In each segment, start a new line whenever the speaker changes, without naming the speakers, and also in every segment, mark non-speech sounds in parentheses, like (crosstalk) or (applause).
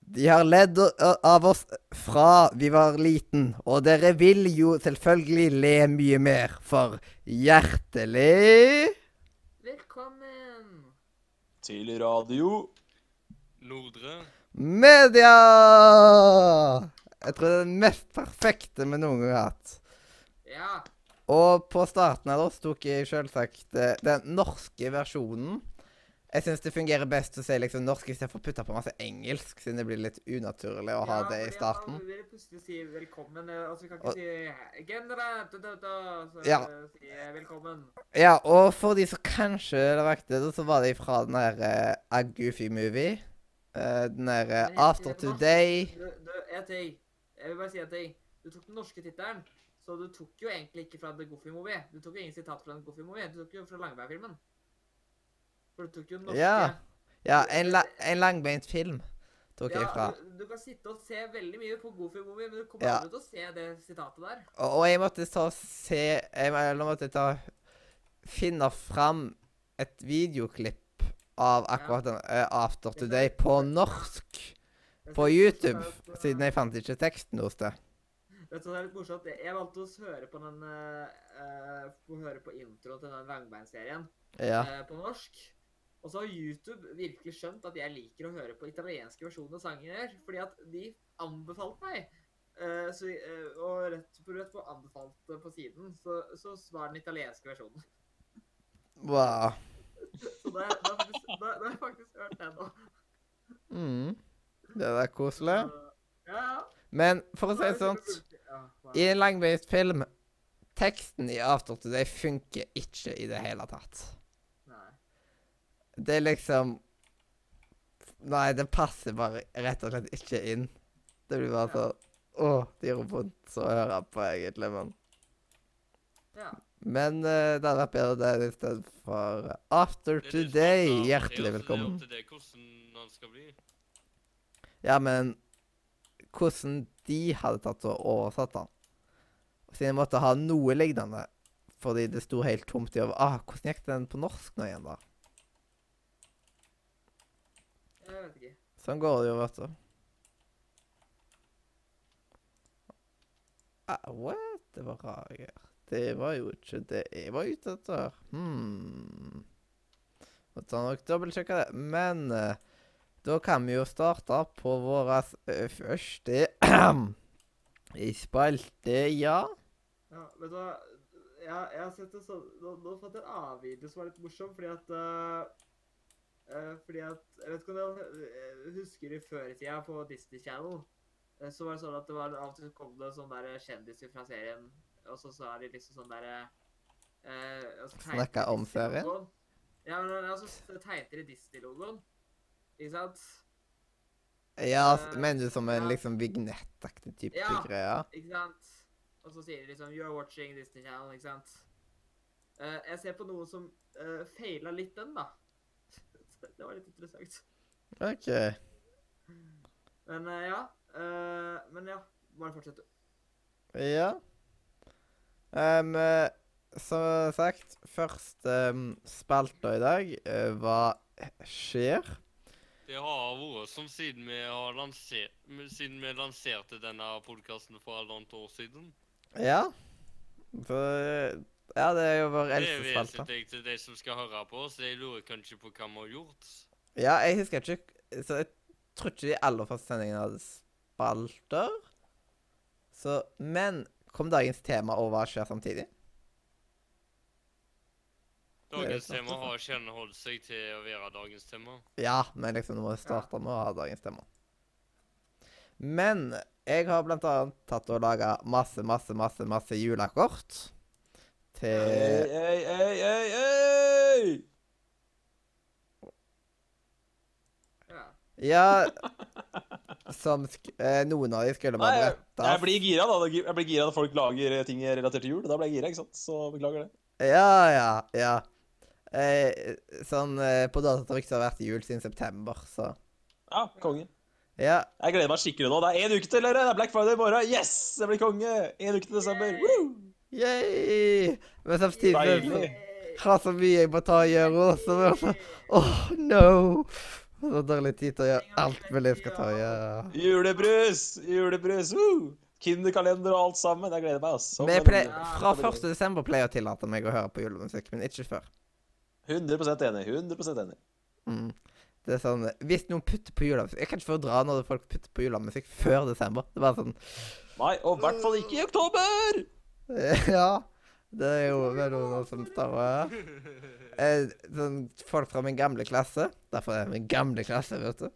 De har ledd o- av oss fra vi var liten, og dere vil jo selvfølgelig le mye mer, for hjertelig
Velkommen!
til radio.
Nordre.
media! Jeg tror det er den mest perfekte vi noen gang har hatt.
Ja,
Og på starten av oss tok jeg selvsagt eh, den norske versjonen. Jeg syns det fungerer best å si liksom norsk istedenfor å putte på masse engelsk, siden det blir litt unaturlig å ha
ja,
det i
fordi
starten.
Han vil plutselig si velkommen, eh, altså vi kan
Og-
ikke si Genere, da, da, da, så
Ja.
eh, si eh, velkommen.
Ja, og for de som kanskje la merke til det, så var det fra den der eh, A Goofy Movie. Eh, den der eh,
Men jeg-
After
jeg-
Today.
Du, du, en ting. Jeg vil bare si en ting. Du tok den norske tittelen, så du tok jo egentlig ikke fra The Goofy Movie. Du tok jo ingen sitat fra The Goofy Movie, du tok jo fra Langeberg-filmen. For du tok jo den norske.
Ja, Ja, en, la en langbeint film tok jeg fra.
Du, du kan sitte og se veldig mye på Goofy Movie, men du kommer
Ja.
aldri til å se det sitatet der.
Og, og jeg måtte ta og se jeg, må- Eller måtte ta finne fram et videoklipp av akkurat den eh, After Today på norsk
Jeg
på
synes
YouTube.
også at, eh,
Siden jeg fant ikke teksten hos det.
Vet du hva, det er litt morsomt. Jeg- Jeg valgte å høre på den eh, eh, å høre på introen til den Langbein-serien
Ja.
eh, på norsk. Og så har YouTube virkelig skjønt at jeg liker å høre på italienske versjoner av sanger. Fordi at de anbefalte meg. Eh, så, eh, og rett på rett på anbefalte på siden, så, så var den italienske versjonen.
Wow.
Så da da har jeg faktisk- da- da har jeg faktisk hørt den nå.
Mm. Det der koselig.
Så, Ja, ja.
Men for å si det sånn
Ja, wow.
I en langbeint film Teksten i After Today funker ikke i det hele tatt.
Nei.
Det er liksom Nei, det passer bare rett og slett ikke inn. Det blir bare sånn Å, det gjør vondt å høre på, egentlig, men
Ja.
Men eh, det hadde vært bedre det istedenfor After
Det er det som
Today.
er- det er
Hjertelig
jo-
velkommen.
Det er opp til deg hvordan han skal bli.
Ja, men hvordan de hadde tatt og oversatt den. Siden jeg måtte ha noe lignende. Fordi det sto helt tomt i over. Ah, hvordan gikk den på norsk nå igjen, da?
Jeg vet ikke.
Sånn går det jo, vet du. Ah, what? Det var rare greier. Det var jo ikke det jeg var ute etter. Hmm. Måtte nok dobbeltsjekke det. Men eh, da kan vi jo starte på vår eh, første (clears throat) i spalte, ja.
Ja, vet du hva? Jeg, jeg har sett en sånn Nå, nå fant jeg en annen video som var litt morsom, fordi at eh, eh, Fordi at Jeg vet ikke om dere eh, husker i før i tida på Disney Channel. eh, så var det sånn at det var av og til kom det sånne der kjendiser fra serien, og så sa de liksom sånn derre uh,
Snakka om serien?
Ja, men men altså, så tegnet de Disney-logoen. Ikke sant?
Ja,
Eh,
mener du som en
ja.
liksom vignettaktig type
Ja.
greier?
Ikke sant? Og så sier de liksom You're watching Disney Channel, ikke sant? Eh, jeg ser på noen som uh, feila litt den, da. (laughs) det var litt interessant.
OK.
Men eh, ja. eh, men ja. Bare fortsett, du.
Ja. Ehm, eh, som sagt, første um, spalta i dag eh, var Skjer.
Det har vært som siden vi, har lanser, siden vi lanserte denne podkasten for halvannet år siden.
Ja. Så, eh, ja, det er jo vår
Det er
eldste spalte.
vesentlig til de som skal høre på oss. De lurer kanskje på hva vi har gjort.
Ja, jeg husker ikke Så jeg tror ikke de aller første sendingene hadde spalter. Så, men kom dagens tema og hva skjer samtidig? er
Dagens
sant,
tema
det er
har ikke holdt seg til å være dagens tema.
Ja, men liksom, du må starte med å ha dagens tema. Men jeg har blant annet tatt og laga masse, masse, masse, masse julekort.
Ei,
Til
ei, ei, ei, ei!
Ja.
(laughs)
Ja Som sk eh, Noen av de skulle
Nei,
bare
jeg, jeg
brette.
blir gira da Jeg blir gira når folk lager eh, ting relatert til jul. Da blir jeg gira, ikke sant? Så beklager det.
Ja, ja, ja. Eh, sånn eh, på datatrykk så har det vært jul siden september, så
Ja, konge.
Ja.
Jeg gleder meg skikkelig nå. Det er én uke til, dere! Det er Black Friday i morgen. Yes! Jeg blir konge! Én uke til desember. Woo!
Yay! Men samtidig så
Deilig.
har så mye jeg må ta og gjøre, og så blir det sånn Oh no! Så dårlig tid til å gjøre alt mulig jeg skal ta og gjøre.
Julebrus! Julebrus! Woo! Kinderkalender og alt sammen. Jeg gleder meg. ass. Som
Vi
en-
ple-
Ja,
fra
det er
1. desember pleier jeg å tillate meg å høre på julemusikk, men ikke før.
100 enig. 100 enig.
Mm. Det er sånn Hvis noen putter på julemusikk Jeg kan ikke fordra når folk putter på julemusikk før desember. Det er bare sånn (laughs)
Nei, og i hvert fall ikke i oktober!
Ja. Det er jo det er noen som tar og eh, sånn, Folk fra min gamle klasse Derfor er jeg min gamle klasse, vet du.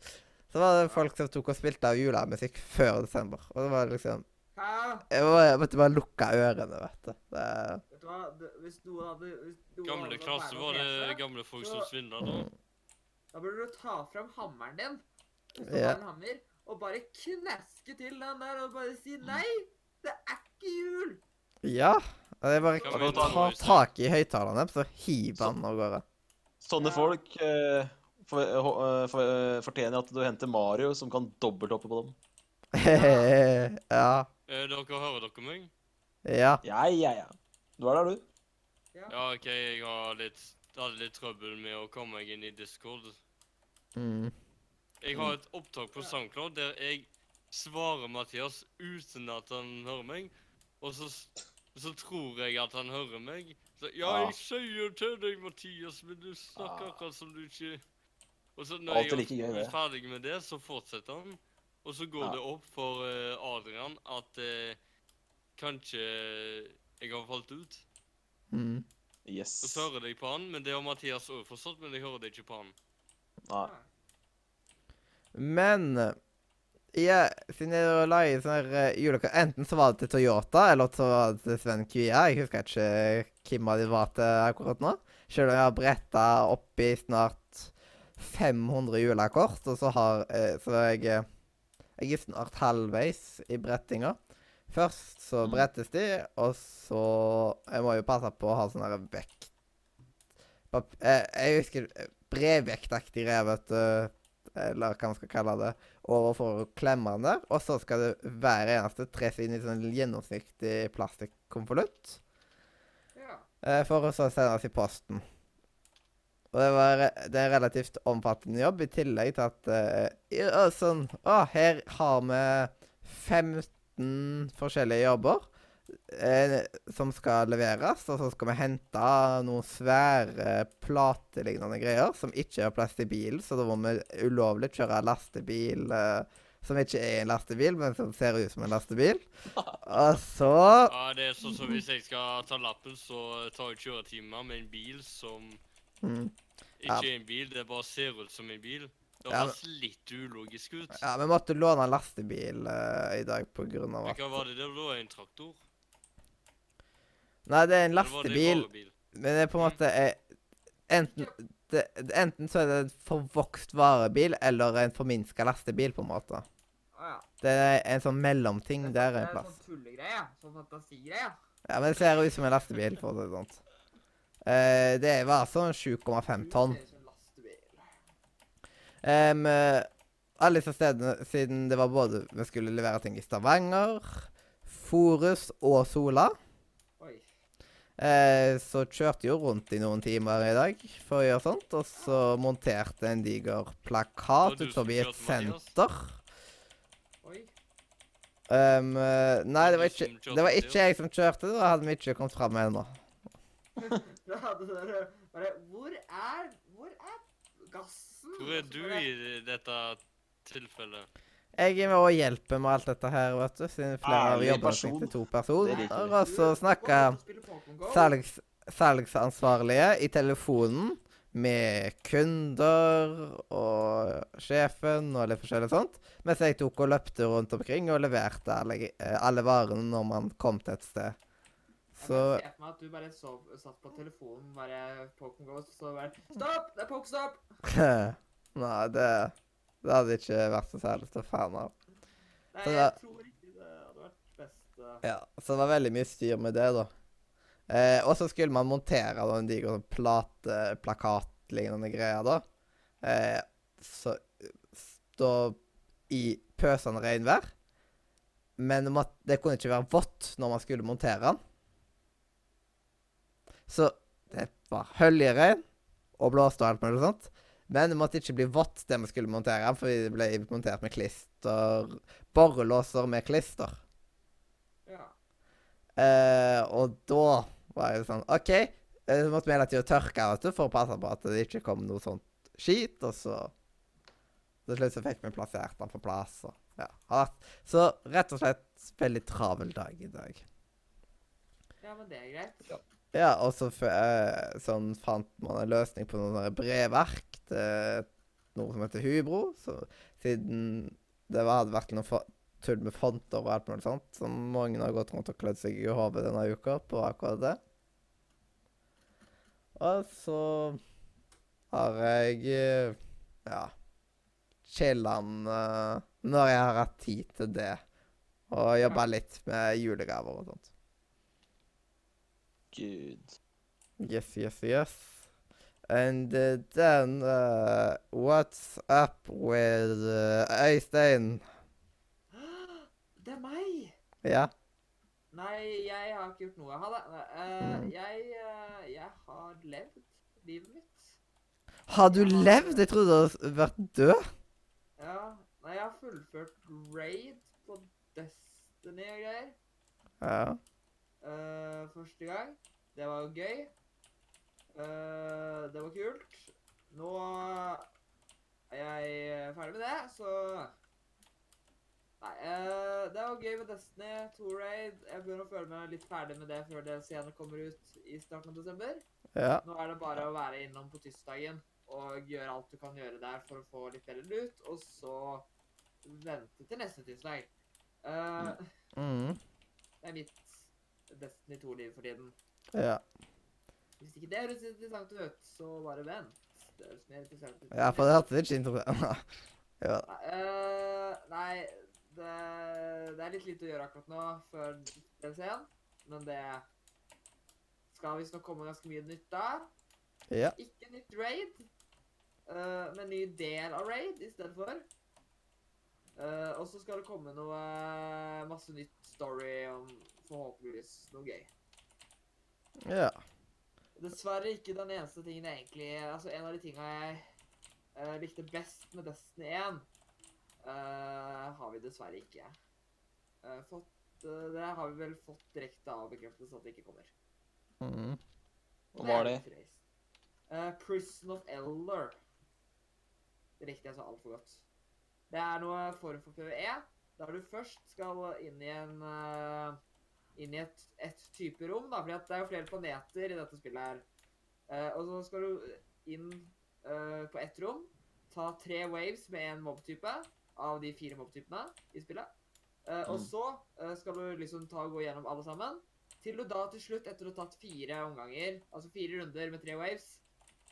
Så var det folk som tok og spilte av julemusikk før desember. Og det var det liksom
Hæ?
Jeg må- jeg måtte bare lukke ørene, vet du. Det er,
Vet du hva? Det, hvis noen hadde hvis noen
Gamle
hadde
klasse
vært
var
med
det
seg,
gamle folk som svindla da.
Da burde du ta fram hammeren din, hvis du
Ja.
har en hammer, og bare kneske til den der og bare si nei! Det er ikke jul!
ja. Jeg bare
Kan vi ta
tar
noe i sted?
tak i høyttaleren, så hiver han av gårde. (laughs)
Sånne
Ja.
folk eh, for, eh, for, eh, fortjener at du henter Mario, som kan dobbelthoppe på dem.
ja.
Eh, dere hører dere meg?
Ja.
Ja, ja, ja. Du er der, du.
Ja.
Ja, OK, jeg har litt, hadde litt trøbbel med å komme meg inn i Discord.
Mm.
Jeg har et opptak på SoundCloud der jeg svarer Mathias uten at han hører meg. Og så, s- så tror jeg at han hører meg. Så, ja,
Ah.
jeg sier til deg, Mathias, men du snakker
Ah.
akkurat som du ikke Og så når
Alltid
jeg er
like gøy, det.
ferdig med det, så fortsetter han. Og så går
Ja.
det opp for eh, Adrian at eh, kanskje jeg har falt ut.
Mm.
Yes.
Så hører jeg på han, men det har Mathias òg forstått, men jeg hører det ikke på han.
Nei.
Men eh, jeg, siden jeg da la i sånne her, eh, julekalender Enten så var det til Toyota, eller så var det til Sven Kvia. Jeg husker ikke eh, hvem av de var til akkurat nå. Selv om jeg har bretta opp i snart 500 julekort, og så har eh, Så er jeg eh, Jeg er snart halvveis i brettinga. Først så
Mm.
brettes de, og så Jeg må jo passe på å ha sånn her vekt pap, eh, Jeg husker eh, brevvektaktig rev, vet du eller hva man skal kalle det, over for å klemme den der. Og så skal det hver eneste treffe inn i sånn gjennomsiktig plastikkonvolutt.
Ja.
eh, For å så sendes i posten. Og det, var, eh, det er en relativt omfattende jobb, i tillegg til at eh, i- å, sånn, å, Her har vi 15 forskjellige jobber eh, som skal leveres, og så skal vi hente noen svære platelignende greier som ikke har plass til bilen, så da må vi ulovlig kjøre lastebil eh, som ikke er en lastebil, men som ser ut som en lastebil. Og så
Ja, det er sånn som hvis jeg skal ta lappen, så tar jeg kjøretimer med en bil som
mm, Ja.
ikke er en bil, det bare ser ut som en bil. Det
Ja,
høres litt ulogisk ut.
Ja, vi måtte låne en lastebil eh, i dag på grunn av
Men
at
Hva var det der da? En traktor?
Nei, det er en
Eller var det
lastebil,
bare bil?
men det er på en måte eh, enten, det, enten så er det en forvokst varebil eller en forminska lastebil, på en måte.
Å Ah, ja.
Det er en sånn mellomting
Det
der
er
en plass.
Sånn tullegreie. Sånn fantasigreie.
Ja, men det ser ut som en lastebil, for å si det sånn. Eh, det var sånn 7,5 tonn.
Du ser ut som en lastebil.
Em, eh, alle disse stedene, siden det var både Vi skulle levere ting i Stavanger, Forus og Sola.
Oi.
Eh, så kjørte jo rundt i noen timer i dag for å gjøre sånt, og så monterte en diger
Det var
plakat
du
ut
som
forbi et
kjørte, Mathias?
senter.
Oi. (laughs)
Um, eh, nei, det var,
Det var du
ikke, det var
som kjørte, Mathias?
ikke jeg som kjørte, da hadde vi ikke kommet fram ennå.
Da hadde dere bare Hvor er Hvor er gassen?
Hvor er du i dette tilfellet?
Jeg er med og hjelper med alt dette her, vet du, siden flere av
Ærlig
jobbene
Ah, person.
fikk til to
Det
personer.
liker vi.
Og så snakka
Særlig
salgs, salgsansvarlige i telefonen med kunder og sjefen og litt forskjellig sånt. Mens jeg tok og løpte rundt omkring og leverte alle, eh, alle varene når man kom til et sted. Så
Jeg ser for meg at du bare sov, satt på telefonen, bare Pokémon Go, og så bare Stopp! Det er Pokestopp!
(laughs) Nei, det, det hadde ikke vært så særlig stor fan av.
Nei,
Så
jeg
da-
tror ikke det hadde vært best eh,
Ja, så det var veldig mye styr med det, da. Eh, og så skulle man montere da, en diger sånn plate, plakatlignende greier, da. Eh, så stå i pøsende regnvær. Men det måtte- det kunne ikke være vått når man skulle montere den. Så det var høljeregn og blåste og alt mulig sånt. Men det måtte ikke bli vått, det vi skulle montere, fordi det ble montert med klister. Borrelåser med klister.
Ja.
Eh, og da var jeg sånn OK, eh, så måtte vi hele tida tørke vet du, for å passe på at det ikke kom noe sånt skit. Og så til slutt så fikk vi plassert den på plass. Og, ja. har vært- Så rett og slett veldig travel dag i dag.
ja, men det er greit.
Ja, og så f- eh, sånn fant man en løsning på noen sånne brevverk til noe som heter Hubro. Så siden det var, hadde vært noe fa- tull med fonter og alt mulig sånt, som mange har gått rundt og klødd seg i hodet denne uka på akkurat det. Og så har jeg eh, ja chillan eh, når jeg har hatt tid til det, og jobba litt med julegaver og sånt.
Gud.
Yes, yes, yes. And uh, then, uh, what's up with uh, Øystein?
Det er meg!
Ja,
Nei, jeg har ikke gjort noe. Ha det. Nei, eh,
Mm.
jeg, eh, jeg har levd livet mitt.
har du levd? Jeg trodde du hadde vært død.
Ja. Nei, jeg har fullført raid på Destiny og greier.
Ja.
eh, første gang. Det var jo gøy. Eh, det var kult. Nå er jeg ferdig med det, så Nei, eh, det var gøy med Destiny, to raid. Jeg begynner å føle meg litt ferdig med det før det senere kommer ut i starten av desember.
Ja.
Nå er det bare å være innom på tirsdagen og gjøre alt du kan gjøre der for å få litt bedre lut, og så vente til neste tirsdag. Eh,
Mm.
det er mitt Destiny 2-liv for tiden.
ja.
Hvis ikke det høres interessant ut, så bare vent. Det høres mer interessant ut.
Ja, for det hørtes ikke interessant ut. (laughs) Ja.
Nei, øh, nei det, det er litt lite å gjøre akkurat nå før DLC-en, men det skal visstnok komme ganske mye nytt der.
Ja.
Ikke nytt raid, øh, men ny del av raid i stedet for. Øh, og så skal det komme noe masse nytt story om forhåpentligvis noe gøy.
ja.
Dessverre ikke den eneste tingen jeg egentlig Altså, en av de tinga jeg eh, likte best med Destiny 1, eh, har vi dessverre ikke eh, fått. eh, det har vi vel fått direkte avbekreftelse at det ikke kommer.
Mm.
Og
Hva var
er
det?
litt trist. Eh, Prison of Elder. Det likte jeg så altfor altså, godt. Det er noe form for PVE, der du først skal inn i en eh, Inn i et, et type rom, da, fordi at det er jo flere planeter i dette spillet her. Eh, og så skal du inn eh, på ett rom, ta tre waves med én mobtype av de fire mobtypene i spillet. Eh, Og
Mm.
så eh, skal du liksom ta og gå gjennom alle sammen. Til du da til slutt, etter å ha tatt fire omganger, altså fire runder med tre waves,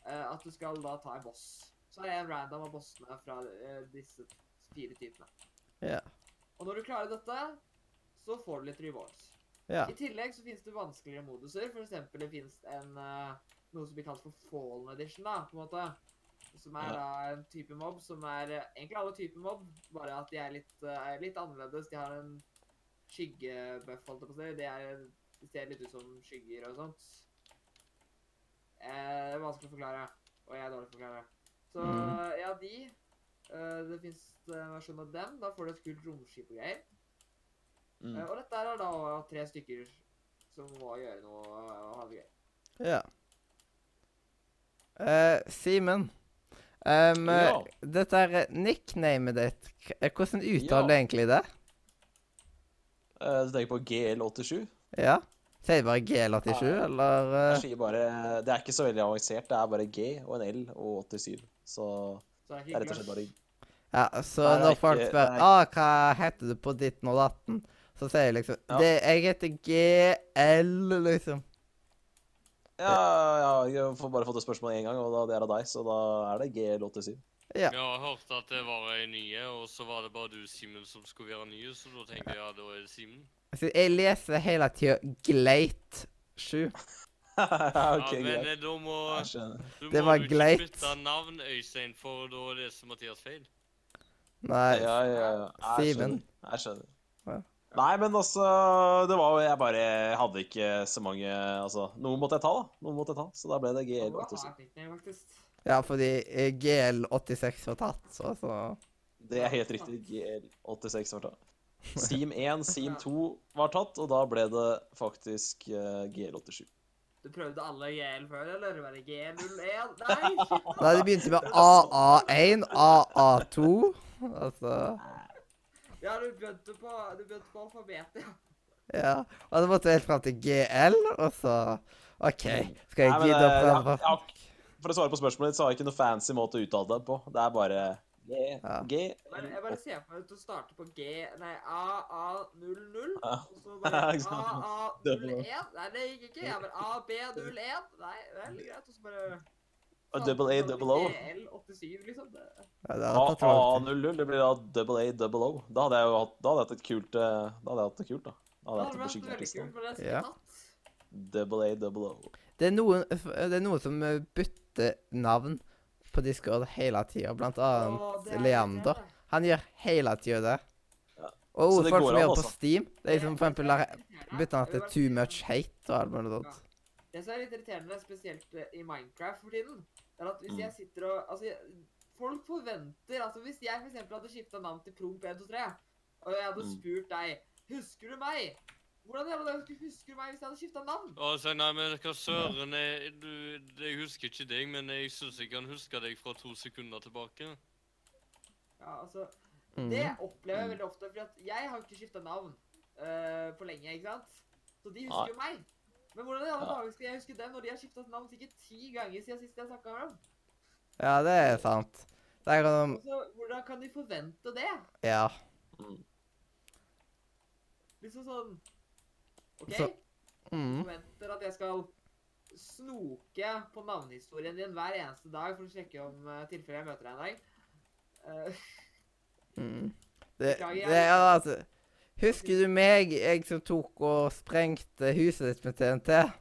eh, at du skal da ta en boss. Så er det en random av bossene fra eh, disse fire typene.
Ja.
Og når du klarer dette, så får du litt rewards.
Ja.
I tillegg så finnes det vanskeligere moduser. For eksempel det finnes en, eh, noe som blir kalt for Fallen Edition, da, på en måte. Som er
Ja.
da en type mobb som er eh, egentlig alle typer mobb, bare at de er litt, eh, er litt annerledes. De har en skyggebuff, holdt jeg på å si. De, er, de ser litt ut som skygger og sånt. Eh, det er vanskelig å forklare, og jeg er dårlig til å forklare. Så
Mhm.
ja, de eh, Det fins en versjon av dem. Da får du et kult romskip og greier.
Mm.
Eh, Og dette er da tre stykker som må gjøre noe eh, og ha det gøy.
Ja. Eh, Simen. Um,
Ja.
Dette er eh, nicknamet ditt. K- eh, Hvordan uttaler
Ja.
du egentlig det?
Eh, Du tenker på GL87?
Ja. Sier du bare GL87,
Ja.
eller eh,
Jeg sier bare Det er ikke så veldig avansert. Det er bare G og en L og 87. Så
Så det er
det
ikke
er rett og slett bare
Ja, så
Nei, det er
når folk
ikke-
spør
nei.
ah, hva heter du på ditt og datten, så sier jeg liksom
Ja.
det, Jeg heter GL, liksom.
Ja, ja, jeg får bare fått et spørsmål én gang, og da, det er av deg, så da er det GL87.
Ja.
Jeg har hørt at det var ei nye, og så var det bare du, Simen, som skulle være nye, så da tenkte jeg ja, da er det Simen.
Så jeg leser hele tida Gleit 7.
(laughs) ok,
ja, men
greit.
eh, da må
Jeg skjønner.
du
Det
må
var
jo ikke
gleit.
bytte navn, Øystein, for da er det som Mathias feil.
Nei.
Ja, ja, ja. Jeg
Simen.
skjønner. Jeg skjønner.
Ja.
Nei, men altså Det var jo Jeg bare jeg hadde ikke så mange Altså, noe måtte jeg ta, da. Noe måtte jeg ta, så da ble det
Det var
GL87.
hardt nickname, faktisk.
Ja, fordi eh, GL86 var tatt, så, så.
(laughs) Det er helt riktig. GL86 var tatt. Seam 1, Seam 2 var tatt, og da ble det faktisk eh, GL87.
Du prøvde alle GL før, eller? Var det G01? Nei! shit.
Nei, det begynte med AA1, AA2. Altså
Ja, du begynte på, du begynte på alfabetet, ja.
Ja. Og så måtte jeg helt fram til GL, og så OK, skal jeg
Nei, men,
gidde å
eh, jeg-
prøve?
jeg har ikke- For å svare på spørsmålet ditt, så har jeg ikke noe fancy måte å uttale det på. Det er bare G,
Ja.
G
Men jeg bare ser for meg at du starter på G... Nei, AA00,
(laughs) Ja.
og så bare
Ikke sant?
AA01. Nei, det gikk ikke. Jeg bare AB01. Nei, vel, greit. Og så bare
Og double A, double O.
GL87, liksom. Det-
Ja, det hadde tatt lang tid.
AA00, det blir da double A, double O. Da hadde jeg jo hatt, da hadde jeg hatt et kult eh, Da hadde jeg hatt det kult, da. Da
Det
hadde jeg hatt
hadde
det på
vært
skikkelig
veldig
artist.
kult, men det er
Ja.
sikkert tatt.
Double A, double O.
Det er noen, det er noen som eh, bytter navn på Discord hele tida, blant
Å,
annet
det er
Leander.
irriterende.
Han gjør hele tida det.
Ja.
Og
Så det
folk
går
som
an,
gjør det på
altså.
Steam, det er liksom for eksempel der
irriterende.
bytter han
Det
til
vil være-
Too Much Hate og alt mulig sånt.
Det som er litt irriterende, spesielt eh, i Minecraft for tiden, er at hvis
Mm.
jeg sitter og Altså, jeg- folk forventer Altså, hvis jeg for eksempel hadde skifta navn til Promp123, og jeg hadde
Mm.
spurt deg Husker du meg? Hvordan i alle dager skulle du huske meg hvis jeg hadde skifta navn?
Og så, nei, men hva søren jeg, du, jeg husker ikke deg, men jeg syns jeg kan huske deg fra to sekunder tilbake.
Ja, altså Det
Mm.
opplever jeg
Mm.
veldig ofte, for at jeg har ikke skifta navn eh, på lenge, ikke sant? Så de husker jo meg. Men hvordan i alle
Ja.
dager skal jeg huske dem når de har skifta navn sikkert ti ganger siden sist jeg snakka med dem?
Ja, det er sant. Det er sånn
Altså, hvordan kan de forvente det?
Ja.
Mm.
Liksom sånn OK,
Så- Mm.
forventer at jeg skal snoke på navnehistorien din hver eneste dag for å sjekke om uh, tilfellet jeg møter deg en dag. Eh, (laughs)
Mm. Det,
Beklager, jeg-
det er altså Husker du meg, jeg som tok og sprengte huset ditt med TNT?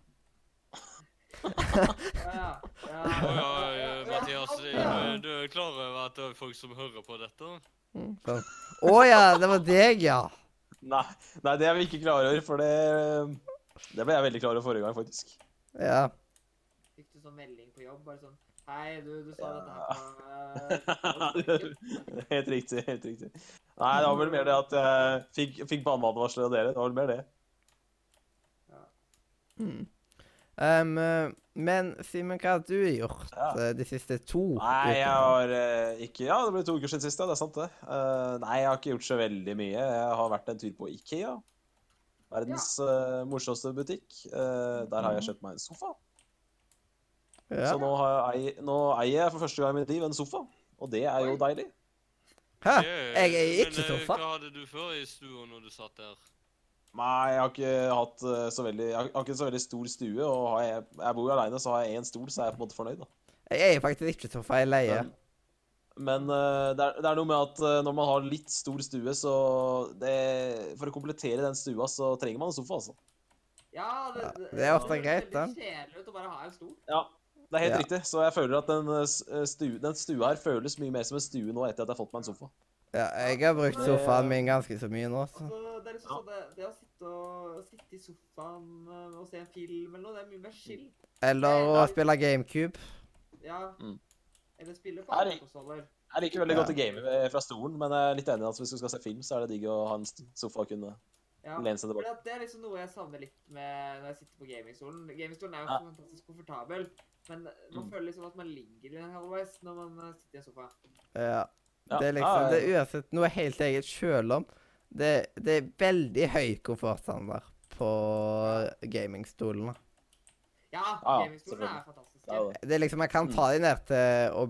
ja, ja,
Å ja, eh,
ja,
Mathias,
ja,
eh, du er klar over at det er folk som hører på dette?
Mm, sånn. Å ja, det var deg, ja.
Nei, nei, det er vi ikke klar over, for det eh, Det ble jeg veldig klar over forrige gang, faktisk.
Ja.
Fikk du sånn melding på jobb? Bare sånn Hei, du, du sa dette her på eh,
(laughs) helt riktig. helt riktig. Nei, det var vel mer det at jeg fikk, fikk banneadvarsler av dere. Det var vel mer det.
Mm. Um, eh, men Simen, hva har du gjort
Ja.
eh, de siste to
Nei, jeg
ukene?
har eh, ikke Ja, det ble to uker siden sist, ja. Det er sant, det. Eh, nei, jeg har ikke gjort så veldig mye. Jeg har vært en tur på Ikea. Verdens eh, morsomste butikk. Eh, der har jeg kjøpt meg en sofa.
Ja.
Så nå, har jeg, nå eier jeg for første gang i mitt liv en sofa. Og det er jo deilig.
Hæ?
Eh,
Jeg er ikke
men, eh,
sofa.
Hva hadde du før i stua når du satt der?
Nei, jeg har ikke hatt eh, så veldig Jeg har jeg har ikke så veldig stor stue, og har jeg, jeg bor jo aleine, så har jeg én stol, så er jeg på en måte fornøyd, da.
Jeg er faktisk ikke sofa, jeg leier.
Men, men eh, det, er, det er noe med at eh, når man har litt stor stue, så det, For å komplettere den stua, så trenger man en sofa, altså.
Ja, det,
Det er ofte
høres
greit,
veldig
da.
kjedelig ut å bare ha en stol.
Ja, det er helt
Ja.
riktig. Så jeg føler at den, eh, s- eh, stu, den stua her føles mye mer som en stue nå etter at jeg har fått meg en sofa.
Ja, jeg har brukt
Men-
sofaen min ganske så mye nå, så
Altså, det er liksom sånn det, det å sitte, og, sitte i sofaen eh, og se en film eller noe, det er
Mm.
mye mer chill.
Eller å
Ja.
spille GameCube.
Ja.
Mm.
Eller spille på
Er
andre
det-
konsoller.
Jeg liker veldig
Ja.
godt å game eh, fra stolen, men jeg er litt enig i at hvis du skal se film, så er det digg å ha en st- sofa og kunne
Ja.
lene seg
Fordi
tilbake.
at det er liksom noe jeg savner litt med når jeg sitter på gamingstolen. Gamingstolen er jo
Ja.
fantastisk komfortabel, men man
Mm.
føler liksom at man ligger halvveis når man eh, sitter i en sofa.
Ja.
Ja,
Det er
ja,
liksom det
ja.
er uansett noe helt eget sjøl om. Det, det er veldig høy komfortstandard på gamingstolene.
Ja,
Ja, ja,
gamingstolen er fantastisk.
Ja, da.
Det er liksom, Man kan ta de ned til å,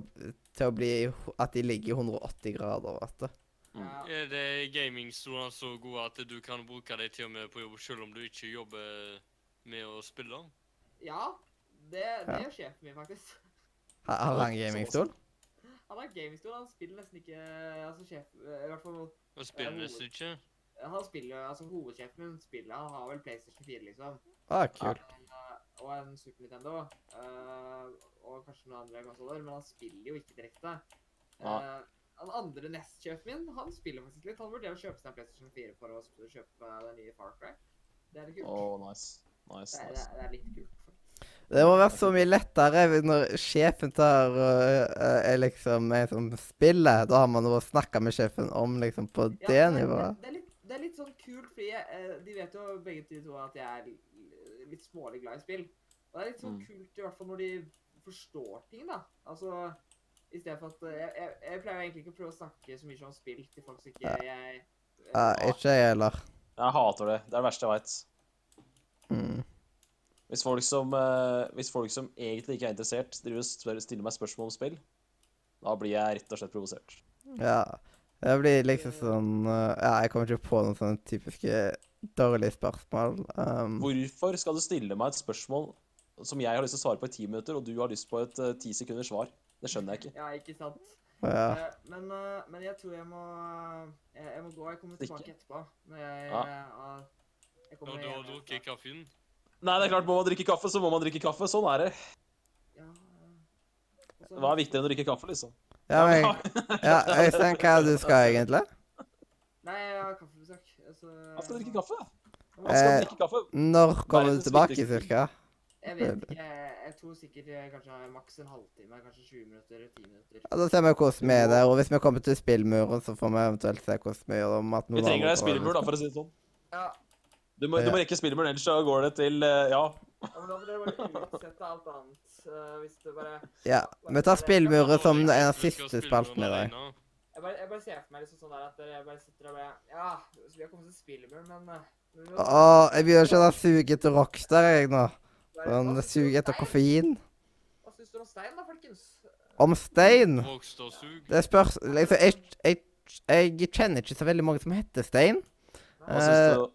til å bli At de ligger i 180 grader. Vet du.
Mm.
Ja.
Er det gamingstoler så gode at du kan bruke dem til og med på jobb selv om du ikke jobber med å spille?
Ja, det, det
Ja.
gjør sjefen min faktisk. (laughs)
Har har
Sånn,
han gamingstol?
Han har gamingstol, han spiller nesten ikke Altså sjef... eh, I hvert fall
Og spiller nesten ikke?
Han spiller Altså hovedsjefen min spiller Han har vel PlayStation 4, liksom.
Å, Ah, kult.
Eh, Og en Super Nintendo. eh, og kanskje noen andre konsoller, men han spiller jo ikke direkte. Eh,
Ja.
Han andre nestsjefen min, han spiller faktisk litt. Han vurderer å kjøpe seg en PlayStation 4 for å sp- kjøpe den nye Far Cry. Det er litt kult.
Åh, nice. Nice,
det, er,
nice.
det er litt kult. faktisk.
Det må være så mye lettere hvis- når sjefen tar og eh, er liksom med som spiller. Da har man noe å snakke med sjefen om liksom på
Ja,
det
nei,
nivået.
Det, det, er litt, det er litt sånn kult, fordi jeg, eh, de vet jo begge de to at jeg er l- litt smålig glad i spill. Og det er litt sånn
Mm.
kult, i hvert fall når de forstår ting, da. Altså, i stedet for at eh, Jeg, jeg, jeg pleier jo egentlig ikke å prøve å snakke så mye om spill til folk som ikke jeg eh,
Ja, ikke jeg heller.
Jeg hater det. Det er det verste jeg veit.
Mm.
Hvis folk, som, eh, hvis folk som egentlig ikke er interessert, driver og spør- stiller meg spørsmål om spill, da blir jeg rett og slett provosert.
Mm.
Ja. Det blir liksom sånn eh, Ja, jeg kommer ikke på noen sånne typiske dårlige spørsmål.
Mm.
Um,
Hvorfor skal du stille meg et spørsmål som jeg har lyst til å svare på i ti minutter, og du har lyst på et eh, ti sekunders svar? Det skjønner jeg ikke.
Ja, ikke sant?
ja.
Eh, Men, eh, men jeg tror jeg må jeg, jeg må gå. Jeg kommer
Stikke.
tilbake etterpå. Når jeg,
Ja.
eh, har- jeg kommer
Når du har
hjem etterpå.
drukket kaffen.
Nei, det er klart, må man drikke kaffe, så må man drikke kaffe. Sånn er det.
Ja, eh, og så-
Hva er viktigere enn å drikke kaffe, liksom?
ja, men ja, Øystein, hva er det du skal egentlig?
Nei, jeg har kaffebesøk. altså, Så
Man skal drikke kaffe. Man skal
Eh,
drikke kaffe.
Når kommer du
Verdens
tilbake,
viktigste-
cirka?
Jeg vet ikke. Jeg, jeg tror sikkert jeg kanskje har maks en halvtime, kanskje 20 minutter eller 10 minutter.
Ja, Da ser vi hvordan vi er der, og hvis vi kommer til spillmuren, så får vi eventuelt se hvordan vi gjør det. om at noen
Vi
andre
trenger deg i
kommer.
spillmur, da, for å si det sånn.
Ja,
Du må, du må rekke spillmuren, ellers så går det til eh, Ja.
ja, men da må dere bare utsette alt annet. eh, hvis det bare
Ja, vi tar spillmuren som en av
Du skal
siste
spille
spaltene
med
i dag.
alene.
Jeg bare, jeg bare ser for meg liksom sånn der at dere bare sitter og bare Ja, så vi har kommet til spillmur, men eh, men vi må-
Å, jeg sånn begynner å kjenne suget etter Rockstar, jeg nå.
bare-
Sånn
Hva syns dere om
suget etter
stein?
koffein.
Hva syns dere om stein, da, folkens?
Om stein?
Rockstarsug.
Det spørs liksom, jeg, jeg, jeg kjenner ikke så veldig mange som heter Stein.
Hva syns
Eh.
dere,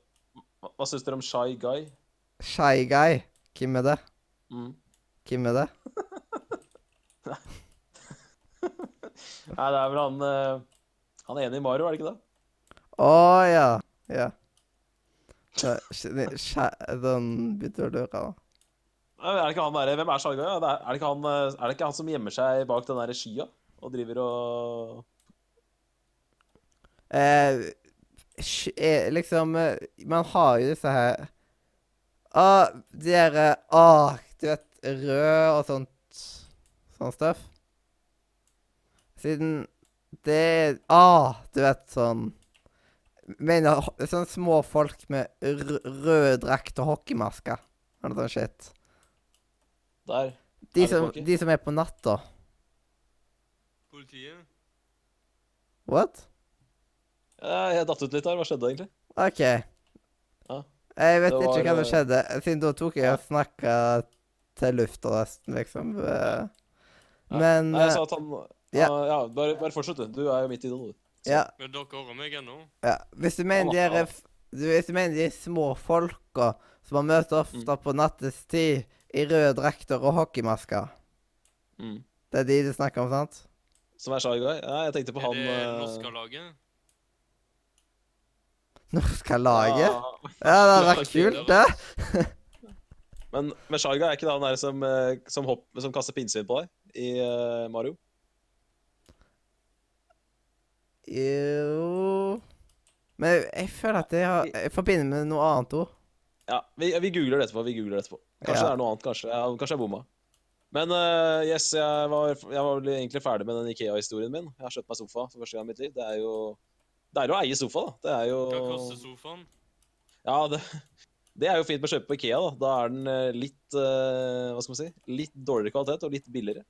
hva syns dere om Shy Guy?
Shy Guy. Hvem er det?
Mm.
Hvem er det?
Nei, det er vel han eh, Han er enig i Mario, er det ikke det?
Å ja. Ja. Så, sj- sj- Sånn begynte å lure, da.
Nei, Er det ikke han der, Hvem er Sjargøy? Er, er, det ikke han, eh, er det ikke han som gjemmer seg bak den der skia og driver og
Eh, sj- eh, liksom eh, Man har jo disse her Å, de derre Å, du vet Rød og sånt Sånn stuff. Siden det Å, du vet sånn Mener ho- sånne små folk med r- rød drakt og hockeymasker. Eller noe sånt shit.
Der.
De
Er det
som,
hockey?
de som er på natta.
Politiet.
What?
Eh, Jeg datt ut litt her. Hva skjedde egentlig?
OK.
Ja.
Jeg vet
Det
ikke hva
var,
som
eh,
skjedde, siden da tok jeg
ja.
og snakka til lufta nesten, liksom. eh.
Ja.
Men
Nei,
eh,
jeg sa at han
ja.
Mm, Ja, ja bare, bare fortsett, du. Du er jo midt i det sånn. nå. du.
ja,
Men dere hører meg ennå.
ja. Hvis du mener de
Ja,
er f- du, Hvis du mener de små folka som man
Mm.
møter ofte på nattestid i røde drakter og hockeymasker
Mm.
Det er de du snakker om, sant?
Som er Shy Guy? Ja, jeg tenkte på
Er
han
det
eh,
norske laget?
Norske laget?
(laughs) ja.
Ja, det hadde vært
Norske
kult, det.
Men, men Shy Guy er ikke det han der som, eh, som, hopp, som kaster pinnsvin på deg i eh, Mario?
Jo Men jeg føler at jeg, har, jeg forbinder med noe annet ord.
Ja, vi, vi googler det etterpå. vi googler det etterpå. Kanskje
Ja.
det er noe annet. Kanskje ja, kanskje jeg bomma. Men eh, yes, jeg var, jeg var vel egentlig ferdig med den Ikea-historien min. Jeg har kjøpt meg sofa for første gang i mitt liv. Det er jo deilig å eie sofa, da. Det er jo
Hva koster sofaen?
Ja, det, (laughs) det er jo fint med å kjøpe på Ikea, da. Da er den eh, litt eh, Hva skal man si? Litt dårligere kvalitet og litt billigere.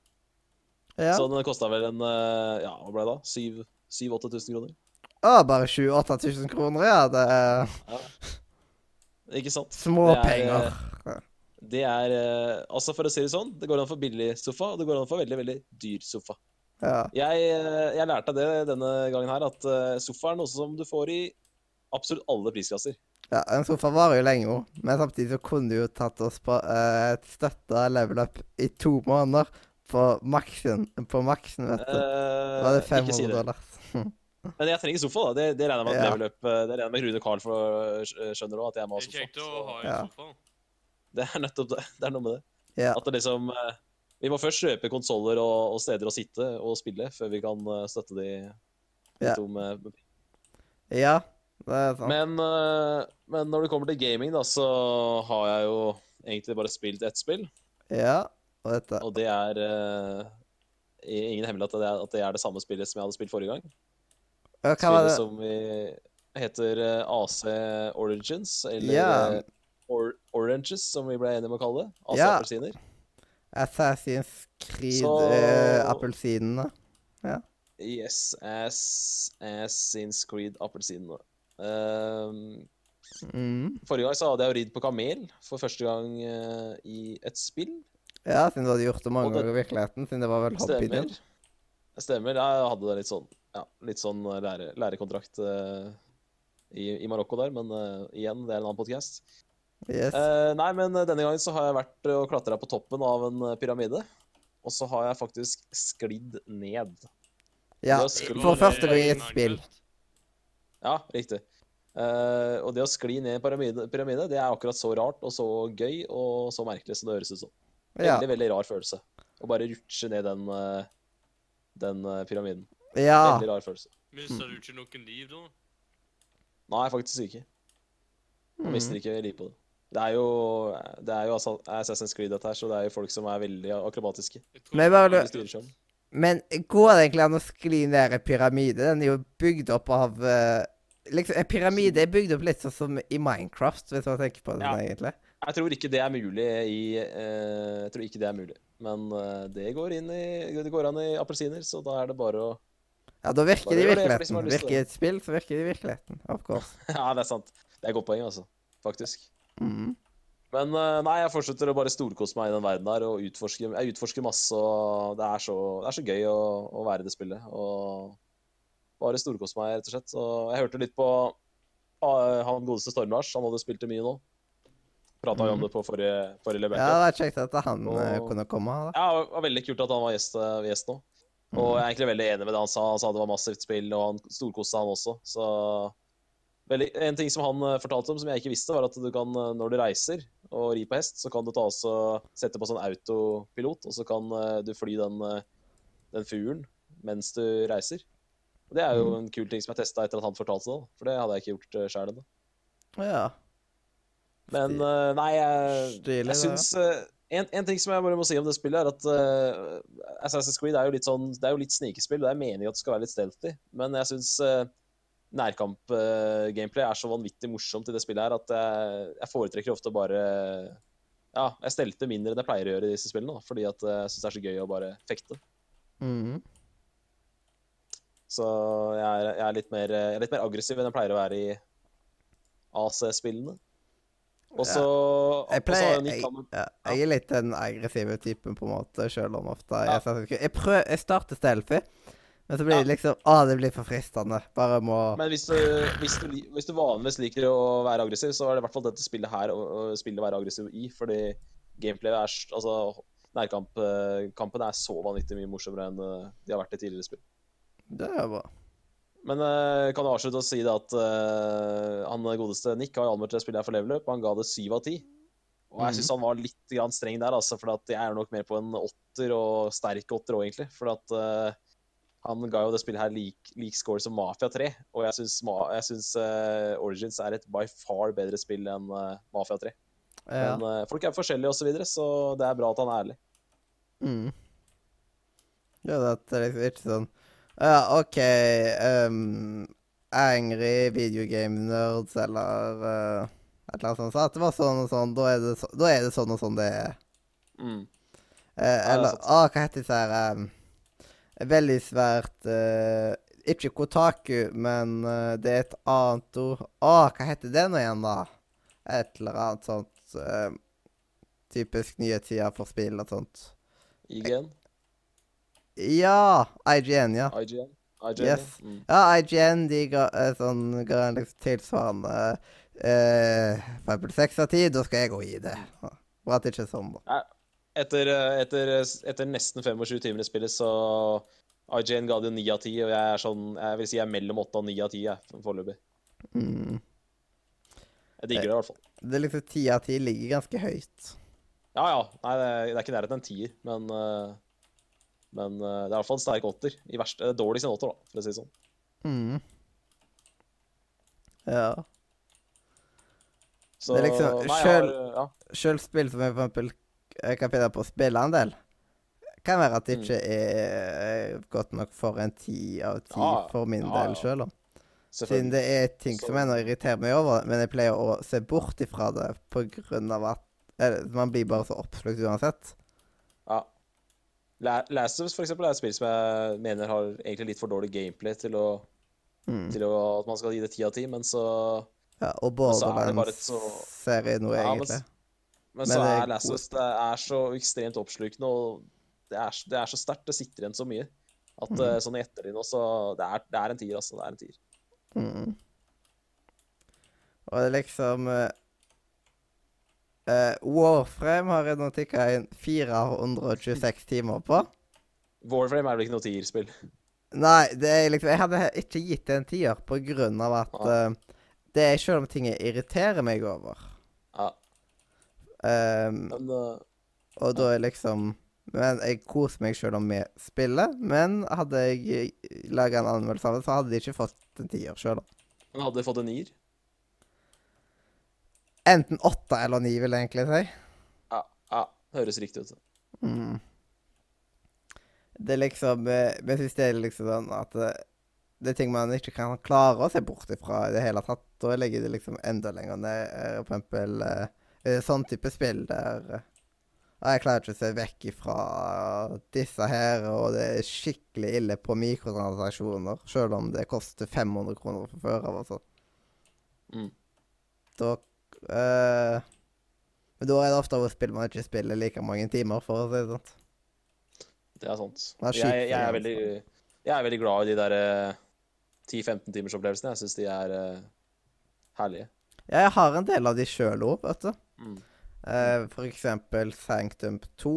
Ja.
Så den kosta vel en eh, Ja, hva ble det da? 7000-8000 kroner?
Å, bare 7 8000 kroner, ja. Det er
Ikke sant? Det er, eh,
småpenger.
Det er eh, Altså, for å si det sånn, det går an for billig sofa, og det går an for veldig, veldig dyr sofa.
Ja.
Jeg, eh, jeg lærte det denne gangen her, at eh, sofa er noe som du får i absolutt alle prisklasser.
Ja, en sofa varer jo lenge, jo. men samtidig så kunne du jo tatt oss på eh, et støtta level up i to måneder på maksen, på maksen vet du. Da
Uh,
var det 500 dollar. Hm.
Men jeg trenger sofa, da. Det, det regner jeg med at
Ja.
level up, eh, det regner jeg med Rune Carl for, eh, skjønner òg, at jeg må
Det
ha
er
sofa.
kjekt å ha
Ja.
en sofa.
Så Det er nettopp det. Det er noe med det.
Ja.
At det liksom eh, Vi må først kjøpe konsoller og, og steder å sitte og spille før vi kan eh, støtte de, de
Ja.
to med, med
Ja, det er sant.
Men, eh, men når det kommer til gaming, da, så har jeg jo egentlig bare spilt ett spill.
Ja, og dette
Og det er eh, ingen hemmelighet at det er, at det er det samme spillet som jeg hadde spilt forrige gang.
Ja, Hva var
Spillet
det?
som vi heter eh, AC Origins, eller
Ja.
eh, Or Oranges, som vi ble enige om å kalle det. AC
Ja.
appelsiner.
Assassin's Creed
Så-
eh, Appelsinene.
Yes, ass, Assassin's Creed appelsinene. Ehm,
Mm.
forrige gang så hadde jeg jo ridd på kamel for første gang eh, i et spill.
Ja, siden du hadde gjort det mange
Og det-
ganger i virkeligheten. Siden det var vel hobbyen din.
Stemmer. Stemmer. Ja, jeg hadde det litt sånn, ja, litt sånn lære, lærekontrakt eh, i, i Marokko der, men eh, igjen, det er en annen podkast.
Yes.
Eh, nei, men eh, denne gangen så har jeg vært eh, og klatra på toppen av en eh, pyramide. Og så har jeg faktisk sklidd ned.
ja,
det å skli-
for første gang i et spill.
Ja, riktig. Eh, og det å skli ned i en pyramide, pyramide, det er akkurat så rart og så gøy og så merkelig som det høres ut som.
Ja.
Veldig, veldig rar følelse. Å bare rutsje ned den, eh, den eh, pyramiden.
ja.
Veldig rar følelse.
Mister du ikke noen liv da?
Nei, faktisk ikke. Man mister
Mm.
ikke liv på det. Det er jo, det er jo Assa- Assassin's Creed, dette her, så det er jo folk som er veldig akrobatiske.
Jeg tror
Men
det
hva
var
var
det-
litt-
Mm. Men går det egentlig an å skli ned en pyramide? Den er jo bygd opp av eh, Liksom, En pyramide er bygd opp litt sånn som i Minecraft, hvis man tenker på det
Ja.
sånn, egentlig.
Jeg tror ikke det er mulig i eh, Jeg tror ikke det er mulig. Men eh, det går inn i Det går an i appelsiner, så da er det bare å (laughs)
Ja, da virker
Bare
det i
gjør det, for de som
virkeligheten.
har lyst til
Virker i et spill, så virker det i virkeligheten. Of course.
Ja, det er sant. Det er et godt poeng, altså. Faktisk.
Mm.
Men eh, nei, jeg fortsetter å bare storkose meg i den verden her og utforske. Jeg utforsker masse, og det er så, det er så gøy å, å være i det spillet. Og bare storkose meg, rett og slett. Og jeg hørte litt på ah, han godeste Storm-Lars. Han hadde spilt det mye nå. Prata jo
Mhm.
om det på forrige, forrige
Ja,
Lebeke.
det var kjekt at han eh,
Og-
kunne komme. da.
Ja, det var veldig kult at han var gjest, eh, gjest nå. Og jeg er egentlig veldig enig med det han sa. Han sa det var massivt spill, og han storkoste han også. Så veldig, En ting som han eh, fortalte om som jeg ikke visste, var at du kan, eh, når du reiser og rir på hest, så kan du ta også, sette på sånn autopilot, og så kan eh, du fly den, eh, den fuglen mens du reiser. Og Det er jo en kul ting som jeg testa etter at han fortalte det, da, for det hadde jeg ikke gjort eh, sjøl ennå.
Ja.
Men
Stil-
eh, nei, jeg,
Stilig, det,
jeg syns eh, en, en ting som jeg bare må si om det spillet, er at eh, Assassin's Creed er jo litt sånn Det er jo litt snikespill. Det er meningen at det skal være litt stealthy, men jeg eh, syns nærkamp-gameplay eh, er så vanvittig morsomt i det spillet her at jeg, jeg foretrekker ofte å bare Ja, jeg stelte mindre enn jeg pleier å gjøre i disse spillene, da, fordi at eh, jeg syns det er så gøy å bare fekte.
Mm.
Så jeg er, jeg er, litt, mer, jeg er litt mer aggressiv enn jeg pleier å være i AC-spillene. Og så
Jeg
og så har
pleier
jeg en ny
jeg,
kamera-
ja, jeg er litt den aggressive typen, på en måte, sjøl om ofte jeg
Ja.
Assassin's Creed. Jeg, prøver, jeg starter stealthy, men så blir
Ja.
det liksom Å, det blir for fristende. Bare må
Men hvis du, hvis, du, li- hvis du vanligvis liker å være aggressiv, så er det i hvert fall dette spillet her å, å spille å være aggressiv i. Fordi gameplayet er s- Altså, nærkampen er så vanvittig mye morsommere enn eh, de har vært i tidligere spill.
Det er jo bra.
Men eh, kan jo avslutte å si det at eh, han godeste Nick har jo anmeldt det spillet her for leveløp. Han ga det syv av ti. Og
Mhm.
jeg syns han var litt grann streng der, altså, for at jeg er nok mer på en åtter, og sterk åtter òg, egentlig. For at eh, han ga jo det spillet her lik, lik score som Mafia 3, og jeg syns, ma jeg syns eh, Origins er et by far bedre spill enn eh, Mafia 3.
Ja.
Men eh, folk er forskjellige osv., så, videre, så det er bra at han er ærlig.
Mm. Ja, det er liksom ikke sånn Ja, OK ehm, Angry videogame nerds eller eh, et eller annet sånt. Så at det var sånn og sånn, da er det, så, da er det sånn og sånn det er.
Mm.
Eh, eller
sant.
Å, hva heter disse her ehm, Veldig svært eh, Ikke Kotaku, men eh, det er et annet ord. Å, hva heter det nå igjen, da? Et eller annet sånt eh, Typisk nyhetssider for spill og sånt.
IGN.
Ja! IGN, ja.
IGN. IGN
Yes.
ja. mm.
Ja, IGN de ga, eh, sånn, ga en liksom tilsvarende eh, For eksempel seks av ti, da skal jeg òg gi det. Bra at det ikke er sånn, da.
Etter, eh, etter, etter nesten 25 timer i spillet, så IGN ga det jo 9 av 10, og jeg er sånn, jeg vil si jeg er mellom 8 og 9 av 10 jeg, foreløpig.
Mm.
Jeg
Eh.
digger det i hvert fall.
Det er liksom ti av ti ligger ganske høyt.
Ja, ja. Nei, det er, det er ikke i nærheten av en tier, men, eh, men eh, det er i hvert fall en sterk åtter. I verste, eh, dårligst en åtter, da, for å si det sånn.
Mm. Ja.
Så,
Det er liksom-
nei, jeg har,
selv-
ja.
Sjøl spill som jeg for eksempel jeg kan finne på å spille en del. Kan være at det
Mm.
ikke er godt nok for en ti av ti
Ja,
for min
ja,
del
ja.
sjøl. Siden
Selvfølgelig.
det er ting
Så-
som ennå irriterer meg over, men jeg pleier å se bort ifra det på grunn av at eller, Man blir bare så oppslukt uansett.
Ja. La- Last of Us for eksempel, er et spill som jeg mener har egentlig litt for dårlig gameplay til, å,
Mm.
til å, at man skal gi det ti av ti, men så
Ja, og
så er det bare et så-
Borderlands-serie noe,
Ja, men
egentlig.
Men,
Men det
så
er
er Last of Us det er så ekstremt oppslukende, og det er, s- det er så sterkt, det sitter igjen så mye. At
Mhm.
eh, sånn i ettertid nå, så det er, det er en tier, altså. Det er en tier.
Mm. Og det er liksom eh, eh, Warframe har jeg nå tikka inn 426 timer på.
Warframe er vel ikke noe tierspill?
Nei, det er liksom Jeg hadde ikke gitt det en tier på grunn av at eh, Det er selv om ting jeg irriterer meg over.
Ja.
Ehm,
Men eh,
og da er liksom Men jeg koser meg selv om vi spiller. Men hadde jeg laga en anmeldelse av det, så hadde de ikke fått en tier sjøl.
men hadde de fått en nier?
Enten åtte eller ni, vil jeg egentlig si.
Ja. ja. Høres riktig ut.
Mm. Det er liksom eh, Men jeg syns det er liksom sånn at eh, det er ting man ikke kan klare å se bort ifra i det hele tatt. Da legger det liksom enda lenger ned. eh, For eksempel eh, eh, sånn type spill der eh, «Ah, Jeg klarer ikke å se vekk ifra disse her, og det er skikkelig ille på mikrotransaksjoner, sjøl om det koster 500 kroner fra før av og sånn.
Mm.
Da eh, Men da er det ofte av spill man ikke spiller like mange timer, for å si det sånn.
Det er sant.
Det er
jeg, jeg,
skikkelig
er veldig, jeg er veldig glad i de der eh, 10-15 timers opplevelsene. Jeg syns de er eh, herlige.
Ja, jeg har en del av de sjøl òg, vet du.
Mm.
Eh, for eksempel Sanctum 2.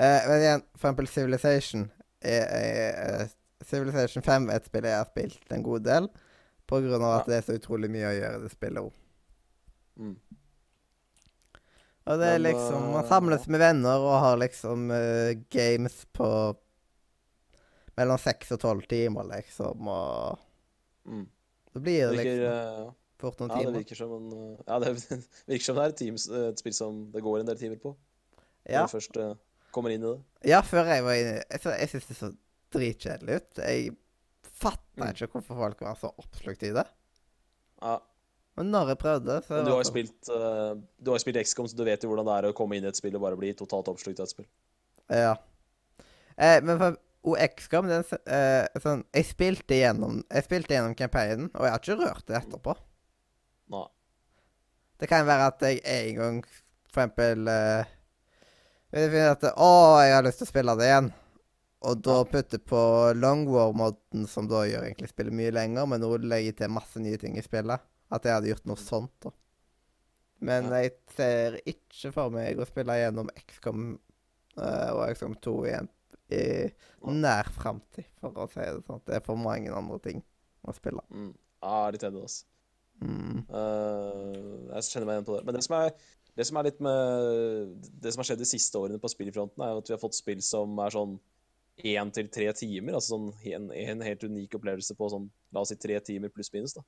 Eh, men igjen, for eksempel Civilization. Er, er, er, Civilization 5 er et spill jeg har spilt en god del, på grunn av at det er så utrolig mye å gjøre i det spillet òg.
Mm.
Og det er
Men,
liksom Man
eh,
samles med venner og har liksom eh, games på mellom seks og tolv timer, liksom, og
Mm.
Da blir
Det
det
virker,
liksom
eh,
fort noen
ja, det
timer.
virker som en eh, Ja, det (laughs) virker som det er et, teams, eh, et spill som det går en del timer på.
Ja.
Når du først eh, kommer inn i det.
Ja, før jeg var inne Jeg, så- jeg syntes det så dritkjedelig ut. Jeg fatta
Mm.
ikke hvorfor folk var så oppslukt i det.
Ja.
Men når jeg prøvde, så
Men du
var
har jo
det-
spilt, eh, du har jo spilt XCOM, så du vet jo hvordan det er å komme inn i et spill og bare bli totalt oppslukt av et spill.
Ja. Eh, men for OX-GAM, den s- eh, sånn Jeg spilte gjennom Jeg spilte gjennom campaignen, og jeg har ikke rørt det etterpå.
Nei.
Det kan være at jeg en gang for eksempel eh, Hvis jeg finner at Å, jeg har lyst til å spille det igjen. Og da putte på long war-moden, som da gjør egentlig spillet mye lenger, men nå legger jeg til masse nye ting i spillet. At jeg hadde gjort noe sånt, da. Men
Ja.
jeg ser ikke for meg å spille gjennom XCOM eh, og XCOM 2 igjen i nær framtid, for å si det sånn. Det er for mange andre ting å spille.
Mm. Ja, jeg er litt enig, altså.
Mm.
Eh, jeg kjenner meg igjen på det. Men det som er, det som er litt med Det som har skjedd de siste årene på spillfronten, er jo at vi har fått spill som er sånn én til tre timer. Altså sånn en, en helt unik opplevelse på sånn la oss si tre timer pluss minus, da.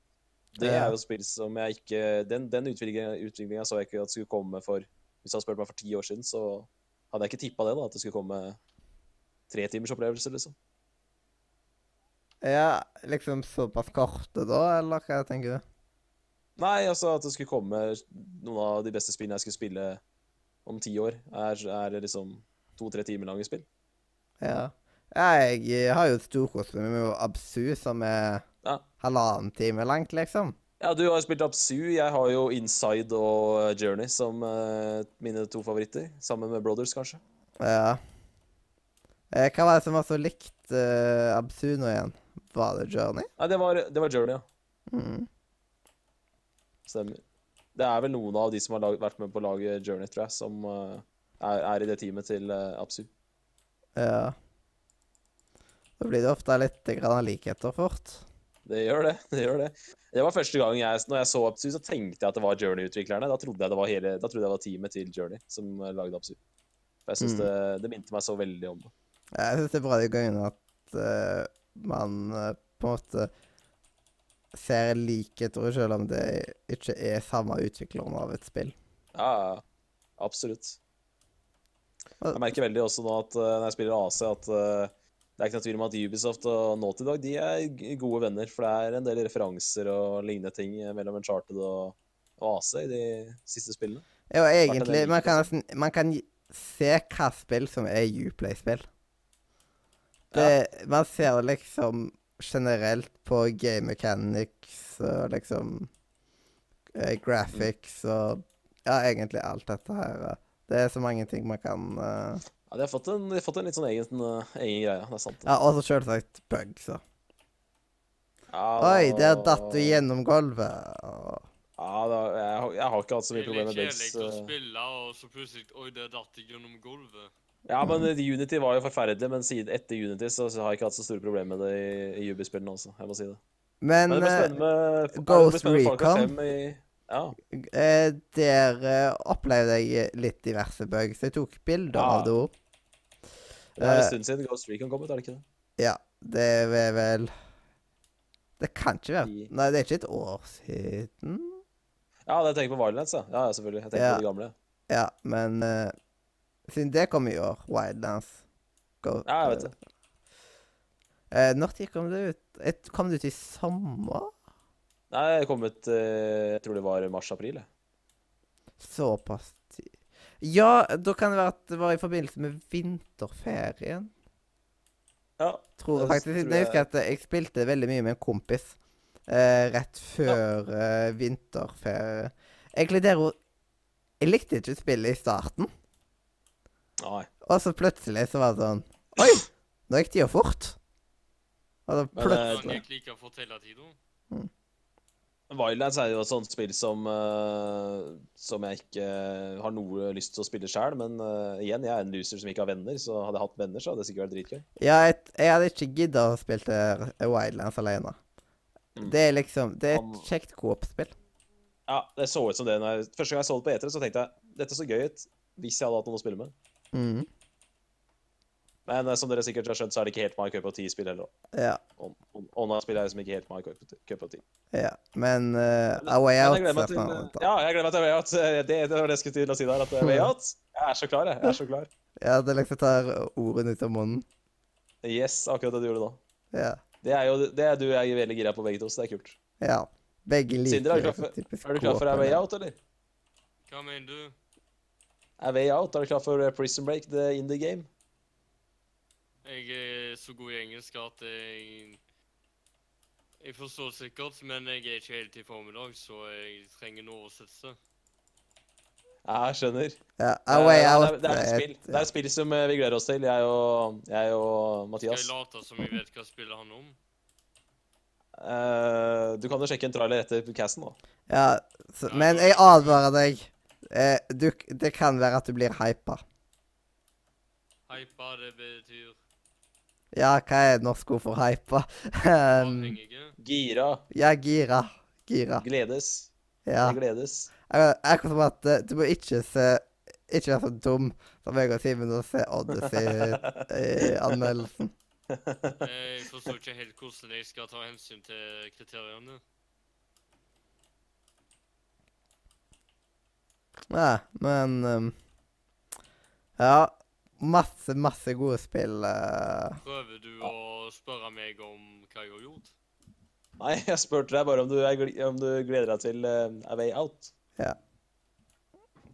Det
Ja.
er jo spill som jeg ikke Den, den utviklinga så jeg ikke at skulle komme for Hvis du hadde spurt meg for ti år siden, så hadde jeg ikke tippa det, da. At det skulle komme tre timers opplevelse, liksom.
Ja, liksom såpass korte, da, eller hva tenker du?
Nei, altså at det skulle komme noen av de beste spillene jeg skulle spille om ti år, er, er liksom to-tre timer lange spill.
Ja. Jeg eh, har jo storkost meg med Absu, som er
Ja.
halvannen time langt, liksom.
Ja, du har jo spilt Absu. Jeg har jo Inside og Journey som eh, mine to favoritter. Sammen med Brothers, kanskje.
Ja. Eh, Hva var det som var så likt eh, Absu nå igjen? Var det Journey?
Nei, det var, det var Journey, ja.
Mm.
Stemmer. Det er vel noen av de som har lag, vært med på å lage Journey, tror jeg, som eh, er, er i det teamet til eh, Absu.
Ja. Da blir det ofte litt grann likheter fort.
Det gjør det. (laughs) Det gjør det. Det var første gang jeg, når jeg så Absu, så tenkte jeg at det var Journey-utviklerne. Da trodde jeg det var hele, da trodde jeg det var teamet til Journey som eh, lagde Absu. For jeg synes
Mm.
det, det minte meg så veldig om det.
Ja, Jeg syns det er bra de går inn at eh, man eh, på en måte ser likheter, selv om det ikke er samme utvikleren av et spill.
Ja, ja, ja. Absolutt.
Hva-
Jeg merker veldig også nå at eh, når jeg spiller AC, at eh, det er ikke noe tvil om at Ubisoft og Naughty Dog de er g- gode venner. For det er en del referanser og lignende ting eh, mellom Uncharted og, og AC i de siste spillene.
Jo,
det
egentlig
litt-
Man kan, nesten, man kan gi- se hva spill som er Uplay-spill. Det, Man ser liksom generelt på game mechanics og liksom eh, Graphics og Ja, egentlig alt dette her. eh. Det er så mange ting man kan eh,
Ja, de har fått en, de har fått en litt sånn egen, eh, egen greie. Det er sant.
Ja, og så selvsagt bugs og
Ja,
Oi,
da-
der datt du gjennom gulvet. og-
Ja, da, jeg, har- jeg har ikke hatt så mye
Det er litt
problemer med
kjedelig å
bugs. eh.
spille, og så plutselig Oi, der datt jeg gjennom gulvet.
Ja, men eh, Unity var jo forferdelig, men siden etter Unity så, så har jeg ikke hatt så store problemer med det i, i Ubi-spillene også. Jeg må si det.
Men,
Men det blir
eh,
spennende med ja, det blir
Ghost
spennende med Fallout
Recon.
5 I, ja.
Eh, der eh, opplevde jeg litt diverse bugs. Jeg tok bilder
Ah.
av det òg.
Det
Eh.
er en stund siden Ghost Recon kom ut, er det ikke det?
Ja, det er vel Det kan ikke være
I-
Nei, det er ikke et år siden.
Ja, det tenker jeg på Wildlands, ja. Ja, ja, selvfølgelig. Jeg tenker
Ja.
på de gamle.
Ja, men eh, siden det kom i år, Wildlands Go,
Ja, jeg vet det.
Eh, når tid kom det ut? Et, kom det ut i sommer?
Nei, jeg kom ut eh, Jeg tror det var mars-april, jeg.
Såpass tid Ja, da kan det være at det var i forbindelse med vinterferien.
Ja.
Tror jeg
Det
faktisk.
tror
Jeg husker at jeg spilte veldig mye med en kompis eh, rett før eh, vinterferie. Egentlig der hun Jeg likte ikke spillet i starten,
Nei.
og så plutselig så var det sånn Oi! Nå gikk tida fort. Og så
Men, eh,
Han
plutselig
gikk like fort hele tida.
Wildlands er jo et sånt spill som eh, Som jeg ikke eh, har noe lyst til å spille sjøl, men eh, igjen, jeg er en loser som ikke har venner, så hadde jeg hatt venner, så hadde det sikkert vært dritgøy.
Ja, jeg, jeg hadde ikke gidda å spille til R- Wildlands alene.
Mm.
Det er liksom Det er
Han-
et kjekt coop-spill.
Ja, det så ut som det. Når jeg, første gang jeg så det på E3, så tenkte jeg dette så gøy ut hvis jeg hadde hatt noen å spille med.
Mm.
Men eh, som dere sikkert har skjønt, så er det ikke helt my cup of tea-spill heller.
Ja.
Ona-spill er liksom ikke helt my cup of- cup of tea.
ja. Men uh,
Men-
Away
Men
Out
jeg gleder meg til,
ser man-
ja, jeg gleder meg til Way Out. Eh, Det, det var det jeg skulle til å si der. at eh, Way Out, Jeg er så klar, jeg. jeg er så klar.
Ja, det liksom tar ordene ut av munnen.
Yes, akkurat det du gjorde da.
Ja.
Det er jo det er du og jeg er veldig gira på begge to, så det er kult.
Ja. Begge liker
Sindre, er du klar
sånn
for-
typisk
Er du klar for
Coop,
A Way
eller?
Out, eller?
Hva mener du?
A Way Out, Er du klar for eh, Prison Break, the indie game?
Jeg er så god i engelsk at jeg Jeg forstår sikkert, men jeg er ikke helt i form i dag, så jeg trenger en oversettelse.
Ja, jeg skjønner.
Ja, A Way
Eh,
Out.
Det er, det, er et spill. det er et spill som eh, vi gleder oss til, jeg og, jeg og
Skal
Mathias.
jeg late som jeg vet hva spillet handler om?
Eh, du kan jo sjekke en trailer etter casten, da.
Ja, så, men jeg advarer deg. Eh, du, det kan være at du blir hypa.
Hypa, det betyr
Ja, hva er norsk ord for hypa? (laughs) um,
avhengige.
Gira.
ja, gira. Gira.
Gledes.
Ja.
Jeg Gledes.
Akkurat akkurat som at eh, du må ikke se Ikke være så dum som jeg og Simen og se Eh. Odyssey-anmeldelsen.
Jeg forstår ikke helt hvordan jeg skal ta hensyn til kriteriene.
ja, men um, Ja. Masse, masse gode spill. eh.
Prøver du å spørre meg om hva jeg har gjort?
(laughs) Nei, jeg spurte deg bare om du, er, gl- om du gleder deg til eh, A Way Out. (laughs)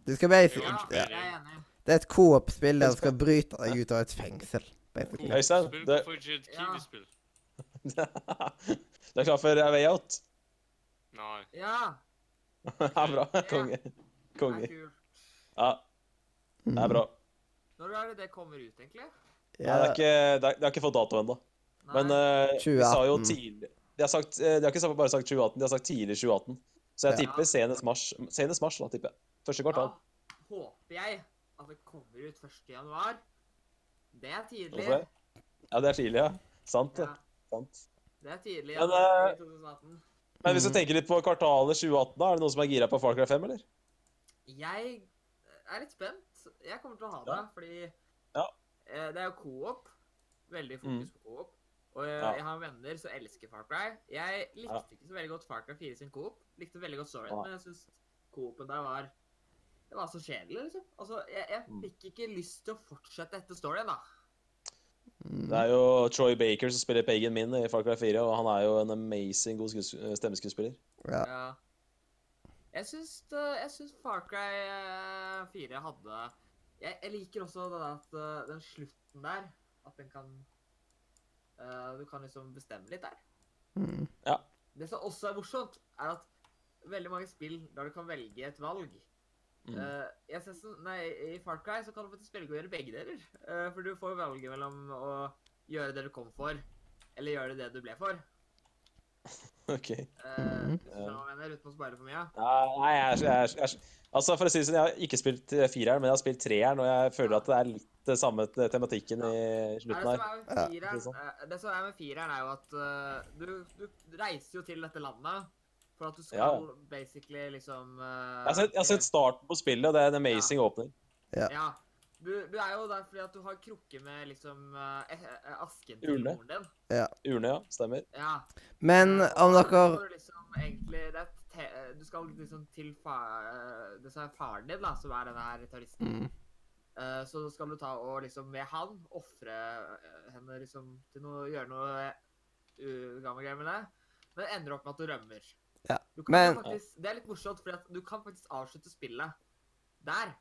Du skal basic...
Ja,
Ja.
jeg er enig.
Det er et coop-spill der du skal bryte deg ut av et fengsel. basically.
Øystein,
Spill
det-
hvorfor ikke et
Ja.
Kiwi-spill?
du er klar for A Way Out? (laughs)
Nei.
Ja,
Ja, bra. Konge.
det er
Konge.
kult.
Ja, det er bra.
Mm.
Når er det det kommer ut, egentlig?
Nei, det, er ikke, det, er, det har ikke fått dato ennå.
Nei.
Men eh, de sa jo
2018.
tidlig De har, sagt, eh, de har ikke sagt- bare sagt 2018, de har sagt tidlig 2018. Så jeg
Ja.
tipper senest mars. Senest mars, da, tipper jeg. Første
da
kvartal.
håper jeg at det kommer ut 1. januar. Det er tidlig.
Hvorfor det? Ja, det er tidlig, ja. Sant, det.
Ja,
Sant.
det er tidlig.
Men,
januar
eh,
2018.
Men hvis du
Mhm.
tenker litt på kvartalet 2018, da, er det noen som er gira på Far Cry 5, eller?
Jeg er litt spent. Jeg kommer til å ha det,
Ja.
fordi
Ja. Mm.
eh, det er jo co-op. Veldig fokus på co-op. Og eh,
Ja.
jeg har venner som elsker Far Cry. Jeg likte ikke så veldig godt Far Cry 4 sin co-op. Likte veldig godt storyen,
Nei.
men jeg syns co-open der var det var så kjedelig, liksom. Altså, jeg, jeg
Mm.
fikk ikke lyst til å fortsette etter storyen, da.
Mm,
Det er jo Troy Baker som spiller Pagan Min i Far Cry 4, og han er jo en amazing god skues eh, stemmeskuespiller. (laughs)
Ja.
Ja. Jeg syns, det- jeg syns Far Cry eh, 4 hadde Jeg, jeg liker også det der at eh, den slutten der At den kan eh, Du kan liksom bestemme litt der.
Mm.
Det som også er morsomt, er at veldig mange spill der du kan velge et valg
Mm.
Eh, i Assassin- nei, I Far Cry så kan du faktisk velge å gjøre begge deler. Eh, for du får velge mellom å gjøre det du kom for, eller gjøre det du ble for.
Ok.
Eh,
Mhm.
hvis du skjønner hva jeg mener, uten å spare for mye.
Nei, jeg er, så- jeg er, så- jeg er så- Altså, for å si det sånn, jeg har ikke spilt fireren, men jeg har spilt treeren, og jeg føler at det er litt det samme te- tematikken i
Nei,
slutten her.
det, som er med
Ja,
sånn.
fireren, eh, det som er med fireren, er jo at eh, du, du reiser jo til dette landet for at du skal
Ja,
basically liksom
Jeg har sett, jeg har sett starten på spillet, og det er en amazing åpning.
eh, Ja. Du, du er jo der fordi at du har krukke med liksom eh, eh, asken til
Urne.
moren din.
Urne, ja. Stemmer.
Ja.
Men
Eh,
om
og så
dere
får du liksom egentlig det er et te Du skal liksom til fa eh, det som er faren din, da, som er denne her terroristen.
mm.
Eh, så skal du ta og liksom med han ofre eh, henne liksom til noe Gjøre noe uh, gammelgreier med det. Men det ender opp med at du rømmer.
Ja,
Du kan
men-
jo faktisk, Det er litt morsomt, fordi at du kan faktisk avslutte spillet der.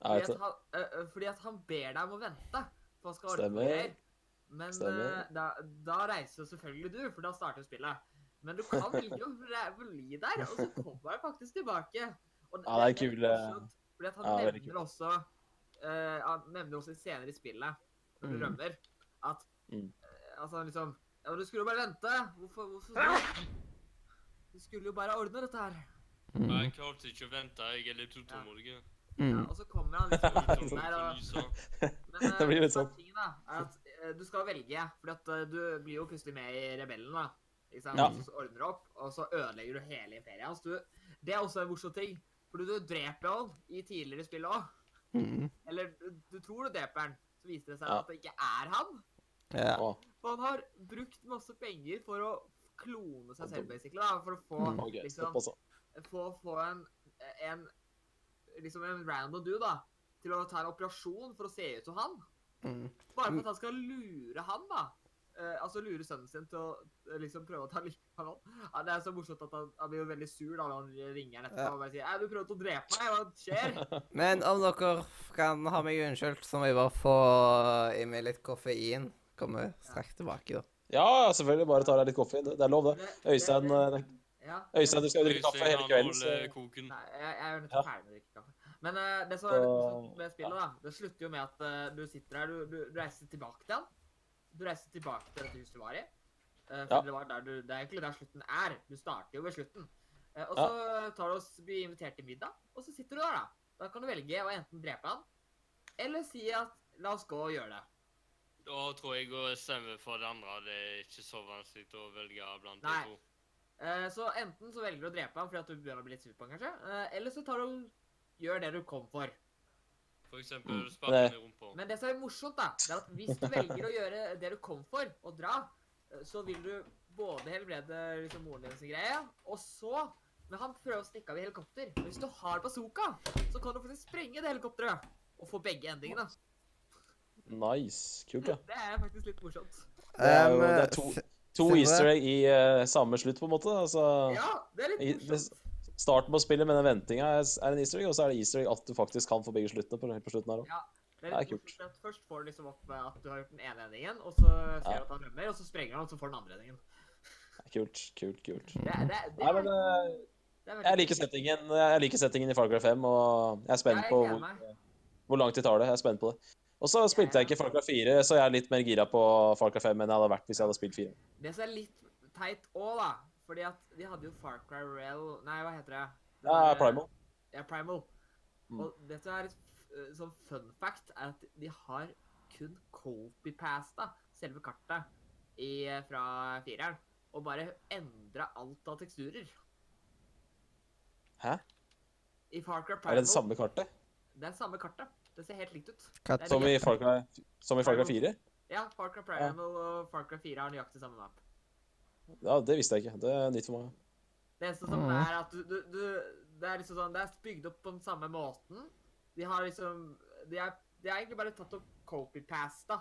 Jeg
fordi,
vet det.
at han, eh, eh, fordi at han ber deg om å vente. For han skal ordne
Stemmer.
noe greier. Men
Stemmer.
eh, da, da reiser jo selvfølgelig du, for da starter jo spillet. Men du
(laughs)
kan jo re- bli der, og så kommer han faktisk tilbake. Og
Ja, det
litt
er kul, eh,
morsomt, Fordi at han
ja, veldig
nevner også eh, Han nevner også senere i spillet, når du
Mm.
rømmer, at
Mm.
eh, Altså han liksom Ja, men du skulle jo bare vente. Hvorfor,
Ah!»
hvorfor Du skulle jo bare ordne dette her.
Nei,
Mm.
Jeg klarte ikke å vente. Jeg er litt
(laughs)
utålmodig. jeg.
Ja,
Mm.
og så kommer han liksom
Jeg er
ut der og
utålmodig, så-
Men
(laughs) Det blir litt
som
sånn.
er tingen da, er at eh, du skal velge, for at eh, du blir jo plutselig med i rebellen, da. Ikke sant?
Ja.
Og Så ordner du opp, og så ødelegger du hele imperiet hans. Du, det er også en morsom ting, for du dreper jo han i tidligere spill òg.
Mm.
Eller du, du tror du dreper han, så viser det seg
Ja.
at det ikke er han.
Ja.
Å,
For han har brukt masse penger for å klone seg selv, basically, da, for å få
Mm.
ok,
liksom
stopp altså.
få, få en, en liksom en random dude da, til å ta en operasjon for å se ut som han.
Mm.
Bare for at han skal lure han, da. Eh, altså lure sønnen sin til å eh, liksom prøve å ta livet av han. Ja, det er så morsomt at han, han blir jo veldig sur da når han ringer han etterpå
Ja.
og bare sier «Ei, du prøvde å drepe meg, hva skjer?
(laughs)
Men om dere kan ha meg unnskyldt, så må jeg bare få i meg litt koffein. Kommer straks tilbake, da.
Ja, ja, selvfølgelig. Bare ta deg litt kaffe. Det det er lov, det.
Det-
Øystein,
det-
eh,
ja,
Øystein, du skal jo drikke kaffe
Øystein
hele
han
kvelden,
holder
så
koken.
Nei, jeg, jeg er nødt
Ja.
til ferdig med å drikke kaffe. Men eh, det som er litt
Så-
morsomt med spillet, da, det slutter jo med at eh, du sitter her, du, du, du reiser tilbake til han. Du reiser tilbake til dette huset du var i. Eh, for
Ja.
det, var der du, det er egentlig der slutten er. Du starter jo ved slutten. Eh, og så tar du oss, blir invitert til middag, og så sitter du der, da. Da kan du velge å enten drepe han, eller si at la oss gå og gjøre det.
Da tror jeg å stemme for det andre. Det er ikke så vanskelig å velge blant de
Nei.
to.
Eh, så enten så velger du å drepe ham fordi at du begynner å bli litt sur på ham, kanskje. eh, eller så tar du og gjør det du kom for.
For eksempel
Mm.
sparken i rumpa.
Men det som er morsomt, da, det er at hvis du velger å gjøre det du kom for, og dra, eh, så vil du både helbrede liksom moren din sin greie, og så Men han prøver å stikke av i helikopter. Men hvis du har bazooka, så kan du faktisk sprenge det helikopteret. Og få begge endingene.
Nice. Kult, ja.
Det er faktisk litt morsomt.
Det er jo
Um,
det er to,
s-
to
Sindre?
easter egg i eh, samme slutt, på en måte. Altså
Ja, det er
I-
litt
det-
morsomt.
Starten på spillet med den ventinga er er en easter egg, og så er det easter egg at du faktisk kan få begge sluttene. på, på slutten her også.
Ja, det er
det er
litt
kult.
morsomt for at Først får du liksom opp eh, at du har gjort den ene endingen, og så ser
Ja.
du at han rømmer, og så sprenger han, og så får den andre endingen.
Kult, kult, kult.
Det, er- det, er- det,
Nei, men
er-
eh,
det er veldig
jeg liker
kult.
settingen Jeg liker settingen i Far Cry 5, og jeg er spent
Jeg
på
gleder
hvor,
meg.
hvor langt de tar det. Jeg er spent på det. Og så spilte jeg ikke Far Cry 4, så jeg er litt mer gira på Far Cry 5 enn jeg hadde vært hvis jeg hadde spilt 4.
Det som er litt teit òg, da Fordi at de hadde jo Far Cry Rail Nei, hva heter det? Den
Ja,
der-
Primal.
Ja, Primal.
Mm.
Og det som er et f- sånn fun fact, er at de har kun copy-pasta selve kartet i, eh, fra fireren. Og bare endra alt av teksturer.
Hæ?
I Far Cry
Er
Primal.
det det samme kartet
det er samme kartet. Det ser helt likt ut.
Kat-
Det er
som i
like-
Far Cry, som i Far Cry 4?
Ja, Far Cry Primal og Far Cry 4 har nøyaktig samme map.
Ja, Det visste jeg ikke. Det er nytt for meg.
Det eneste som
Mhm.
er at du, du, du, det er liksom sånn, det er bygd opp på den samme måten. De har liksom De er, de er egentlig bare tatt opp copy-pasta.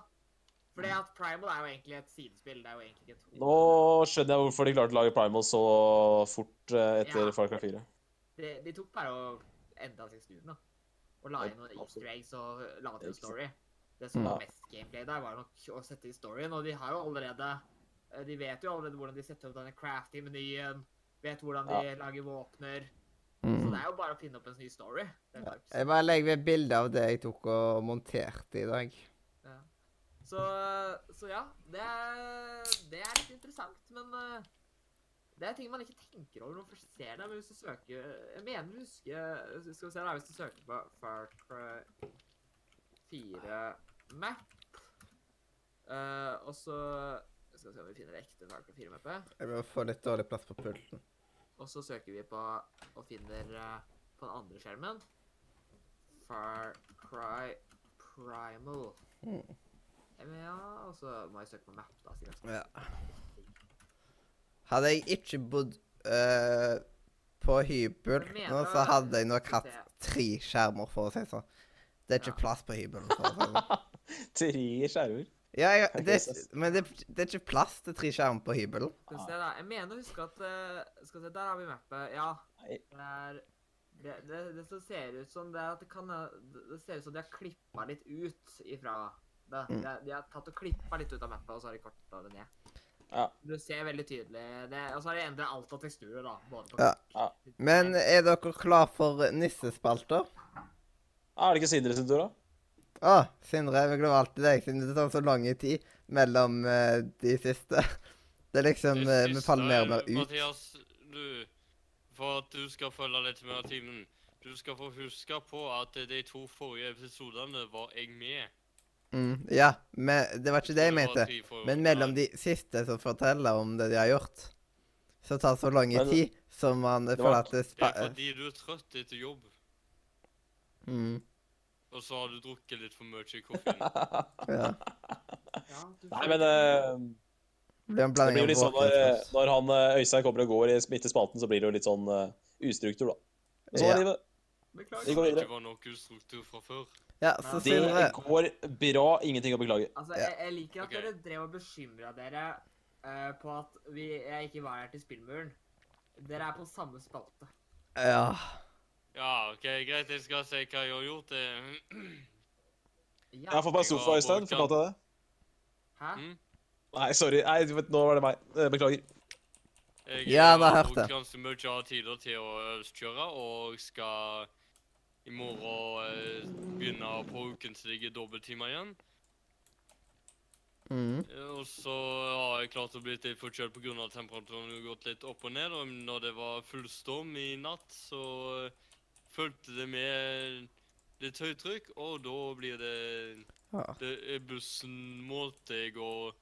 Fordi at Primal er jo egentlig et sidespill. Det er jo egentlig ikke et
Nå skjønner jeg hvorfor de klarte å lage Primal så fort eh, etter
Ja.
Far Cry 4.
De, de tok bare og endra seg snuden, da. Og la
Ja,
inn noen
absolutt.
easter eggs og la til
Ikke sant.
story. Det som
Ja.
var mest gameplay der, var nok å sette i storyen. Og de har jo allerede eh, De vet jo allerede hvordan de setter opp denne crafty-menyen. Vet hvordan de lager våpner.
Mm.
Så det er jo bare å finne opp en ny story. Det er faktisk.
Jeg bare legger ved bilde av det jeg tok og monterte i dag.
Ja. Så, så ja, det er, det er litt interessant, men eh, det er ting man ikke tenker over når man først ser det. Men hvis du søker Jeg mener du husker Skal vi se, da. Hvis du søker på Far Cry 4 Map eh, Og så Skal vi se om vi finner det ekte Far Cry 4-mappet.
Jeg må få litt dårlig plass på pulten.
Og så søker vi på og finner eh, på den andre skjermen Far Cry Primal.
Hmm.
Mm.
Eh, men Ja, og så må jeg søke på map, da. sikkert.
Ja. Hadde jeg ikke bodd øh, på hybel
Jeg
nå,
mener-
så hadde jeg nok
Skal
hatt
vi se.
tre skjermer, for å si det sånn. Det er ikke
Ja.
plass på hybelen. for å si det sånn.
(laughs)
(laughs) Tre skjermer.
Ja, jeg,
Ok,
det,
så-
men det, det er ikke plass til tre skjermer på hybelen.
Skal vi
Ah.
se, da. Jeg mener å huske at eh, Skal vi se, der har vi mappet. Ja.
Nei.
Det er det, det, det som ser ut som det er at det kan eh, Det det ser ut som de har klippa litt ut ifra det.
Hmm.
Mm.
De, de har tatt og klippa litt ut av mappet, og så har de korta det ned.
Ja.
Du ser veldig tydelig det, Og så har de endra alt av teksturer, da. Både på
Ja.
Ja.
Men er dere klar for nissespalter?
Ah, Er det ikke Sindre sin tur, da? (laughs)
Å, Sindre, jeg gleder meg til deg, siden det tar så lang tid mellom eh, de siste. (laughs) Det er liksom
Det
eh, Vi
siste
faller mer og
er,
mer ut.
Mathias, du, for at du skal følge litt med av timen, du skal få huske på at de to forrige episodene var jeg med.
Mm, ja, men det var ikke det jeg
var
mente.
de forrige-
Men mellom
Nei,
de siste som forteller om det de har gjort, så tar det så lang
Men-
tid som man
Det
føler
var-
at det
Det
spa...
er fordi du er trøtt etter jobb,
Mm,
og så har du drukket litt for mye
(laughs)
koffein.
ja.
Ja, du
Nei,
får-
men eh,
Det blir en
det
(laughs)
blir
blanding
jo
av
liksom
litt sånn
våken
når, eh,
og
når han eh, Øystein kommer og går i midt i spalten, så blir det jo litt sånn eh, ustruktur, da. Men sånn
Ja.
er livet.
Beklager.
Vi går
Det
videre.
ikke var nok ustruktur fra før.
Ja, så
Det
Sindre
går bra. Ingenting å beklage.
Altså,
Ja.
jeg, jeg liker at
Ok.
dere drev og bekymra dere eh, på at vi, jeg ikke var her til spillmuren. Dere er på samme spalte.
Ja.
Ja, ok, greit, jeg skal si hva jeg har gjort. Eh, Det.
Ja.
Jeg har fått meg sofa,
Ja,
Øystein.
Volkan.
Fortalte jeg det?
Hæ?
Mm.
Nei, sorry. Nei, du vet, nå var det meg. Eh, Beklager.
Jeg
Ja,
har
da hørte jeg.
brukt ganske mye av tider til å øvelseskjøre, og skal i morgen eh, begynne på ukens ligge dobbelttimer igjen.
Mm.
Og så har jeg klart å bli litt forkjølt pga. at temperaturen har gått litt opp og ned. Og når det var full storm i natt, så eh, fulgte det med litt høytrykk, og da blir det,
Ja.
det er Bussen målte jeg og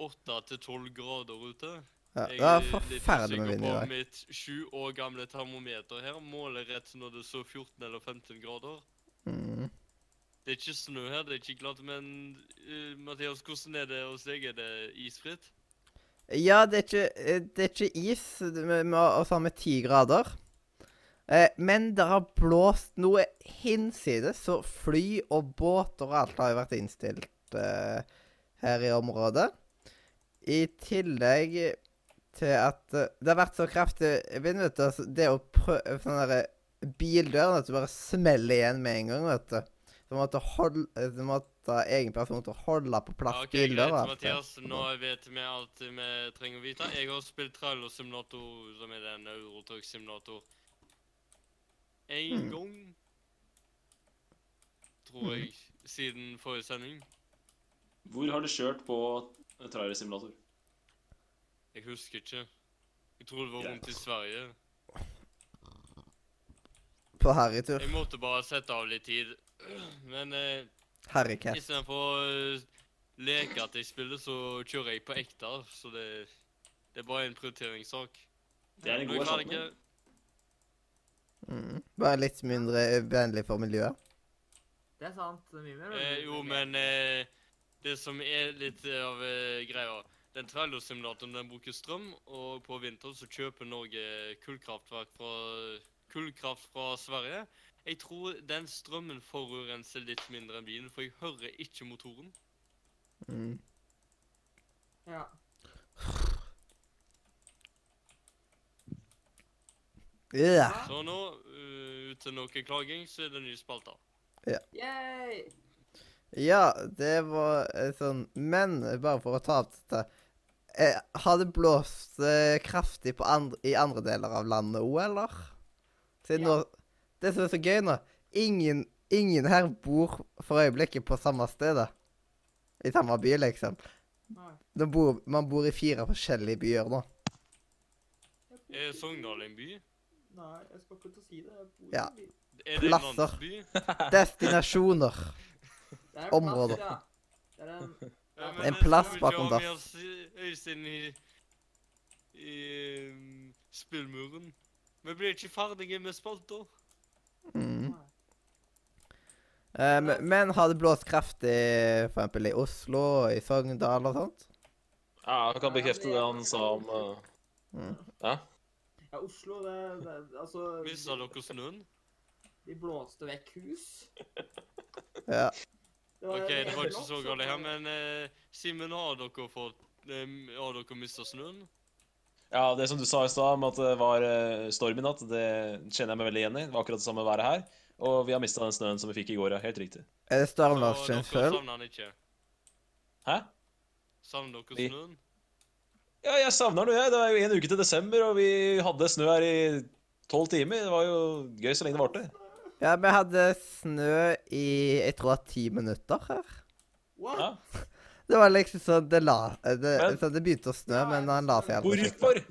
åtte til tolv grader ute.
ja.
Jeg
Det var
er litt
forferdelig med
usikker
vind i
på
dag.
Mitt sju år gamle termometer her måler rett når det så 14 eller 15 grader.
Mm.
Det er ikke snø her, det er ikke glatt, men eh, Mathias, hvordan er det hos deg? Er det isfritt?
Ja, det er ikke, eh, det er ikke is, det- vi vi har- og så har vi ti grader. Eh, men det har blåst noe hinsides, så fly og båter og alt har jo vært innstilt eh, her i området. I tillegg til at eh, det har vært så kraftig vind, vet du, altså, det å prøve sånn derre bildøren at du bare smeller igjen med en gang, vet du. Så måtte eh, holde, så måtte egen person måtte holde på plass
Ja, ok,
bildøra.
greit,
altså.
Mathias. Nå vet vi alt vi trenger å vite. Jeg har spilt Trailer Simulator, som er en Eurotruck-simulator, én
Hmm.
Mm.
gang. Tror jeg. Siden forrige sending.
Hvor har du kjørt på trailersimulator?
Jeg husker ikke. Jeg tror det var
Greit.
rundt i Sverige.
På harrytur.
Jeg måtte bare sette av litt tid. Men eh,
Harrycat.
istedenfor å eh, leke at jeg spiller, så kjører jeg på ekte. Så det, det er bare en prioriteringssak.
Det er
Men jeg klarer ikke-
Mm. Bare litt mindre vennlig for miljøet.
Det er sant. Det er mye mer.
Eh, jo, men eh, det som er litt eh, av eh, greia Den trailersimulatoren den bruker strøm, og på vinteren så kjøper Norge kullkraftverk fra kullkraft fra Sverige. Jeg tror den strømmen forurenser litt mindre enn bilen, for jeg hører ikke motoren.
Mm.
Ja.
Ja.
Så nå, øh, uten noe klaging, så er det ny spalte.
Yay!
ja, det var eh, sånn Men eh, bare for å ta opp dette eh, Har det blåst eh, kraftig på andre, i andre deler av landet òg, eller? Siden
Ja.
nå Det som er så gøy nå ingen, ingen her bor for øyeblikket på samme sted. da. I samme by, liksom.
Nei.
Nå bor, man bor i fire forskjellige byer nå.
Er Sogndal en by?
Nei, jeg skal ikke til å si det. Jeg bor i
Ja.
en by.
Er det en
Plasser.
landsby?
Destinasjoner.
Det er en plass,
Områder.
ja. Det er en
Ja,
En
men det
plass
skal vi
bakom
ikke ha
dass.
med oss, eh, Øystein i, i um, spillmuren. Vi blir ikke ferdige med spalter.
Mm.
Nei.
Eh, men- men har det blåst kraftig for eksempel i Oslo og i Sogndal og sånt?
Ja, jeg kan bekrefte det han sa om eh,
Mm.
Ja.
Ja, Oslo, det, det Altså,
Mista dere snøen?
de blåste vekk hus.
Ja.
Det
OK, det var ikke
blått,
så galt her, men eh, Simen, har dere fått eh, Har dere mista snøen?
ja, det som du sa i stad om at det var eh, storm i natt, det kjenner jeg meg veldig igjen i. Det var akkurat det samme været her. Og vi har mista den snøen som vi fikk i går, ja. Helt riktig.
Er det
Så
stormvarsel
Dere
sånn.
sjøl?
savner den ikke.
Hæ?
Savner dere
Vi-
snøen?
Ja, jeg savner den jo, jeg. Det er jo en uke til desember, og vi hadde snø her i tolv timer. Det var jo gøy så lenge det varte.
Ja, vi hadde snø i jeg tror det var ti minutter her.
What?
Ja.
Det var liksom sånn Det, la, eh, det,
Men-
sånn, det begynte å snø, men han la seg aldri.
Hvorfor?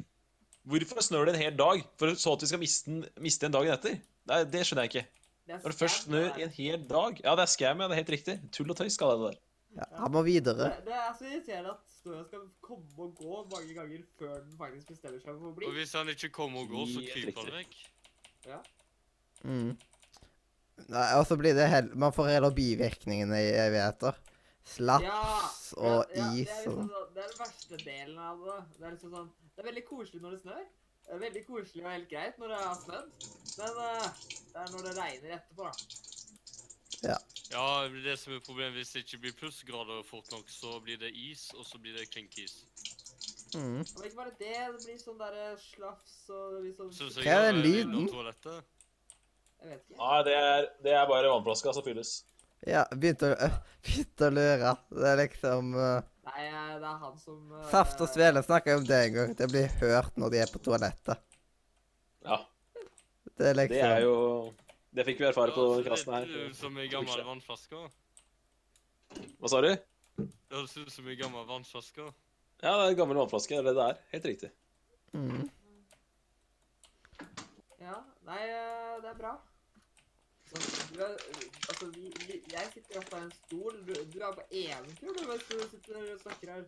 Hvorfor snør det en hel dag, for så at vi skal miste den, miste den dagen etter? Nei, det skjønner jeg ikke.
Det er
Når det først
scam,
snør
det der.
en hel dag Ja, det er scam, ja. Det er helt riktig. Tull og tøys skal det der.
Ja, han må videre.
Det, det er så irriterende at snøen skal komme og gå mange ganger før den faktisk bestemmer seg for å bli.
Og hvis han ikke kommer og går, så
Helt
kryper han
riktig.
vekk.
Mm. Nei, og så blir det hell... Man får heller bivirkningene i evigheter. Slaps og
ja, det,
is
er
og
liksom
sånn.
sånn, det er den verste delen av det. Det er liksom sånn, det er veldig koselig når det snør. Det er veldig koselig og helt greit når det har snødd. Men eh, det er når det regner etterpå, da.
Ja, det som er problemet hvis det ikke blir plussgrader fort nok, så blir det is, og så blir det klinkis.
Mm.
Og ikke bare det, det blir sånn der eh, slafs og det blir sånn
Syns
jeg...
jeg
Hva er
eh,
lyden?
innom toalettet.
vet ikke.
Nei, det er, det er bare vannflaska som fylles.
Ja, begynte å, (laughs) begynte å lure. Det er liksom eh,
Nei, eh, det er han som eh,
Saft og Svele snakker jo om det en gang. Det blir hørt når de er på toalettet.
Ja,
Det er liksom
det er jo Det fikk vi erfare på
Ja, så
klassen
Det høres
her.
ut som ei gammel vannflaske.
Hva sa du?
Det høres ut som ei gammel vannflaske.
Ja, det er en gammel vannflaske. Det er det det er. Helt riktig.
mm.
Ja, nei, eh, det er bra. Så, du er, altså, vi, vi, jeg sitter oppe i en stol. Du, du er på eventyr du, mens du sitter og snakker her.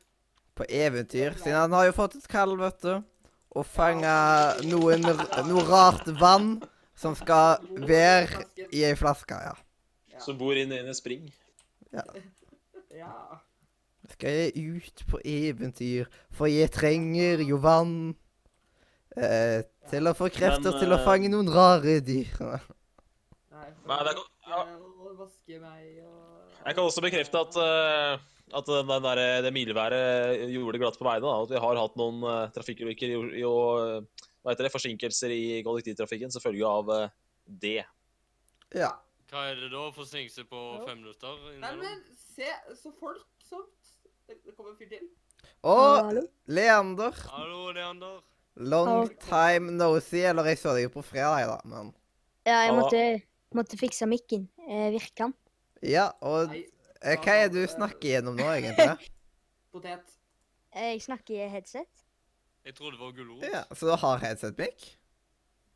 På eventyr. Siden han har jo fått et kall, vet du. Og fanga noen, r- noe rart vann som skal være i ei flaske. Ja.
Ja.
Som bor inne i en spring.
ja.
Skal jeg ut på eventyr, for jeg trenger jo vann. Eh, til å få krefter
Men,
til å
eh,
fange noen rare dyr.
Nei, for
Nei, det
å
kan- ja.
vaske- å vaske meg og
Jeg kan også bekrefte at, eh, at den der, eh, det mildværet gjorde det glatt på veiene. Da. At vi har hatt noen eh, trafikkulykker i- i- og eh, hva heter det, forsinkelser i kollektivtrafikken som følge av eh, det.
Ja.
Hva er det da? Forsinkelse på
Ja.
fem minutter?
Nei,
innimellom?
men se, så folk sånt. Det, det kommer en fyr til.
Og Leander.
Hallo, Leander.
Long time no see. Eller jeg så deg jo på fredag, da, men
Ja, jeg
Hallo.
måtte, måtte fikse mikken. Eh, virker den?
Ja, og
Nei,
eh, hva er det du snakker gjennom nå,
(laughs)
egentlig?
potet.
Eh, jeg snakker i headset.
Jeg tror det var gulrot.
Ja, Så du har headset-mic?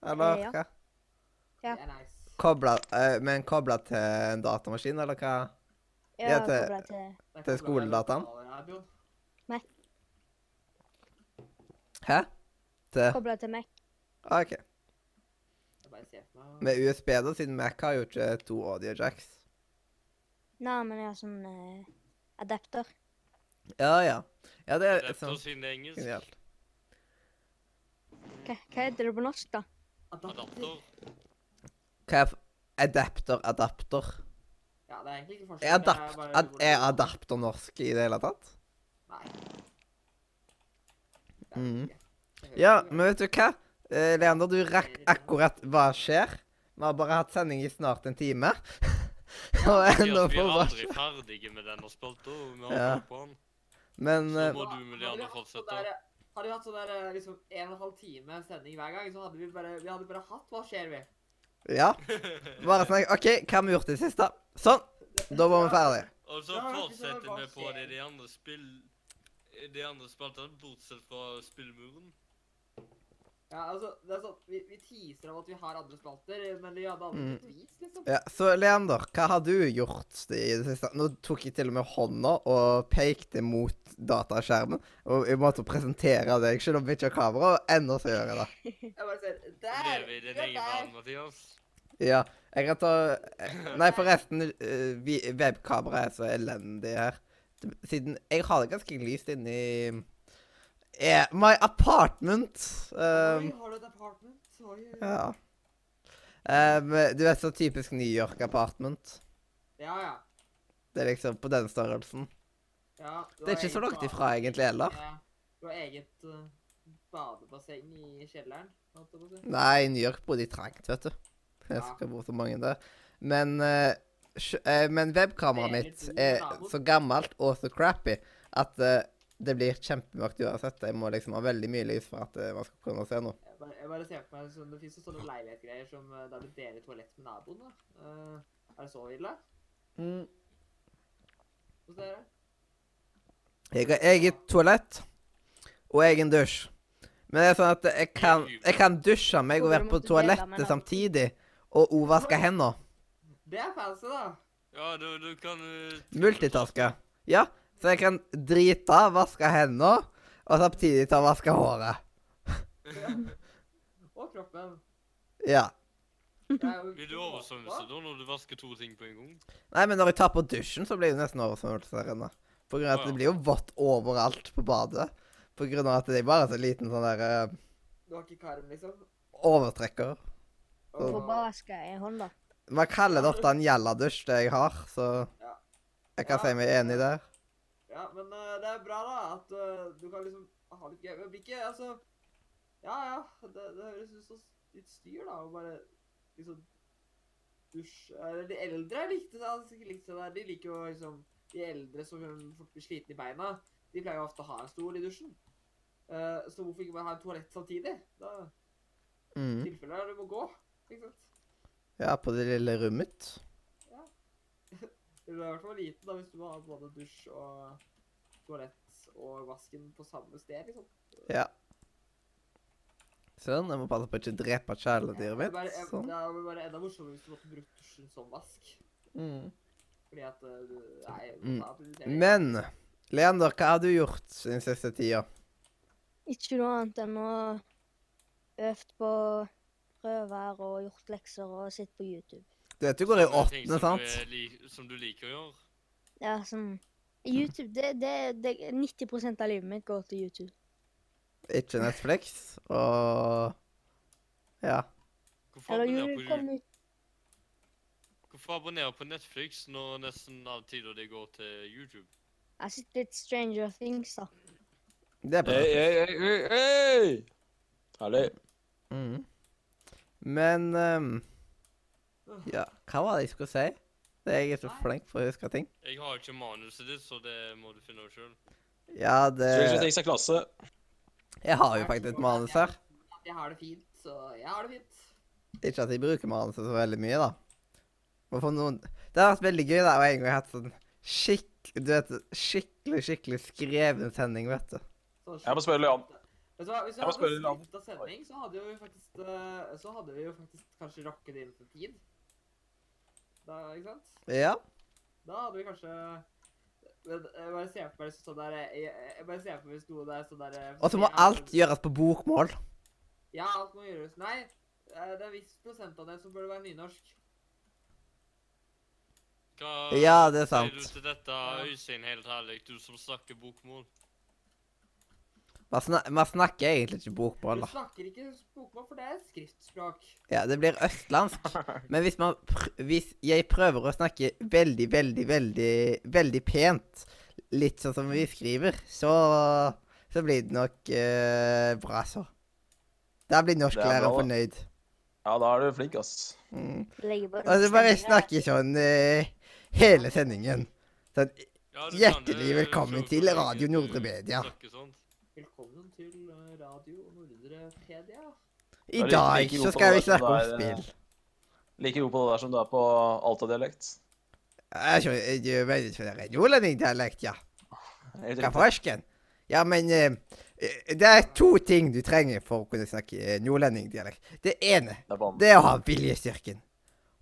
Eller
Eh, ja.
hva?
Ja.
Det er nice.
Kobla, eh, men kobla til en datamaskin, eller hva?
Jeg
Ja,
har
det-
koblet til
Det er
Til skoledataen?
lokalradio.
Hæ? Til
koblet til Mac.
OK.
Jeg bare ser for meg.
Med USB, da, siden Mac har jo ikke to audio jacks.
Nei, men jeg har sånn eh, adapter.
Ja, ja. Ja, det er
Rett og
sånn
slett siden det er engelsk.
genialt.
Hva, hva heter det på norsk, da?
Adapter. (laughs)
Adapter.
Hva er f- adapter, adapter?
Ja, det er egentlig ikke
Er,
forskjell. det
adapt,
bare
ad,
hvordan-
er adapter norsk i det hele tatt?
Nei.
Mhm.
Det er det ikke.
Ja,
Det hører
men vet du hva? Eh, Leander, du rakk akkurat hva skjer. Vi har bare hatt sending i snart en time. (laughs) Og
Vi
ennå
er
på hva
aldri ferdige med denne spalta. og Vi har
Ja.
holdt på den.
Men
Så
eh,
må du
Hadde
med
vi
de andre
hatt sånn
fortsette.
der, Hadde vi hatt sånn der eh, liksom en og en halv time sending hver gang, så hadde vi bare, vi hadde bare hatt Hva skjer, vi?
ja.
(laughs)
Bare snakk. OK, hva har vi gjort i det siste? Sånn. Da var vi ferdige.
Og så
Ja, det er ikke så
fortsetter vi på
vanskelig.
det de andre spill... De andre spaltene, bortsett fra spillmuren.
Ja, altså, det er sånn, vi, vi teaser om at vi har andre spalter, men vi hadde aldri
Mm.
et vis, liksom.
Ja, så Leander, hva har du gjort i det siste? Nå tok jeg til og med hånda og pekte mot dataskjermen. Og jeg måtte presentere deg, selv om vi ikke har kamera, og ennå så gjør jeg det.
Jeg bare ser, der!
Lever i din
Ja,
egen
der!
verden, Mathias.
Ja, jeg kan ta eh, Nei, forresten, eh, vi- webkameraet er så elendig her. Siden Jeg har det ganske lyst inni eh, My apartment.
Oi,
Um,
har du et apartment? Oi, oi, oi.
ja. Um, du vet så typisk New York apartment.
Ja, ja.
Det er liksom på den størrelsen.
ja du
Det er
har
ikke så
eget
langt
bad-
ifra egentlig heller.
Ja, du har eget eh, badebasseng i kjelleren, holdt jeg på å si.
Nei, New York bodde i trangt, vet du. Jeg skal bo så mange der. Men, eh, sj- eh, men webkameraet mitt
Det er litt
er
nabo.
så gammelt og så crappy at eh, det blir kjempemørkt uansett. Jeg må liksom ha veldig mye lys for at eh, man skal kunne se noe.
Jeg bare, jeg bare ser på meg som det finnes jo sånne leilighetgreier som eh, der du deler toalett med naboen, da. Eh, er det så ille Mm. hos dere?
Jeg har eget toalett og egen dusj. Men det er sånn at jeg kan, jeg kan dusje meg og
Hvorfor
være
måtte
på
du dele med
toalettet
naboen?
samtidig. Og òg vaske hendene.
Det er fancy, da.
Ja, du, du kan eh,
Multitaske. Ja, så jeg kan drite, vaske hendene, og samtidig ta og vaske håret.
Og kroppen.
Ja.
Jeg er jo
Vil du
ikke
oversvømmelse
våt, da.
da, når du vasker to ting på en gang?
Nei, men når jeg tar på dusjen, så blir det nesten oversvømmelse der inne. På grunn av at det blir jo vått overalt på badet. På grunn av at det er bare så liten sånn der eh,
Du har ikke karm, liksom?
overtrekker.
På
Og-
baska i hånda.
Man kaller det ofte en gjelladusj, det jeg har, så jeg kan si meg enig der.
Ja, men eh, det er bra, da, at eh, du kan liksom ha litt gøy. Men blir ikke altså Ja ja, det, det høres ut som litt styr, da, å bare liksom dusje Eller de eldre likte det, altså, ikke likte det der. De liker jo liksom De eldre som fort blir slitne i beina, de pleier jo ofte å ha en stol i dusjen. Eh, så hvorfor ikke bare ha en toalett samtidig? Da, I
Mm.
tilfelle du må gå, ikke sant.
Ja, på det lille rommet mitt.
Du er i hvert fall liten da, hvis du må ha både dusj og toalett og vasken på samme sted, liksom.
Sånn, jeg må passe på å ikke drepe kjæledyret
Det er
mitt.
bare,
Sånn.
det er bare enda morsommere hvis du måtte brukt dusjen som vask.
Mm.
Fordi at eh, du Nei.
Mm.
da prioriterer jeg-
Men Leander, hva har du gjort den siste tida?
Ikke noe annet enn å øvd på prøver og gjort lekser og sett på YouTube.
Du vet du går i
Sånne ting
åttende,
som du
sant?
er li- Som du liker å gjøre.
Ja, sånn YouTube, det, det, det 90 av livet mitt går til YouTube.
Ikke Netflix, og Ja.
Hvorfor
Eller
abonnerer
ju-
på,
kom ut
hvorfor abonnerer på Netflix når nesten all tida det går til YouTube?
Jeg har sett litt Stranger Things, da.
Det er på
Hei,
Netflix.
hei, hei, hei, hei! Herlig.
Mm. Men ehm,
Øh,
Ja, hva var det jeg skulle si? Det er jeg er så
Nei.
flink på å huske ting.
Jeg har ikke manuset ditt, så det må du finne ut sjøl.
Ja,
Stranger
det
Things er klasse.
Jeg har jo faktisk et manus her.
Jeg har det fint, så jeg har det fint.
Ikke at jeg bruker manuset så veldig mye, da. Men for noen Det har vært veldig gøy, da, og en gang jeg har hatt sånn skikk... Du vet, skikkelig, skikkelig skreven sending, vet du.
Så
Jeg må spørre Leon.
Vet du hva, hvis vi
Jeg må
hadde
spørre Leon.
skrifta sending, så hadde vi jo faktisk eh, Så hadde vi jo faktisk kanskje rocket inn til tid. Da, ikke sant?
Ja.
Da hadde vi kanskje men jeg bare ser på meg liksom sånn der jeg, jeg bare ser på meg hvis noe der sånn der
Og så må alt gjøres på bokmål.
Ja, alt må gjøres. Nei, eh, det er en viss prosent av det som burde være nynorsk.
Hva
Ja, det er
sier du
sant.
til dette, Øystein, helt ærlig, du som snakker bokmål?
Man, snak man snakker egentlig ikke bokmål,
Du
da.
snakker ikke bokmål, for det er et skriftspråk.
Ja, det blir østlandsk. Men hvis, man pr hvis jeg prøver å snakke veldig, veldig, veldig, veldig pent, litt sånn som vi skriver, så, så blir det nok eh, bra, så. Da blir
Det er
norsklæreren
bra, da.
fornøyd.
Ja, da er du flink, ass.
Mm.
Legger på
Og så bare snakke sånn eh, hele sendingen. Sånn
Ja, du kan eh, det,
hjertelig velkommen
så-
til
så-
Radio Nordre Media.
snakke sånt.
Velkommen til eh, Radio Nordre Pedia.
I
er litt
dag
like
så
god på
skal vi
det som
snakke om
det er, eh,
spill.
Like god på det der som du er på Alta-dialekt.
Jeg skjønner, eh, du mener ikke det er nordlendingdialekt, ja?
Helt
Hva
riktig.
farsken? Ja, men eh, eh, det er to ting du trenger for å kunne snakke eh, nordlendingdialekt. Det ene,
Det er banen. (laughs)
det er å ha viljestyrken.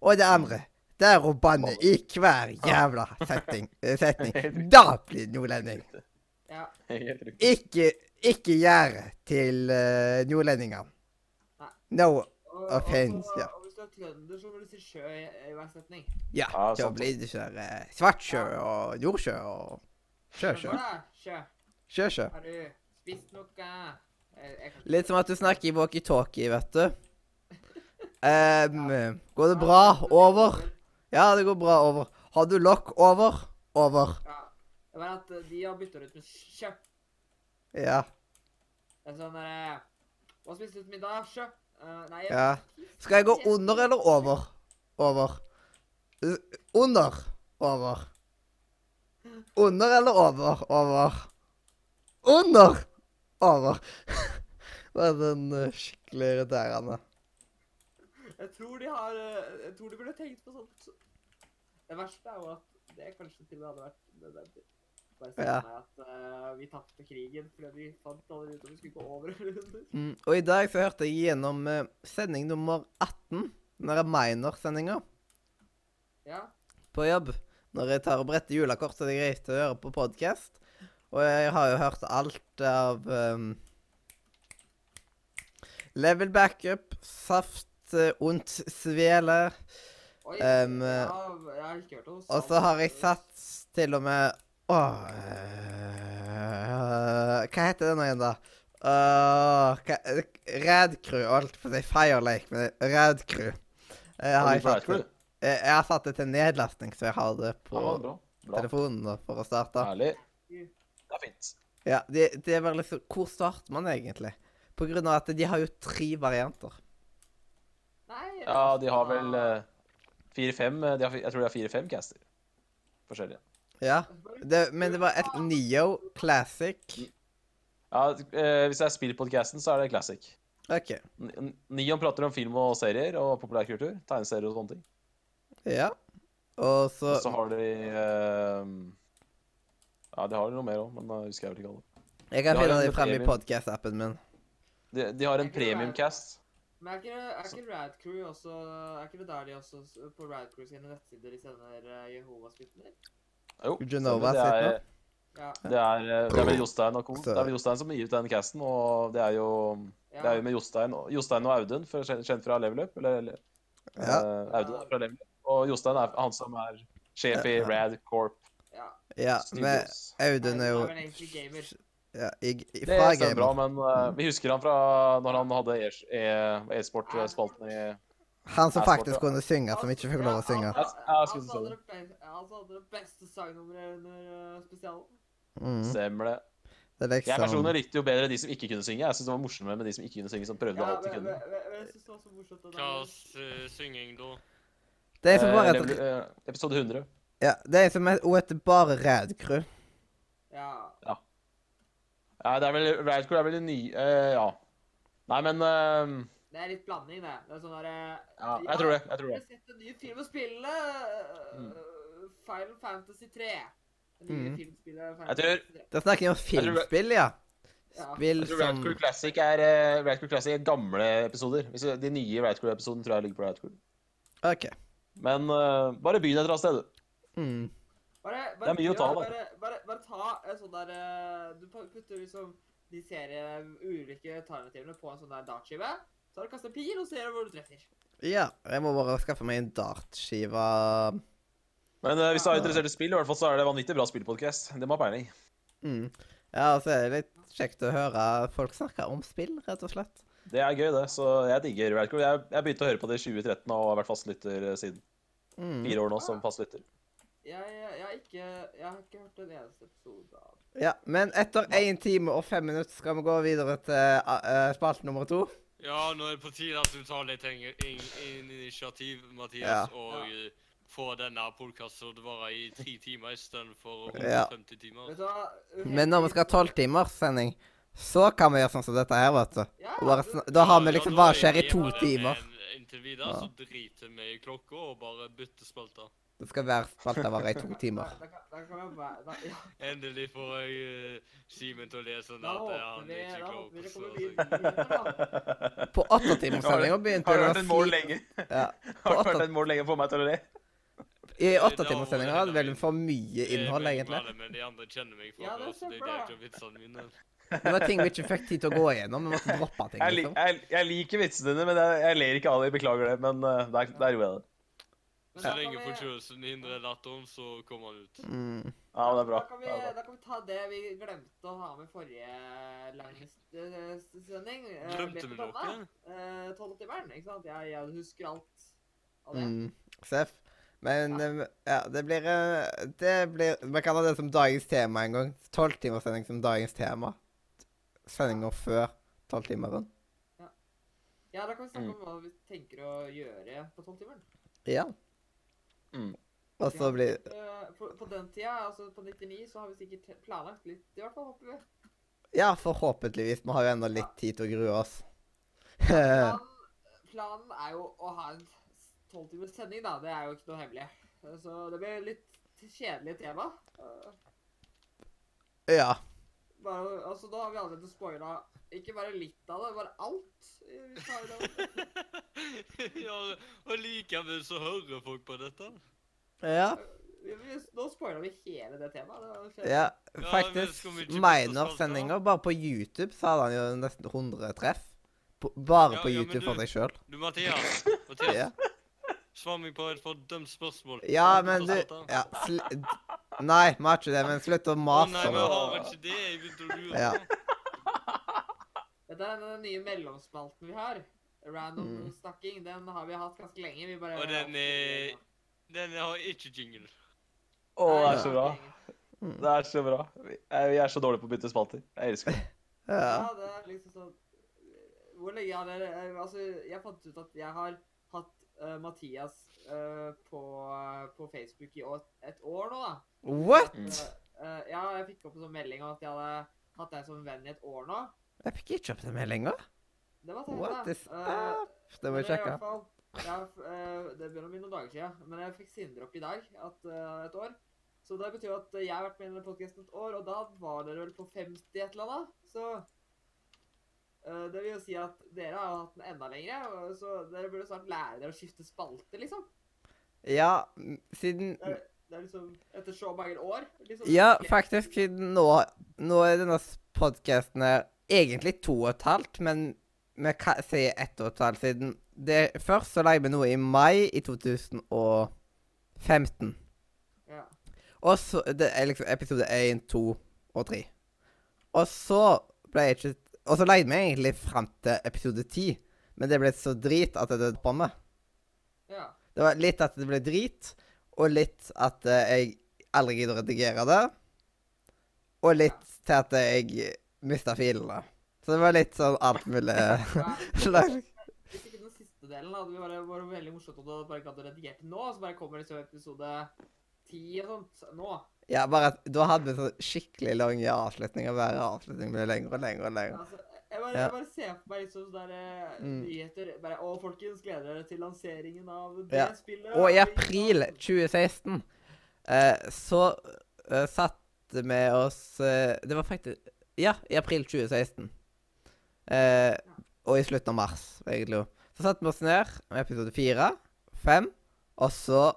Og det andre, det er å banne i hver jævla setting. eh,
(laughs)
setning. Da blir det nordlending.
Ja,
Helt riktig.
Ikke, ikke gjerde til eh, nordlendinger. No,
og,
Offense,
og, så-
ja.
og hvis du er trønder, så må du si sjø i, i hver setning.
ja,
Ja,
da
sant.
blir det sånn eh, svartsjø og jordsjø og sjøsjø.
Hva da? Sjø.
Sjøsjø.
Har du spist noe? Eh, Jeg, jeg kan ikke-
Litt som at du snakker i walkietalkie, vet du. Ehm, går det bra? Over. Ja, det går bra. Over. Har du lokk? Over. Over.
Ja. Det var at eh, de har byttet ut med sjø.
Ja.
Det er sånn derre Hva spiste du til middag? Sjø? Eh, nei jeg-
ja. Skal jeg gå under eller over? Over. Uh, Under. Over. Under eller over? Over. Under. Over. (laughs) Det er den eh, skikkelig irriterende.
Jeg tror de har eh, Jeg tror de burde tenkt på sånt. Det verste er jo at det kanskje til og med hadde vært nødvendig. Bare se
Ja.
for meg at eh, vi tapte krigen fordi vi fant aldri ut om vi skulle gå over (laughs) eller under.
Mm, og i dag så hørte jeg gjennom eh, sending nummer 18, den der Minor-sendinga,
Ja.
på jobb. Når jeg tar og bretter julekort, så er det greit å høre på podkast. Og jeg har jo hørt alt av ehm, Level backup, saft, eh, ondt svele
Oi,
Em,
jeg, har, jeg har ikke hørt om
Um, eh, Og så har jeg satt til og med Åh eh, Hva heter den igjen, da? Uh, Radcrew, holdt på å si Fire Lake, men Radcrew. Eh, har
Ja,
jeg,
du
satt
får
det,
det.
eh, jeg har satt det til nedlastning, så jeg har det på
Ja, bra. Bra.
telefonen da, for å starte.
Herlig. Det er fint.
Ja, det, det er bare liksom Hvor starter man egentlig? På grunn av at de har jo tre varianter.
Nei, jeg
Ja, de har
sa-
vel eh, fire-fem eh, de har fi- Jeg tror de har fire-fem caster. Forskjellige.
Ja.
eh,
Det, men det var et Neo Classic.
Ja, eh, Hvis det er spillpodcasten, så er det classic.
OK.
N- N- Nion prater om film og serier og populærkultur. Tegneserier og sånne ting.
Ja. Og så
Og så har de eh, Ja, de har noe mer òg, men da husker jeg vel ikke alle.
Jeg kan
Ja,
finne
ja,
det
det
frem i
premium.
podcast-appen min.
De, de har en premiumcast.
Men er ikke, er ikke Rad Crew også Er ikke det der de også s- På Rad Crew sine nettsider de sender eh, Jehovas vitner?
Jo,
Genova
stemmer, det er,
sitt
Ja.
det er, eh, det er vel Jostein og co.
Så-
Det er vel Jostein som gir ut den casten, og det er jo
ja.
det er jo med Jostein, og- Jostein og Audun, for, kjent kjent fra Level Up. Eller, eller,
Ja.
eh, Audun er fra Level Up. Og Jostein er han som er sjef i
Ja, ja.
Rad Corp
ja.
Ja, men
Studios.
Audun er jo
Han er vel egentlig gamer.
ja, i, i,
Det
fra
stemmer bra,
gamer.
men eh, vi husker han fra når han hadde e- e- e-sport-spalten i
Han som
Ja,
faktisk
sport, ja.
kunne synge, som ikke fikk lov å synge.
Han
Ja, jeg skulle
som
si sånn.
hadde
det.
det be- han som hadde det beste sangnummeret under eh, spesialen.
Mm.
Stemmer det.
Det er
Jeg
liksom
personlig likte jo bedre de som ikke kunne synge. Jeg synes det var morsommere med de som ikke kunne synge, som prøvde å
Ja,
holde
men,
til
men,
kunden.
men, men jeg synes det var så morsomt at
Hva
han-
eh, synging da?
Det er som bare
Eh,
et,
level- eh, episode 100.
ja, det er som et, og et bare rædcrew.
Ja.
Ja, det er vel Radcore er vel en ny eh, Ja. Nei, men eh,
Det er litt blanding, det. Det er sånn derre
ja, Jeg tror det. Jeg tror det.
har sett en ny film og spille eh,
Mm.
Final Fantasy 3. Det nye
Mm.
filmspillet Final
Jeg tror-
Fantasy 3.
Da snakker vi om
tror-
filmspill, ja.
Ja.
Spill
Jeg tror
som
Radcore Classic er eh, Radcore Classic er gamle episoder. Hvis det- De nye Radcore-episodene tror jeg ligger på Radcore.
OK.
Men eh, bare begynn et eller annet sted. du.
Mm.
Bare,
Det
bare,
er mye å ta, da.
Bare, bare, bare ta en sånn der eh, Du pa- putter liksom de serie ulike alternativene på en sånn der dartskive. Så har du kastet en pil, og ser hvor du treffer.
Ja. Jeg må bare skaffe meg en dartskive.
Men eh, hvis du er interessert i spill, i hvert fall så er det vanvittig bra spillpodkast. Det må ha peiling.
Mm. Ja, og så er det litt Kjekt å høre folk snakke om spill, rett og slett.
Det er gøy, det. Så jeg digger Radcrow. Jeg, jeg begynte å høre på det i 2013 og har vært fastlytter siden.
Mm.
Fire år nå som
(laughs)
fastlytter.
Jeg, jeg, jeg, har ikke, jeg har ikke hørt en eneste episode av
Ja, men etter én time og fem minutter skal vi gå videre til eh, eh, spalte nummer to.
Ja, nå er det på tide at du tar litt ing- ing- initiativ,
Ja.
Mathias, og eh, får denne podkasten til å vare i tre timer istedenfor
Ja.
50 timer.
Vet du hva?
Men når vi skal ha tolvtimers sending, så kan vi gjøre sånn som dette her, vet du.
Ja,
Og bare,
det-
sn- da har
Ja,
vi liksom
da
bare
er
skjer i
vi
to
på den,
timer.
eh, Inntil videre så driter vi i klokka og bare bytter spalter.
Det skal hver spalte vare i to
Da,
timer.
da, kan- da kan jeg være da,
(laughs)
ja,
Endelig får jeg eh, Simen til å lese den
da
at eh,
håper
han
vi
er
Da
ikke
håper vi
klok
det
på
kommer
så-
mye
så-
videre, da.
På åttetimerssendinga begynte
Har
det
du
å
hørt en mål
si
lenge?
(laughs) ja,
(laughs) Har du hørt en mål lenge på meg til å le?
I
Eh,
åttetimerssendinga
da
hadde
må
vi vel
jeg-
for mye
Det er
innhold,
meg
egentlig.
imellom, Men de andre kjenner meg fra
Ja,
før,
det er
så
så
de
bra.
delte vitsene mine.
Det var ting vi ikke fikk tid til å gå igjennom. Vi måtte droppe ting,
Jeg, lik-
liksom.
jeg, jeg liker vitsene dine, men jeg, jeg ler ikke av dem. Beklager det, men eh, der, der gjorde jeg det.
Men da
(laughs) Så
kan
lenge
vi-
forkjølelsen hindrer latteren, så kommer han ut.
Mm.
Ja, men det er bra.
Da kan, vi,
Det er bra.
da kan vi ta det vi glemte å ha med forrige eh, langsending.
Drømte vi noe?
eh, Tolvtimeren, ikke sant? Jeg, jeg husker alt av det.
Mm. Seff. Men
Ja.
eh, ja, det blir eh, Det blir Vi kan ha det som dagens tema en gang. Tolvtimerssending som dagens tema. Sendinga før sånn. tolvtimeren.
Ja, da kan vi
Mm.
snakke om hva vi tenker å gjøre på tolvtimeren.
Ja.
Mm.
Og så blir
Eh, På, på den tida, altså på 99, så har vi sikkert planlagt litt, i hvert fall håper vi.
Ja, forhåpentligvis. Vi har jo ennå litt tid til å grue oss. (laughs)
Planen, planen er jo å ha en tolvtimers sending, da. Det er jo ikke noe hemmelig. Eh, Så det blir litt kjedelig tema. Eh,
ja.
Bare, altså, da har vi allerede spoila ikke bare litt av det, bare alt. eh, vi tar jo det.
(laughs) ja, og likevel så hører folk på dette.
Ja.
Vi- vi- Nå spoila vi hele det temaet. Det var kjedelig.
ja.
men
Faktisk,
skal vi ikke bytte
Minor-sendinga,
spalte?
bare på YouTube, så hadde han jo nesten 100 treff. På, bare
Ja,
på
ja, men
YouTube
du-
for seg
(laughs)
sjøl. (laughs)
Du, Mathias. Mathias
Ja.
Svar meg på et fordømt spørsmål.
ja, men du
Å
ja, sl Nei, vi har ikke det, men slutt å mase
nei,
om
vi
det.
har ikke det. Jeg begynte å lure.
Ja.
Dette er den nye mellomspalten vi har. Random
Mm.
snakking. Den har vi hatt ganske lenge. Vi bare
Og den er Den har ikke
(laughs)
jingle.
Å, det er
Ja.
så bra. Det er så bra. Vi jeg- vi er så dårlige på å bytte spalter. Jeg elsker det.
Ja.
Ja, det er liksom sånn Hvor lenge har dere eh, Altså, jeg fant ut at jeg har hatt eh, Mathias eh, på, på Facebook i år, et år nå, da.
What?
Mm.
Eh, ja, jeg fikk opp en sånn melding om at jeg hadde hatt deg som venn i et år nå.
Jeg fikk ikke opp den meldinga.
Det var
What
teit,
is
da. Eh,
up? Det må
men
jeg
i hvert
sjekke.
fall, jeg har, eh, det begynner å bli noen dager siden, men jeg fikk Sindre opp i dag, at, eh, et år. Så det betyr jo at jeg har vært med i denne podcasten et år, og da var dere vel på 50 et eller annet. Så eh, det vil jo si at dere har hatt den enda lengre, og så dere burde snart lære dere å skifte spalte, liksom.
Ja, m- siden
Det er liksom etter så mange år. Liksom,
Ja, faktisk, siden nå Nå er denne podkasten her egentlig to og et halvt, men vi kan si ett og et halvt siden det, Først så lagde vi noe i mai i 2015.
Ja.
Og så Det er liksom episode én, to og tre. Og så ble jeg ikke Og så leide vi egentlig fram til episode ti, men det ble så drit at det droppa meg.
ja.
Det var litt at det ble drit, og litt at eh, jeg aldri gidder å redigere det. Og litt til at jeg mista filene. Så det var litt sånn alt mulig (laughs)
Ja.
slag.
Hvis ikke den siste delen hadde vi bare vært veldig morsomt om du hadde bare gadd å redigere til nå, så bare kommer liksom episode 10 og sånt nå.
Ja, bare at da hadde vi sånn skikkelig lange avslutninger. Hver avslutning ble lengre og lengre og lengre.
Altså, jeg, bare,
Ja.
jeg bare ser for meg liksom sånne der, eh,
Mm.
nyheter bare, Å, folkens, gleder dere til lanseringen av det
Ja.
spillet.
Og i
det-
april 2016 eh, så eh, satte vi oss eh, Det var faktisk Ja, i april 2016. Eh, og i slutten av mars, egentlig. også. Så satte vi oss ned med episode fire, fem, og så,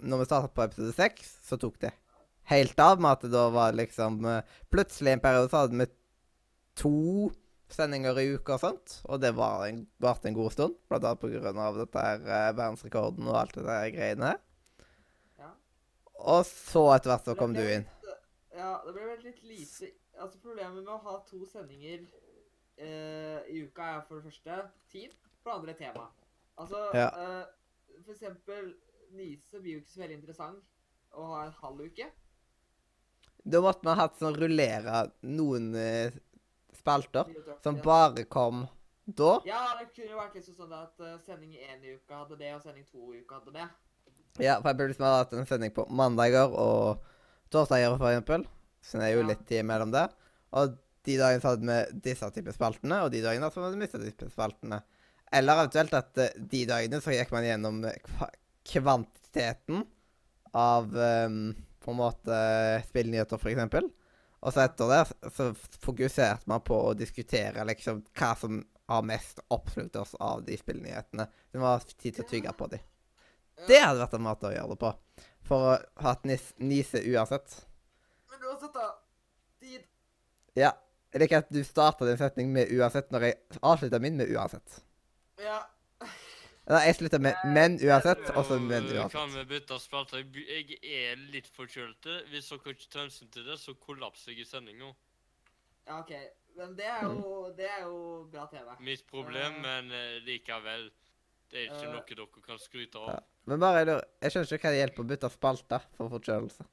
når vi startet på episode seks, så tok det helt av med at det da var liksom eh, Plutselig en periode så hadde vi to sendinger i uka og sånt, og det var en, varte en god stund, blant annet på grunn av dette her eh, verdensrekorden og alt det der greiene her.
Ja.
Og så etter hvert så kom du inn.
Ja, det ble vel litt lite altså Problemet med å ha to sendinger eh, i uka er for det første tid, for det andre tema. Altså,
Ja.
eh, for eksempel Nise blir jo ikke så veldig interessant å ha en halv uke.
Da måtte vi ha hatt sånn rullere noen eh, spalter som
Ja.
bare kom da.
Ja, det kunne jo vært litt sånn at eh, sending én i uka hadde det, og sending to i uka hadde det.
Ja, for jeg burde liksom ha hatt en sending på mandager og torsdager, for eksempel. Så det er jo
Ja.
litt tid imellom der. Og de dagene så hadde vi disse type spaltene, og de dagene så hadde vi disse type spaltene. Eller eventuelt at eh, de dagene så gikk man gjennom eh, kva kvantiteten av eh, på en måte eh, spillnyheter, for eksempel. Og så etter det så fokuserte man på å diskutere liksom hva som har mest oppslukt oss av de spillnyhetene. Det var tid til å tygge på de.
Eh,
Det hadde vært en måte å gjøre det på. For å ha et nis nise uansett.
Men uansett, da. Tid.
Ja. Jeg liker at du starta din setning med 'uansett' når jeg avslutta min med 'uansett'.
Ja.
Nei, jeg slutta med 'men uansett', og så 'men
Nå Kan
uansett'.
vi bytte spalte? Jeg by- Jeg er litt forkjølte. Hvis dere ikke tar hensyn til det, så kollapser jeg i sendinga.
ja, OK. Men det er jo,
Mm.
det er jo bra TV.
Mitt problem,
Eh.
men eh, likevel. Det er ikke
Eh.
noe dere kan skryte
Ja.
av.
Men bare, jeg lurer- jeg skjønner ikke hva det hjelper å bytte spalte for forkjølelse.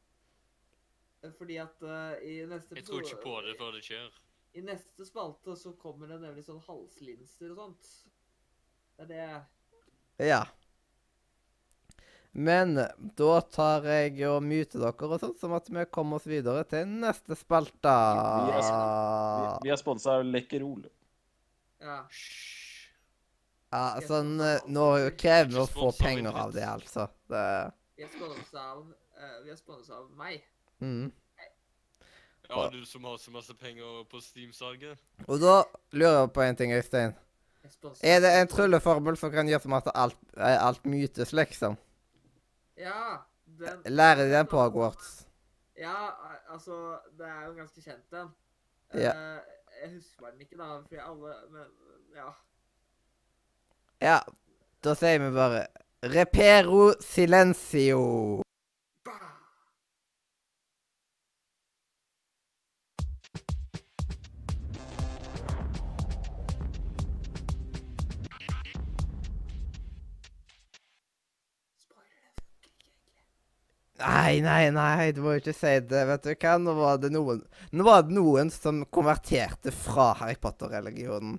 Fordi at eh, i neste
Jeg tror ikke på
episode-
det før det skjer.
I neste spalte så kommer det nemlig sånn halslinser og sånt. Det er det
Ja. Men da tar jeg og muter dere og sånn, sånn at vi kommer oss videre til neste
Vi-
spalte.
Vi er sponsa av Lekkerol.
Ja.
Hysj.
Ja, sånn eh, Nå krever vi å få penger av det, altså. Det
Vi er sponsa av, eh, vi er sponset av meg.
mm.
Ja, du som har så masse penger på Steam-salget.
Og da lurer jeg på en ting, Øystein.
Vi Er, sponset
Er det
av-
en trylleformel som kan gjøre som at alt, eh, alt mytes, liksom?
Ja. Den,
Lærer de den på Hogwarts?
Ja, eh, altså Det er jo en ganske kjent en.
Ja.
Eh, jeg husker den ikke, da, fordi alle Men ja.
Ja, da sier vi bare Repero silencio.
Bah! Spoiler, det funker ikke egentlig.
Nei, nei, nei, du må jo ikke si det. Vet du hva, nå var det noen Nå var det noen som konverterte fra Harry Potter-religionen.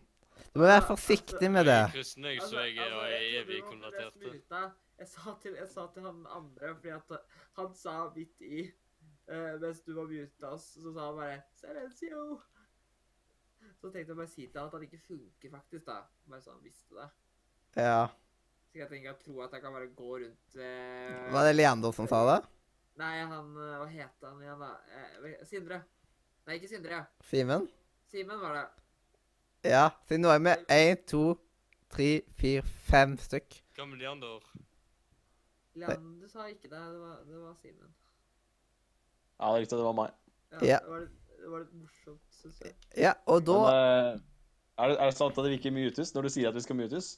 Du må være forsiktig med det.
Jeg er kristen, jeg, så jeg er,
Altså, altså,
jeg er
jeg
evig
trodde det var
konvertert.
fordi jeg smilte. Jeg sa til, jeg sa til han andre, fordi at han sa midt i, eh, mens du var muta, så sa han bare Silencio! Så tenkte jeg bare si til han at han ikke funker faktisk, da. Bare så han visste det.
Ja.
Så jeg tenker jeg tror at jeg kan bare gå rundt eh,
Var det Leander som sa det?
Nei, han eh, Hva het han igjen, da? Eh, Sindre. Nei, ikke Sindre.
Simen?
Simen var det.
Ja. Siden nå er vi én, to, tre, fire, fem stykk.
Gamle Leander.
Leander du sa ikke det. Det var, det var Simen.
Ja, det er riktig, det var meg.
Ja.
Det, var, litt- det var litt morsomt, syns jeg.
Ja, og da
Men, eh, er, det, er det sant at vi ikke mutes når du sier at vi skal mutes?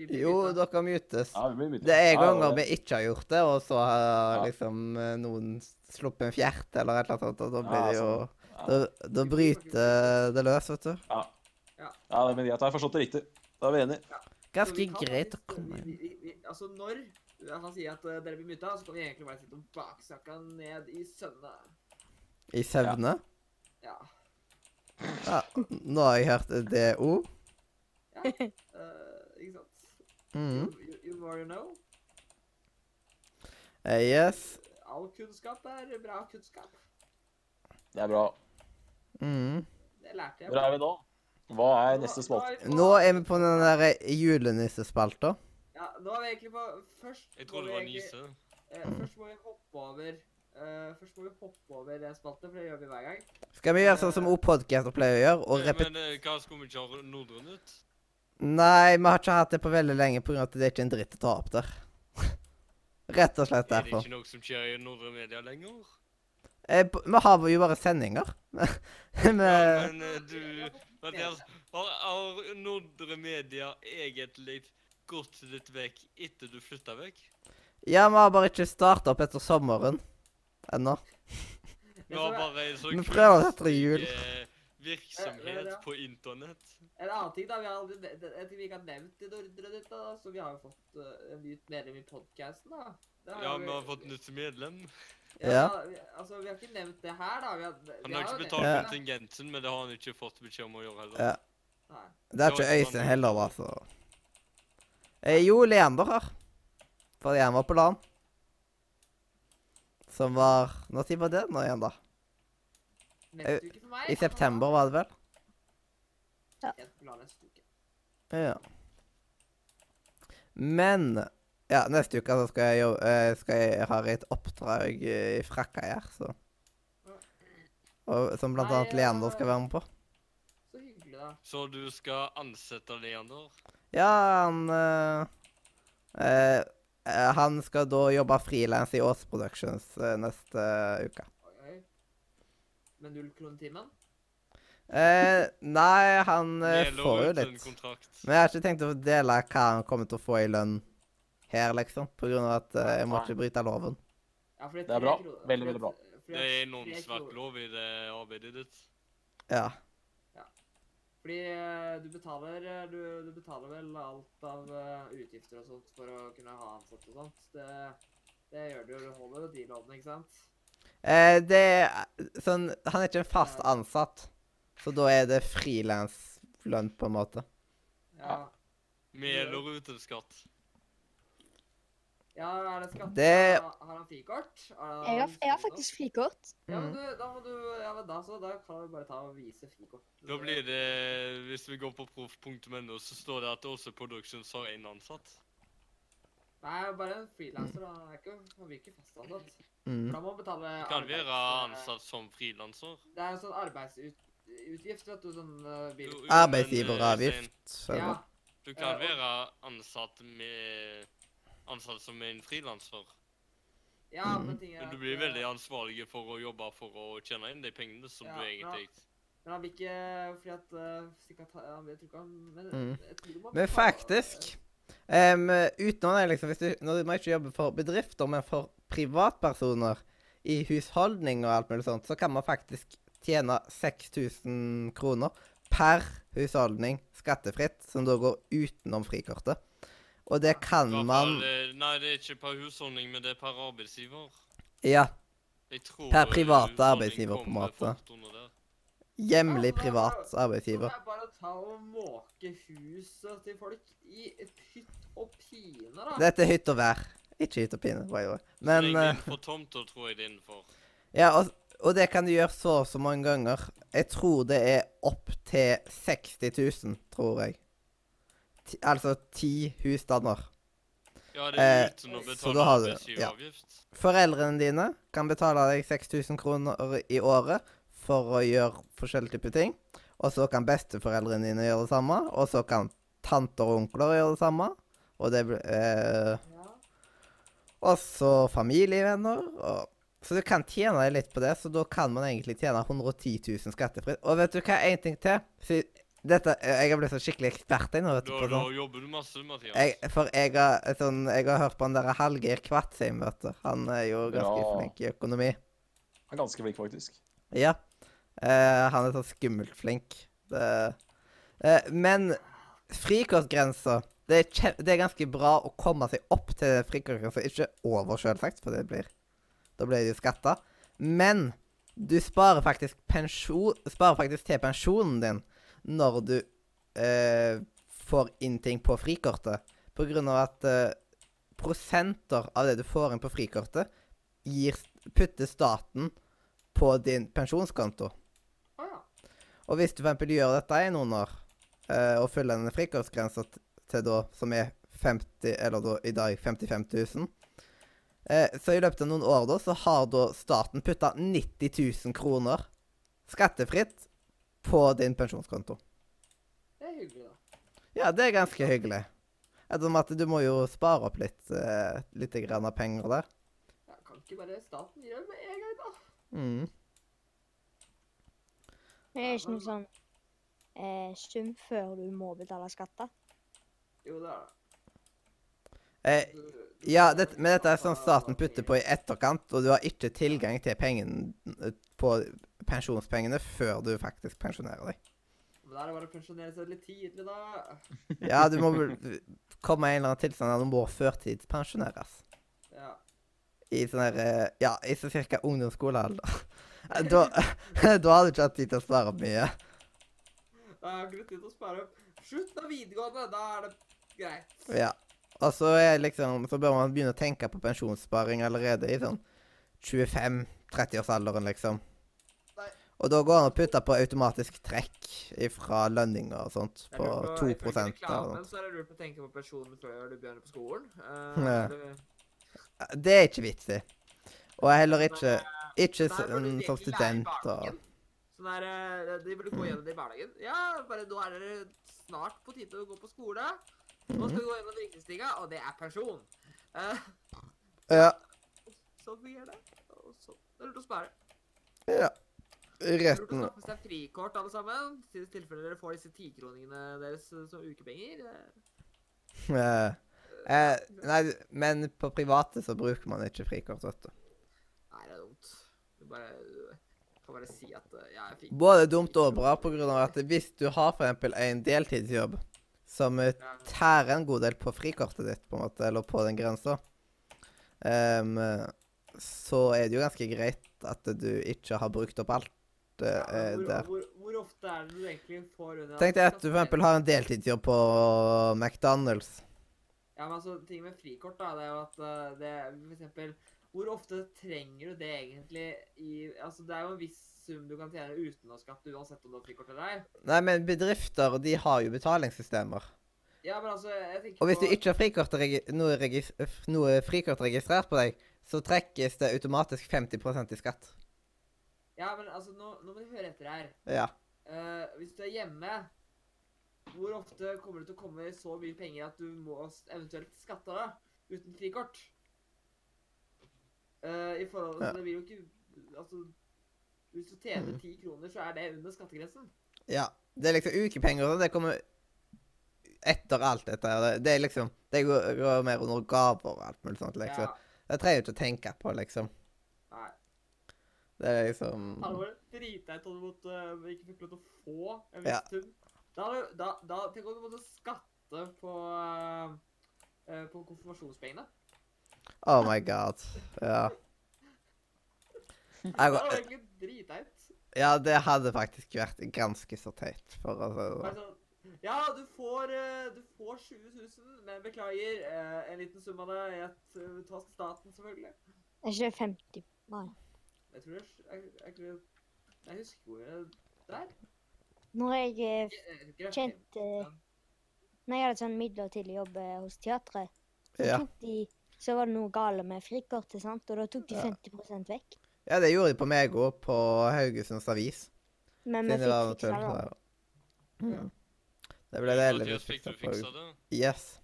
Vi blir
Jo,
muta.
dere mutes.
Ja, vi blir mutet.
Det er
Ja,
ganger
det-
vi ikke har gjort det, og så har
Ja.
liksom eh, noen sluppet en fjert eller et eller annet sånt, og da blir
Ja,
det jo
Ja.
Da, da bryter det løs, vet du.
Ja, men greit, da har jeg forstått det riktig. Da er vi enige.
Så vi
Ganske
kan
greit å
faktisk-
komme
vi-
inn.
vi- vi- Altså, når han sier at eh, dere blir muta, så kan vi egentlig bare sitte og baksnakke han ned i sønne.
I søvne.
Ja.
Ja, nå har jeg hørt det ord. (laughs)
ja. Eh, ikke sant?
Mhm.
You, you more you know.
Eh, Yes.
All kunnskap er bra kunnskap.
Det er bra.
Mhm.
Det lærte jeg.
Hvor er vi nå? Hva er neste spalte?
er vi på-
Nå er vi på den der julenissespalta.
Ja, nå er vi egentlig på Først
Jeg
må
tror
vi
det var
egentlig-
Nise.
eh, først må vi hoppe over eh, Først må vi hoppe over den spalten, for det gjør vi hver gang.
Skal vi gjøre sånn som O-podcaster pleier å gjøre, og
Men,
repetere
men eh, hva skulle vi ikke ha Nordrund ut?
Nei, vi har ikke hatt det på veldig lenge pga. at det er ikke en dritt å ta opp der. (laughs) Rett og slett
Er det
derfor.
ikke noe som skjer i Nordre Media lenger?
Eh, b- Vi har jo bare sendinger. (laughs) Men
Ja,
eh,
men eh, du Mathias, har, har Nordre Media egentlig gått litt vekk etter du flytta vekk?
Ja, vi har bare ikke starta opp etter sommeren ennå.
Vi har bare en sånn
Vi prøver dette til
kunstig,
jul.
eh,
Eh,
virksomhet
ja.
på internett.
En annen ting da, vi har aldri, ne- det- jeg tror vi ikke har nevnt i Nordre ditt, da, så vi har jo fått eh, en nytt medlem i podcasten da. Det
Ja, vi har fått nytt medlem.
Ja.
Ja.
vi, altså, vi har ikke nevnt det her da. Vi har, vi
Han har
jo
ikke
nevnt
betalt
det.
Ja.
kontingenten, men det har han ikke fått beskjed om å gjøre heller.
Ja.
Nei.
Det er ikke Øystein heller, da, så eh, Jo, Leander her. Fordi han var på LAN. Som var Når var det nå igjen, da?
Neste uke for meg.
Eh, I september, var det vel?
Jeg skal la neste uke.
Ja. Men Ja, neste uke så skal jeg jobbe eh, skal jeg har jeg et oppdrag eh, i frakka her, så og, Som blant
Nei,
annet Leander skal være med på.
Så hyggelig da.
Så du skal ansette Leander?
Ja, han eh, eh, eh, Han skal da jobbe frilans i Ås Productions eh, neste uke.
Oi, oi. Med null kronetimen.
Eh, nei, han eh,
Med eller
får jo
uten
litt
kontrakt?
Men jeg har ikke tenkt å dele hva han kommer til å få i lønn her, liksom. På grunn av at eh, jeg må ikke bryte loven.
Ja, fordi
Det er
tre
bra.
kroner-
Veldig,
fordi
veldig bra.
at- fordi at
Det er
tre kroner-
annonsvertlov i det arbeidet ditt.
Ja.
Fordi eh, du betaler, eh, du, du betaler vel alt av eh, utgifter og sånt for å kunne ha ansatt og sånt. Det, det gjør du jo. Du holder jo de lovene, ikke sant?
Eh, det er sånn Han er ikke en fast ansatt, så da er det frilanslønn, på en måte.
Ja.
Med eller uten skatt.
ja er det skatt?
Det-
Har har han frikort? Har han
Jeg har, jeg har
frikort?
faktisk frikort.
Ja, men du, da må du Ja, men da så. Da kan vi bare ta og vise frikort.
Da blir det, hvis vi går på proff.no, så står det at Åse Productions har én ansatt.
Nei, bare en frilanser. da. Han er ikke- Han blir ikke fastansatt.
Mm.
Da må han betale
Kan være
arbeids-
ansatt som frilanser.
Det er en sånn arbeidsutgift, vet du. Sånn eh, bil...
Jo, jo, men, eh, Øystein,
Arbeidsgiveravgift.
Ja.
eller-
Du kan
Eh, og-
være ansatt med Ansatt som en frilanser.
ja, men ting er
Mm. Men du
at,
blir
eh,
veldig ansvarlig for å jobbe for å tjene inn de pengene som
Ja,
du
ja.
egentlig
Men han vil ikke fordi at eh, sikkert, ha- han, Jeg tror ikke han men,
Mm.
jeg tror man
Men
betaler-
faktisk um, Utenom det, liksom, hvis du, når du må ikke jobbe for bedrifter, men for privatpersoner i husholdning og alt mulig sånt, så kan man faktisk tjene 6000 kroner per husholdning skattefritt, som da går utenom frikortet. Og det kan
Ja,
man
for, eh, Nei, det er ikke per husholdning, men det er per arbeidsgiver.
Ja.
Jeg tror
Per
eh,
private
husholdning
arbeidsgiver, på en
kommer
måte.
fort under der.
Hjemlig privat
Så det
arbeidsgiver.
er bare å ta og måke huset til folk i pytt og pine, da.
Dette er hytt og vær. Ikke hytt og pine, by the way. Men
Men Det er
eh,
innenfor tomter, tror jeg det er innenfor.
Ja, og, og det kan du gjøre så og så mange ganger. Jeg tror det er opp til 60 000, tror jeg. Ti, altså ti husstander.
Ja, det er
Eh,
uten å
så da
betale
har du- ja.
arbeidsgiveravgift.
Foreldrene dine kan betale deg 6000 kroner i året for å gjøre forskjellige typer ting. Og så kan besteforeldrene dine gjøre det samme, og så kan tanter og onkler gjøre det samme. Og det blir eh,
Ja.
Og så familievenner. Og... Så du kan tjene deg litt på det, så da kan man egentlig tjene 110 000 skattefritt. Og vet du hva, én ting til. Fy- Dette, eh, jeg har blitt så skikkelig ekspert jeg nå. vet du,
Da,
på
da
sånn.
jobber du masse, Mathias.
Jeg, for jeg har, sånn, jeg har hørt på han der Hallgeir Kvatsheim, vet du. Han er jo ganske
Ja.
flink i økonomi.
Han er ganske flink, faktisk.
Ja. Eh, han er så skummelt flink. Det, eh, men frikortgrensa det, er kje- det er ganske bra å komme seg opp til frikortgrensa. Ikke over, selvsagt, for det blir Da blir det jo skatta. Men du sparer faktisk pensjon Sparer faktisk til pensjonen din når du eh, får inn ting på frikortet. På grunn av at eh, prosenter av det du får inn på frikortet, gir, putter staten på din pensjonskonto.
Å ja.
Og hvis du for eksempel gjør dette i noen år, eh, og følger denne frikortgrensa t- til da, som er 50, eller da i dag 55 000, eh, så i løpet av noen år da, så har da staten putta 90 000 kroner skattefritt på din pensjonskonto.
Det er hyggelig, da.
Ja, det er ganske hyggelig. Ettersom at du må jo spare opp litt, eh, lite grann av penger der.
Ja, kan ikke bare staten gjøre det med en gang, da?
Mm.
Det er ikke noe sånn eh, sum før du må betale skatter.
Jo, det er det.
Eh, ja, det, men dette er sånn staten putter på i etterkant, og du har ikke tilgang til pengene eh, på pensjonspengene før du faktisk pensjonerer deg.
Men da er det bare å pensjonere seg litt tidlig, da.
Ja, du må vel komme i en eller annen tilstand der du må førtidspensjoneres.
Ja.
I sånn her eh, Ja, i så cirka ungdomsskolealder. (laughs) Eh, Da, da har du ikke hatt tid til å spare opp mye.
Da har jeg ikke tid til å spare opp. Slutt av videregående, da er det greit.
Ja. Og så er liksom Så bør man begynne å tenke på pensjonssparing allerede i sånn 25-30-årsalderen, liksom.
Nei.
Og da går det an å putte på automatisk trekk fra lønninger og sånt
Jeg
på
lurer
2 eller
ifølge
noe.
reklamen så er det lurt å tenke på pensjonen før du begynner på skolen. Eh,
Ja.
det-
Det er ikke vits i. Og heller ikke
Nei,
Ikke
der burde
sånn
de
som
egentlig lære i
student og
barnehagen. Sånn der, eh, de burde gå gjennom det i hverdagen. Ja, bare nå er dere snart på tide å gå på skole. Nå skal vi gå gjennom det viktigste, tinga, og det er pensjon. Eh, (laughs)
Ja.
sånn fungerer det. Og så det er lurt å spare.
ja.
Det er Lurt å
Retten
skaffe seg frikort, alle sammen. I tilfelle dere får disse tikroningene deres eh, som ukepenger. Eh,
eh,
sånn?
eh, Nei, men på private så bruker man ikke frikort, vet du.
Nei, det er dumt. Du bare du kan bare si at eh, jeg fikk
Både dumt og bra på grunn av at hvis du har for eksempel en deltidsjobb som eh,
Ja.
tærer en god del på frikortet ditt, på en måte, eller på den grensa, em, så er det jo ganske greit at du ikke har brukt opp alt eh,
Ja, men
eh,
hvor,
der.
Hvor, hvor ofte er det du egentlig får under
Tenk deg at du for eksempel har en deltidsjobb på McDonald's.
Ja, men altså, ting med frikort, da, det er jo at eh, det er for eksempel Hvor ofte trenger du det egentlig i Altså, det er jo en viss sum du kan tjene uten å skatte, uansett om du har frikort eller ei.
Nei, men bedrifter, de har jo betalingssystemer.
Ja, men altså, jeg tenker
Og hvis du
på-
ikke har frikort regi- noe, regis- f- noe frikort registrert på deg, så trekkes det automatisk 50 i skatt.
Ja, men altså, nå, nå må du høre etter her.
Ja.
Eh, hvis du er hjemme, hvor ofte kommer det til å komme så mye penger at du må s- eventuelt skatte av det uten frikort? Eh, I forhold til
Ja. Mhm.
Det vil jo ikke Altså, hvis du tjener ti kroner, så er det under skattegrensen.
ja. Det er liksom ukepenger og sånn. Det kommer etter alt dette. her. Det- Det er liksom Det går, går mer under gaver og alt mulig sånt, liksom.
Ja.
Det trenger du ikke å tenke på, liksom.
Nei.
Det er liksom
Hadde vært dritdeilig om du måtte, eh, ikke fikk lov til å få en
Ja.
viss sum. Da, hadde- da, da Tenk om du måtte skatte på, eh, eh, på konfirmasjonspengene.
Oh my god. Ja. Jeg,
Det hadde
går-
vært egentlig dritdeilig.
ja, det hadde faktisk vært ganske så teit, for å si det
Bare
sånn.
sånn, Ja, du får, eh, du får 20 000, men beklager. eh, En liten sum av det jeg t- tas til eh, staten, selvfølgelig.
Er ikke det 50? Nei.
Jeg tror det er jeg, jeg, tror det- jeg husker ikke hvor jeg der.
Når jeg eh,
Jeg, jeg, jeg, jeg,
tjente Når jeg hadde sånn midlertidig jobb eh, hos teatret, så,
Ja.
tok de, så var det noe gale med frikortet, sant? og da tok de
Ja.
50 vekk.
Ja, det gjorde de på meg òg, på Haugesunds Avis.
Men vi
Siden det var
fikk fiksa det.
naturlig. Mm. Det ble det heldigvis
Mathias, fikk du
fiksa på.
fiksa det?
Yes.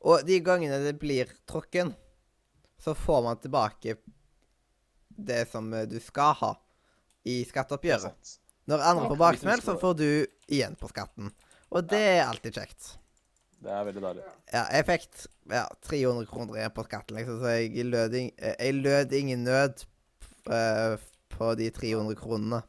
Og de gangene det blir tråkken, så får man tilbake det som eh, du skal ha i
Det er
skatteoppgjøret.
sant.
Når andre får baksmell, så får du igjen på skatten. Og det er alltid kjekt.
Det er veldig deilig.
Ja, jeg fikk t- ja, 300 kroner igjen på skatten, liksom, så jeg lød, ing eh, jeg lød ingen nød eh, på de 300 kronene.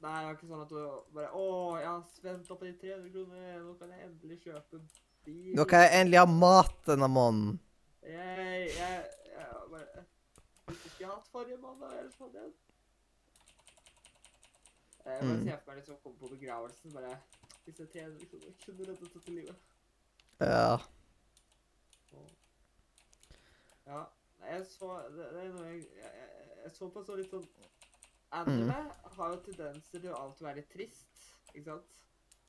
Nei, det var ikke sånn at du bare Å, jeg har spent opp på de 300 kroner, nå kan jeg endelig kjøpe en bil.
Nå kan jeg endelig ha mat denne måneden.
Jeg, jeg, jeg bare eh, Hvis ikke jeg hatt forrige mandag, ellers hadde jeg Jeg bare
Mm.
ser for meg liksom å komme på begravelsen bare Hvis jeg tjener kroner, kunne reddet dette livet.
Ja.
Ja. Nei, jeg så Det, det er noe jeg, jeg, jeg, jeg så på så litt sånn
Mm.
Anime har jo tendenser til å alltid være litt trist, ikke sant?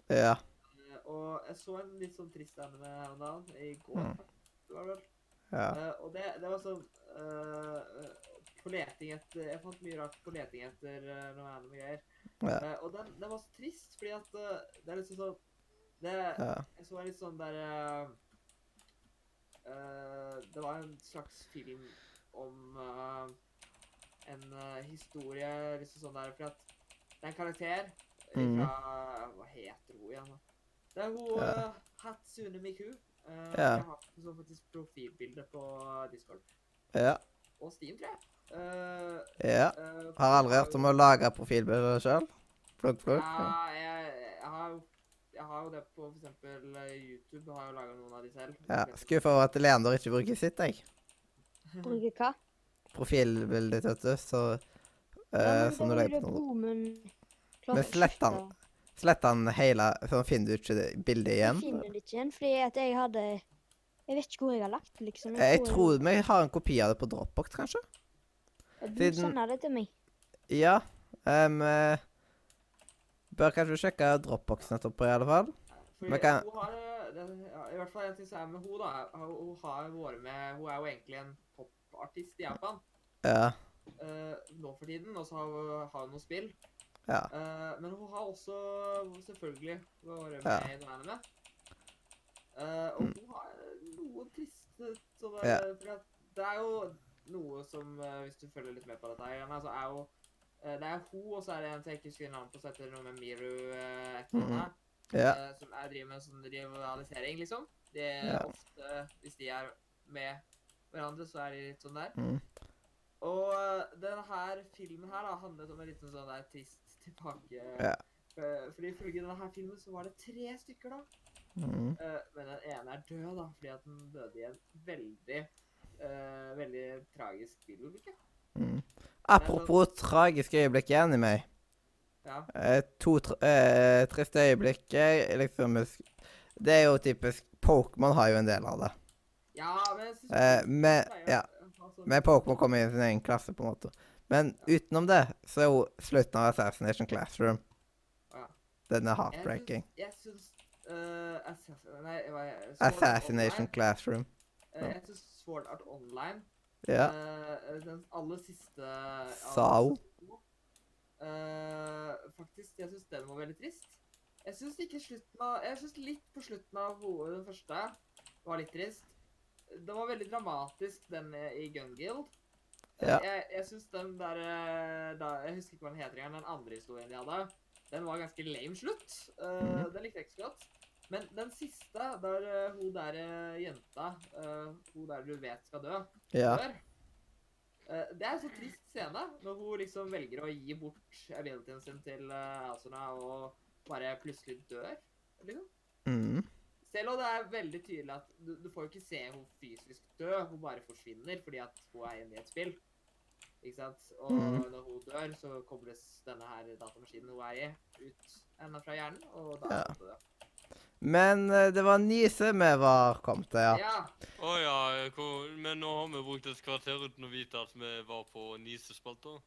Ja.
Eh, Og jeg så en litt sånn trist anime her om dagen. I går,
Mm.
det var vel.
ja.
Eh, og det, det var sånn eh, eh, På leting etter Jeg fant mye rart på leting etter eh, noe anime greier.
Ja.
Eh, og den, den var så trist, fordi at eh, det er liksom sånn det,
ja.
Jeg så en litt sånn der eh, eh, Det var en slags film om eh, en eh, historie liksom sånn der For at det er en karakter
Mhm.
fra Hva heter hun igjen? da? Det er hun
Ja.
eh, Hatsune Miku. Eh,
Ja.
Jeg har så faktisk profilbilde på Discord.
Ja.
Og Steam, tror jeg. Eh,
ja.
eh,
Har aldri hørt om å lage profilbilder sjøl. Plugg, plugg.
Ja, jeg, jeg, har jo, jeg har jo det på for eksempel eh, YouTube. Har jo laga noen av de selv.
Ja. Skuffa over at Leander ikke bruker sitt, jeg.
Bruker hva?
Profilbildet ditt, vet du, så eh, Som du legger på noe. Men slett den Slett den hele, så finner du ikke det bildet
Jeg
igjen.
finner det ikke igjen, fordi at jeg hadde Jeg vet ikke hvor jeg har lagt det, liksom.
Eh, Jeg tror vi har en kopi av det på Dropbox, kanskje?
jeg, Du
siden-
sender sånn det til meg.
Ja. em, eh, bør kanskje sjekke Dropboxen etterpå, i alle fall.
Fordi
Men kan-
hun har, eh, det- ja, I hvert fall en ting som er med hun da. er- Hun, hun har vært med Hun er jo egentlig en popartist i Japan
Ja.
eh, nå for tiden, og så har hun- har hun noen spill.
Ja.
Eh, men hun har også selvfølgelig vært med
Ja. Mm.
i noe anime. Eh, og hun har noen triste sånne
Ja.
For at det er jo noe som, eh, hvis du følger litt med på dette her, Janne, så er jo eh, Det er hun, og så er det en som jeg ikke husker navnet på, som heter noe med Miru eh, et eller
Mm-hmm.
annet,
ja.
eh, Som er, driver med en sånn rivalisering, liksom. Det er
Ja.
ofte, hvis de er med hverandre, så er de litt sånn der.
Mm.
Og eh, den her filmen her da, handlet om en liten sånn der trist tilbake...
Ja.
Eh, Fordi ifølge denne her filmen så var det tre stykker da.
Mm.
Eh, Men den ene er død da, fordi at den døde i en veldig, eh, veldig tragisk bilulykke.
Mm. Apropos tragiske øyeblikk igjen i meg.
Ja.
Eh, to tr eh, triste øyeblikk eh, liksom, eh, sk- Det er jo typisk Pokémon har jo en del av det.
Ja, men jeg synes...
Eh, men ja,
Altså,
men Pokémon kommer i sin egen klasse, på en måte. Men utenom det så er jo slutten av Assassination Classroom
Ja.
Den er
jeg
heartbreaking.
synes- Jeg synes... eh, Assassin... Nei, hva er det? Sword Art
Assassination
Online.
Classroom.
Eh, Jeg synes Sword Art Online.
Ja.
eh, Den aller siste...
Sao.
Eh, faktisk, jeg syns den var veldig trist. Jeg syns ikke slutten av Jeg synes litt på slutten av ho- den første var litt trist. Det var veldig dramatisk, den i Gun Guild. Eh,
Ja.
Jeg, jeg syns den der eh, da, Jeg husker ikke hva den heter igjen, den andre historien de hadde. Den var ganske lame slutt. Eh,
Mhm.
Den likte jeg ikke så godt. Men den siste, der eh, hun der eh, jenta, eh, hun der du vet skal dø,
Ja.
dør. Eh, Det er en så trist scene, når hun liksom velger å gi bort abilityen sin til eh, Asuna og bare plutselig dør. Liksom.
Mm.
Selv om det er veldig tydelig at du, du får jo ikke se hun fysisk dø, hun bare forsvinner fordi at hun er inne i et spill. Ikke sant? Og
Mhm.
når hun dør, så kobles denne her datamaskinen hun er i, ut enda fra hjernen, og da
Ja.
er hun død.
Men eh, det var Nise vi var kommet til, ja.
Ja.
Å ja, eh, hvor, men nå har vi brukt et kvarter uten å vite at vi var på nisespalta.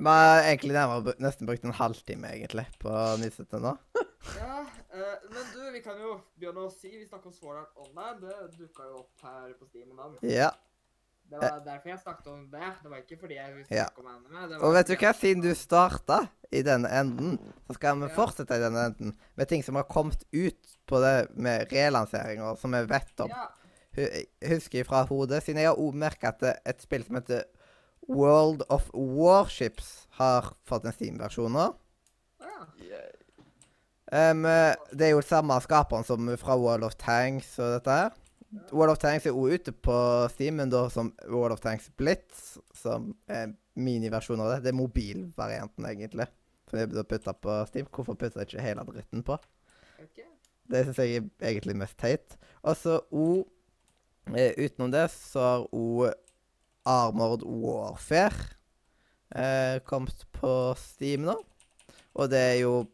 Vi har egentlig nærmere, bru- nesten brukt en halvtime egentlig på Nisete nå.
Ja, eh, men du, vi kan jo begynne å si Vi snakket om Sword Art Online. Det dukka jo opp her på Steam om dagen.
Ja.
Det var derfor jeg snakket om det. Det var ikke fordi jeg ville
Eh. Ja.
snakke om anime. Det var
Og vet du
fordi
hva,
at-
siden du starta i denne enden, så skal vi
Ja.
fortsette i denne enden med ting som har kommet ut på det med relanseringer, som vi vet om.
Ja,
Hu- Husker fra hodet, siden jeg har også merka at det- et spill som heter World of Warships, har fått en Steam-versjon nå.
ja.
Em, eh, det er jo samme skaperen som fra World of Tanks og dette her. World of Tanks er også ute på Steam, men da som World of Tanks Blitz, som er miniversjonen av det. Det er mobilvarianten, egentlig. Som jeg burde putta på Steam. Hvorfor putter jeg ikke hele dritten på?
ok.
Det syns jeg er egentlig mest teit. Og så O eh, Utenom det så har O Armored Warfare eh, kommet på Steam nå. Og det er jo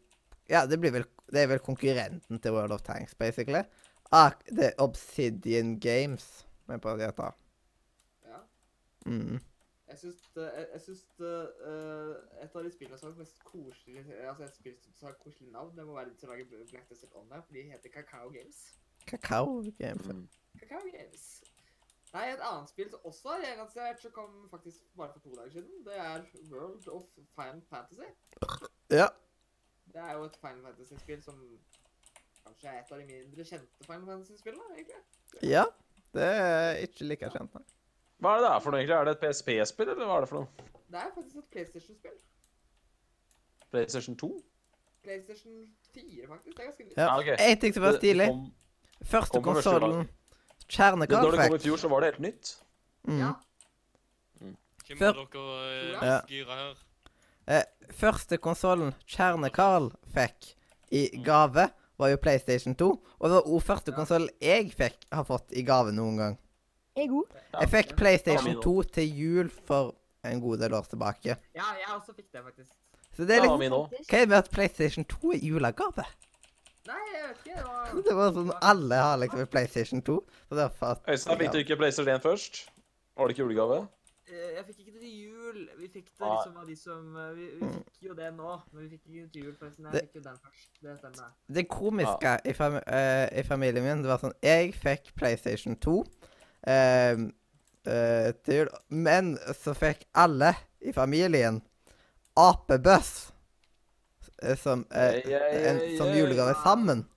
Ja, det blir vel Det er vel konkurrenten til World of Tanks, basically. Ak det er Obsidian Games, men på det heter.
Ja.
Mm.
Jeg syns, det- jeg, jeg syns det, eh, et av de spillene som har mest koselig Altså et spill som har koselig navn, det må være de som lager Black Desert Online, for de heter Kakao Games.
Kakao Games.
Mm.
Kakao Games. Nei, et annet spill som også er relansert, som kom faktisk bare for to dager siden, det er World of Final Fantasy.
Ja.
Det er jo et Final Fantasy-spill som kanskje er et av de mindre kjente Final Fantasy-spillene, egentlig.
ja. Det er ikke like kjent, nei.
Hva er det det er for noe, egentlig? Er det et PSP-spill, eller hva er det for noe?
Det er faktisk et PlayStation-spill.
PlayStation 2?
PlayStation 4, faktisk. Det er ganske nytt.
Ja.
Ja, ok.
En ting som var
Det- det
stilig
kom-
Første
Kom på første
konsollen.
Men når det kom i
Kjernekaffekt.
fjor, så var det helt nytt.
Ja.
Mm.
Hvem
Før-
av dere eh,
Ja.
gira her?
Første konsollen Kjerne-Carl fikk i gave, var jo PlayStation 2. Og det var òg første
Ja.
konsollen jeg fikk har fått i gave noen gang.
Jeg òg.
Ja.
Jeg fikk PlayStation
Ja.
2 til jul for en god del år tilbake.
Ja, jeg også fikk det, faktisk.
Så det er
Ja,
liksom
min òg.
Hva er det med at PlayStation 2 er julegave? (laughs)
Nei, jeg vet ikke. Det var,
Det var sånn Alle har liksom en PlayStation 2. Så det er fast
Øystein, fikk du ikke PlayStation 1 først? Var det ikke julegave?
Eh, Jeg fikk ikke det til jul. Vi fikk det
Nei.
liksom av de som eh, Vi, vi fikk jo det nå, men vi fikk ikke til jul, forresten. Jeg
Mm. Det-
fikk jo den først. Det stemmer. det.
Det komiske i, fami eh, i familien min, det var sånn Jeg fikk PlayStation 2 eh, eh, til jul, men så fikk alle i familien apebuss eh, som, eh,
Ei, ei,
en,
ei,
som
ei.
julegave sammen.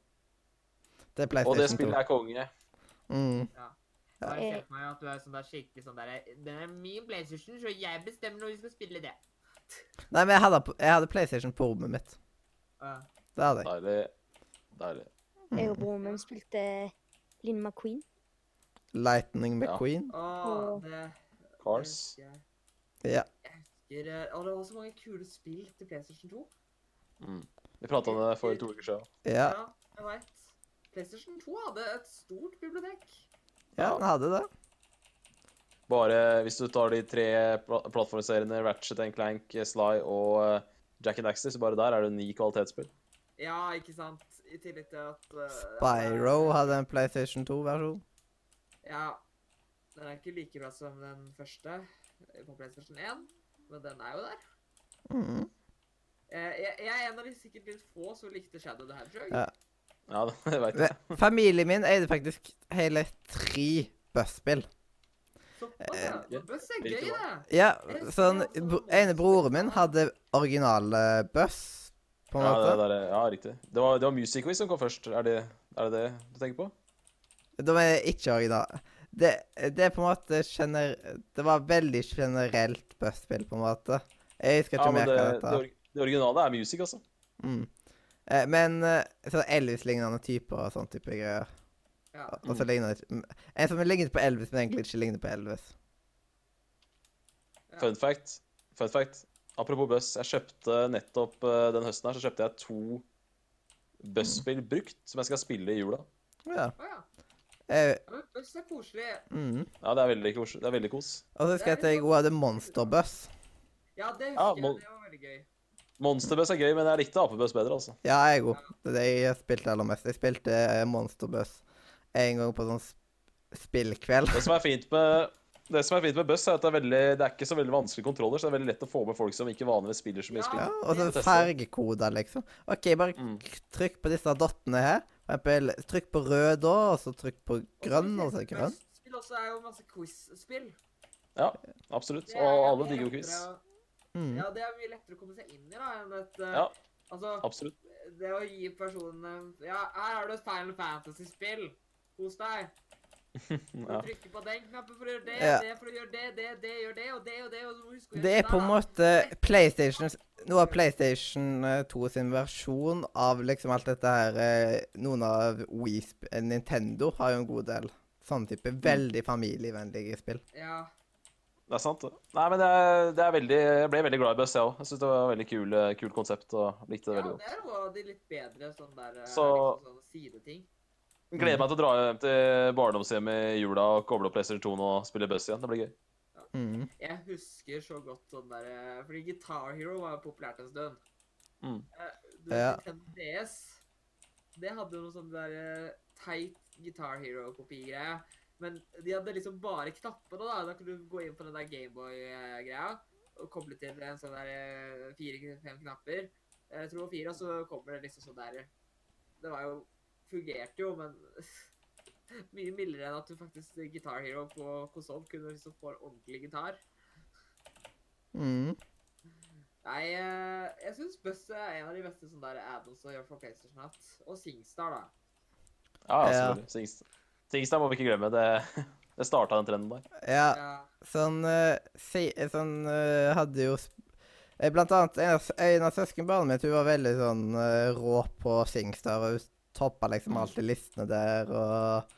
Det er
Og det
PlayStation 2.
spillet er konge.
Mm.
Jeg bare
Ja.
ser for meg at du er sånn der skikkelig sånn der Det er min PlayStation, så jeg bestemmer når vi skal spille det.
Nei, men jeg hadde, jeg hadde PlayStation på rommet mitt.
Ja.
Det hadde jeg.
Deilig. Deilig.
Mm.
Jeg og broren min spilte Linn McQueen.
Lightning
Ja.
McQueen.
Åh,
Åh.
det
Cars.
elsker jeg.
Ja.
Jeg elsker, eh, Åh, det var så mange kule spill til PlayStation 2.
Mm. Vi prata om det for to uker siden.
Ja,
jeg vet. PlayStation 2 hadde et stort bibliotek.
ja den hadde det.
Bare hvis du tar de tre pla plattformseriene Ratchet and Clank, Sly og eh, Jack and Daxter, så bare der er det ni kvalitetsspill.
Ja, ikke sant? I tillegg til at eh,
Spyro hadde en PlayStation 2-versjon.
Ja. Den er ikke like bra som den første eh, på PlayStation 1, men den er jo der.
Mm.
Eh, Jeg, jeg er en av de sikkert litt få som likte Shadow the Hedgehog.
Ja.
Ja, (laughs) det veit jeg.
Ve- Familien min eide faktisk hele tre busspill.
Såpass, ja.
Eh,
Buss er
virker
gøy,
bra.
det.
Ja,
Jeg elsker
sånn
det også.
bro- ene broren min hadde originale buss, på en
Ja, det
måte.
der, er- ja riktig. Det var, det var Music Quiz som kom først. Er det, er det det du tenker på?
De er ikke originale. Det, det er på en måte gener... Det var veldig generelt busspill, på en måte. Jeg husker ikke
Ja, men
mer
det,
hva
det,
dette var.
or- det originale er Music, altså.
Mm. Eh, Men eh, sånn Elvis-lignende typer og sånn type greier.
Ja.
Og
Mm.
så ligner det ikke En som lignet på Elvis, men egentlig ikke ligner på Elvis.
Ja.
Fun fact. Fun fact. Apropos buss. Jeg kjøpte nettopp eh, den høsten her så kjøpte jeg to busspill
Mm.
brukt som jeg skal spille i jula.
Ja.
Å ja.
Eh,
Ja, men Buss er koselig.
mm.
Ja, det er veldig kos. Det er veldig kos.
Og så husker jeg at jeg også hadde monsterbuss.
Ja, det
Ja,
husker
må-
jeg. Det var veldig gøy. er
Monsterbuss er gøy, men jeg likte apebuss bedre, altså.
Ja, jeg òg. Det er det jeg spilte aller mest. Jeg spilte eh, Monsterbuss en gang på sånn sp- spillkveld.
Det som er fint med det som er fint med buss, er at det er, veldig, det er ikke så veldig vanskelige kontroller, så det er veldig lett å få med folk som ikke vanligvis spiller så mye
Ja.
(laughs)
spill.
Ja, og så
Teste.
fargekoder, liksom. OK, bare
Mm.
k- trykk på disse dottene her. For eksempel trykk på rød da, og så trykk på grønn, og så grønn.
Spill også er jo masse quiz-spill.
Absolutt.
Det er
Og
jo
alle
mye
digger jo
lettere
quiz.
å-
Mm.
Ja, det er mye lettere å komme seg inn i da, enn et eh,
Ja.
Altså,
Absolutt.
det å gi personen eh, Ja, her har du et Final Fantasy-spill. Kos deg. Du
Mm, Ja.
trykker på den knappen for å gjøre det,
Ja.
det for å gjøre det, det, det gjør det, og det og det, og du må huske å gjøre sånn
Det er på en
da.
måte PlayStation Noe av PlayStation eh, 2 sin versjon av liksom alt dette her eh, Noen av Wii sp- eh, Nintendo har jo en god del sånne type
Mm.
veldig familievennlige spill.
Ja.
Det er sant, det. Nei, men det er, det er veldig, jeg ble veldig glad i Buzz, jeg òg. Jeg syns det var et veldig kul, eh, kul konsept og likte det
ja,
veldig godt.
det er noe av de litt bedre sånn der eh,
Så-
liksom, sånne sideting.
Mm. Gleder meg til å dra hjem til barndomshjemmet i jula og koble opp PlayStation 2 og spille Buzz igjen. Det blir gøy.
Mm.
Jeg husker så godt sånn der eh, Fordi Guitar Hero var jo populært en stund.
Mm.
Eh, Du
Ja.
vet, Nintendo DS, det hadde jo noe sånn der eh, teit Guitar Hero-kopigreie. Men de hadde liksom bare knappene, da. Da kunne du gå inn på den der Gameboy-greia og koble til en sånn der fire-fem knapper. Eh, Jeg tror det var fire, og så kommer det liksom sånn der Det var jo Fungerte jo, men (laughs) mye mildere enn at du faktisk eh, Guitar Hero på konsoll kunne liksom få en ordentlig gitar.
Mm.
Nei, eh, jeg syns Buss er en av de beste sånne der add-ons å gjøre for PlayStation hatt. Og Singstar, da.
Ja, ja,
Ja.
selvfølgelig. Sings- Singstar må vi ikke glemme. Det, (laughs) det starta den trenden der.
Ja.
Ja.
Sånn, eh, si, eh, sånn eh, hadde jo sp- eh, Blant annet en av, s- en av søskenbarna mine, hun var veldig sånn eh, rå på Singstar. Og hun toppa liksom
Mm.
alltid listene der og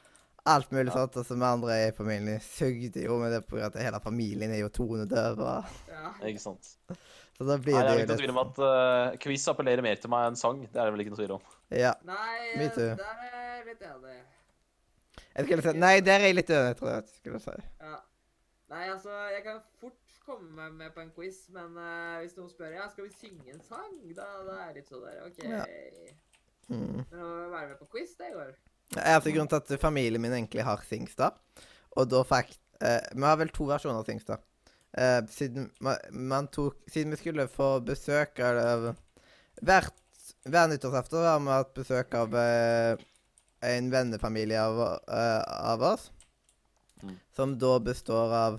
alt mulig sånt. Og så vi andre i familien sugde jo med det på grunn av at hele familien er jo tonedøve.
Ja.
Ikke sant?
Så da blir
Nei, det
det
er
jo
vel ikke noe tvil om at eh, quiz appellerer mer til meg enn sang. Det er det vel ikke noe tvil om.
Ja.
Nei,
Me
eh,
too.
der er jeg litt enig.
Jeg skulle si Nei, der er jeg litt uenig, tror jeg. at jeg skulle si.
Ja. Nei, altså, jeg kan fort komme meg med på en quiz, men eh, hvis noen spør ja, skal vi synge en sang, da, da er jeg litt sånn der, OK.
Ja. Mm.
Men å være med på quiz, det går.
Jeg har til grunn til at familien min egentlig har Singstar. Og da fikk eh, Vi har vel to versjoner av Singstar. Eh, siden, ma- man tok, siden vi skulle få besøk av hvert, Hver nyttårsaften har vi hatt besøk av eh, en vennefamilie av, eh, av oss.
Mm.
Som da består av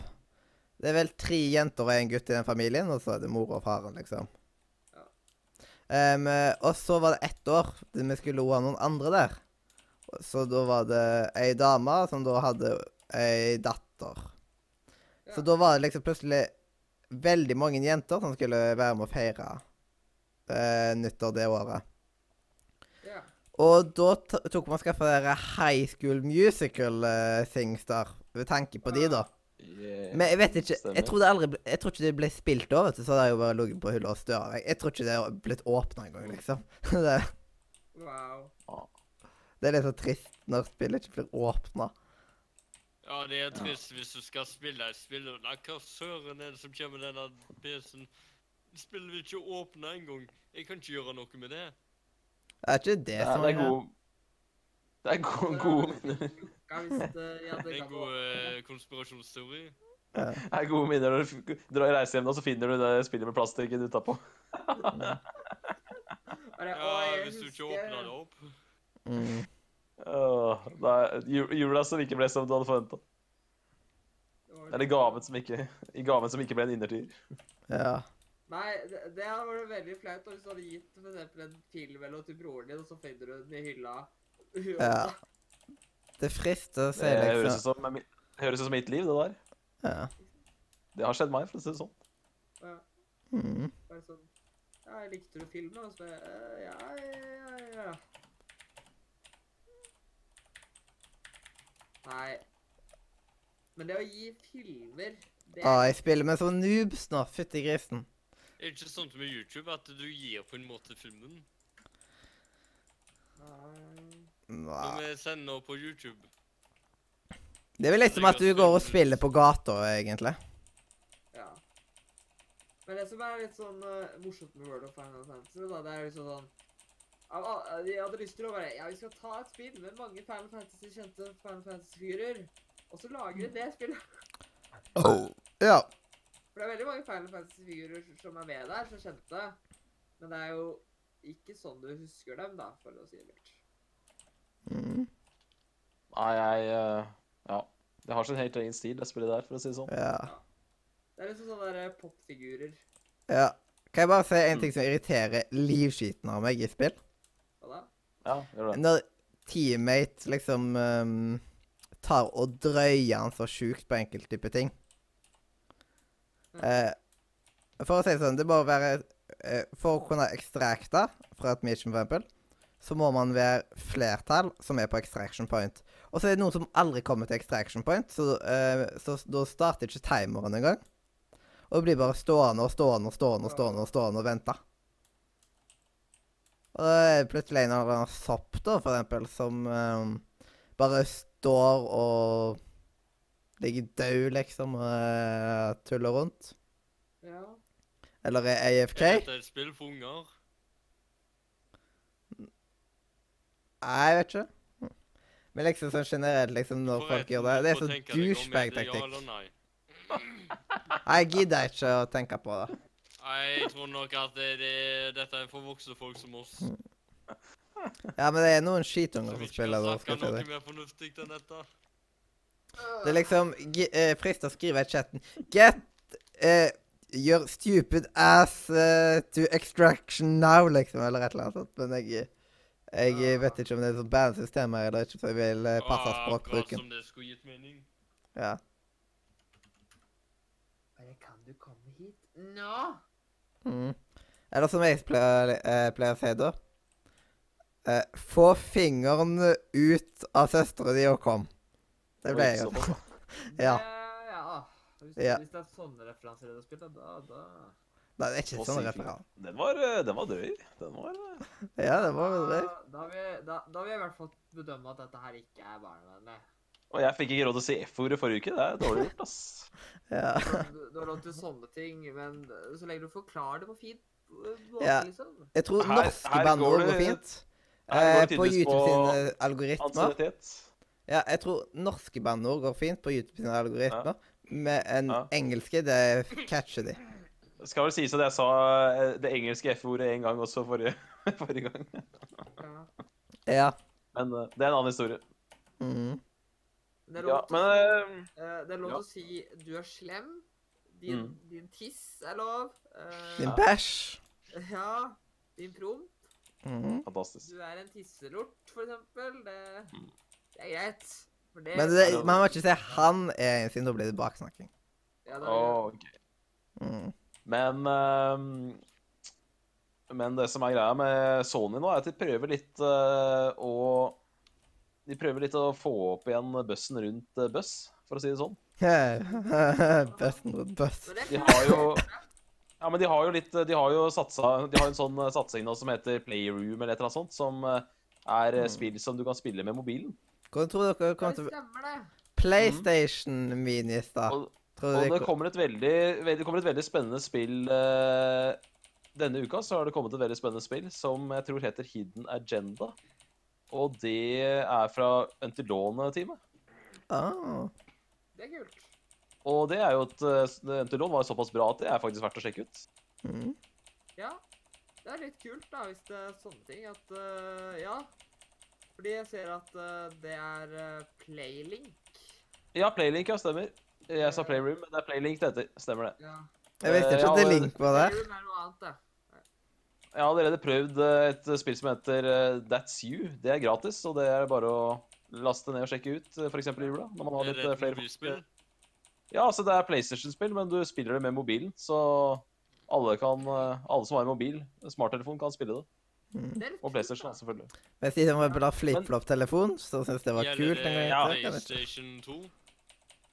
Det er vel tre jenter og en gutt i den familien, og så er det mor og faren, liksom.
Ja.
Em, eh, og så var det ett år der vi skulle ha noen andre der. Så da var det ei dame som da hadde ei datter. Så
Ja.
da var det liksom plutselig veldig mange jenter som skulle være med å feire eh, nyttår det året.
Ja.
Og da t tok man skaffa dere High School Musical-singstar, ved tanke på de, da.
Yeah.
Men jeg vet ikke Jeg
Ah, Stemmer.
tror det aldri ble, Jeg tror ikke det ble spilt da, vet du. Så hadde jeg jo bare ligget på hullet og støra. Jeg, jeg tror ikke det har blitt åpna engang,
Mm.
liksom. (laughs) det,
Wow.
det er litt så trist når spillet ikke blir åpna.
Ja, det er trist hvis du skal spille et spill, og nei, hva søren er det som kommer med denne PC-en? Spillet vil ikke åpne engang. Jeg kan ikke gjøre noe med det.
Er ikke det
Ja,
som
det er gode Det er gode, gode, minner.
Hva hvis eh, ja,
Det
det kan
er en
gå?
god eh, konspirasjonsteori.
det er gode minner når du f- drar reiser hjem, da, så finner du det spillet med plastikken utapå.
Bare,
Ja,
«Å, jeg
hvis du ikke
husker-
åpner det opp.
mm.
Åh, det er ju- Jula som ikke ble som du hadde forventa.
det var-
Eller gaven som ikke, i gaven som ikke ble en innertier.
Ja.
Nei, det, det hadde vært veldig flaut hvis du hadde gitt for eksempel en film eller noe til broren din, og så finner du den i hylla. (laughs)
Ja. Det frister å si
Det Eh, høres ut
liksom
som, mi- høres ut som mitt liv, det der.
ja.
Det har skjedd meg, for å si det sånn.
Ja,
mm.
bare sånn. Ja, likte du filmen? Og så bare, «Eh, ja, ja, ja, ja. Nei. Men det å gi filmer, det
Å, jeg spiller med sånn noobs nå. Fytti grisen.
Det er ikke sånt med YouTube at du gir på en måte filmen.
Nei.
Nja.
Når vi sender på YouTube.
Det er vel liksom at du går og spiller på gata, egentlig.
Ja. Men det som er litt sånn eh, morsomt med World of Final Fantasy, da, det er liksom sånn av al- De hadde lyst til å bare Ja, vi skal ta et spill med mange Final Fantasy kjente Final Fantasy-figurer, og så lager vi det spillet. (laughs)
Oh.
Ja.
For det er veldig mange Final Fantasy-figurer s- som er med der, som er kjente. Men det er jo ikke sånn du husker dem, da, for å si det mildt.
Mm.
Nei, jeg eh, Ja. Det har sin helt egen stil, det spillet der, for å si det sånn.
ja.
Det er liksom sånne der popfigurer.
Ja. Kan jeg bare si en ting som irriterer livskiten av meg i spill?
Hva da?
Ja, gjør det.
Når teammate liksom ehm, tar og drøyer han så sjukt på enkelte type ting. Eh, for å si det sånn, det må være eh, For å kunne ekstrakte fra et mission, for eksempel, så må man være flertall som er på extraction point. Og så er det noen som aldri kommer til extraction point, så, eh, så da starter ikke timeren engang. Og det blir bare stående og stående og stående og stående og stående og vente. Og da er det plutselig en eller annen sopp, da, for eksempel, som eh, bare står og ligger død, liksom, og eh, tuller rundt.
Ja.
Eller er AFK?
Er dette et spill for unger?
Nei, jeg vet ikke. Men liksom sånn generelt, liksom, når folk gjør det Det er sånn så
Ja
douchebag-taktikk.
eller nei?
Jeg gidder ikke å tenke på det.
Nei, jeg tror nok at det, det, dette er for voksne folk som oss.
Mm, Ja, men det er noen skitunger
Som
som
ikke
spiller det.
kan
skal
snakke
jeg si
noe
deg.
mer fornuftig enn dette.
Det er liksom gi- eh, frist å skrive i chatten Get eh, Your stupid ass eh, to extraction now, liksom, eller et eller annet sånt. Men jeg jeg vet ikke om det er sånn bandsystem her eller ikke, så jeg vil eh, passe
Ah, Akkurat
språkbruken.
som det skulle gitt mening.
Ja.
Bare kan du komme hit? Nå!
Mm. Eller som jeg pleier, eh, pleier å si, da eh, Få fingrene ut av søstera di og kom. Det ble
Oi,
jeg.
såpass,
Ja.
ja.
Det- ja. Hvis,
Ja.
hvis det er sånne referanser i det spillet, da, da
Nei, det er ikke
Få
sånn
fingrene.
referanse.
Den var, eh, den var drøy. Den var eh,
Ja, det var
da,
det.
da, vil, da, da vil jeg i hvert fall bedømme at dette her ikke er barnevennlig.
Og jeg fikk ikke råd til å si F-ordet forrige uke. Det er dårlig gjort, ass.
Ja.
Sånn, Du, du har lov til sånne ting, men så lenge du forklarer det på fin måte,
Ja.
liksom.
Jeg tror
Her-
norske
her
banneord
går
går
det-
fint.
her går
Eh,
det
på
tydeligvis
YouTube
på
sine algoritmer.
Ansiennitet.
Ja, jeg tror norske banneord går fint på YouTube sine algoritmer. Med en
Ja.
engelske, det catcher de.
Det skal vel sies at jeg sa eh, det engelske F-ordet en gang også forrige, (laughs) forrige gang.
Ja.
Ja.
Men eh, det er en annen historie.
Mm.
Men Det er lov,
Ja,
til,
men
å si-
eh,
eh, det er lov
ja.
til å si du er slem. Din,
Mm.
din tiss er lov. eh,
Din bæsj.
ja. Din promp.
Mhm.
Fantastisk.
Du er en tisselort, for eksempel. Det, det er greit. For det,
Men det, man må ikke si 'han' er siden da blir det baksnakking.
ja, da,
Å, ok.
Mm.
Men ehm, Men det som er greia med Sony nå, er at de prøver litt eh, å De prøver litt å få opp igjen bussen rundt eh, buss, for å si det sånn.
(laughs) Bøssen mot bøss.
Men det,
De har jo Ja, men de har jo litt De har jo satsa De har en sånn eh, satsing nå som heter Playroom eller et eller annet sånt, som eh, er eh, spill som du kan spille med mobilen.
Hvordan tror dere
det
kommer til
stemmer, det.
PlayStation Minis, da?
Mm. Og,
Tror
og
dere
det kommer et veldig, veldig, det kommer et veldig spennende spill eh, Denne uka så har det kommet et veldig spennende spill som jeg tror heter Hidden Agenda. Og det er fra Untilone-teamet.
Ah.
Det er kult.
Og det er jo et eh, Untilone var såpass bra at det er faktisk verdt å sjekke ut.
Mm.
Ja. Det er litt kult, da, hvis det er sånne ting at øh, Ja. Fordi jeg ser at øh, det er øh, Playlink.
Ja, Playlink, ja, stemmer. Jeg sa Playroom, men det er Playlink det heter. Stemmer det.
Ja.
Jeg visste
Eh,
ikke at
ja,
det
og-
Link var der.
Playroom er noe annet, det.
Jeg har allerede prøvd eh, et spill som heter eh, That's You. Det er gratis, og det er bare å laste ned og sjekke ut, eh, for eksempel i jula. Når man har
Er
litt
det
eh,
et
flere
mobilspill?
Ja, altså det er PlayStation-spill, men du spiller det med mobilen, så alle, kan, eh, alle som har en mobil, en smarttelefon, kan spille det.
det er litt
Og
kult,
PlayStation,
da.
da, selvfølgelig.
Men siden man ville ha flip-flop-telefon, så syntes jeg det var
Gjelder
kult.
det
en gang. i
Ja.
tiden, jeg vet ikke.
PlayStation 2?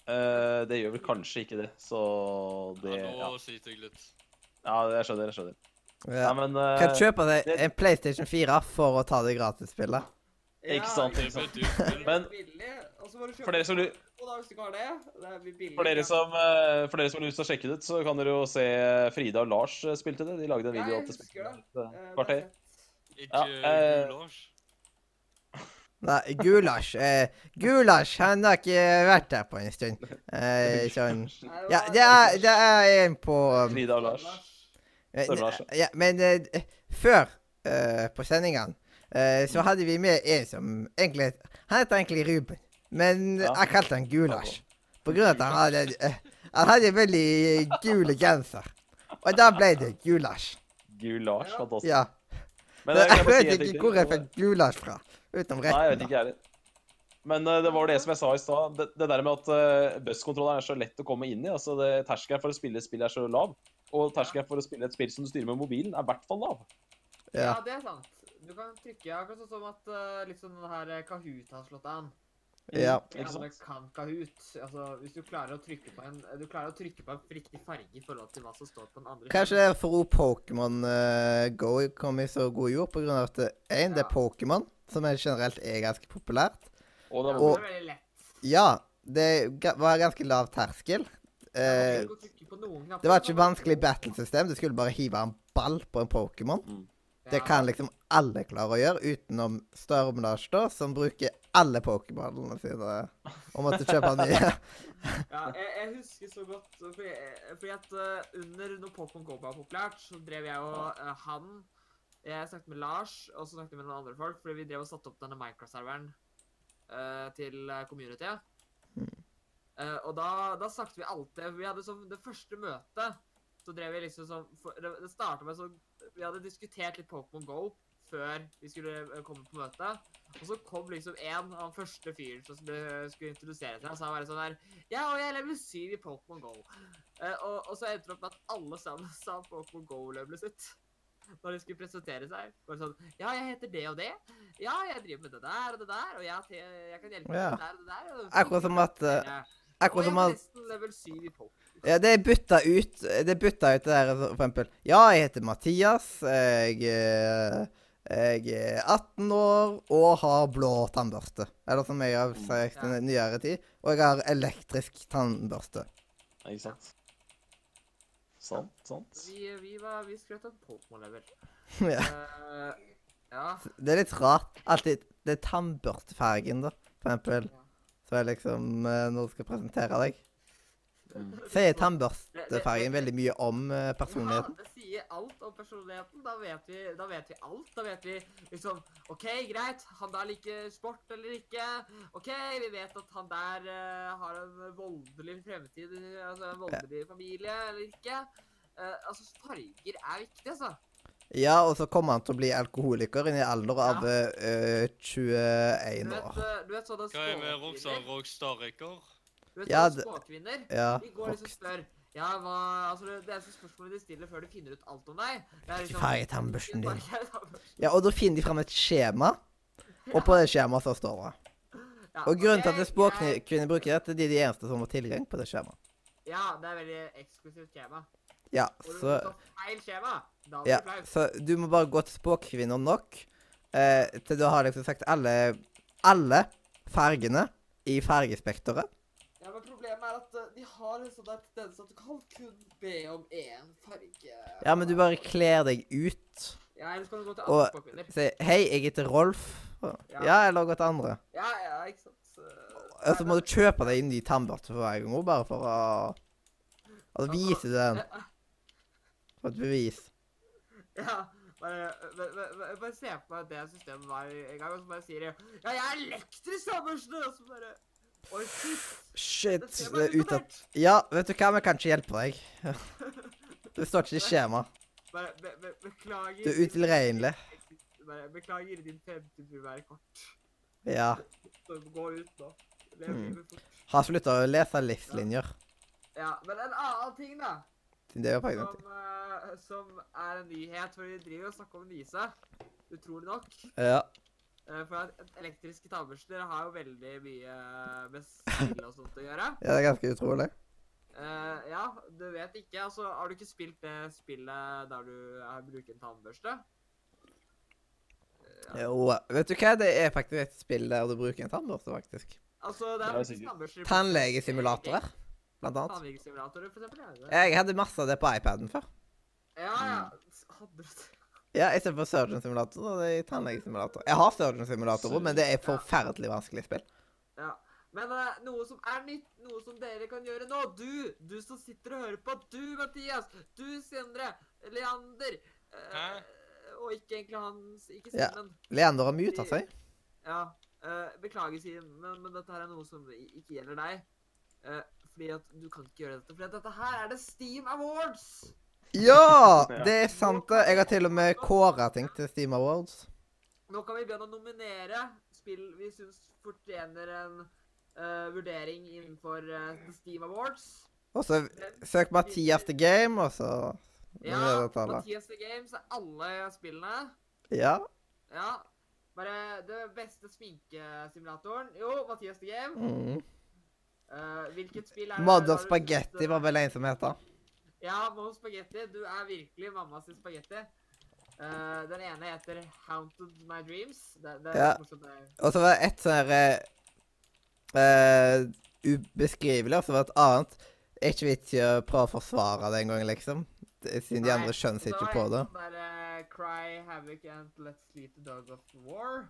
Eh, det gjør vel kanskje ikke det, så det
Ja,
Ja,
nå sliter jeg litt.
ja jeg skjønner, jeg skjønner.
Ja.
Nei, men eh,
Kan kjøpe deg
det-
en PlayStation 4 for å ta det gratisspillet.
Ikke sant,
Det ble et dyrt spill.
det er
(laughs) Men
billig, og så bare kjøper
for dere som
du
lu-
to da, hvis du ikke har det. Det er billig.
for dere, som, eh, for dere som har lyst til å sjekke det ut, så kan dere jo se Frida og Lars eh, spilte det. De lagde en
Ja,
video
jeg
til
husker
spillet.
det. Eh,
Et
det
eh,
er
kvarter.
fett.
Ikke
eh,
du, Lars?
Nei, gulasj. Eh, gulasj han har ikke vært der på en stund. Eh,
(laughs)
sånn
Nei, det
Ja,
var-
det er, det er en på eh,
Frida og Lars.
eh, ja, Men eh, før, eh, på sendingene, eh, så hadde vi med en som egentlig Han heter egentlig Ruben, men
Ja.
jeg kalte han Gulasj. På grunn av at han hadde eh, Han hadde en veldig gul genser. Og da ble det gulasj.
Gulasj,
Ja.
fantastisk.
Ja.
Men eh,
(laughs) Jeg
bare si
vet
en ting
ikke
til.
hvor jeg fikk gulasj fra. Utenom
Nei, jeg vet
(laughs) retten.
ikke jeg heller. Men eh, det var det som jeg sa i stad. Det, det der med at uh, busskontrolleren er så lett å komme inn i. altså det- Terskelen for å spille et spill er så lav. Og terskelen for å spille et spill som du styrer med mobilen, er i hvert fall lav.
da. Ja.
Ja, det er sant. Du kan trykke akkurat sånn som at eh, liksom den her eh, Kahoot har slått an.
Ja.
Ikke
Ikke
alle
sant?
kan Kahoot. Altså, hvis du klarer å trykke på en Du klarer å trykke på en riktig farge i forhold til hva som står på den andre.
Kanskje det er for at Pokémon eh, Go kom i så god jord på grunn av at én, det er
Ja. Pokémon,
Pokémon, som er generelt er ganske populært.
Og det
skjermen.
er
Ja,
og-
det er
Ja, det
veldig lett.
ga- var ganske lav terskel. Eh,
Du kan trykke på noen knapper,
det var ikke
så-
vanskelig battlesystem. Du skulle bare hive en ball på en Pokémon. Det
Ja.
kan liksom alle klare å gjøre, utenom Stormlash, da, som bruker alle Pokémonene sine og måtte kjøpe nye.
Ja, jeg, jeg husker så godt uh, Fordi, eh, fordi at uh, under når Pokémon GO var populært, så drev jeg og uh, han Jeg snakket med Lars, og så snakket jeg med noen andre folk, fordi vi drev og satte opp denne Minecraft-serveren eh, til uh, community. Eh, og da, da snakket vi alltid Vi hadde sånn det første møtet Så drev vi liksom sånn for, Det, det startet med sånn Vi hadde diskutert litt Pokémon GO før vi skulle eh, komme på møtet. Og så kom liksom en av den første fyren som skulle, skulle introdusere seg, og sa bare sånn her ja, og jeg er level 7 i Pokémon GO. Eh, og, og så endte det opp med at alle sammen sa Pokémon GO-levelet sitt. når de skulle presentere seg. Var det sånn Ja, jeg heter det og det. Ja, jeg driver med det der og det der, og jeg, te- jeg kan hjelpe
Ja.
med det der og det der. Og
Akkurat som at, eh,
Og
Akkurat
jeg
som
er
han
nesten level 7 i pop.
Ja, det er bytta ut. Det er bytta ut det der, for eksempel. Ja, jeg heter Mathias. Jeg, eh, jeg er 18 år og har blå tannbørste. Eller som jeg har sagt i nyere tid. Og jeg har elektrisk tannbørste.
Nei, ikke sant? Sant, sant.
Vi, vi, var, vi skrøt av Pokémon-level.
(laughs) ja.
Eh, ja.
Det er litt rart. Alltid Det er tannbørstefargen, da, for eksempel. Så er liksom eh, Når du skal presentere deg.
Mm.
Sier tannbørstefargen veldig mye om eh, personligheten?
Ja, det sier alt om personligheten. Da vet vi, da vet vi alt. Da vet vi liksom OK, greit, han der liker sport eller ikke. OK, vi vet at han der eh, har en voldelig fremtid, altså en voldelig familie eller ikke. Eh, altså, farger er viktig, altså.
Ja, og så kommer han til å bli alkoholiker i en alder av eh, 21
Du vet,
år.
eh, du vet sånne
Hva er med Rockstar
spåkvinner?
Rockstar-rekker?
Du vet
Ja,
sånne
det-
spåkvinner?
Ja.
De går
Ah,
liksom og
Fuck.
spør Ja, hva Altså, det- det er sånne spørsmål de stiller før de finner ut alt om deg. Det er
Hvilken farge er tannbørsten din?
Hvilken farge er tannbørsten?
Ja, og da finner de fram et skjema, og på det skjemaet så står det.
(laughs) Ja,
Og grunnen til
ok,
at
greit.
språkkvinner bruker dette, de er de eneste som har tilgang på det skjemaet.
Ja, det er veldig eksklusivt skjema.
Ja,
Og du
så
tar feil skjema, da blir
Ja,
det flaut.
så du må bare gå til språkkvinner nok eh, til du har liksom sagt alle, alle fargene i fargespekteret.
Ja, men problemet er at eh, de har en sånn der tendens at du kan kun be om én farge.
Ja, men du bare kler deg ut.
Ja, ellers kan du gå til
Og-
andre språkvinner.
Si 'Hei, jeg heter Rolf'. Ja, eller gå til andre.
Ja, ja, ikke sant. Så-
Og så må du kjøpe deg en ny tannbørste for hver gang òg, bare for å Altså vise den. For et bevis.
Ja, bare, bare, bare, bare se på meg at det systemet var en gang, og så bare sier de Ja, jeg er elektrisk Andersen! Og så bare Oi, shit.
Shit.
Det ser
Det
bare
er
ut
ut av
av
Ja, vet du hva, vi kan ikke hjelpe deg. (laughs) Det står ikke i skjemaet.
Bare be, be, beklager
Du er utilregnelig.
Bare Beklager din 50 burde være kort.
Ja.
Så gå ut nå. Lev
Mm.
livet fort.
Har slutta å lese livslinjer.
Ja, men en annen ting, da,
Det er jo
som,
faktisk
eh, som er en nyhet, for de driver og snakker om Nisa, utrolig nok.
Ja.
eh, for at et- elektriske tannbørster har jo veldig mye med spill og sånt å gjøre.
ja, det er ganske utrolig.
Eh, ja, du vet ikke. Altså, har du ikke spilt det spillet der du eh, bruker en tannbørste?
Jo, vet du hva, det er faktisk et spill der du bruker en tannbørste, faktisk.
Altså, det
Ja,
er faktisk
sikkert.
tannbørster
Tannlegesimulatorer, blant annet.
Tannlegesimulatorer, for eksempel. er det det?
Jeg hadde masse av det på iPaden før.
Ja, ja. Hadde du det?
Ja, istedenfor Surgeon Simulator og det er tannlegesimulator. Jeg har Surgeon Simulator òg, men det er forferdelig vanskelig spill.
Ja. Men eh, noe som er nytt, noe som dere kan gjøre nå. Du du som sitter og hører på. Du, Mathias. Du, Sindre. Leander. eh,
Hæ?
Og ikke egentlig hans. Ikke
Ja.
Simen.
Leander har muta seg.
Ja. eh, beklager, Simen, men, men dette her er noe som i- ikke gjelder deg. Eh, fordi at du kan ikke gjøre dette. Fordi at dette her er det Steam Awards!
Ja! Det er sant, det. Jeg har til og med kåra ting til Steam Awards.
Nå kan vi begynne å nominere spill vi syns fortjener en eh, vurdering innenfor eh, The Steam Awards.
Og så søk Mathias The Game, og så
Ja,
Ja, det tar det.
Mathias The Games er alle spillene.
Ja.
Ja. Bare det beste sminkesimulatoren. Jo, Mathias The Game.
Mm.
Eh, hvilket spill er det-
Mod
har
of
du
Spaghetti
sett, eh,
var vel en som het det.
Ja, Mod of Spaghetti. Du er virkelig mammas spagetti. Eh, den ene heter Haunted My Dreams. Det, det er
Ja.
litt morsomt. det er-
Og så var det et sånn her eh, Ubeskrivelig, og så var det et annet. Det er Ikke vits i å prøve å forsvare det engang, liksom. Det- Siden de
Nei,
andre skjønner
Så
seg
da
ikke
er
på det.
en sånn der, eh, Cry Havoc and Let's Lead the Dog of War.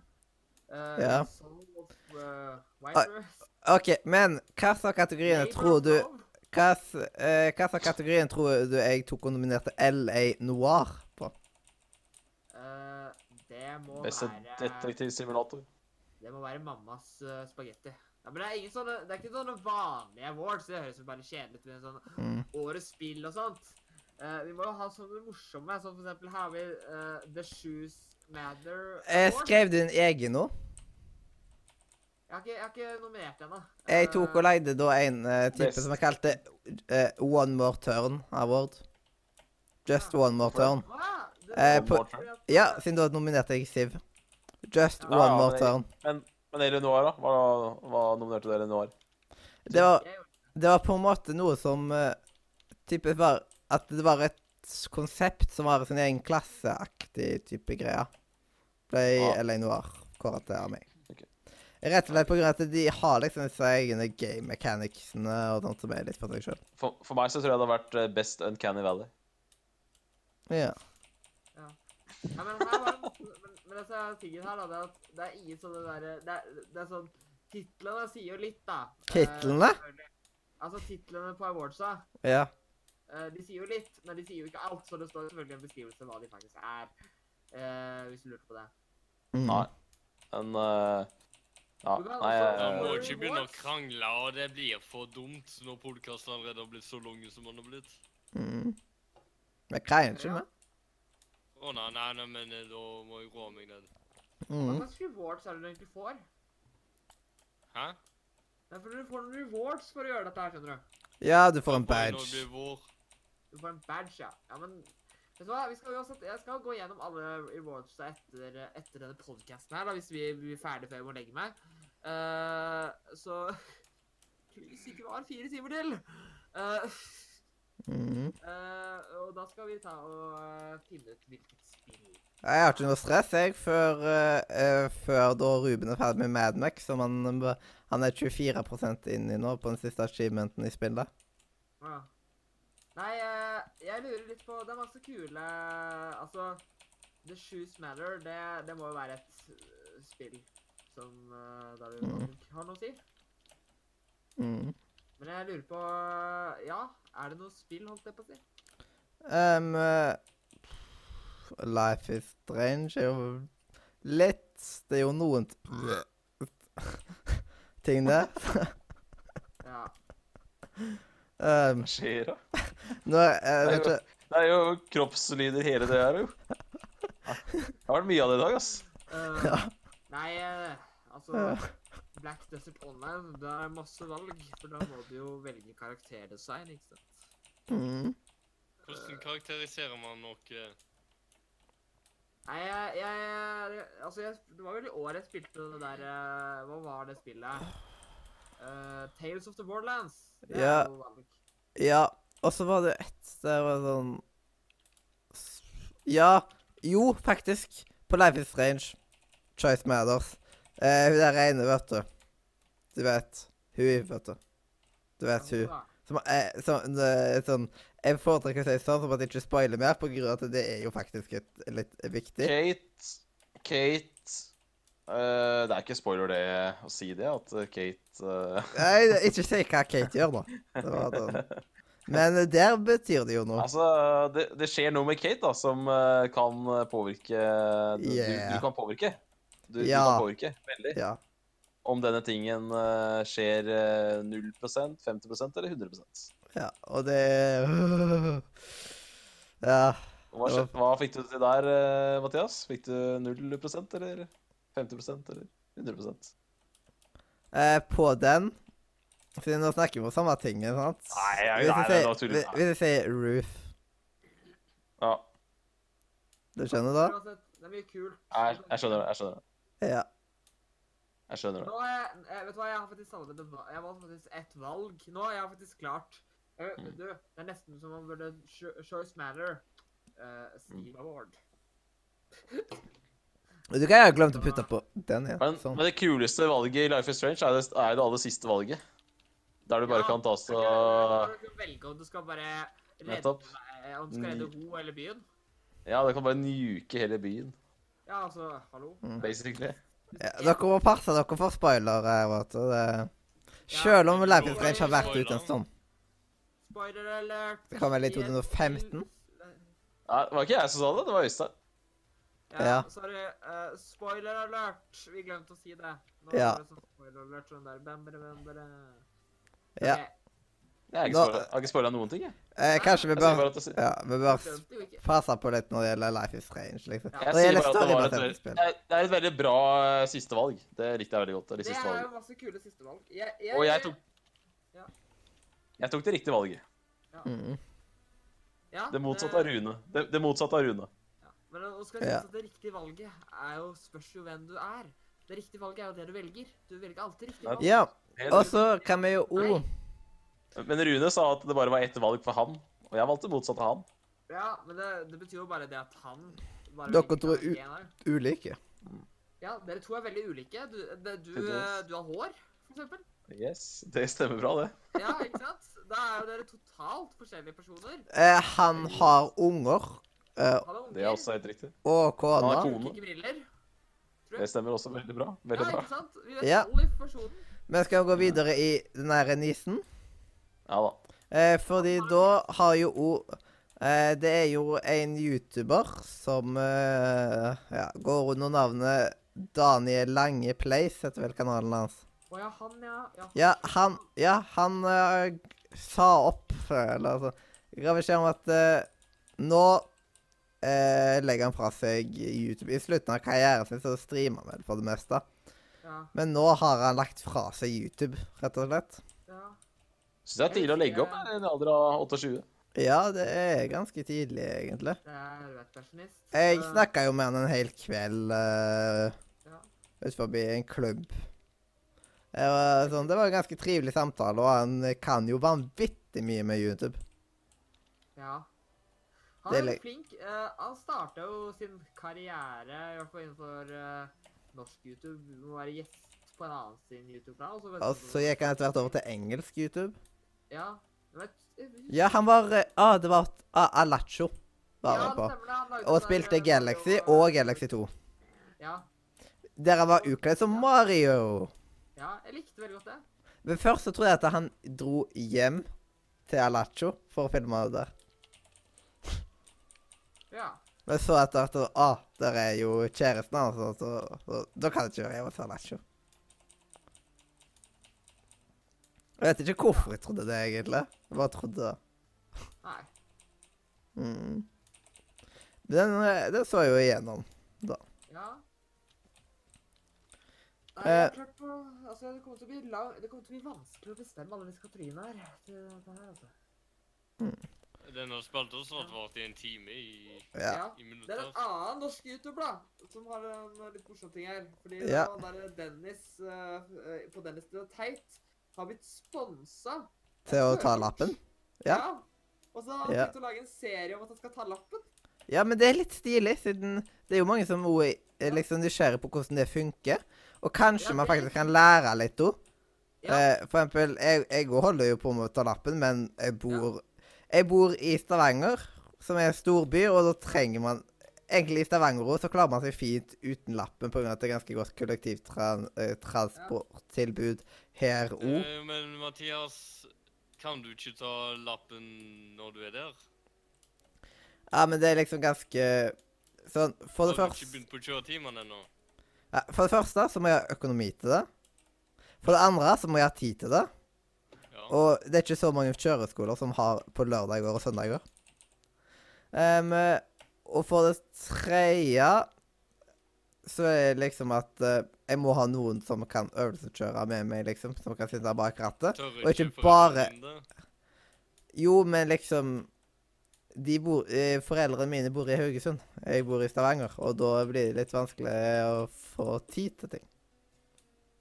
Eh,
Ja.
Soul of uh, Wiper.
OK, men hva slags kategoriene
Neighbor
tror du
Home.
Hva s- eh, hva slags kategorien tror du jeg tok og nominerte LA Noir på?
Eh, det må
Beste
være
detektiv simulator.
Det må være mammas uh, spagetti. Ja, men det er, ingen sånne, det er ikke sånne vanlige awards. Det høres jo bare kjedelig ut med sånn
Mm.
årets spill og sånt. Eh, vi må jo ha sånne morsomme. Sånn for eksempel her har vi eh, The Shoes Matter
Eh, Jeg
Award.
skrev din egen nå.
Jeg har ikke, jeg har ikke nominert ennå.
Jeg tok og
Eh,
leide da en eh, type
Best.
som jeg kalte eh, One More Turn Award. Just One More Turn.
hva?
Eh, på-
One more
Ja, siden da nominerte jeg Siv. Just
Ja,
one more
Ah, men jeg-
turn.
Men Elinor, da? Hva, hva nominerte dere Elinor?
Det var, det var på en måte noe som eh, type var At det var et s- konsept som var sin egen klasseaktig type greie. Ble
Ja.
LA Noir kåret til av meg.
Ah. Ok.
Rett og slett på grunn av at de har liksom disse egne game mechanicsene og sånt som er litt for seg sjøl.
For, for meg så tror jeg det har vært eh, Best Uncanny Valley.
Ja.
Nei, men, her var det, men, men altså, tingen her, da, det er at det er ingen sånne derre det, er- det er sånn Titlene sier jo litt, da. Eh,
Titlene?
selvfølgelig. altså, titlene på awardsa.
ja.
Eh, de sier jo litt, men de sier jo ikke alt, så det står selvfølgelig en beskrivelse av hva de faktisk er. Eh, hvis du lurte på det.
Mm.
Nei. Men eh, Ja,
Du kan
nei
Da
også-
må
eh,
ikke begynne å krangle, og det blir for dumt når podkasten allerede har blitt så lang som den har blitt.
Mm. Jeg greier ikke
Ja.
med.
Å nei, nei, nei, men eh, da må jeg roe meg ned.
Hva
Mm.
slags rewards er det du egentlig får?
Hæ?
Det er fordi du får noen rewards for å gjøre dette her, skjønner du.
Ja, du får en
Da får jeg nå
badge.
bli vår.
Du får en badge, ja. Ja, men vet du hva? Vi skal uansett, jeg skal gå gjennom alle rewardsa etter, etter denne podcasten her, da, hvis vi blir ferdig før jeg må legge meg. Eh, så (laughs) Hvis ikke vi har fire timer til! Eh, (laughs)
Mm.
Eh, og da skal vi ta og eh, finne ut hvilket spill.
Jeg har ikke noe stress, jeg, før, eh, eh, før da Ruben er ferdig med Mad Max, som han, han er 24 inni nå på den siste achievementen i spillet.
Ja. Nei, eh, jeg lurer litt på Det er masse kule Altså, The Shoes Matter, det, det må jo være et eh, spill som eh, der du
Mhm.
har noe å si.
Mm.
Men jeg lurer på eh, Ja, er det noe spill, holdt jeg på å si?
Em, eh, Life is strange er jo litt Det er jo noen t- (laughs) ting der.
Ja.
Um,
Hva skjer da?
nå eh, vet ikke
Det er jo kroppslyder hele det her, jo. Det har vært mye av det i dag, ass.
Eh,
(laughs) Ja.
Nei, eh, altså Black Desert Online, det er masse valg. For da må du jo velge karakterdesign, ikke sant.
mm.
Hvordan karakteriserer man eh, noe?
Nei, jeg, jeg Altså, jeg, det var vel i år jeg spilte det der eh, Hva var det spillet? Eh, Tales of the Borderlands. Det er
Ja.
jo vanlig.
Ja, og så var det ett der var sånn s- Ja. Jo, faktisk. På Life is Strange. Choice Matters. Eh, hun der ene, vet du. Du vet. Hun, vet du. Du vet hun.
Ja,
Som, eh, sånn, eh, sånn Jeg foretrekker å si sånn som at jeg ikke spoiler mer, på grunn av at det er jo faktisk et, litt viktig.
Kate Kate eh, Det er ikke spoiler det å si det, at eh, Kate eh,
Nei, det- ikke si hva Kate gjør, da. Det var sånn. Men eh, der betyr det jo noe.
Altså, det, det skjer noe med Kate da, som eh, kan eh, påvirke du, du,
Yeah.
du kan påvirke. Du, du
Ja.
kan påvirke veldig.
Ja.
Om denne tingen eh, skjer eh, 0 50 eller 100 Og
ja. Og det (laughs) Ja.
hva, skje- hva fikk du til der, eh, Mathias? Fikk du 0 eller 50 eller 100
Eh, på den Siden nå snakker vi om samme tingen, sant?
Nei, jeg-
Hvis
nei,
jeg
nei, nå
sier-
tuller
hvis-
jeg.
Hvis jeg sier Ruth
Ja,
Du skjønner da?
Uansett, det er mye kult.
jeg, jeg skjønner det. Jeg skjønner det.
Ja.
Jeg skjønner det.
Nå har jeg, eh, vet du hva, jeg har faktisk annerledes valg. Jeg valgte faktisk ett valg. Nå har jeg faktisk klart. Eh,
Mm.
Du, det er nesten som om man burde cho- Choice Matter. Uh,
Mm.
Steve Award.
Vet Du hva jeg har glemt å putte på den igjen?
Men,
sånn.
men det kuleste valget i Life is Strange er det, er det aller siste valget. Der du bare
Ja,
kan ta så
Du kan velge om du skal bare redde,
Nettopp.
eh, om du skal redde ho eller byen.
Ja, du kan bare nuke hele byen,
Ja, altså, hallo.
basically.
ja, dere må passe dere for spoilere. vet du. Det... Selv om
Ja,
Life is Strange har
spoiler.
vært ute en stund.
Spoiler alert.
Det kom vel i
I et
2015?
spill-
Nei, det var ikke jeg som sa det, det var Øystein.
Ja,
Ja.
sorry. eh, spoiler alert. Vi glemte å si det. Nå
Ja.
er det sånn spoiler alert sånn der. Bam, bam, bam, bam.
Ja.
Ok,
Jeg har ikke
Nå-
spoilet- jeg har ikke spoila noen ting, jeg.
Eh, kanskje vi
Jeg sier
bør
bare at det, si-
ja, vi bør s-
skjønte jo ikke.
passe på litt når det gjelder Life is Strange, liksom.
Ja.
jeg
Når det
sier
gjelder
bare at det, var
storybaserte
et,
spill.
det, er, det er et veldig bra eh, siste valg. Det likte jeg veldig godt. Det
Det
siste
er jo
valget.
masse kule sistevalg.
Og jeg tok
Ja.
Jeg tok det riktige valget.
Mm.
ja,
Det motsatte av Rune. Det, det motsatte av Rune.
Men å skal
Ja.
synes at det riktige valget er jo spørs jo hvem du er. Det riktige valget er jo det du velger. Du velger alltid riktig
Nei.
valg.
Ja,
Helt
og så kan vi jo òg
Men Rune sa at det bare var ett valg for han, og jeg valgte motsatt av han.
Ja, men det, det betyr jo bare det at han bare
Dere
velger
to er
hva han
u-
ikke er.
ulike.
Ja, dere to er veldig ulike. Du, det, du,
Tydeligvis.
eh, du har hår, for eksempel.
Yes, det stemmer bra, det.
Ja, ikke sant? Da er jo dere totalt forskjellige personer.
Eh, han har unger eh,
Han er unger.
Det er også helt riktig.
og
Han
kone.
har
bruker
kone.
ikke briller.
Det stemmer også veldig bra.
Ja,
Veldig bra.
ikke sant? Vi vet
Ja.
all informasjonen.
Men skal vi gå videre i den her nissen?
Ja da.
Eh, fordi da har jo òg eh, Det er jo en YouTuber som eh, ja, går under navnet Daniel Lange Place, heter vel kanalen hans.
Å ja, han, ja. ja.
Ja, han, ja, han eh, sa opp Eller altså ga beskjed om at eh, nå eh, legger han fra seg YouTube. I slutten av karrieren sin så streamer han vel for det meste.
ja,
Men nå har han lagt fra seg YouTube, rett og slett.
ja.
Syns det er tidlig å legge opp jeg, i en alder av 28.
Ja, det er ganske tidlig, egentlig.
Det er rødpersenist.
Jeg snakka jo med han en hel kveld uh,
Ja.
utenfor en klubb. Det var, sånn, det var en ganske trivelig samtale, og han kan jo vanvittig mye med YouTube.
Ja. Han
Det
er
er
veldig flink. Eh, han starta jo sin karriere i hvert fall innenfor eh, norsk YouTube. Du må være gjest på en annen sin YouTube-kanal. så vet
Og
du-
så gikk han etter hvert over til engelsk YouTube.
Ja. men jeg vet-
Ja, han var eh, Ah, det var ah, Alacho. Var
Ja,
han
det
på.
stemmer det. Han lagde
Og
den der,
spilte
eh,
Galaxy
Mario-
og Galaxy 2.
Ja.
Der han var utkledd som Mario.
ja. Jeg likte veldig godt det.
Men først så tror jeg at han dro hjem til Alacho for å filme det der.
Ja.
Men så etter hvert så, Ah, der er jo kjæresten hans, så, så, så da kan jeg ikke være hjemme hos Alacho. Jeg vet ikke hvorfor jeg trodde det, egentlig. Jeg bare trodde det.
Nei.
Mm. Den, eh, den så jeg jo igjennom.
Ja. Nei,
Eh.
jeg tror på, altså, det, kommer til å bli lang, det kommer til å bli vanskelig å bestemme alle disse Katrine her. til dette her, altså.
Denne spalten har snart vart i en time i,
Ja.
i
Det er
minutter.
en annen norsk YouTuber da, som har en eh, litt morsom ting her. Fordi
Ja.
han der Dennis eh, eh, på Dennis det er teit har blitt sponsa.
Til å ta lappen. Ja.
Og så har han
Ja.
tenkt å lage en serie om at han skal ta lappen.
Ja, men det er litt stilig, siden det er jo mange som også er liksom nysgjerrig på hvordan det funker. Og kanskje
Ja,
man
det er
faktisk kan lære litt òg.
Ja.
Eh, for eksempel, jeg, jeg holder jo på med å ta lappen, men jeg bor, jeg bor i Stavanger, som er en storby, og da trenger man Egentlig i Stavanger også, så klarer man seg fint uten lappen pga. at det er ganske godt kollektivtransporttilbud her òg.
Eh, Men Mathias, kan du ikke ta lappen når du er der?
Ja, men det er liksom ganske Sånn, for det
Har du ikke
første
begynt på kjøretimene ennå?
Ja, For det første så må jeg ha økonomi til det. For det andre så må jeg ha tid til det.
Ja.
Og det er ikke så mange kjøreskoler som har på lørdager og søndager. Em, eh, og for det tredje så er det liksom at eh, jeg må ha noen som kan øvelseskjøre med meg, liksom. Som kan sitte bak rattet.
Tør
og ikke
foreldrene
bare-
dine det?
Jo, men liksom de bor, eh, Foreldrene mine bor i Haugesund. Jeg bor i Stavanger. Og da blir det litt vanskelig å få tid til ting.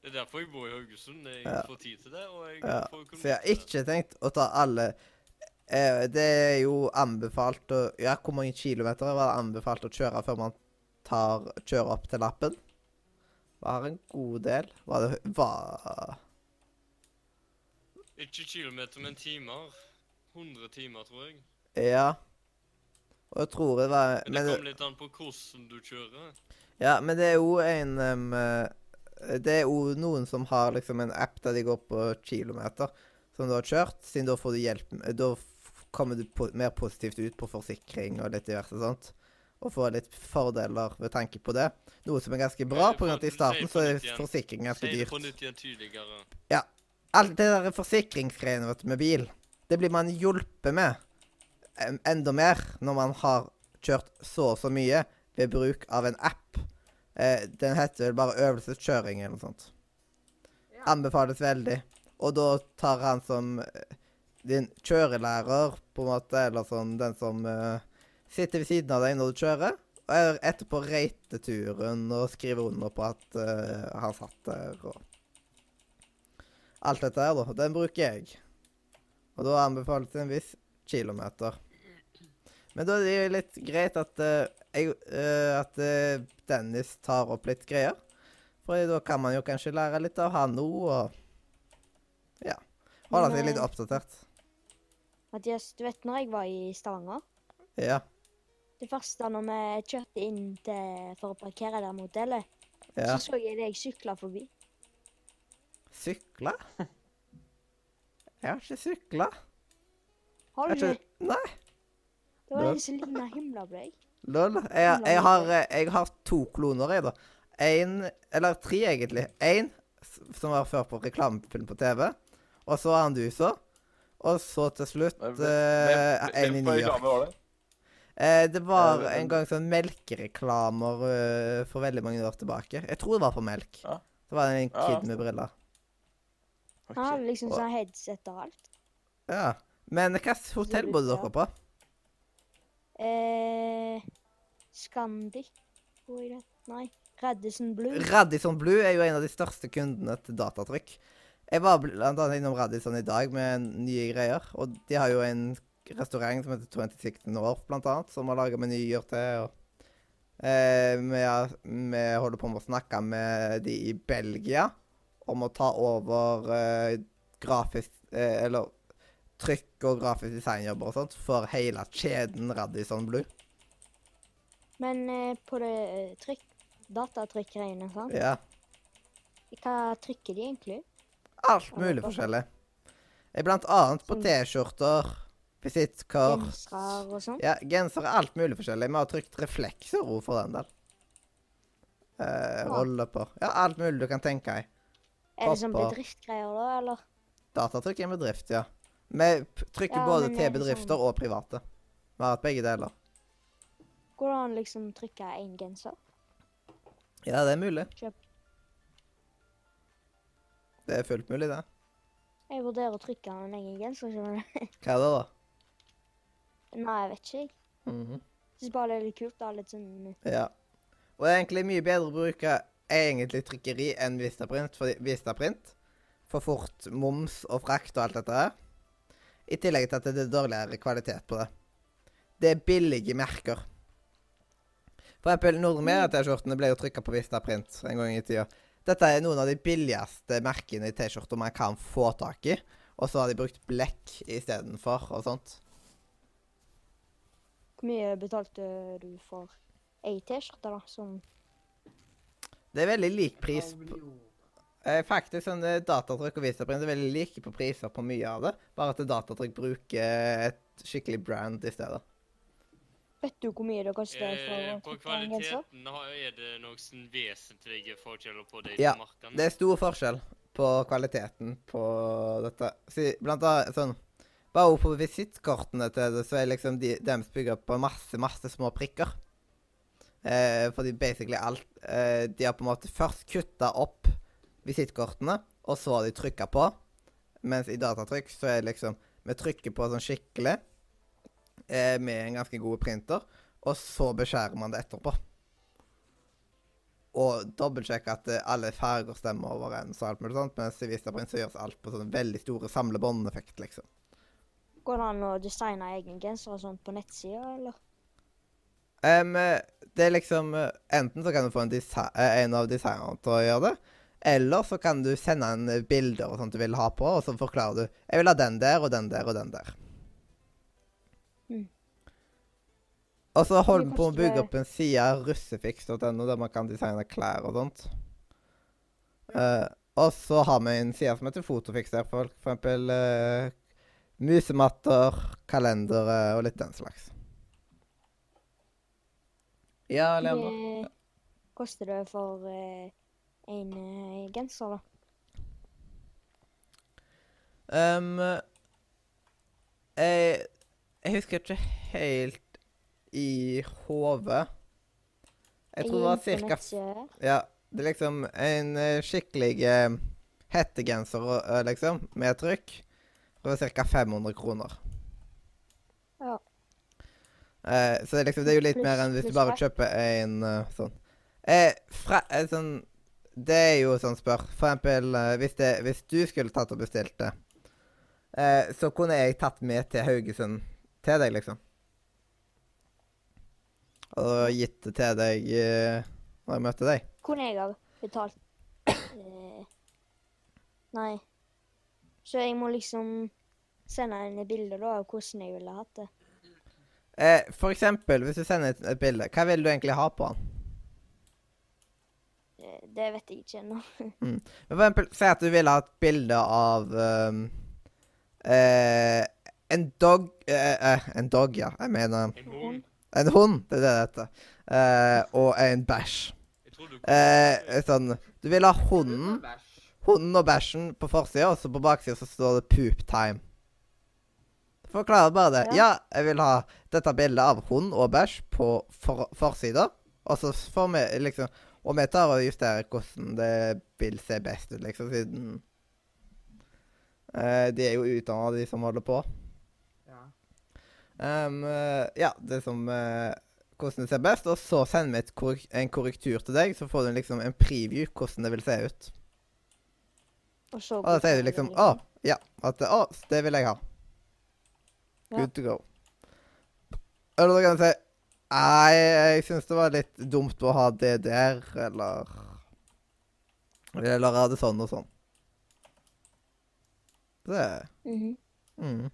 Det er derfor jeg bor i Haugesund. Jeg
Ja.
får tid til det, og jeg
Ja,
får økonomi
Så jeg har
til det.
ikke tenkt å ta alle eh, Det er jo anbefalt å Ja, hvor mange kilometer var det anbefalt å kjøre før man tar, kjører opp til lappen? Var en god del. Var det var,
Ikke kilometer, men timer. 100 timer, tror jeg.
Ja. Og jeg tror det var
Men det
Men,
kommer litt an på hvordan du kjører.
ja, men det er jo en em, eh, Det er jo noen som har liksom en app der de går på kilometer som du har kjørt, siden da får du hjelp eh, Da f- kommer du po mer positivt ut på forsikring og litt diverse sånt. Og får litt fordeler ved tanke på det. Noe som er ganske bra,
Ja, du
pga.
får-
at i
du
starten så
sier på
er
nytt igjen.
forsikring ganske
Si det på
dyrt.
nytt igjen tydeligere.
Alt det der forsikringsgreiene vet du, med bil, det blir man hjulpet med em, enda mer når man har kjørt så og så mye ved bruk av en app. Eh, den heter vel bare øvelseskjøring eller noe sånt.
Ja.
Anbefales veldig. Og da tar han som eh, din kjørelærer, på en måte, eller sånn den som eh, sitter ved siden av deg når du kjører, eh, etterpå rate turen og skrive under på at eh, han satt der og Alt dette her, da. Den bruker jeg. Og da anbefales det en viss kilometer. Men da er det jo litt greit at eh, jeg, eh, at eh, Dennis tar opp litt greier. For da kan man jo kanskje lære litt av han òg, og ja. Holde seg litt
Men, eh,
oppdatert.
Mathias, du vet når jeg var i Stavanger?
Ja.
Det første når vi kjørte inn til, for å parkere der mot Delle,
ja.
så så jeg deg sykle forbi.
Sykle? Jeg har ikke sykla.
Har du det?
Nei.
Det var
Nei.
en som ligna himla på deg.
Lol. Jeg, jeg, har, eh, jeg har to kloner, jeg, da. En, eller tre, egentlig. Én som var før på reklamefilm på TV, og så han du så. Og så til slutt
Hvem-
eh,
Hvem-
en i
Hvem på
New York.
reklame var det?
Eh, det var
Eh,
en
en-
gang sånn melkereklamer eh, for veldig mange år tilbake. Jeg tror det var for melk.
Ja.
Det var en
Ja,
kid med briller.
Ok.
Han hadde liksom
Og-
sånn headset og alt.
Ja. Men hvilket hotell bodde dere på?
Eh, Scandic, tror jeg det Nei, Radisson Blue.
Radisson Blue er jo en av de største kundene til Datatrykk. Jeg var blant annet innom Radisson i dag med nye greier, og de har jo en restaurant som heter 26 North, blant annet, som har laga menyer til og eh, vi, har- vi holder på med å snakke med de i Belgia om å ta over eh, grafisk eh, Eller trykk og grafisk designjobber og sånt for hele kjeden Radisson Blue.
Men eh, på det eh, trykk, datatrykkgreiene, sant?
Ja.
Hva trykker de egentlig?
Alt
Ja,
mulig
ok.
forskjellig. Eh, Blant annet på
Sånn.
T-skjorter, visittkort
Gensere og sånn?
ja, Gensere, alt mulig forskjellig. Vi har trykt reflekser også for den del. Eh,
Ja.
Rollapper. Ja, alt mulig du kan tenke deg.
Er det sånn
pappa.
bedriftsgreier da, eller?
Datatrykk er en bedrift, ja. Vi p- trykker
Ja,
både
men er
til
det
bedrifter og private. Vi har hatt begge deler.
Går det an å liksom trykke én genser?
Ja, det er mulig.
Kjøp.
Det er fullt mulig, det.
Jeg vurderer å trykke en egen genser. skjønner du? (laughs)
Hva er det, da?
Nei, jeg vet ikke. jeg.
Mhm.
Syns bare det er litt kult. da, litt sånn...
Ja. Og det er egentlig mye bedre å bruke egentlig trykkeri enn Vistaprint, fordi Vistaprint får fort moms og frakt og alt dette her. I tillegg til at det er dårligere kvalitet på det. Det er billige merker. For eksempel Nordmea-T-skjortene ble jo trykka på Vistaprint en gang i tida. Dette er noen av de billigste merkene i T-skjorter man kan få tak i. Og så har de brukt blekk istedenfor og sånt.
Hvor mye betalte du for ei T-skjorte, da? Sånn
Det er veldig lik pris
Halv
på
million.
Eh, faktisk, sånn eh, datatrykk og visaprint er veldig like på priser på mye av det. Bare at datatrykk bruker et skikkelig brand i stedet.
Vet du hvor mye det koster for
Eh,
å
på
trykke en genser?
kvaliteten har- er det noen vesentlige forskjeller på de
Ja,
to markene.
Det er stor forskjell på kvaliteten på dette. Si, blant annet sånn Bare på visittkortene til det, så er liksom de, deres bygd opp på masse, masse små prikker. Eh, fordi basically alt eh, De har på en måte først kutta opp visittkortene, og så har de trykka på. Mens i datatrykk så er liksom Vi trykker på sånn skikkelig eh, med en ganske god printer, og så beskjærer man det etterpå. Og dobbeltsjekke at eh, alle farger stemmer overens og alt mulig sånt. Mens i Vistaprint så gjøres alt på sånn veldig store samlebåndeffekt, liksom.
Går det an å designe egen genser og sånt på nettsida, eller?
Em, eh, det er liksom eh, Enten så kan du få en, desi- eh, en av designerne til å gjøre det. Eller så kan du sende en eh, bilder og sånt du vil ha på, og så forklarer du Jeg vil ha den der og den der og den der.
Mm.
Og så holder
Mye
vi på å
koster
bygge
det?
opp en side, russefiks.no, der man kan designe klær og sånt. Eh, og så har vi en side som heter Fotofiks der, for for eksempel eh, musematter, kalendere og litt den slags. Ja, Leander?
Hvor mye Eh, koster det for eh, en eh, genser, da?
Ehm, jeg, jeg husker ikke helt i hodet. Jeg tror det var cirka Ja, det er liksom en eh, skikkelig eh, hettegenser, eh, liksom, med trykk. Det var ca. 500 kroner.
Ja.
Eh, så det, er liksom, det er jo litt
Pluss-
mer enn hvis du
pluss
bare
fett.
kjøper en eh, sånn. Eh, fra, eh, sånn Det er jo sånn spør. For eksempel eh, hvis, det, hvis du skulle tatt og bestilt det, eh, så kunne jeg tatt med til Haugesund til deg, liksom. Og gitt det til deg eh, når jeg møtte deg.
Kunne jeg ha betalt eh, Nei. Så jeg må liksom sende henne bilder da, av hvordan jeg ville hatt det.
Eh, for eksempel, hvis du sender et, et bilde, hva vil du egentlig ha på den?
Eh, Det vet jeg ikke ennå. (laughs)
Men For eksempel, si at du vil ha et bilde av um, eh, en dog eh, eh, En dog, ja. Jeg mener
En hund.
En hund, det er det det heter. Eh, og en bæsj.
Jeg tror du
Eh, sånn Du vil ha
Det er
hunden,
bæsj.
hunden og bæsjen på forsida, og så på baksida så står det 'poop time'. Forklarer bare det.
Ja.
Ja, jeg vil ha dette bildet av hund og bæsj på for forsida, og så får vi liksom Og vi tar og justerer hvordan det vil se best ut, liksom, siden eh, De er jo utdanna, de som holder på.
Ja.
Ehm, eh, ja, det som eh, Hvordan det ser best, og så sender vi et korrek en korrektur til deg, så får du liksom en preview hvordan det vil se ut.
Og så
Og da sier du liksom Å, ja. At Å, det vil jeg ha.
Ja.
Good to go. Eller da kan du si Nei, jeg syns det var litt dumt å ha det der, eller Eller ha det sånn og sånn. Det
Mhm.
Mm.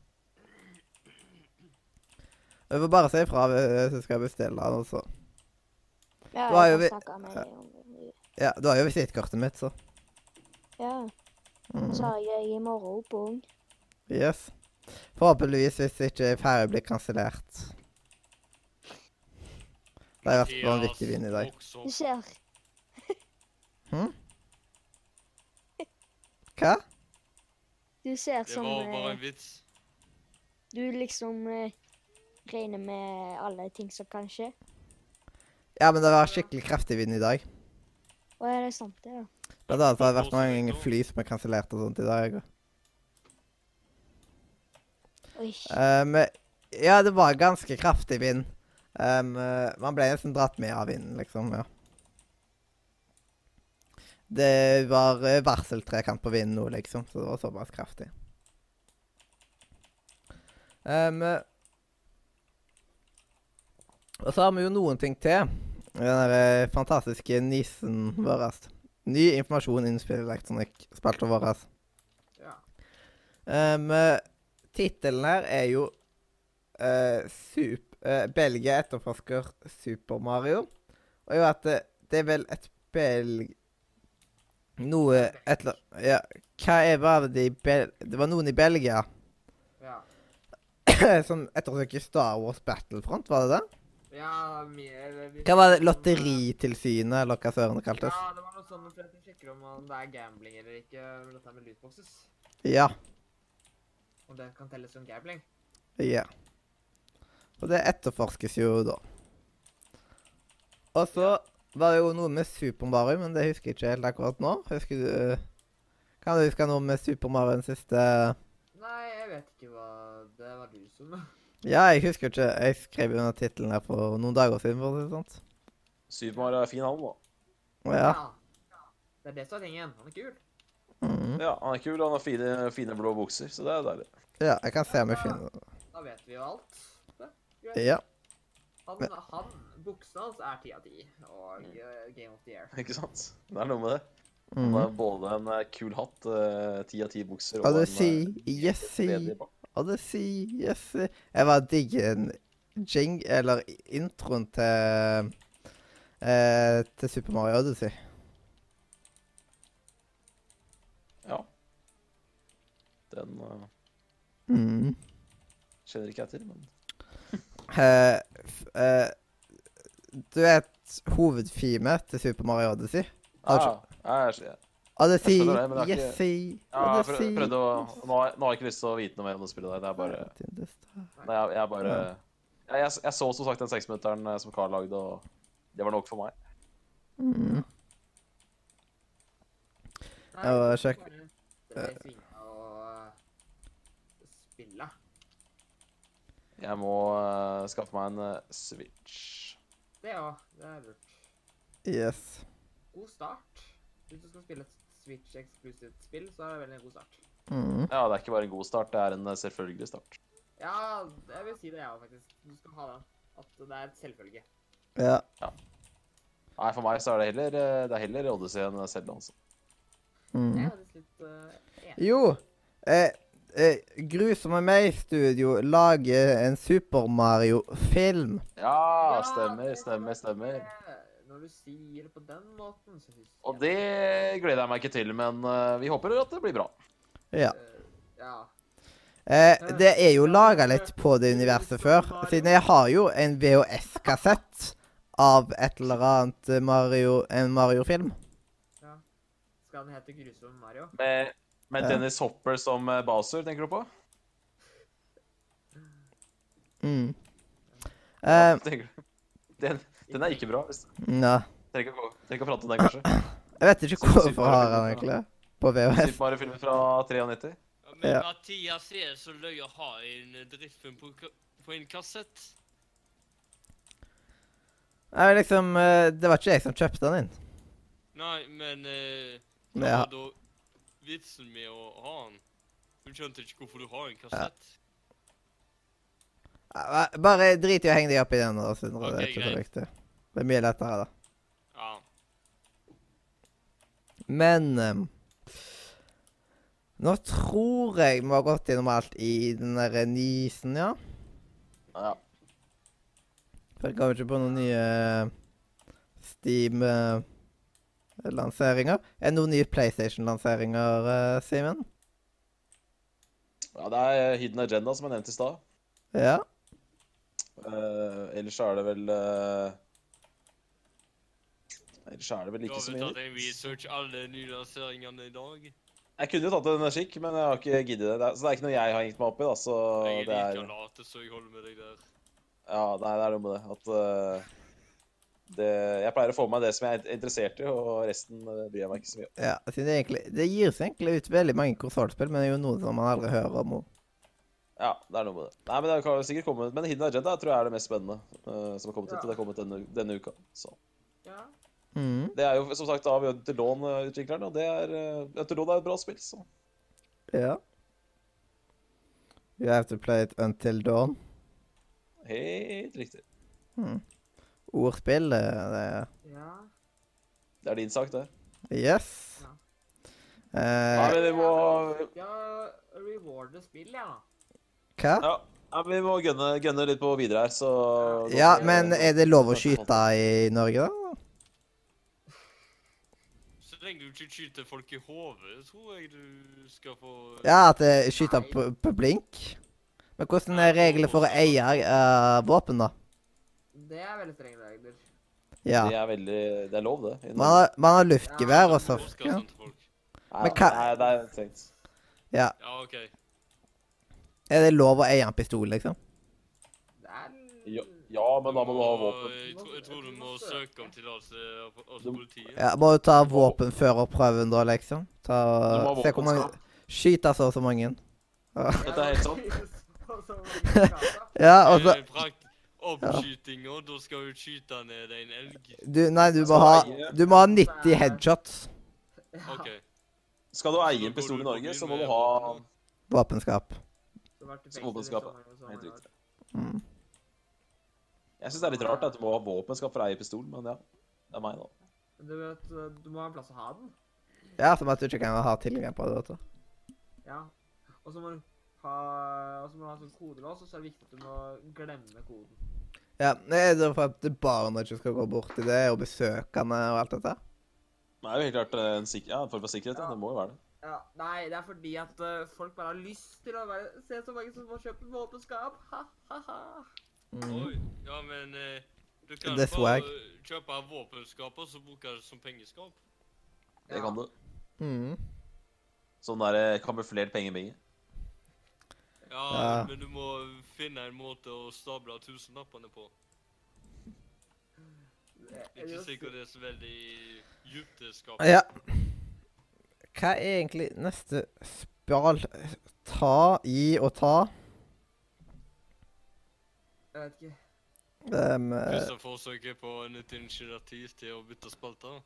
Jeg får bare si ifra hvis jeg skal bestille den, altså.
Ja,
Da er jo
jeg
vi-
kan snakke med deg om det.
Ja, du har jo visittkortet mitt, så.
Ja.
Mm.
Så har jeg i morgen på Ung.
Yes. Forhåpentligvis hvis ikke ferja blir kansellert. Det har vært vanvittig vind i dag.
Du ser.
Hva?
Du ser
Det
som
var bare
eh,
en vits.
Du liksom eh, regner med alle ting som kan skje.
Ja, men det har vært skikkelig kraftig vind i dag.
Å, er det sant, det, da?
Blant annet har det vært mange fly som er kansellert og sånt i dag.
Oi.
Um, ja, det var ganske kraftig vind. Um, eh, man ble nesten dratt med av vinden, liksom. ja. Det var eh, varseltrekant på vinden nå, liksom, så det var såpass kraftig. Um, eh, og så har vi jo noen ting til. Den der eh, fantastiske nisen vår. Ny informasjon innen spillelektronikk-spalta vår.
ja.
Um, Tittelen her er jo eh, sup, eh, Belgia etterforsker Super Mario. Og jo at det, det er vel et belg... Noe et eller Ja, hva er var det i Bel... Det var noen i Belgia (laughs)
Ja.
som ettersøker Star Wars Battlefront, var det det?
Ja, mer
Hva var det? Lotteritilsynet, eller hva søren det kaltes?
Ja, det var noe sånn for at de sjekker om man- det er gambling eller ikke. med Dette med lootboxes.
Ja.
Om det kan telles som gambling.
Ja. Og det etterforskes jo da. Og så var det jo noe med Super Mario, men det husker jeg ikke helt akkurat nå. Husker du eh, Kan du huske noe med Super Mario den siste
Nei, jeg vet ikke hva Det var du som
Ja, jeg husker ikke. Jeg skrev jo under tittelen her for noen dager siden, for å si det sånn.
Supermar er fin, han, da.
Å Ja.
Det er det som er tingen. Han er kul.
Mhm.
Ja, Han er kul, han har fine, fine blå bukser, så det er deilig.
ja. Jeg kan se om jeg finner
Da vet vi jo alt.
Ja.
Han, han Buksene hans er ti av ti. Og
Mm.
eh, Game of the Year.
Ikke sant? Det er noe med det. Han
Mhm.
har både en eh, kul hatt, eh, ti av ti bukser
Og det
en, eh,
sier Yessi.
ledig bak.
Og det sier Yessi. Jeg bare digger en jing... Eller introen til eh, Til Super Mario Odyssey.
Ja. Den eh,
Mhm.
kjenner ikke jeg til, men
Eh, f- eh, du vet hovedfeamet til Super Mario Odyssey?
ah, jeg, jeg,
Odyssey,
Jeg skjønner det, men det er ikke-
Yessi,
Ja, jeg prøv-
Odyssey
prøvde å Nå har, nå har jeg ikke lyst til å vite noe mer om det spillet der. Det er bare Nei, jeg, jeg bare jeg, jeg, jeg så som sagt den seksminutteren eh, som Carl lagde, og det var nok for meg.
Mm.
Nei,
Ja, og
det er
sjekk-
bare- Det er svinga og eh, spilla.
Jeg må eh, skaffe meg en eh, Switch.
Det ja, det er lurt.
Yes.
God start. Hvis du skal spille et Switch-eksklusivt spill, så er det vel en god start.
Mm.
Ja, det er ikke bare en god start, det er en eh, selvfølgelig start.
Ja, jeg vil si det, jeg ja, òg, faktisk. Du skal ha den. At det er et selvfølge.
Ja.
Nei, for meg så er det heller, eh, det er heller Odyssey enn Zelda, altså.
Jeg
Mm.
er faktisk litt eh, enig.
Jo, eh, eh, Grusomme meg studio lager en Super Mario-film.
Ja,
det
stemmer,
var
stemmer,
det.
stemmer.
Når du sier det på den måten, så husker
Og det gleder jeg meg ikke til, men eh, vi håper at det blir bra.
Ja.
Eh, ja.
Eh, det er jo laga litt på det universet før, siden jeg har jo en VHS-kassett av et eller annet eh, Mario, en Mario-film.
Skal den hete Grusom Mario?
Med, med
Ja.
Dennis Hopper som eh, Bowser, tenker du på?
Mm.
Ja,
Eh,
(laughs) tenker du. Den, den er ikke bra. hvis-
ja.
Trenger ikke å gå- trenger ikke å prate om den, kanskje.
Jeg vet ikke
Som
hvorfor har
Super Mario-film,
han egentlig på VHS.
Super Mario-filmen fra 93.
Ja, Men
Ja.
Mathias er så løy å ha en driftfilm på, ka- på en kassett.
Nei, men liksom, eh, det var ikke jeg som kjøpte den inn.
Nei, men eh,
Men
hva
jeg,
var da vitsen med å ha den? Du skjønte ikke hvorfor du har en kassett?
ha- Eh, bare drit i å henge deg opp i den. da, Sindre.
Ok,
det er ikke så
greit.
viktig. Det er mye lettere, da.
Ja.
Men ehm, Nå tror jeg vi har gått gjennom alt i den derre nisen, ja.
Ja.
For jeg kom ikke på noen nye eh, Steam-lanseringer. Er det noen nye PlayStation-lanseringer, eh, Simen?
ja, det er Hidden Agenda, som jeg nevnte i stad.
Ja.
Eh, ellers så er det vel eh, Ellers så er det vel
Du
ikke
har
så
vel
mye
tatt en
nytt.
research alle nylanseringene i dag?
Jeg kunne jo tatt en skikk, men jeg har ikke giddet det. det. er- Så det er ikke noe jeg har hengt meg opp i, da. Så
Jeg er
det er
like late, så jeg holder med deg der.
Ja, nei, det er noe med det. At eh, det Jeg pleier å få med meg det som jeg er interessert i, og resten eh, bryr jeg meg ikke så mye om.
ja siden det, egentlig, det gir seg egentlig ut veldig mange konsollspill, men det er jo noen som man aldri hører om. og-
Ja, det er noe med det. Nei, men det kan jo sikkert komme Men Hidden Agenda tror jeg er det mest spennende eh, som har kommet
Ja.
ut. Og det har kommet denne, denne uka. Så.
Ja.
Mhm.
Det er jo som sagt av Øntelån-utvikleren, og det er eh, Øntelån er et bra spill, så
Ja. You have to play it until dawn.
helt riktig.
Ordspill, eh, det er
ja.
Det er din sak, det.
Yes.
Ja.
Nei,
Eh,
men vi må
Ja, rewarde spill, ja.
hva?
Ja. Nei, men vi må gønne, gønne litt på videre her, så
Ja, men eh, er det lov å skyte i Norge, da?
Så lenge du ikke skyter folk i hodet, tror jeg du skal få
Ja, at det skyter på, på blink? Men hvordan er reglene for å eie eh, våpen, da?
Det er veldig strenge regler.
Ja.
Det er veldig Det er lov, det. i
Man har, man har luftgevær og
Oscar
sånn.
og
Ja.
sånt folk.
Nei,
Men hva-
nei, det er tenkt.
Ja, OK.
Er det lov å eie en pistol, liksom?
Det er
Ja, ja, men da må du ha våpen.
Jeg, tror- jeg tror du må søke om tillatelse av- av
Du-
politiet.
Ja, Må du ta våpen før prøven, da, liksom? Ta,
Du må ha
se hvor mange
våpenskap.
Skyte så og så mange.
Dette er helt sant.
sant.
Ja, altså, og så
Eh, Prak oppskytinga, da skal du skyte ned en elg.
du, Nei, du
altså,
må ha Du må ha 90 headshots.
OK.
Skal du eie en pistol i Norge, så må du ha
Våpenskap.
Våpenskapet. Helt riktig.
Mm.
Jeg syns det er litt rart at du må ha våpenskap for å eie pistol, men ja. Det er meg, da.
Du vet, du må ha en plass å ha den.
Ja, som at du ikke kan ha tilgang på det. vet du.
Ja. Og så må du ha, og så må du ha en sånn kodelås, og så er det viktig at du må glemme koden.
Ja, det er det for at barna ikke skal gå bort til det, og besøkende og alt dette.
Det er jo helt klart eh, en, sik ja, en form for sikkerhet. Ja. Det må jo være det.
Ja, Nei, det er fordi at eh, folk bare har lyst til å være, se så mange som må kjøpe våpenskap. Ha, ha, ha.
Mm.
Oi. Ja, men eh, du kan
Det er
bare
swag.
kjøpe våpenskap og så bruke det som pengeskap.
Det kan du.
Mm.
Sånn derre kamuflert pengebinge.
Ja,
Ja.
men du må finne en måte å stable tusenlappene på. Det er Ikke sikkert det er så veldig dypteskap.
Ja. Hva er egentlig neste spal? Ta, gi og ta.
Jeg vet ikke.
Ehm, eh,
Første forsøket på nytt initiativ til å bytte spalter.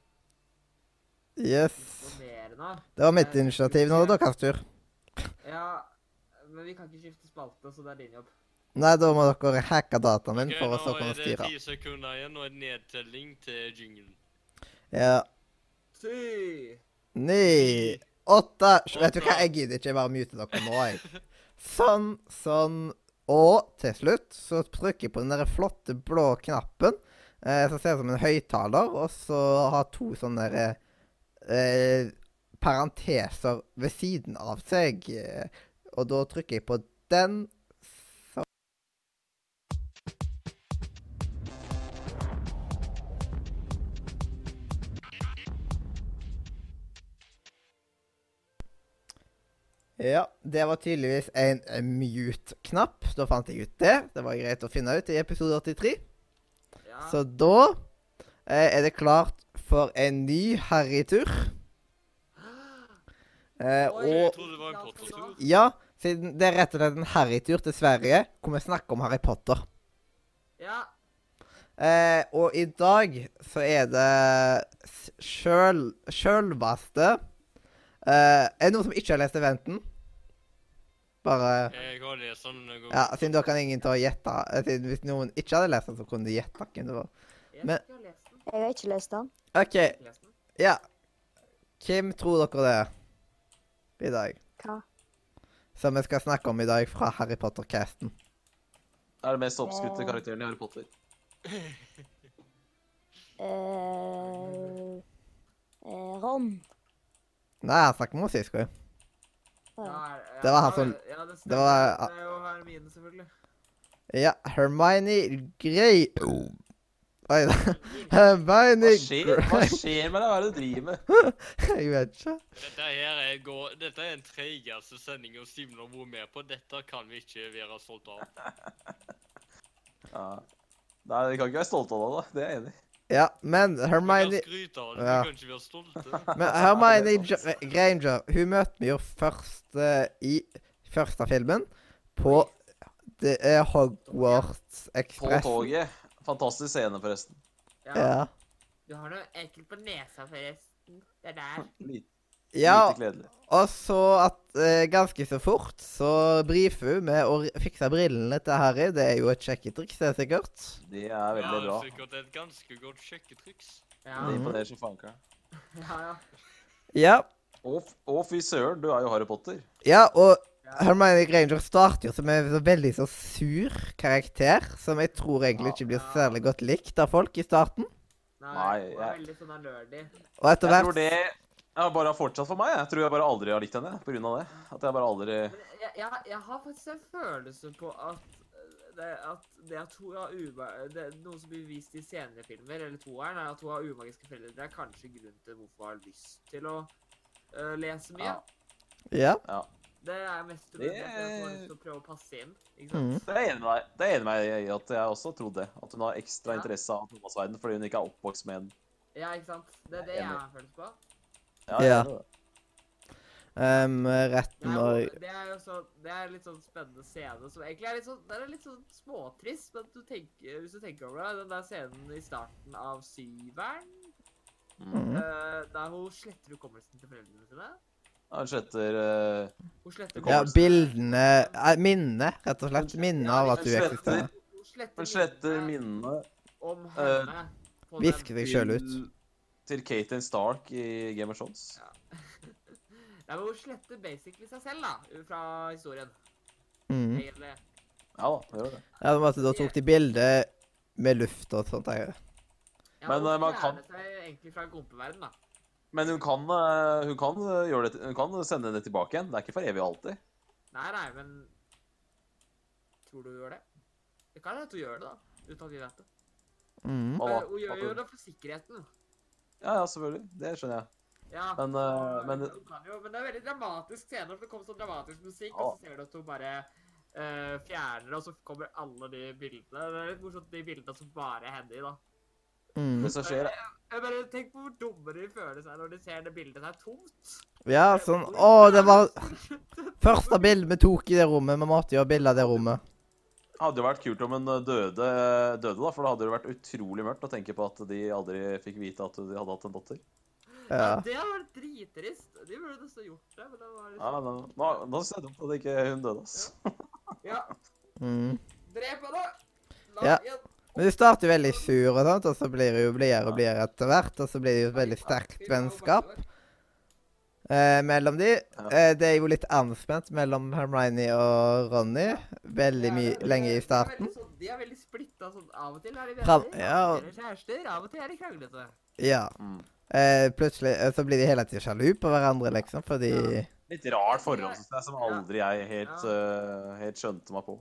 yes.
Imponerende.
Det var mitt initiativ nå, da, Kastur.
Ja, men vi kan ikke skifte spalte, så det er din jobb.
Nei, da må dere hacke dataen min
Ok,
Mm, for å så
nå
kunne
er det
styre.
ti sekunder igjen og en nedtelling til jinglen.
Ja.
Ty!
Ni, åtte sj- Vet du hva, jeg gidder ikke. Jeg bare muter dere nå, jeg. Sånn, sånn. Og til slutt så trykker jeg på den der flotte blå knappen eh, som ser ut som en høyttaler, og så har to sånne der, eh, parenteser ved siden av seg. eh, Og da trykker jeg på den. Så Ja, det var tydeligvis en eh, mute-knapp. Da fant jeg ut det. Det var greit å finne ut i episode 83.
Ja,
Så da eh, er det klart for en ny harrytur.
(gasps)
Eh,
Oi.
og
Jeg trodde det var en pottertur.
ja, siden det er rett og slett en harrytur til Sverige, hvor vi snakker om Harry Potter.
ja.
Eh, og i dag så er det s- sjøl... sjølvaste eh, Er det noen som ikke har lest Eventen? Bare
Jeg har lest den noen
Ja,
ganger.
siden da kan ingen ta og gjette. eh, siden Hvis noen ikke hadde lest den, så kunne de gjette hvem det var.
Jeg
Men-
skal lese den.
Jeg har ikke lest den.
OK,
Jeg skal lese den.
ja. Hvem tror dere det er i dag?
Hva?
Som vi skal snakke om i dag fra Harry Potter-casten.
Det er den mest oppskrytte karakteren i Harry Potter.
Eh, eh, Ron.
Nei, han snakker med Sisko.
Ja.
Da er- ja,
Det var han
da-
som-
Ja, det
det
stemmer.
var-
Det er jo Hermine, selvfølgelig.
Ja, Hermione Grey... Oi da. (laughs) Hermione
Hva skjer, hva
Grey
skjer med deg? Hva er det du driver med?
(laughs) Jeg vet ikke.
Dette her er, går, dette er den treigeste sendinga Simen har vært med på. Dette kan vi ikke være stolte av.
Ja. Nei, vi kan ikke være stolte av deg, da. Det er jeg enig i.
Ja, men
Vi kan
Hermione
skryte av det,
(laughs) Ja.
vi kan ikke være stolte.
Men
Altså,
Hermione Gr- Granger, hun møtte vi jo først eh, i første filmen på det er Hogwarts
På
Express.
toget. Fantastisk scene, forresten.
Ja.
Du har noe ekkelt på nesa, forresten. Det er
(laughs)
der.
Lite,
ja,
lite kledelig.
og så at eh, ganske så fort så brifer hun med å r- fikse brillene til Harry. Det er jo et sjekketriks, det er sikkert.
Det er
Ja,
veldig
det
bra.
er sikkert et ganske godt sjekketriks.
Ja,
Det imponerer som fankeren.
ja, ja.
Ja,
Å, f- å, fy søren, du er jo Harry Potter.
ja og
Ja.
Hermione Granger starter jo som en så veldig så sur karakter, som jeg tror egentlig ikke blir særlig godt likt av folk i starten.
Nei,
Nei,
hun er
jeg-
veldig sånn nerdy.
Og etter
Jeg tror
hvert
det har bare fortsatt for meg. Jeg tror jeg bare aldri har likt henne på grunn av det. At jeg bare aldri
Men jeg, jeg, jeg har faktisk en følelse på at eh, det, at det at hun har uba... Det, noe som blir vist i senere filmer, eller toeren, er at hun har umagiske foreldre. Det er kanskje grunnen til hvorfor hun har lyst til å eh, lese mye.
Ja.
Ja.
Ja.
Det er mest fordi at hun har lyst til å prøve å passe inn. Ikke sant?
Mm.
Det er jeg enig med deg Det er jeg enig med deg i at jeg også trodde det. At hun har ekstra
Ja.
interesse av Thomas-verden fordi hun ikke er oppvokst med den.
Ja, ikke sant? Det er det
Jeg er
jeg
enig.
har en følelse på.
Ja, jeg
Ja.
er enig i det.
Um, rett
Det er,
når
jo- det er jo sånn, det er litt sånn spennende scene som egentlig er litt sånn, den er litt sånn småtrist, men du tenker, hvis du tenker over det, den der scenen i starten av syveren,
Mm.
Mhm.
eh, der hun sletter hukommelsen til foreldrene sine.
Ja, Hun sletter eh,
Hun sletter
Ja,
Hukommelsen.
bildene eh, Minnet, rett og slett. Minnet av at du
sletter-
eksisterer.
Hun sletter,
Hun sletter eh,
minnene
minnene
om henne. på den.
Visker deg sjøl ut.
til- til Catelyn Stark i Game of Thrones.
Ja. Nei, men hun sletter basically seg selv, da, fra historien,
Mm.
egentlig.
Ja da, det gjør det.
Ja, det var at Da tok de bilde med luft og sånt. der.
Ja,
Men,
hun
eh, man kan-
fjerner seg egentlig fra kompeverden, da.
Men hun kan, eh, hun kan eh, gjøre det Hun kan sende det tilbake igjen. Det er ikke for evig og alltid.
Nei, nei, men Tror du hun gjør det? Det kan hende hun gjør det, da. Uten at vi vet det.
Mm.
Og
Men
hva-
hun gjør
hva-
jo det for sikkerheten.
Ja, ja, selvfølgelig. Det skjønner jeg.
Ja.
Men, eh,
og
men
hun kan jo, men det er veldig dramatisk scene, for det kommer sånn dramatisk musikk,
Ja.
og så ser du at hun bare eh, fjerner, og så kommer alle de bildene. Det er litt morsomt, de bildene som bare er henne i, da.
Mm.
det som skjer,
Jeg bare Tenk på hvor dumme de føler seg når de ser det bildet der tomt.
Ja, sånn Å, det var første bildet vi tok i det rommet. Vi måtte jo ha bilde av det rommet.
Hadde jo vært kult om hun eh, døde, døde da, for da hadde det vært utrolig mørkt å tenke på at de aldri fikk vite at de hadde hatt en datter.
Ja.
Det har vært drittrist. De burde nesten gjort det. men det var
Ja, eh,
liksom...
da, da, da synes jeg det er dumt at ikke hun døde, ass.
Ja,
Mm.
drep henne! La
Ja.
igjen.
Men de starter jo veldig sur, og sånt, og så blir det jo blidere og blidere etter hvert. Og så blir det jo et veldig sterkt vennskap eh, mellom de. Eh, det er jo litt anspent mellom Hermione og Ronny. Veldig mye lenge i starten.
De er veldig, sånn, de er veldig splitta sånn. Av og til er de venner,
Fram-
av og
ja.
til er de kjærester, av og til er de kranglete.
Ja.
Mm.
Eh, plutselig eh, så blir de hele tiden sjalu på hverandre, liksom, fordi
Litt rart forhold, synes jeg, som aldri jeg helt, eh, helt skjønte meg på.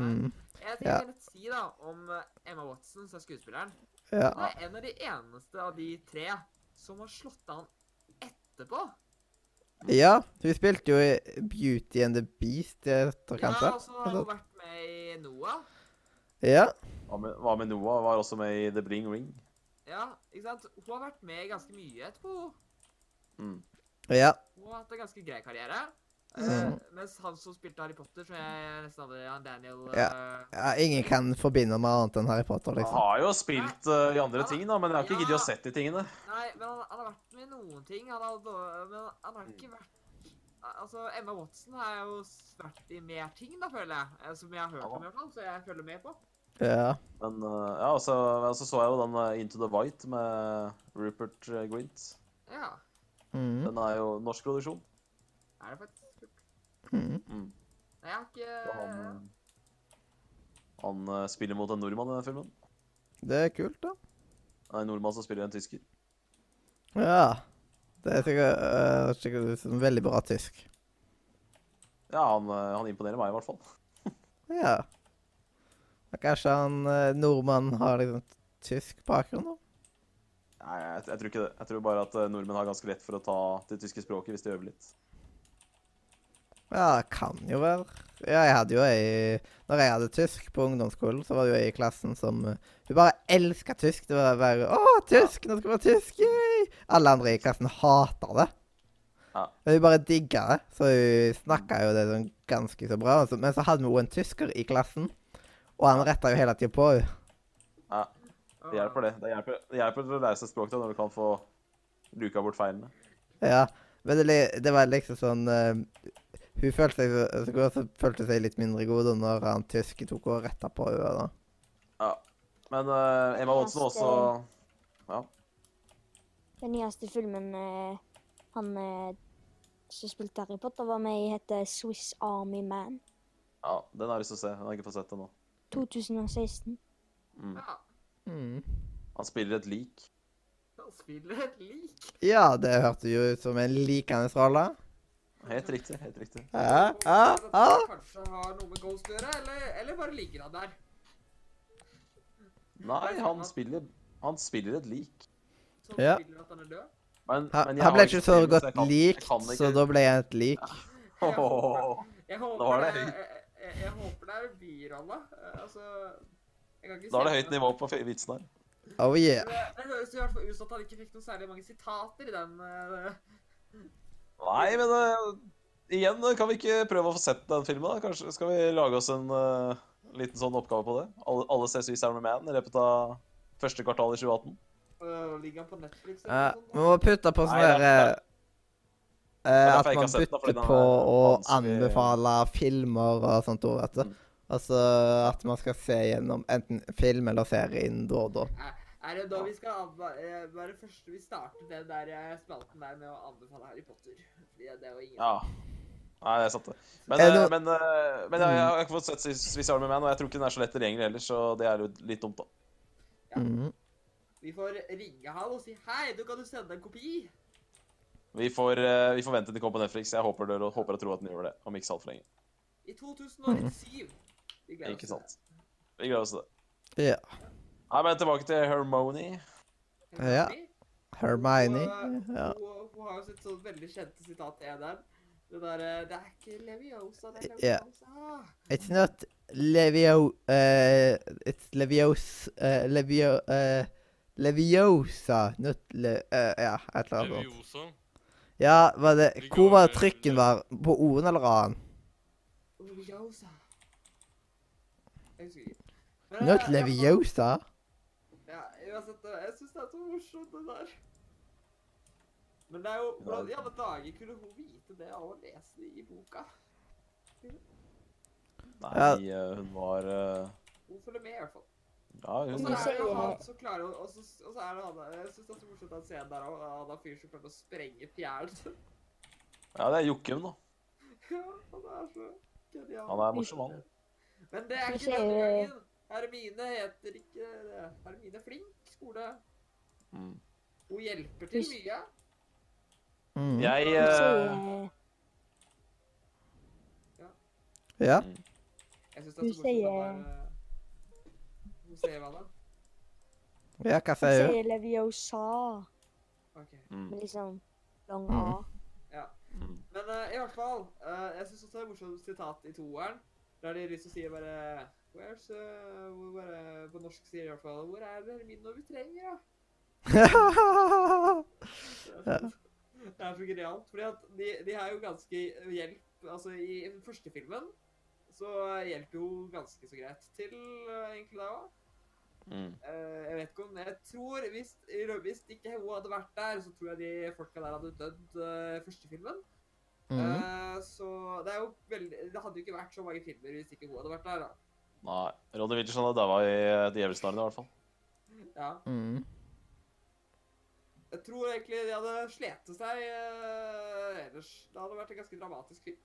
mm,
Jeg
Ja.
tenker litt si da om eh, Emma Watson, som er skuespilleren.
Ja.
Hun er en av de eneste av de tre som har slått an etterpå.
Ja, hun spilte jo i Beauty and the Beast eh, i etterkant.
Ja,
da.
og så har hun vært med i Noah.
Ja.
Hva med, hva med Noah? Var også med i The Bling Ring.
Ja, ikke sant? Hun har vært med ganske mye etterpå. hun.
Mm.
ja.
Hun har hatt en ganske grei karriere. Eh,
Mhm.
mens han som spilte Harry Potter, som jeg nesten hadde han Daniel
Ja.
eh,
ja. Ingen kan forbinde meg annet enn Harry Potter,
Han
liksom.
har jo spilt eh, i andre ting, da, men jeg har ikke giddet å sett de tingene.
Nei, men han, han har vært med i noen ting. Han har, da- men han har ikke vært Altså, Emma Watson har jo s- vært i mer ting, da, føler jeg. eh, Som jeg har hørt om, i hvert fall. Så jeg følger med på.
Ja.
Men eh, ja, og så, og så så jeg jo den eh, Into the White med Rupert eh, Grint.
Ja.
Mm,
Den er jo norsk produksjon.
Er det faktisk
mm.
Mm.
Nei, jeg har
Og
ikke
Han, eh, han eh, spiller mot en nordmann i den filmen.
Det er kult, da.
Det er En nordmann som spiller en tysker.
Ja. Det er sikkert, eh, sikkert ut som veldig bra tysk.
Ja, han, eh, han imponerer meg i hvert fall.
Ja. Og kanskje han eh, nordmannen har liksom tysk bakgrunn, da?
Nei, jeg, jeg tror ikke det. Jeg tror bare at eh, nordmenn har ganske lett for å ta det tyske språket hvis de øver litt.
Ja, kan jo være. Ja, jeg hadde jo ei Når jeg hadde tysk på ungdomsskolen, så var det jo ei i klassen som eh, Hun bare elska tysk. Det var bare Å, tysk! Nå skal vi ha tysk! Yay! Alle andre i klassen hater det.
Ja.
Men hun bare digga det, så hun snakka jo det sånn ganske så bra. altså. Men så hadde vi jo en tysker i klassen, og han retta jo hele tida på henne.
Ja, det hjelper, det. Det hjelper, det hjelper å lære seg språk da, når du kan få luka bort feilene.
Ja, men det, li- det var liksom sånn eh, Hun følte seg, så- så god, så følte hun seg litt mindre god da når han tyske tok og retta på henne. da.
Ja. Men eh, Emma Watson var også Ja.
Den nyeste filmen eh, han eh, som spilte Harry Potter, var med i, heter Swiss Army Man
ja den har jeg lyst til å se. Jeg har ikke fått sett den nå.
2016.
Mm.
Ja,
Han spiller et lik.
han spiller et lik.
Ja, det hørtes jo ut som en likende rolle.
Helt riktig. helt riktig.
Ja, ja, ja.
Kanskje har noe med Ghost å gjøre, eller, eller bare liker han der.
Nei, han spiller, han spiller et lik.
Som
Ja.
spiller at han er død.
Men,
Han
men jeg
han
har
ble ikke
film,
så godt
jeg kan- jeg
likt,
kan ikke-
så da ble jeg et lik.
Åh,
Jeg håper
Da var det
jeg, jeg, jeg håper det er birolle. eh, Altså jeg kan ikke
Da er det
se
høyt nivå på f- vitsen her.
Oh yeah.
Men Det, det høres i hvert fall ut som at han ikke fikk noe særlig mange sitater i den. eh,
Nei, men eh, igjen, eh, kan vi ikke prøve å få sett den filmen? da? Kanskje Skal vi lage oss en eh, liten sånn oppgave på det? Alle, alle ses i Sarmer Man i løpet av første kvartal i 2018.
øh, Ligger han på Netflix
Ja,
eller
vi
noe
må
sånt?
putte på sånn
Nei, det er-
derre
er
eh, At
derfor jeg ikke
man
har sett den, fordi
bytter
den
på
er
å
vanskelig.
anbefale filmer og sånt òg, vet du.
Mm.
Altså at man skal se gjennom enten film eller serie innen da og da.
Er- Er det da vi skal anba- eh, være første vi starter den der eh, spalten der med å anbefale Harry Potter? Fordi det er jo ingen
Ja. Nei, det er sant, det. Men,
Er
eh,
det- Mm.
men, eh, men jeg, jeg har ikke fått sett Swiss Army Man, og jeg tror ikke den er så lett tilgjengelig heller, så det er jo litt dumt, da.
Ja.
Mhm.
Vi får ringe han og si hei, du kan jo sende en kopi.
Vi får, eh, vi får vente til den kommer på Netflix. Jeg håper, dere, håper og tror at den gjør det, om ikke så altfor lenge.
I 2007. Vi gleder oss
Ikke
til
sant. Vi gleder oss til det.
Ja.
Nei, men tilbake til Hermony.
det.
Ja. Hermione.
eh,
Ja.
eh, Hun, hun har jo sitt sånn veldig kjente sitat i der. Det derre Det er ikke Leviosa, det er
Ja.
Leviosa.
It's not Levio... eh, it's Levios... eh, Levio... eh, Leviosa, not le... eh, ja, et eller annet sånt.
Leviosa.
Ja, var det
Vi
Hvor
går
var
med-
trykken var? På O-en eller A-en?
Leviosa. Jeg husker ikke. Men,
(laughs)
Not
eh,
Leviosa.
Ja, uansett, eh, jeg syns det er så morsomt, det der. Men det er jo Hvordan i alle dager kunne hun vite det av å lese det i boka?
Ja.
Nei, eh, hun var eh,
Hun følger med, i hvert fall.
Ja,
Og
hun
så
Men
er det jo
så-
han som klarer å Og så og så er det han der Jeg syns det er så morsomt den scenen der òg. Han der fyren som prøvde å sprenge fjæren sin.
Ja, det er Jokum, da.
(laughs) Ja, han er så genial.
Han er morsom, han.
Men det er
Vi
ikke denne
ser-
gangen. Hermine heter ikke det. Hermine er Flink skole.
Mm.
Hun hjelper til
Vi-
mye.
Mm.
Jeg
Hun sier,
eh,
eh,
Ja.
Jeg syns det er så
Hun
morsomt
sier-
den der eh, Hun sier hva da?
ja, hva
hun
sier hun?
sier Leviosa.
OK.
mm,
Med liksom lang
Mm.
A.
mm.
Men eh, i hvert fall, eh, jeg syns også det er et morsomt sitat i toeren. Der de liksom sier bare Where's eh, hvor- hvor, eh, På norsk sier de i hvert fall Hvor er Hermine når vi trenger henne?
Ja.
(laughs) Det er så genialt. Fordi at de, de er jo ganske hjelp Altså, i den første filmen så hjelper jo ganske så greit til, eh, egentlig, da òg.
Mm.
jeg vet ikke om Jeg tror hvis, i lø- hvis ikke hun hadde vært der, så tror jeg de folka der hadde dødd eh, første filmen.
(laughs) Mm.
Eh, så det er jo veldig Det hadde jo ikke vært så mange filmer hvis ikke hun hadde vært der, da.
Nei. Roddy Wilterson hadde daua i eh, Djevelsnaren, i hvert fall.
Ja.
Mm.
Jeg tror egentlig de hadde sletet seg eh, ellers. Det hadde vært en ganske dramatisk film.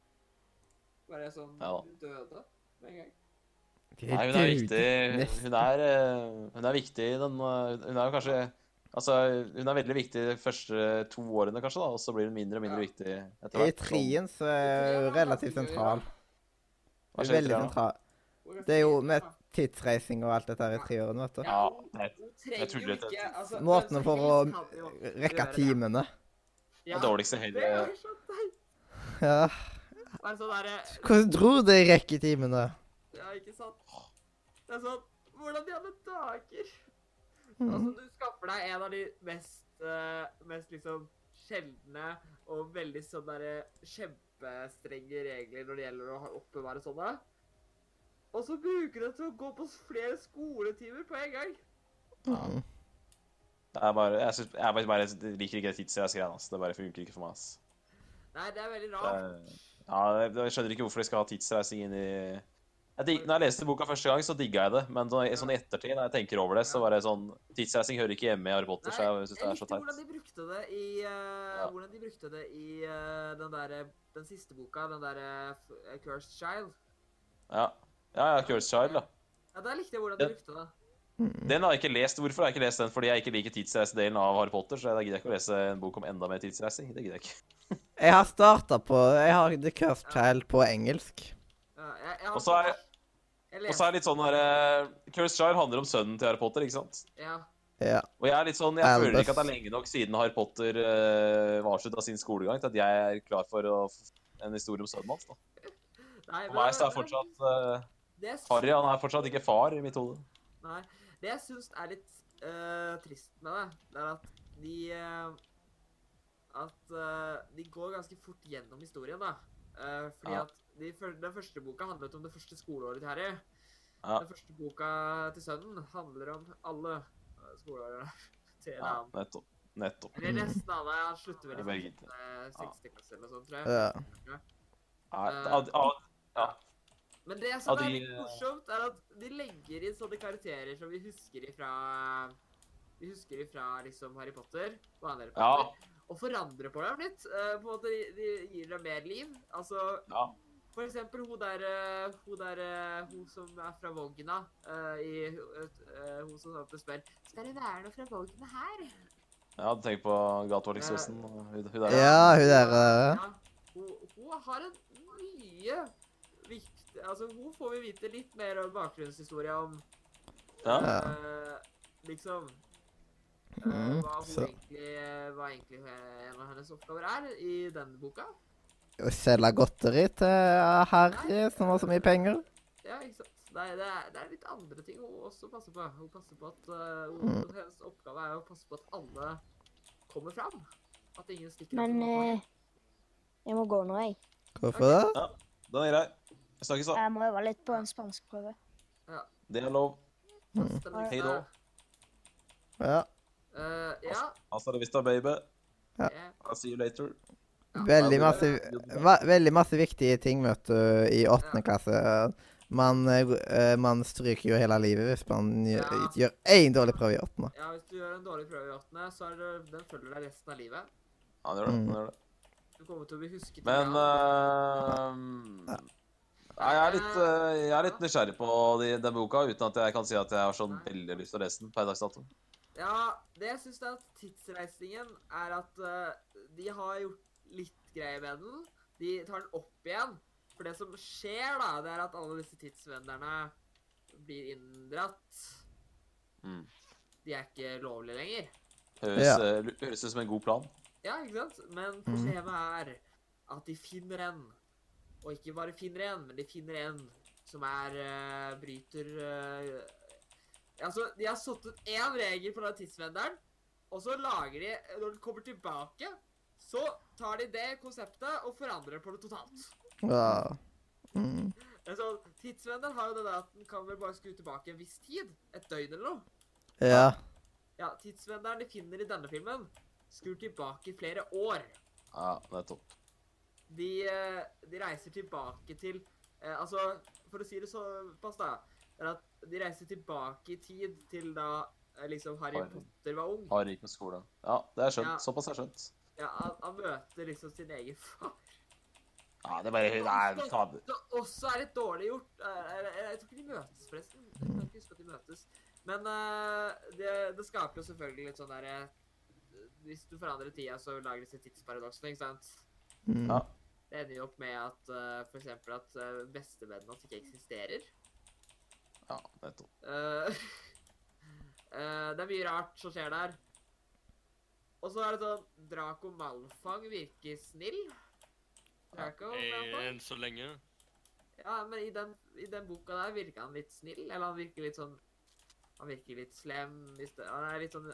Bare sånn
Ja da.
døde med en gang.
Nei, hun er viktig.
Nest-
Hun er, eh, hun er viktig i den eh, Hun er jo kanskje Altså, hun er veldig viktig de første to årene, kanskje, da, og så blir hun mindre og mindre
Ja.
viktig etter
I
hvert.
trien så er hun relativt sentral. Hun er veldig sentral.
Hun ganske
Det er jo
liten,
med
da.
tidsreising og alt dette her i trioen, vet du.
Ja,
Ja,
hun,
det-
hun trenger
tror
jo
det-
ikke altså,
Måten
hvem som
for å
helst kan jo
Rekke
gjøre det.
timene.
Det
Ja,
dårligste
det
hele
er sånn teit.
Ja.
Bare sånn derre
Hvordan tror du de rekker timene?
Ja, ikke sant? Det er sånn Hvordan i alle dager?
Mm.
Altså, du skaffer deg en av de mest, eh, mest liksom sjeldne og veldig sånn derre kjempestrenge regler når det gjelder å ha- oppbevare sånne. Og så bruker du det til å gå på s- flere skoletimer på en gang.
Mm.
Det er bare, jeg, synes, jeg, bare, bare liker ikke det tidsreisegreiene. ass. Det bare funker ikke for meg. ass.
Nei, det er veldig
Det
rart.
er, ja, jeg, jeg skjønner ikke hvorfor de skal ha tidsreising inn i jeg dig, Når jeg leste boka første gang, så digga jeg det, men sånn, i- sånn i ettertid, når jeg tenker over det, så var det sånn Tidsreising hører ikke hjemme i Harry Potter, så jeg syns det
jeg
er så
likte hvordan
teit.
de brukte det i, eh,
Ja.
hvordan de brukte det i eh, den, der, den siste boka, den derre eh, Cursed Child.
Ja, ja, ja Cursed Child, da.
Ja, Der likte jeg hvordan de
Ja.
brukte det.
Den har jeg ikke lest. Hvorfor har jeg ikke lest den? Fordi jeg ikke liker tidsreisedelen av Harry Potter, så jeg gidder jeg ikke å lese en bok om enda mer tidsreising. Det gidder jeg ikke.
Jeg har starta på Jeg har The Cursed Child på engelsk.
Ja, jeg, jeg har-
Og så er-
jeg
Og så er det litt sånn derre Cursed Child handler om sønnen til Harry Potter, ikke sant?
leste- ja.
Ja.
Og jeg er litt sånn, jeg
Albus.
føler ikke at det er lenge nok siden Harry Potter uh, var slutt av sin skolegang, til at jeg er klar for å f- en historie om sønnen hans. da.
Nei,
For
men-
meg så er fortsatt eh,
Det jeg syns-
Harry han er fortsatt ikke far i mitt hode.
Nei. Det jeg syns er litt eh, trist med det, det er at de eh, At eh, de går ganske fort gjennom historien, da. Eh, fordi
Ja.
at de, fyr- den første boka handlet om det første skoleåret til Harry.
Ja.
Den første boka til sønnen handler om alle eh, skoleårene (laughs) til
Ja,
ham.
nettopp. Nettopp.
Eller nesten alle. Han slutter vel i
Jeg
sånn, eh, siste klasse eller noe sånt, tror jeg.
Ja.
Ja, av- av-
Men det som
Ja,
er
de-
litt morsomt, er at de legger inn sånne karakterer som vi husker ifra Vi husker ifra liksom Harry Potter, vanlig Harry
ja,
Potter, og forandrer på dem litt. eh, på en måte de, de gir dem mer liv. Altså
ja.
for eksempel hun der eh, Hun der eh, Hun som er fra Vogna. eh, i, eh, hun som alltid spør Skal det være noe fra Vogna her?
ja tenk på gatevålingsvesten. Hun hun der.
Ja, hun der eh,
Ja, hun, hun har en mye viktig Altså, hun får vi vite litt mer om bakgrunnshistoria om
Ja.
Ja.
Eh, liksom eh,
Mm,
hva, hun
så-
egentlig, hva egentlig eh, en av hennes oppgaver er i den boka.
Å selge godteri til Harry, som har så mye penger.
Ja, ikke sant? Nei, det er, det er litt andre ting hun også passer på. Hun passer på at eh, hun,
Mm.
Hennes oppgave er å passe på at alle kommer fram. At ingen stikker
Men
av.
eh, jeg må gå nå, jeg.
Hvorfor det?
Den er grei. Vi snakkes, da.
Jeg må øve litt på en spanskprøve.
Det er lov.
Mm.
Neste
Hei
liste.
da.
Ja.
Eh, ja. eh,
Hasta la vista, baby.
Ja.
ja.
I'll see you later.
Veldig
Ja,
masse, va, veldig masse viktige ting, vet du, i åttende
Ja.
klasse. Man, eh, g- eh, man stryker jo hele livet hvis man gjør,
Ja.
gjør én dårlig prøve i åttende.
Ja, hvis du gjør en dårlig prøve i åttende, så er det, den følger deg resten av livet.
Ja, det gjør det.
Mm.
det, gjør det.
Du kommer til å bli husket.
Men
ja.
eh, Nei, jeg er litt, eh, jeg er litt nysgjerrig på de, den boka, uten at jeg kan si at jeg har sånn veldig lyst til å lese den per dags dato.
ja, det jeg syns er at tidsreisingen er at eh, de har gjort litt greie med den. De tar den opp igjen. For det som skjer, da, det er at alle disse tidsvenderne blir inndratt.
Mm.
De er ikke lovlige lenger.
Høres,
Ja.
eh, lu- høres ut som en god plan.
Ja, ikke sant? Men
Mhm.
problemet er at de finner en. Og ikke bare finner en, men de finner en som er eh, bryter eh, Altså, de har satt ut én regel på den tidsvenderen, og så lager de Når den kommer tilbake, så tar de det konseptet og forandrer på det totalt.
Ja. Mm.
Altså, tidsvenderen har jo det der at den kan vel bare skru tilbake en viss tid. Et døgn eller noe.
ja.
Ja, tidsvenderen de finner i denne filmen, skrur tilbake flere år.
Ja, nettopp.
de, eh, de reiser tilbake til eh, Altså, for å si det såpass, da er at De reiser tilbake i tid til da eh, liksom Harry
Harry.
Potter var ung.
Har rik med skole. Ja, det er skjønt.
Ja.
Såpass er skjønt.
Ja, han, han møter liksom sin egen (laughs) far.
Ja, det er bare Nei, ta det.
Så også er litt dårlig gjort. eh, eller- eller Jeg tror ikke de møtes, forresten. Jeg kan ikke huske at de møtes. Men eh, det, det skaper jo selvfølgelig litt sånn derre Hvis du forandrer tida, så lages det tidsparadoksene, ikke sant?
Mm.
Ja.
Det ender jo opp med at eh, for eksempel at eh, bestevennen hans ikke eksisterer.
Ja, nettopp.
Eh, (laughs) eh, det er mye rart som skjer der. Og så er det sånn Draco Malfang virker snill. Draco
Eh,
Malfang.
Enn så lenge.
Ja, men i den, i den boka der virker han litt snill. Eller han virker litt sånn Han virker litt slem. i sted- Han er litt sånn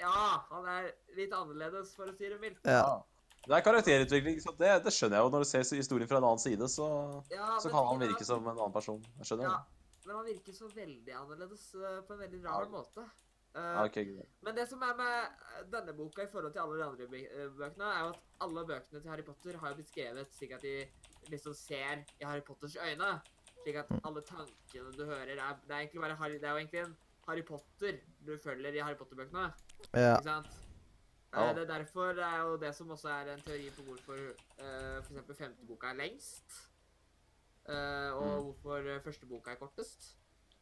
Ja, han er litt annerledes, for å si det mildt.
ja.
Det er karakterutvikling, så det, det skjønner jeg jo. Når du ser historien fra en annen side, så,
Ja,
så
men
kan han
tingen er
virke
at-
som en annen person. Jeg skjønner det.
Ja, men han virker så veldig annerledes eh, på en veldig rar
Ja.
måte. Eh,
Ja, ok, greit.
Men det som er med eh, denne boka i forhold til alle de andre bø- eh, bøkene, er jo at alle bøkene til Harry Potter har jo blitt skrevet slik at de liksom ser i Harry Potters øyne. Slik at alle tankene du hører, er, det er egentlig bare Harry, det er jo egentlig en Harry Potter du følger i Harry Potter-bøkene.
ja.
Ikke sant? Eh,
Ja.
Det er derfor det er jo det som også er en teori på hvorfor eh, for f.eks. femte boka er lengst. eh, og hvorfor eh, første boka er kortest.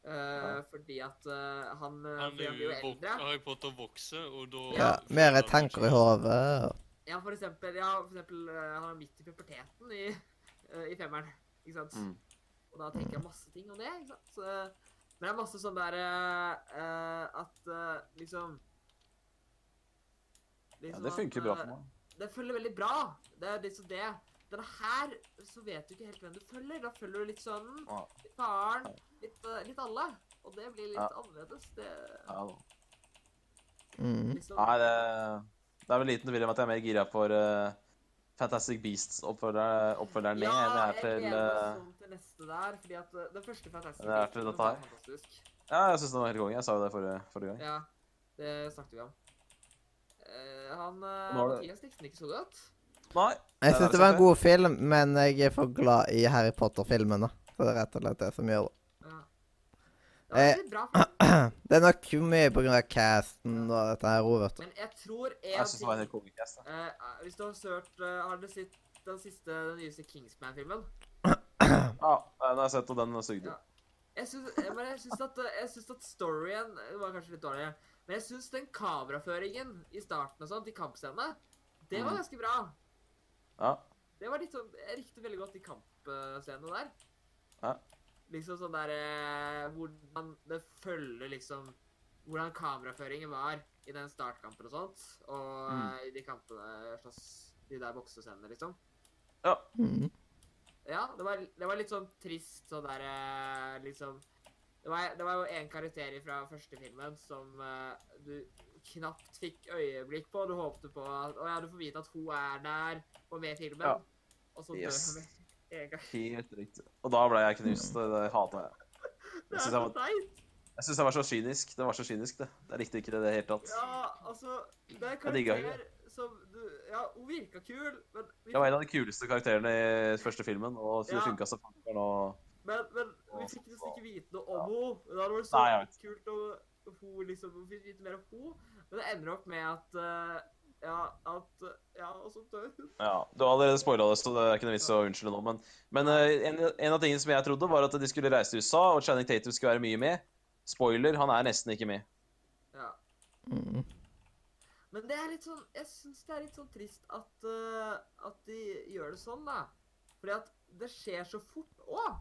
Eh, Fordi at eh, han, eh, fordi
Han er
han blir
jo
jo
vok-
eldre.
Harry Potter vokser, og da
ja. Mer tanker i hodet.
Ja, for eksempel, ja, for eksempel eh, han er midt i puberteten i, eh, i femmeren, ikke sant?
Mm.
Og da tenker jeg masse ting om det, ikke sant? Så, men det er masse sånn der eh, eh, at eh, liksom,
Ja,
liksom
det
at,
funker bra
eh,
for meg.
Det følger veldig bra. Det er liksom det. Denne her, så vet du ikke helt hvem du følger. Da følger du litt sønnen,
Ja.
litt faren, litt, eh, litt alle. Og det blir litt
Ja.
annerledes. Det,
Ja, da.
Mm.
liksom,
Nei, det, det er vel liten tvil om at jeg er mer gira for eh, Fantastic Beasts-oppfølgeren oppfølgeren min enn jeg er
jeg
til
gleder meg
eh,
sånn til neste der, fordi at eh, den første fantastiske
Den er til
filmen
dette her.
var fantastisk.
Ja, jeg syns den var helt konge. Jeg sa jo det forrige, forrige gang.
Ja, det snakket vi om. Eh, han eh,
Nå er det-
Mathias likte den ikke så godt.
Nei.
Jeg
det er altså
syns det
det
var
som
en god film, men jeg er for glad i Harry Potter-filmene. Så det er rett og slett det som gjør det.
Ja. Det var
Eh.
litt bra, film,
Det er nok mye på grunn av casten og dette her òg, vet du.
men jeg tror
Jeg
en
syns det var en
ting
helt konge. cast, da.
Eh, Hvis du har sørt, eh, har dere sett den siste, den nyeste Kingsman-filmen?
Ja, den har jeg sett, og den sugde.
Ja. Jeg syns, eh, men jeg syns at, eh, jeg syns at storyen eh, var kanskje litt dårlig, men jeg syns den kameraføringen i starten og sånt, i kampscenene, det var
Mhm.
ganske bra.
Ja.
Det var litt sånn, Jeg likte veldig godt de kampscenene der.
Ja.
Liksom sånn der eh, Hvordan det følger liksom Hvordan kameraføringen var i den startkampen og sånt. Og
Mm.
eh, i de kampene slåss De der boksescenene, liksom.
Mm.
Ja, det var, det var litt sånn trist sånn der eh, liksom det var, det var jo en karakter fra første filmen som eh, du knapt fikk øyeblikk på. Du håpte på at Å ja, du får vite at hun er der og med i filmen.
Ja.
Og så dør
Yes.
hun med en gang.
Helt riktig. Og da ble jeg knust. (laughs) Det, det hata jeg.
Det er
Jeg synes
så
jeg var-
teit.
Jeg syns det var så kynisk. Det var så kynisk, det. Jeg likte ikke det i det hele tatt.
Ja, altså Det er
Jeg digger henne.
karakter som du Ja, hun virka kul, men vi,
Det var en av de kuleste karakterene i første filmen, og det
Ja.
funka så fint. og-
men, men vi fikk nesten ikke vite noe om henne. Det hadde vært så
Nei, jeg
kult om hun liksom Vi fikk vite mer om henne, men det ender opp med at eh, Ja, at eh, Ja, og så dør hun.
Ja, Du har allerede spoila det, så det er ikke noe vits å unnskylde nå. Men, men eh, en, en av tingene som jeg trodde, var at de skulle reise til USA, og Channing Tatum skulle være mye med. Spoiler, han er nesten ikke med.
Ja.
Mm.
Men det er litt sånn, jeg syns det er litt sånn trist at, eh, at de gjør det sånn, da. Fordi at det skjer så fort òg.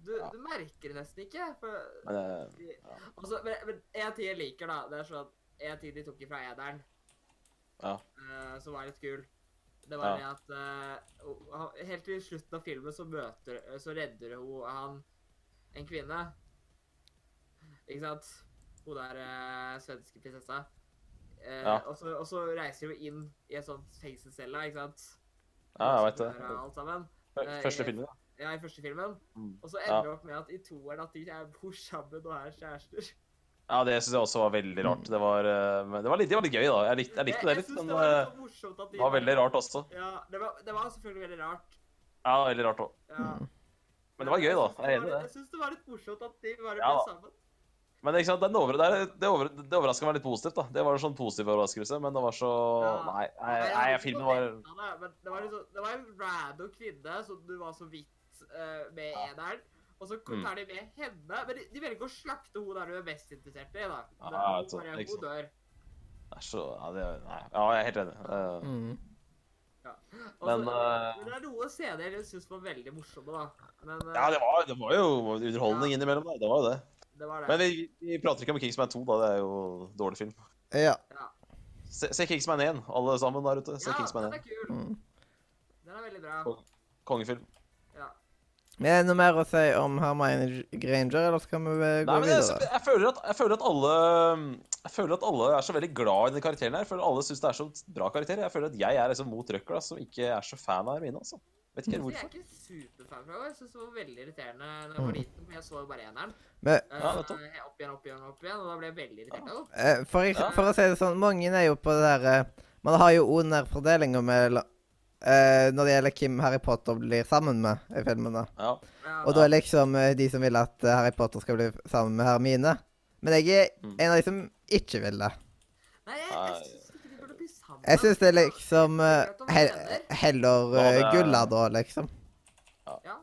Du,
Ja.
du merker det nesten ikke. For,
Men eh,
altså, men, men en ting jeg liker, da, det er sånn at en ting de tok ifra Ederen,
Ja.
eh, som var litt kul, det var det
Ja.
at eh, og han- Helt til slutten av filmen så møter eh, Så redder hun han en kvinne. Ikke sant? Hun der eh, svenske prinsessa. Eh,
Ja.
og, så, og så reiser hun inn i en sånn fengselscelle, ikke sant?
ja, jeg veit det.
Som er Alt sammen.
Fø- Første filmen, ja.
Ja, i første filmen.
Mm.
Og så
Ja.
ender det opp med at i toeren at de er bor sammen og er kjærester.
Ja, det syns jeg også var veldig rart. Det var, eh, men det var litt, det var litt gøy, da. Jeg likte, jeg likte det
jeg
litt,
synes
men
det var litt
eh,
så morsomt at de
det var veldig rart også.
Ja, det var, det var selvfølgelig veldig rart.
Ja, veldig rart også.
Ja.
Mm.
Men det var gøy, da.
Jeg synes det
Jeg er enig i
var-
det.
Jeg syns det var litt morsomt at de bare
Ja,
ble
da.
sammen.
Men ikke sant, den over, det, er- det, over, det overraska meg litt positivt, da. Det var en sånn positiv overraskelse, men det var så
Ja.
Nei, nei,
jeg
nei
hadde ikke
filmen var
forventet det, men det, var liksom, det var en random kvinne som du var så vidt eh, med
Ja.
eneren. Og så
Mm.
tar de med henne. Men de, de velger ikke å slakte hun der du er mest interessert i. da.
Ja,
Det er
jeg
hun
tror-
bare-
ikke sant.
Hun dør.
det er så, ja, det, nei. ja, jeg er helt enig. Eh,
Mm.
Og
Men,
så-
eh,
men det er noen scener jeg syns var veldig morsomme, da. Men eh,
Ja, det var, det var jo underholdning
Ja.
innimellom, da. Det var jo det.
det var det.
Men vi, vi prater ikke om Kingsman 2, da. Det er jo dårlig film.
Ja.
Se, se Kingsman 1, alle sammen der ute. Se
ja,
Kingsman
den
1.
er kul.
Mm.
Den er veldig bra.
Og- Kongefilm.
Ja.
Men er det noe mer å si om Hermione Granger, eller skal vi eh, gå
Nei, men jeg,
videre?
jeg, føler at, jeg føler at alle Jeg føler at alle er så veldig glad i den karakteren her. Jeg føler at alle syns det er så bra karakter. Jeg føler at jeg er liksom mot røkla, som ikke er så fan av Hermine, altså. Vet
Mm.
Så
ikke helt
jeg er
hvorfor. Mm.
ikke superfan fra henne. Jeg syns det var veldig irriterende da jeg var liten, for jeg så jo bare eneren.
Men-
Eh,
Ja, nettopp.
opp igjen, opp igjen, opp igjen, og da ble jeg veldig irritert. av henne.
Eh, For, ek-
Ja.
for å si det sånn, mange er jo på det derre Man har jo under fordelinga med la- eh, når det gjelder hvem Harry Potter blir sammen med i filmene.
Ja.
Ja,
Og da er liksom eh, de som vil at eh, Harry Potter skal bli f- sammen med Hermine. Men jeg er
Mm.
en av de som ikke vil det.
Nei, jeg,
Nei.
jeg syns ikke de burde bli sammen.
Jeg syns det er liksom eh,
Det er greit å være
hel-
venner.
Heller
Ja, det
eh,
er-
gulla da, liksom.
Ja.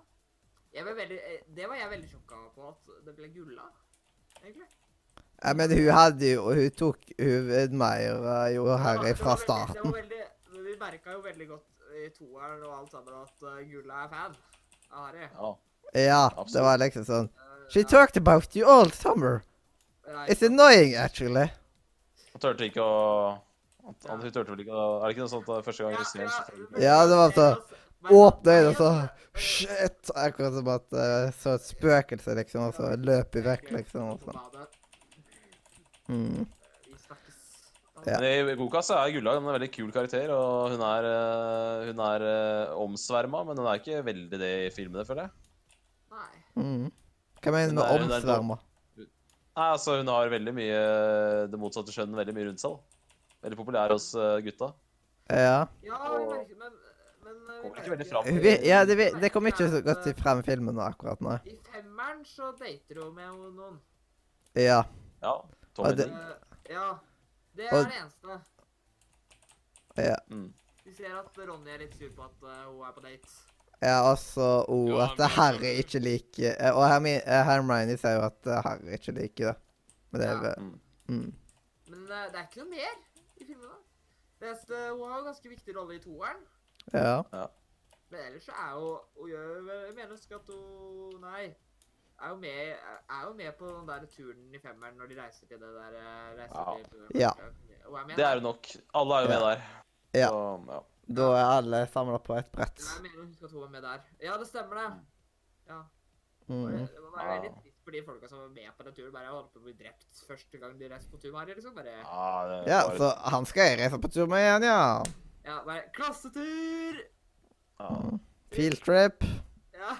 Jeg ble veldig, eh, det var jeg veldig sjokka på, at det ble gulla, egentlig.
Ja, men hun hadde jo Hun tok Hun admira jo Harry
Det var-
fra
det var veldig-
starten.
Det var veldig, vi merka jo veldig godt i toeren og alt sammen at eh, gulla er fan av Harry.
ja.
Ja, det
Absolutt.
var liksom sånn
Eh,
She
ja,
talked about you all summer.
ja,
It's
ikke sant?
annoying, actually.
Han turte ikke å han, han turte vel ikke å Er det ikke noe sånt at første gang du ser
ja. det var så-
Men-
Åpne øynene og så
Men-
Shit! Akkurat som at jeg så et spøkelse, liksom, og så løp jeg vekk, liksom. og
På
sånn.
badet.
Mm.
Vi snakkes.
Ja.
Men I Goka så er Gulla en veldig kul karakter, og hun er, eh, hun er eh, omsverma, men hun er ikke veldig det i filmene, føler jeg.
Nei.
Mm. Hva mener du med
Nei, nei,
omsverma?
Nei, altså Hun har veldig mye det motsatte kjønn veldig mye rundt seg. da. Veldig populær hos eh, gutta.
Ja.
Ja, vi
Og-
merker, men, men eh, vi
Kommer ikke
merker-
veldig fram.
Hun vi- ja det, vi- det kom ikke så godt frem i filmen nå, akkurat nå.
I femmeren så dater hun med noen.
Ja.
Ja. Tommy
Ja, det-
Ding.
Eh, ja. Det
Og-
er det eneste.
Mm.
Vi ser at Ronny er litt sur på at eh, hun er på date.
Ja, også og
Ja,
at
men-
Harry ikke liker eh, Og Hermi- eh, Hermione sier jo at eh, Harry ikke liker det. Men det er vel
Mm.
mm.
Men eh, det er ikke noe mer i filmene. Det eneste, hun har jo ganske viktig rolle i toeren.
Ja.
Men ellers så er jo hun gjør, Jeg mener å huske at hun Nei. Er jo, med, er jo med på den der turen i femmeren når de reiser til det der eh, reiser
Ja.
til,
Ja.
Hun er med.
Det er hun nok. Alle er jo med der.
Ja.
Så, ja.
Da er alle samla på et brett.
Ja, Jeg mener å huske at hun var med der. Ja, det stemmer det.
Mm.
Ja. Og
Mm.
Det det må være
Ja.
veldig trist for de folka som var med på den turen. Bare holdt på å bli drept første gang de reiste på tur. Her, liksom. Bare, ja,
Ja, det
Ja,
var-
så han skal jeg reise på tur med igjen, ja.
bare Klassetur!
ja.
Field trip.
Ja.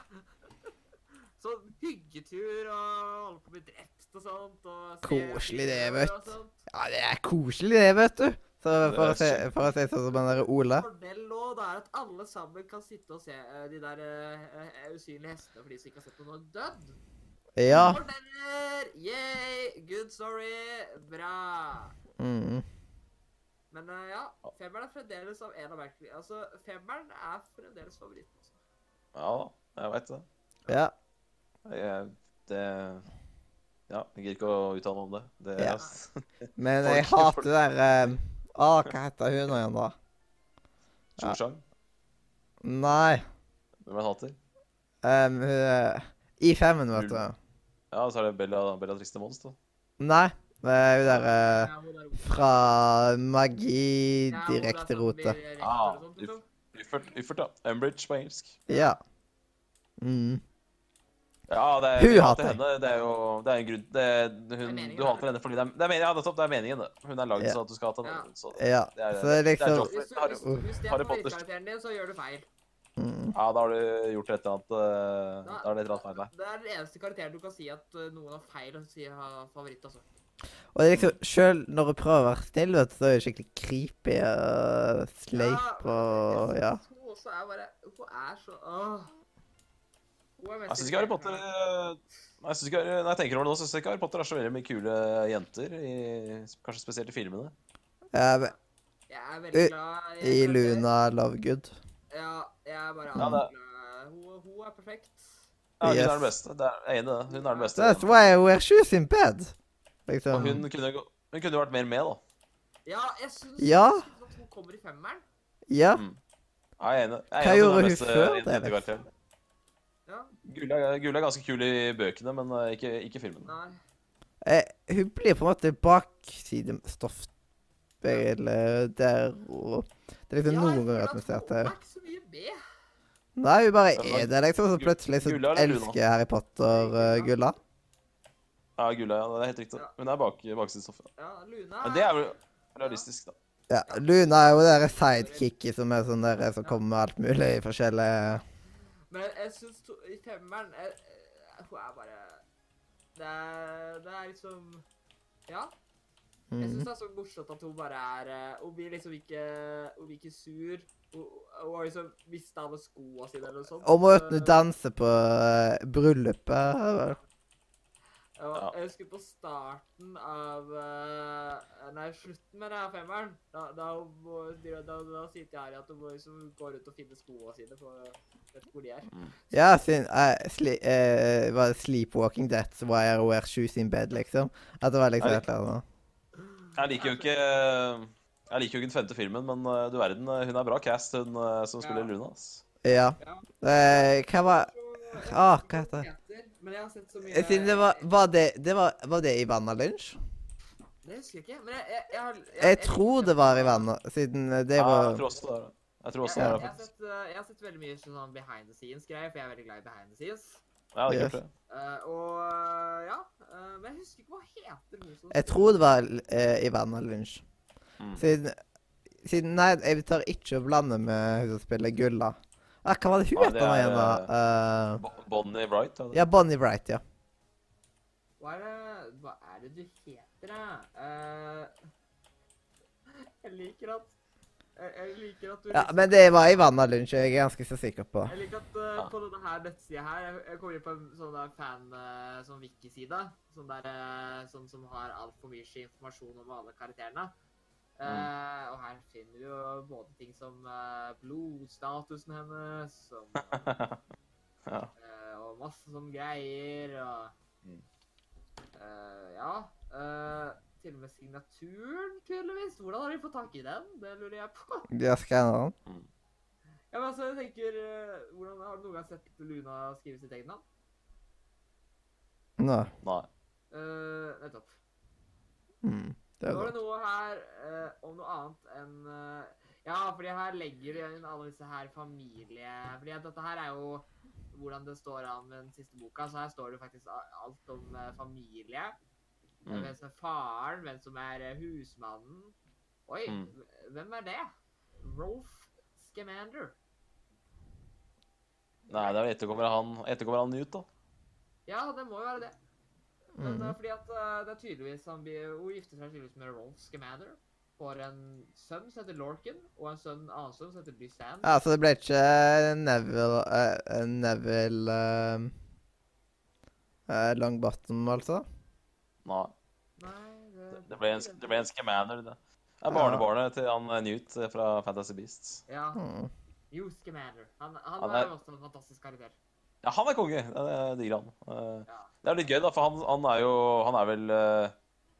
(laughs) Så hyggetur og holde på å bli drept og sånt. Og se
Koselig det,
filmer
vet
og sånt.
Ja, det er koselig, det, vet du. Så for å
Det er
si, for å si sånn som den der Ole.
Fordel nå det er at alle sammen kan sitte og se eh, de der eh, eh, usynlige hestene for de som ikke har sett noen har dødd.
Ja.
Fordeler! Yay! Good story! Bra!
Mm.
Men eh, ja, femmeren er fremdeles av en av merkelig. Altså, femmeren er fremdeles favoritten. Altså.
Ja da, jeg veit det.
Ja.
Jeg, det Ja, jeg gidder ikke å uttale meg om det. det
Ja.
(laughs)
Men jeg hater det der eh, Å, hva heter hun nå igjen, da? Ja.
Tjongsjang.
Nei.
Hvem er det han hater?
Um, hun eh, I5-en, vet du.
Ja, så er det Bella, Bella Triste Mons, da.
Nei. Det er hun der eh,
Ja, hun er rolig.
fra
Ja, hun er sånn
Magi-direkterote.
blir rektor
Ah,
og sånt, liksom.
Uffert, uffert, ja. Umbridge på engelsk.
Ja. Mm.
Ja, det er,
Hun
jeg
hater jeg.
henne. Det er jo det er en grunn det,
er
hun,
meningen,
Du hater henne fordi det er, det er meningen. Ja, nettopp. Det er meningen, det. Hun er lagd
Ja.
sånn at du skal hate
Ja.
henne. Så,
Ja.
det er,
Så det er
det er
liksom
Hvis,
Joffrey.
du-
Har-
hvis, hvis det er
Harry Potters-
favorittkarakteren din, så gjør du feil.
mm.
Ja, da har du gjort et eller annet eh, Da har det et eller annet feil der.
Det er den eneste karakteren du kan si at eh, noen har feil og si har favoritt, altså.
Og det er liksom, sjøl når hun prøver å være snill, vet du, så er hun skikkelig creepy og sleip og Ja.
Hun også er bare Hun er så åh. Hun er mest
Jeg syns ikke Harry Potter
irriterende.
eh, Nei, jeg synes ikke, Harry- når jeg tenker over det nå, syns jeg ikke Harry Potter er så veldig mye kule jenter. I, kanskje spesielt i filmene.
Um,
Jeg er veldig
I-
glad
Eh, I
karakterer.
Luna Lovegood.
Ja, jeg er bare
Ja, det-
glad. Hun, hun er perfekt.
Ja, hun
Yes.
er den beste. Det er, jeg er enig i det. Hun er den beste.
That's why I wear shoes in bed.
Og
Liksom.
hun kunne gå- hun kunne jo vært mer med, da.
Ja, jeg syns
Ja.
jeg syns at hun kommer i femmeren.
Ja.
Ja, Jeg er enig.
Hva
Jeg er enig
gjorde
at
hun
beste
før det,
jente-
vet
karakteren.
Ja,
Gula, Gula er ganske kul i bøkene, men eh, ikke, ikke i filmene.
nei.
Eh, hun blir på en måte baksidestoff eller der og Det er liksom
Ja, jeg
noen ganger
føler
at vi ser at det
Hun er ikke så mye med.
Nei, hun bare
Ja,
er det, liksom. Så
Gu-
plutselig så
Gulla eller Luna?
elsker jeg Harry Potter
Nei,
eh, Gulla.
Ja, Gula, ja, det er helt riktig.
Ja.
Hun er bak, baksidesoffa.
Ja, Luna
Men det er vel realistisk, da.
Ja, Luna er jo det der sidekicket som er sånn der som kommer med alt mulig forskjellig
Men jeg syns to- i femmeren jeg, jeg- Hun er bare Det er, det er liksom Ja. Jeg syns
mm.
det er så morsomt at hun bare er eh, Hun blir liksom ikke Hun blir ikke sur. Hun, hun har liksom mista alle skoa sine eller noe sånt.
Og måten du
Eh,
danser på eh, bryllupet er vel-
og
Ja.
Jeg husker på starten av eh, Nei, slutten med det her femmeren. Da, da, hun må- da, da, da sier til Harry at hun må liksom gå rundt og finne skoa sine, for jeg vet ikke hvor de er.
Ja, sin, eh, sli, eh, var det Sleepwalking That's Why I Wear Shoes in Bed, liksom. At det var liksom
Er
et
det-
eller annet.
Jeg liker jo ikke Jeg liker jo ikke den femte filmen, men eh, du verden, eh, hun er bra cast, hun eh, som
Ja.
spiller Luna. ass.
Ja. Eh, hva var
Så-
Ah, hva
jeg
heter
husker
det?
ikke hva den Men jeg har sett så mye
Jeg synes det var Var det, det, var, var det Ivana Lynch?
Det husker jeg ikke. Men jeg, jeg, jeg, har- jeg,
Jeg tror det var Ivana, siden det
Ja,
var
jeg tror også det er det. Jeg tror
Jeg,
også
jeg,
det er
jeg,
det.
har
faktisk.
sett, eh, jeg har sett veldig mye sånn behind the scenes-greier, for jeg er veldig glad i behind the scenes.
Jeg hadde ikke
Yes.
gjort det.
Eh, og eh, ja eh, Men jeg husker ikke hva heter hun som
Jeg tror det var eh, Ivana Lynch.
Mm.
Siden, siden Nei, jeg tør ikke å blande med hun som spiller Gulla. Ah, hva var det hun
Ja, det
het nå
er,
igjen, da? Eh,
Bo- Bonnie Wright. Ja, det.
ja, Bonnie Wright, ja.
Hva er det, hva er det du heter, da? Eh, jeg liker at jeg, jeg liker at du
ja.
liksom-
Men det var Ivana Lynch, jeg er ganske så sikker på.
Jeg liker at eh,
Ja.
på denne her nettsida her Jeg, jeg kommer inn på en sånn der fan eh, sånn wiki-side. Sånn der eh, sånn som har altfor mye informasjon om alle karakterene. Eh, og her finner du jo både ting som eh, blodstatusen hennes som,
Ja.
eh, og masse sånne greier og
Mm.
eh, Ja. eh, til og med signaturen, tydeligvis. Hvordan har de fått tak i den? Det lurer jeg på. (laughs)
Jeg skanner den.
Ja, men altså, jeg tenker eh, hvordan Har du noen gang sett Luna skrive sitt eget navn?
Nå.
Nei.
Eh, nettopp.
Mm. Det
Nå
er bra.
var det noe her eh, om noe annet enn eh, Ja, fordi her legger du inn alle disse her familie... Fordi at dette her er jo hvordan det står an med den siste boka, så her står det jo faktisk a- alt om eh, familie. eh,
Mm.
Hvem som er faren, hvem som er eh, husmannen. Oi,
Mm.
hv- hvem er det? Rolf Scamander.
Nei, det er vel etterkommer av han, etterkommer av han Newt, da.
Ja, det må jo være det. Men
Mhm.
det er fordi at eh, det er tydeligvis han blir, Hun gifter seg tydeligvis med Rolf Scamander. Får en sønn som heter Lorcan, og en sønn, annen sønn som heter Bysand.
Ja, så det ble ikke Neville eh, eh, Neville eh, eh, Longbottom, altså?
Nei.
Nei, det,
Det ble en, det ble en Scamander, det. Det er barnebarnet til han eh, Newt eh, fra Fantasy Beasts.
Ja,
Hmm.
Jo Scamander. Han, han,
Han
er
er-
jo også en fantastisk karakter.
Ja, han er konge. Det er digger han. Eh,
Ja.
Det er litt gøy, da, for han, han er jo Han er vel eh,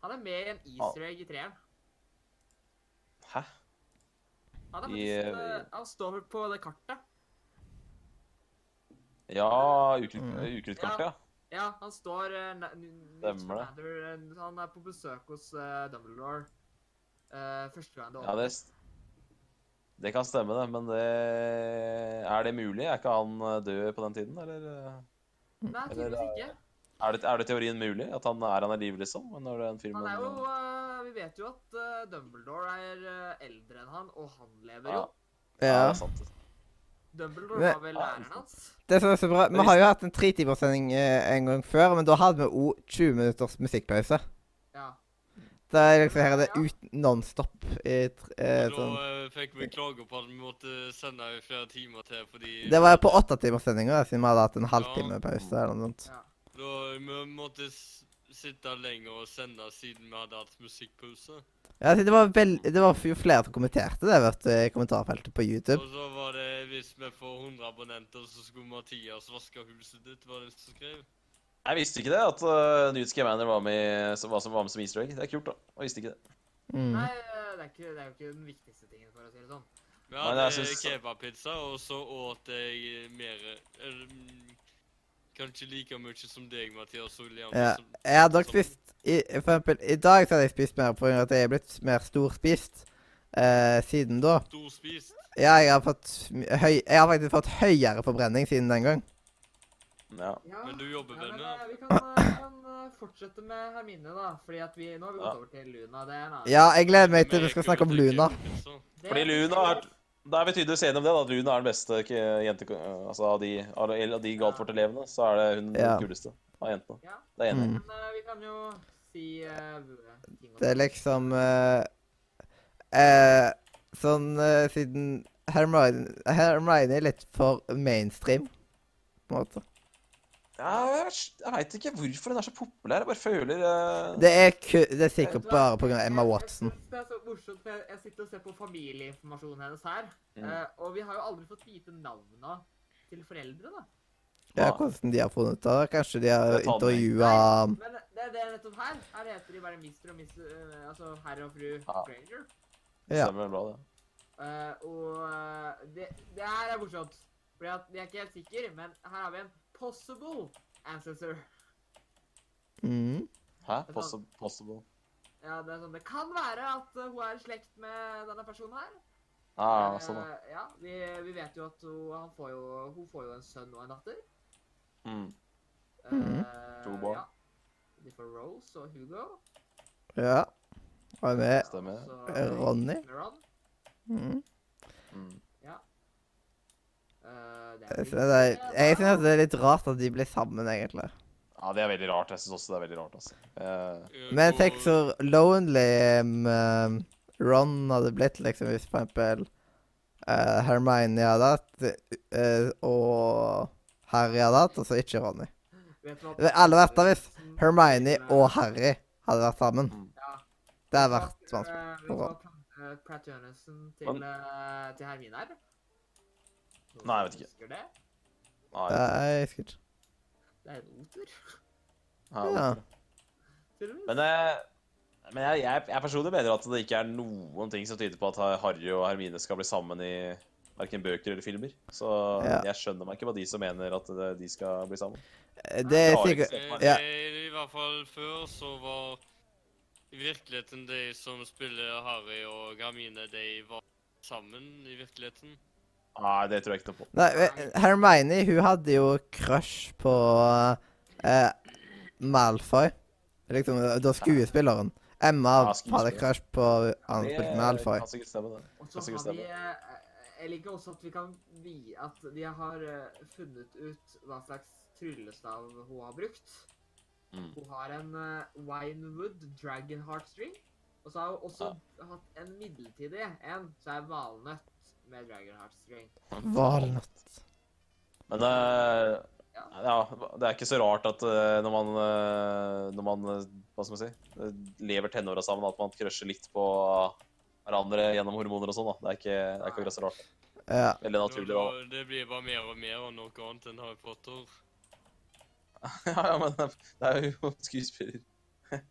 Han er med i en easter egg i treeren.
Hæ?
Han, er
I,
faktisk,
eh,
eh, han står på det kartet.
Ja, ukrutt-
Mm.
ukruttkartet, ja.
Ja, han står eh, na- n-
Stemmer det.
Scamander, eh, Han er på besøk hos eh, Dumbledore. eh, første gang det
Ja, det, s- det kan stemme, det. Men det Er det mulig? Er ikke han eh, død på den tiden, eller? eh?
Nei, tydeligvis ikke.
Er det, er det teorien mulig? At han er han i live, liksom? Når den filmen
Han er jo eh, Vi vet jo at eh, Dumbledore er eh, eldre enn han, og han lever jo.
Ja. Ja, det
Ja.
er sant.
Dumbledore
Men-
var vel læreren hans.
Det som er så bra,
Men
Vi har jo hatt en tretimerssending eh, en gang før, men da hadde vi òg 20 minutters musikkpause.
Ja.
Da er liksom her er det ut nonstop i tr- eh,
Og da
sånn.
eh, fikk vi klager på at vi måtte sende i flere timer til, fordi
Det var på åttetimerssendinga, siden vi hadde hatt en halvtime pause eller noe sånt.
ja.
da eh, vi måtte s sitte lenger og sende siden vi hadde hatt musikkpause.
Ja, altså, det, var vel, det var jo flere som kommenterte det vet du, i kommentarfeltet på YouTube.
Og så var det hvis vi får 100 abonnenter, så skulle Mathias vaske huset ditt, var det en som skrev.
Jeg visste ikke det, at uh, Newt Scamander var med, som, var, som, var med som easter egg. Det er kult, da. Jeg visste ikke det.
Mm.
Nei, eh, det er, ikke, det er jo ikke den viktigste tingen, for å si det sånn.
Vi
Nei,
hadde
jeg synes-
kebabpizza, og så åt jeg mer eller, mm, Kanskje like mye som deg, Mathias og Liam.
Ja,
som-
Jeg hadde nok
som-
spist i, For eksempel i dag så hadde jeg spist mer pga. at jeg er blitt mer storspist eh, siden da.
Storspist.
Ja, jeg har, fått my- høy, jeg har faktisk fått høyere forbrenning siden den gang.
Ja.
Ja,
Men du jobber
ja,
vel
men,
med
eh,
det?
Vi kan, eh, vi kan eh, fortsette med Hermine, da. Fordi at vi, nå har vi
Ja.
gått over til Luna. Det er en annen.
Ja, jeg gleder meg til
Men
vi skal
jeg
snakke om
kunne
Luna.
drikke kebabpizza.
Det-
Fordi Luna er Da er vi tydeligvis enige om det, da, at Luna er den beste k- jente... Altså av de, av de- av de Galtvort-elevene, så er det hun
Ja.
den kuleste av jentene.
Ja.
Det er jeg enig. i.
Mm.
Men eh, vi kan jo si eh, ting om
Det er liksom eh, eh, Sånn eh, siden Hermione, Hermione er litt for mainstream, på en måte.
Ja, jeg, jeg veit ikke hvorfor den er så populær. Jeg bare føler eh,
Det er, ku, det er
Vet
sikkert
du hva?
bare pga. Emma
Jeg-
Watson.
Jeg synes det er så morsomt, for jeg, jeg sitter og ser på familieinformasjonen hennes her.
Mm.
eh, og vi har jo aldri fått vite navnene til foreldrene.
Ja, hvordan de har funnet det. Kanskje de har
Det tar meg.
intervjua
Men det er det er nettopp her. Her heter de bare Mr. og Miss eh, Altså herr og fru
Ja.
Granger.
Ja.
Stemmer bra, det.
Eh, og eh, det, det her er morsomt. Fordi at jeg er ikke helt sikker, men her har vi en possible ancestor.
mm.
Hæ? Possi- Possible.
Ja, det er sånn det kan være at eh, hun er i slekt med denne personen her.
Ja,
Eh,
sånn, da.
ja, vi, vi vet jo at hun, han får jo, hun får jo en sønn og en datter.
Mm.
Eh,
Mhm.
To barn.
Ja. De får Rose og Hugo.
Ja. Og med
Stemmer.
Så,
Eh, Ronny.
Ron.
mm.
Mm.
Eh, det
Jeg
er
synes det er- jeg synes det er litt rart at de ble sammen, egentlig.
Ja, det er veldig rart. Jeg syns også det er veldig rart, altså. Eh,
(laughs)
Eh,
Men
og-
tenk så lonely um, um, Ron hadde blitt, liksom, hvis for eksempel eh, Hermione hadde hatt, eh, og Harry hadde hatt, og så ikke Ronny.
Vet du hva-
Det er alle vært der hvis Hermione og Harry hadde vært sammen.
Ja.
Det hadde
Vet
vært
du hva-
vanskelig.
eh, Vet du hva Pr- eh, Pratt Johannessen til,
Men-
eh, til Hermine er? Noen
Nei, jeg
som
vet
Husker det?
nei,
Det er- Jeg husker ikke.
Det er en oter, (laughs)
ja.
Ja.
tydeligvis.
Men, eh, men jeg, jeg, jeg personlig mener at det ikke er noen ting som tyder på at Harry og Hermine skal bli sammen i verken bøker eller filmer. Så
Ja.
jeg skjønner meg ikke hva de som mener at det- de skal bli sammen.
Det er
Klarer ikke
sikkert
å se for meg.
Ja.
Eh, I hvert fall før så var i virkeligheten de som spiller Harry og Hermine, de var sammen i virkeligheten.
Nei, det tror jeg ikke noe på.
Nei, eh, Hermione, hun hadde jo crush på eh, Malfoy. Liksom, da skuespilleren. Emma
Ja,
hadde
skuespiller.
crush på han som spilte Malfoy.
kan sikkert stemme, det.
Og
Kan
så
sikkert
har vi eh, Jeg liker også at vi kan vi, at de har eh, funnet ut hva slags tryllestav hun har brukt.
Mm.
Hun har en eh, Winewood Dragon Heartstring. Og så har hun også hatt en midlertidig en, så er valnøtt med Dragon Heartstring.
Valnøtt.
Men eh, ja, det er ikke så rart at eh, når man, eh, når man eh, hva skal man si, eh, lever tenåra sammen, at man krøsjer litt på hverandre gjennom hormoner og sånn. da. Det er ikke, det er ikke akkurat så rart.
Ja.
Veldig
Nå-
naturlig. å-
nå- Det blir bare mer og mer av noe annet enn Harry Potter.
(laughs) Ja, ja, men det er jo (laughs) skuespiller. Det er,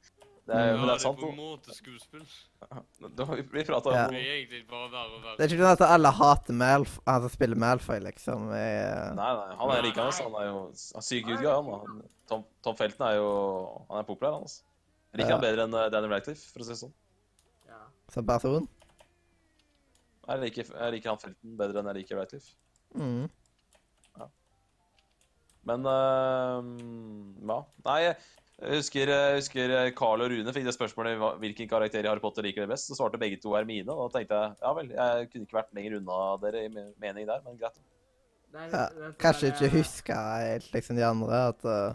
Ja,
men det er sant,
på
da.
en måte skuespill.
Da har vi- Vi prata
Det
Ja.
om
blir egentlig bare verre og
Det er
verre.
ikke sånn at alle hater Malf han som spiller Malfoy, liksom. Jeg,
Nei, nei, han er like hans. Han er jo han er syk good guy, han. da. Tom, Tom Felton er jo Han er populær, han. altså. Jeg liker
Ja.
han bedre enn eh, Daniel Radcliffe, for å si det sånn.
Ja.
som person.
Jeg liker, jeg liker han Felton bedre enn jeg liker Radcliffe.
Mm.
Men eh, ja. Nei, jeg husker, jeg husker eh, Carl og Rune fikk det spørsmålet hva- hvilken karakter i Harry Potter liker dere best. Så svarte begge to Hermine. og Da tenkte jeg ja vel, jeg kunne ikke vært lenger unna dere i me- mening der, men greit.
Det er-
Ja,
det er- sånn eh,
Kanskje
det er-
ikke huska helt liksom de andre. At uh,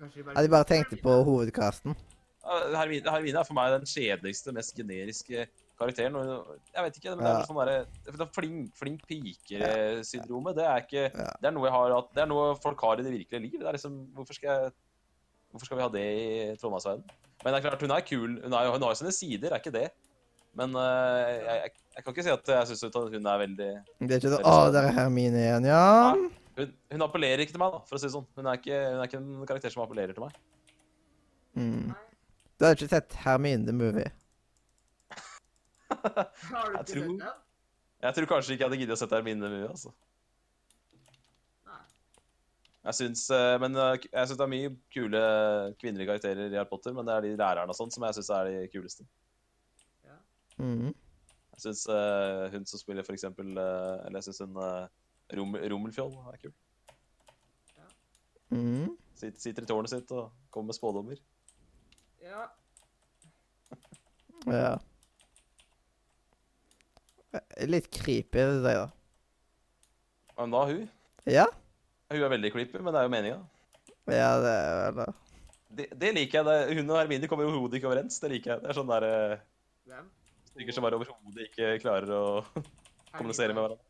kanskje de
ja, de bare tenkte på hovedkasten.
Ja, Hermine, Hermine er for meg den kjedeligste, mest generiske karakteren. og hun- Jeg vet ikke, men det er
Ja.
litt sånn derre- det er flink, flink pike-syndromet. Det er ikke
Ja.
Det er noe jeg har hatt Det er noe folk har i det virkelige liv. Det er liksom Hvorfor skal jeg Hvorfor skal vi ha det i Trondheimsverdenen? Men det er klart, hun er kul. Hun, er, jo- hun har jo sine sider, er ikke det? Men eh, jeg, jeg, jeg kan ikke si at jeg syns hun er veldig
Det er ikke sånn
Veldig
'Å,
spennende.
der er Hermine igjen', ja.
Nei. hun, hun appellerer ikke til meg, da, for å si det sånn. Hun er ikke, hun er ikke en karakter som appellerer til meg.
Mm.
Nei.
Du har ikke sett Hermine the Movie?
Har du
Jeg
ikke
tror-
sett den?
Jeg tror kanskje ikke jeg hadde giddet å sette Hermine Mue, altså.
Nei.
Jeg syns, eh, men eh, k- jeg syns det er mye kule kvinnelige karakterer i Harry Potter, men det er de lærerne og sånn som jeg syns er de kuleste.
Mm.
Jeg syns eh, hun som spiller for eksempel eh, Eller jeg syns hun uh, Rom, Rommelfjoll er kul.
Mm.
Sitter, sitter i tårnet sitt og kommer med spådommer.
Ja.
Ja. Litt creepy, vil jeg si, da.
Men da hun
Ja?
Hun er veldig creepy, men det er jo meninga.
Ja, det er vel det.
Det, det liker jeg. Det. Hun og Hermine kommer overhodet ikke overens. Det liker jeg. Det er sånne der, eh,
Hvem?
stykker som bare overhodet ikke klarer å kommunisere
Hermine.
med hverandre.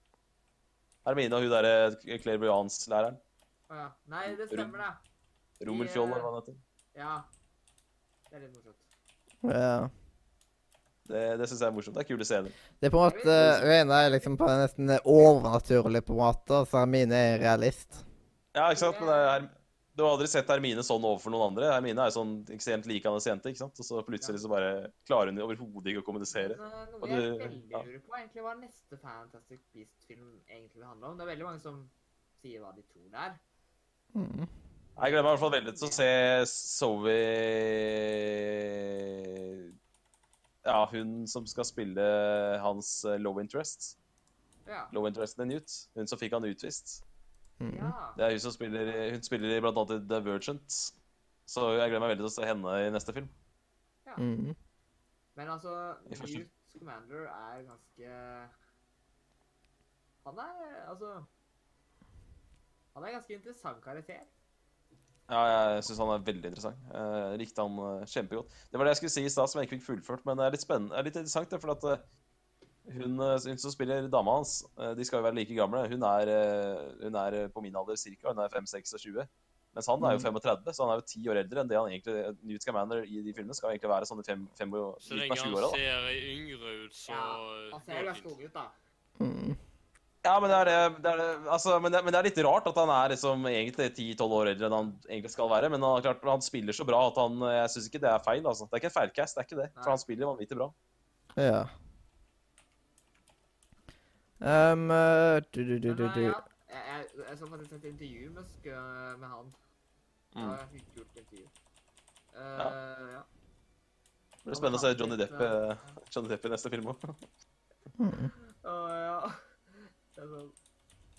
Hermine og hun derre clairvoyance-læreren.
Å ja. Nei, det stemmer, det.
Rommelfjoll, eller hva han heter.
Ja. Det er litt morsomt.
Ja.
Det, det syns jeg er morsomt. Det er kule scener.
Det er på en måte Hun er liksom på en nesten overnaturlig på en måte, så Hermine er realist.
Ja, ikke sant? Men det er, du har aldri sett Hermine sånn overfor noen andre. Hermine er jo sånn ekstremt likandes jente, ikke sant? Og så plutselig så bare klarer hun overhodet ikke å kommunisere.
Men, eh,
Og
Noe jeg
du-
veldig
ja.
lurer på, egentlig hva neste Fantastic Beast-film egentlig vil handle om. Det er veldig mange som sier hva de tror det er.
Mm.
Jeg gleder meg i hvert fall veldig til å se Zoe Ja, hun som skal spille hans eh, low interest.
Ja.
Low interesten i Newt. Hun som fikk han utvist.
Mm.
ja.
Det er hun som spiller Hun spiller i blant annet i Divergent. Så jeg gleder meg veldig til å se henne i neste film.
Mm.
Men altså,
I første-
Newt Commander er ganske Han er altså Han er en ganske interessant karakter.
Ja, jeg syns han er veldig interessant. Jeg likte han eh, kjempegodt. Det var det jeg skulle si i stad, som jeg ikke fikk fullført, men det er litt spennende. Det er litt interessant, det, for at eh, hun, eh, hun som spiller dama hans, eh, de skal jo være like gamle. Hun er, eh, hun er eh, på min alder cirka, hun er 5-26. Mens han
Mm.
er jo 35, så han er jo 10 år eldre enn det han egentlig Newt Scamander i de filmene skal egentlig være sånn i 5 år,
Så
midten
lenge
av
han
20-åra. da.
ser yngre ut, så eh,
Ja, Han ser
går
jo
det
ganske
fint.
ung ut, da.
Mm.
Ja, men det er, det- det er altså, men, det, men det er litt rart at han er liksom egentlig 10-12 år eldre enn han egentlig skal være. Men han, klart, han spiller så bra at han Jeg syns ikke det er feil, altså. Det er ikke en feilcast, det er ikke det.
Nei.
For han spiller vanvittig bra.
Ja. Um, eh, du, du, du,
Men,
du,
eh,
du.
ja, jeg, jeg, jeg så faktisk et intervju med, Sk- med han.
Mm.
Det var et kult intervju. Eh, ja.
Det blir spennende å se Johnny Depp, eh, Johnny Depp i neste film òg.
Mm.
Å, ja. Det er sånn,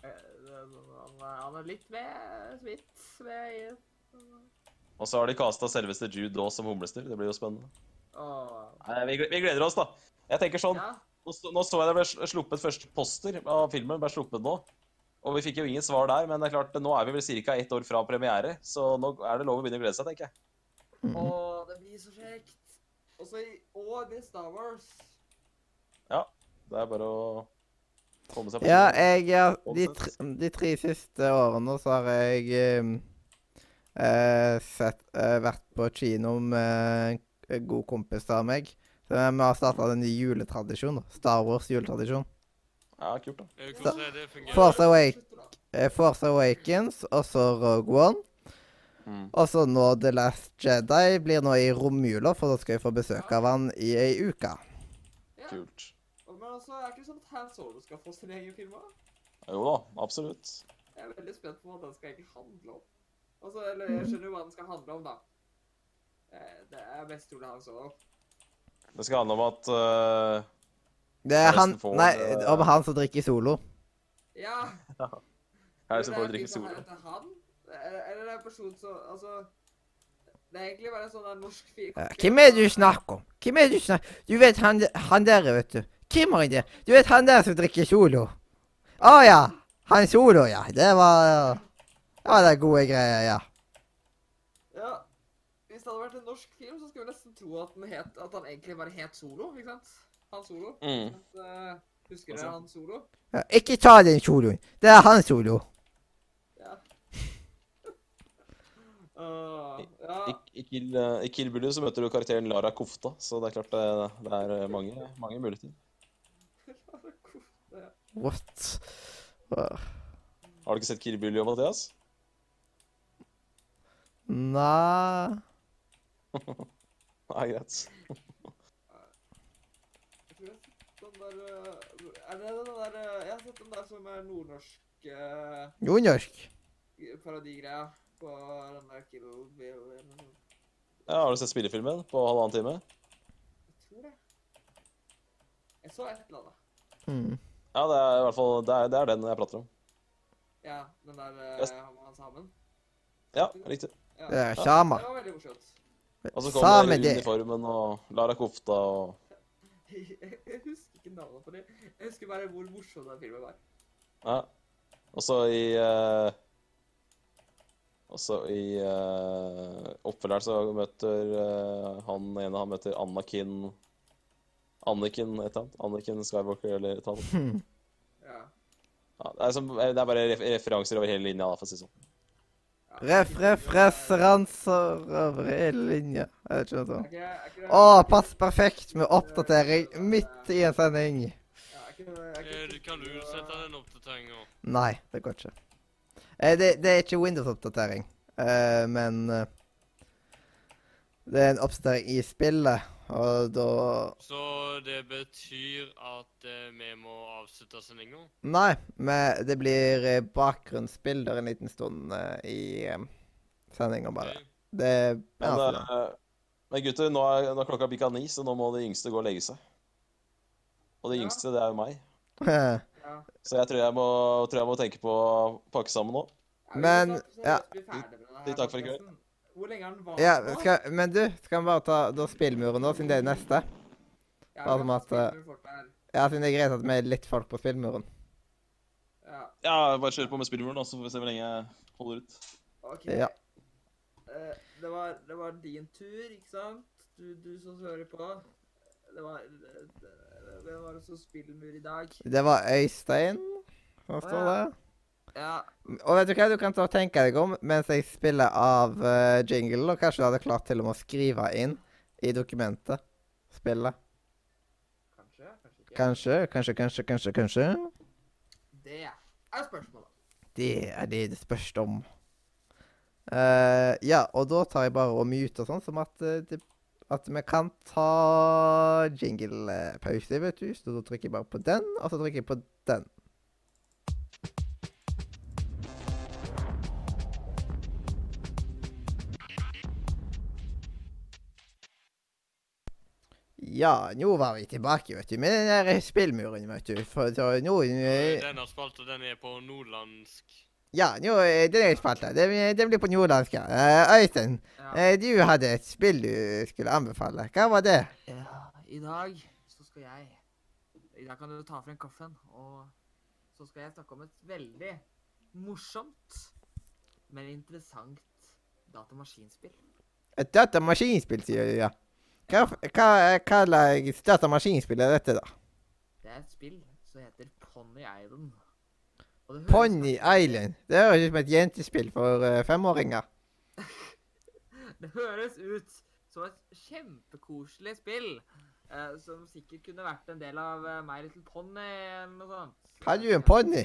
eh, det er sånn han, er- han er litt med smitt med i
Og så har de kasta selveste Jude Daw som humlesnurr. Det blir jo spennende.
Åh.
Nei, vi, gle- vi gleder oss, da. Jeg tenker sånn
Ja.
Nå, sto- nå så jeg det ble sl- sluppet første poster av filmen. ble sluppet nå. Og vi fikk jo ingen svar der, men det er klart, nå er vi vel ca. ett år fra premiere, så nå er det lov å begynne å glede seg, tenker jeg.
Mhm.
Åh, det blir så kjekt. Og så i år blir Star Wars.
Det er bare å komme seg på.
Ja, jeg ja, de, tre- de tre siste årene så har jeg ehm, eh, sett, eh, vært på kino med en god kompis av meg. Så vi har starta en ny juletradisjon. da. Star Wars juletradisjon.
Ja, kult da.
Eh, Hvordan er det fungerer?
Force Awake.
Slutter da.
Eh, Force Awakens, og så Rogue One.
Mm.
Og så nå The Last Jedi blir nå i romjula, for da skal jeg få besøk av han i ei uke.
Ja.
Kult.
Og- Men altså, er det ikke sånn at Han Solo skal få sin egen film også?
Jo da, absolutt.
Jeg er veldig spent på hva den skal egentlig handle om. Altså, eller jeg skjønner jo hva den skal handle om, da. Eh, Det er mest trolig Han Solo.
Det skal handle om at eh,
Det er han
Harrison Ford,
Nei,
eh,
om han som drikker solo.
Ja!
Harrison Ford
Men det er
drikker
ikke
solo.
sånn her at Han? Eller eller det er en person som Altså Det er egentlig bare en sånn der norsk fi-
Eh, Hvem er det du snakker om? Hvem er det du snakker Du vet han, han der, vet du. Hvem er han der? Du vet han der som drikker solo? Å ja. Han solo, ja. Det var Ja, det er gode greier, ja.
Ja. Hvis det hadde vært en norsk film, så skulle vi nesten tro at, den het, at han egentlig bare het Solo. ikke sant? Han Solo.
Mm.
At, eh, husker
Altså.
dere han Solo?
ja. Ikke ta den soloen. Det er han solo.
(laughs)
Ja. Åh, ja.
I, i, Kill, eh, I Kill Bill så møter du karakteren Lara Kofta, så det er klart det, det er eh, mange, mange muligheter.
What?
Har du ikke sett Kill Bill, Jo Mathias? (laughs)
Nei
Nei, greit.
Jeg tror jeg har sett den der eh, Er det den der eh, Jeg har sett den der som er nordnorsk eh,
Jo, norsk.
parodigreia på den der Kill Bill eller noe sånt.
Ja, har du sett spillefilmen på halvannen time?
Jeg tror det. Jeg så et eller annet.
Mm.
Ja, det er i hvert fall det er, det er den jeg prater om.
Ja, den der
Yes.
eh, han- han sammen.
Ja, riktig.
Ja.
Det
Det
er samer.
var veldig morsomt. (laughs)
Og så kommer
Samer det.
uniformen og Lara Kofta og
Jeg jeg husker ikke navnet på det. Jeg husker bare hvor morsom den filmen var.
Ja. Og så i eh, Og så i eh, oppfølgeren så møter eh, han ene han møter Anakin Anniken et eller annet. Anniken Skywalker eller et eller annet.
Hmm.
Ja.
Ja, det, er som, det er bare ref referanser over hele linja, da, for å si det sånn.
ja.
Ref, ref, referanser over hele linja. Jeg vet ikke noe
Er
sånt.
ikke- er ikke det-
Å, pass perfekt med oppdatering midt i en sending.
Ja, er ikke det- er ikke
Eh,
det-
Kan du sette den oppdateringen?
Nei, det går ikke. Eh, det, det er ikke Windows-oppdatering, eh, men eh, Det er en oppdatering i spillet, og da
Så det betyr at eh, vi må avslutte sendinga?
Nei, men det blir eh, bakgrunnsbilder en liten stund eh, i eh, sendinga, bare. Det
Men,
altså, (laughs)
eh, men gutter, nå er, nå er klokka bikka ni, så nå må de yngste gå og legge seg. Og de
Ja.
yngste, det er jo meg.
Ja.
Så jeg tror jeg må, tror jeg må tenke på å pakke sammen nå.
Ja, vi
Men,
må snart-
ja.
snart bli ferdig med denne
Litt takk for i kveld.
podcasten. Hvor lenge har den vart
Ja,
nå?
skal, men du, skal vi bare ta da spillmuren, da, siden det er neste?
Ja,
bare
vi
som
har
at,
spilt med folk her.
Ja, siden det er greit at vi er litt folk på spillmuren.
Ja,
Ja, bare kjør på med spillmuren, da, så får vi se hvor lenge jeg holder ut.
ok.
Ja.
Eh, det, var, det var din tur, ikke sant? Du, du som hører på. Det var det- det- Hvem var det som spilte mur i dag?
Det var Øystein som står
ja.
der.
Ja,
Og vet du hva du kan ta og tenke deg om mens jeg spiller av uh, jingle, og kanskje du hadde klart til og med å skrive inn i dokumentet. Spillet.
kanskje. Kanskje
Kanskje,
ikke.
kanskje, kanskje, kanskje, kanskje.
Det er spørsmålet.
Det er det det spørs om. Eh, ja, og da tar jeg bare og mute og sånn, som at, eh, det, at vi kan ta jinglepause, vet du. Så da trykker jeg bare på den, og så trykker jeg på den. Ja, nå var vi tilbake, vet du, med den der spillmuren, vet du. For så nå
Eh, Denne spalta den er på nordlandsk.
ja, nå, eh, den er spalta. Den, den blir på nordlandsk. ja. Eh, Øystein,
Ja.
eh, du hadde et spill du skulle anbefale. Hva var det?
Ja, I dag så skal jeg I dag kan du ta frem kaffen, og så så skal jeg snakke om et veldig morsomt, men interessant datamaskinspill.
Et datamaskinspill, sier du, ja. Hva, hva, hva slags datamaskinspill er dette, da?
Det er et spill som heter Pony Island. Og det høres
Pony
kanskje-
Island. Det høres ut som et jentespill for eh, femåringer.
Det høres ut som et kjempekoselig spill. eh, som sikkert kunne vært en del av eh, My Little Pony eller noe sånt.
Har du en ponni?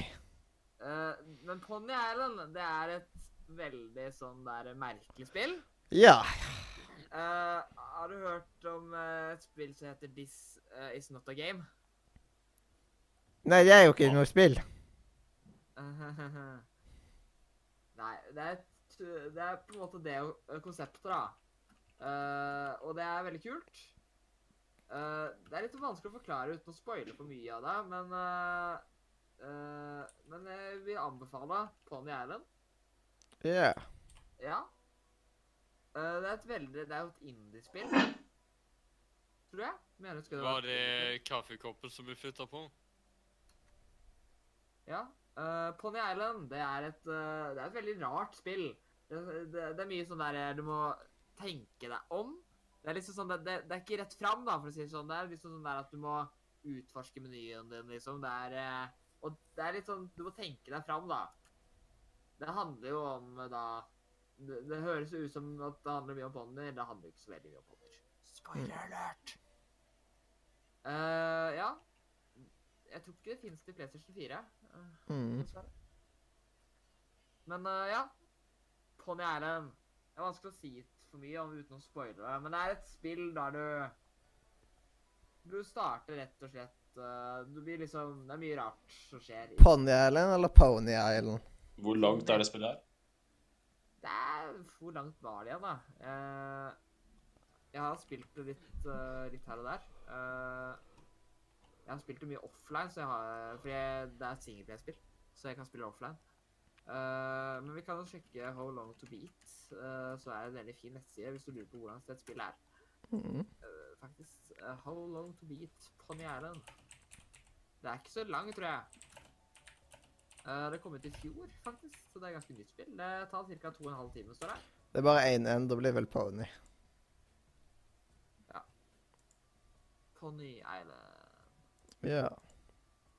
Eh, men Pony Island, det er et veldig sånn der merkelig spill.
Ja.
Eh, har du hørt om eh, et spill som heter This eh, Is Not A Game?
Nei, det er jo ikke noe spill.
Nei, (laughs) det er, et, det er på en måte det ø- konseptet, da. Eh, og det er veldig kult. Eh, det er litt vanskelig å forklare uten å spoile for mye av det, men eh, eh, Men jeg vil anbefale Pony Island.
Ja.
Ja. Eh, det er et veldig Det er jo et indiespill. Tror jeg. Mener jeg husker
Var
et indiespill.
det kaffekoppen som ble flytta på?
Ja. eh, Pony Island det er, et, eh, det er et veldig rart spill. Det, det, det er mye sånn der eh, du må tenke deg om. Det er liksom sånn, det, det, det er ikke rett fram, da, for å si det sånn. Det er liksom sånn der at du må utforske menyen din, liksom. Det er, eh, og det er litt sånn Du må tenke deg fram, da. Det handler jo om eh, da Det, det høres jo ut som at det handler mye om ponnier. Det handler jo ikke så veldig mye om ponnier. Spoiler alert! Eh, ja. Jeg tror ikke det fins til PlayStation 4. eh.
Mm.
Dessverre. Men eh, ja. Pony Island. Det er vanskelig å si for mye om uten å spoile det, men det er et spill der du Du starter rett og slett eh, Du blir liksom Det er mye rart som skjer. i-
Pony Island eller Pony Island?
Hvor langt er det spillet her?
Det er Hvor langt var det igjen, da? Eh, jeg har spilt det litt, eh, litt her og der. Eh, jeg har spilt det mye offline, så jeg har, fordi jeg, det er singelplayerspill, så jeg kan spille offline. Eh, men vi kan jo sjekke How Long To Beat, eh, så er det en veldig fin nettside hvis du lurer på hvordan et spill er.
Mm.
Eh, faktisk. eh, How Long To Beat, Pony Island. Det er ikke så langt, tror jeg. Eh, det kom ut i fjor, faktisk, så det er ganske nytt spill. Det tar ca. 2 halv time, står det.
Det er bare én en, da blir det vel Pony.
Pony Island.
Ja.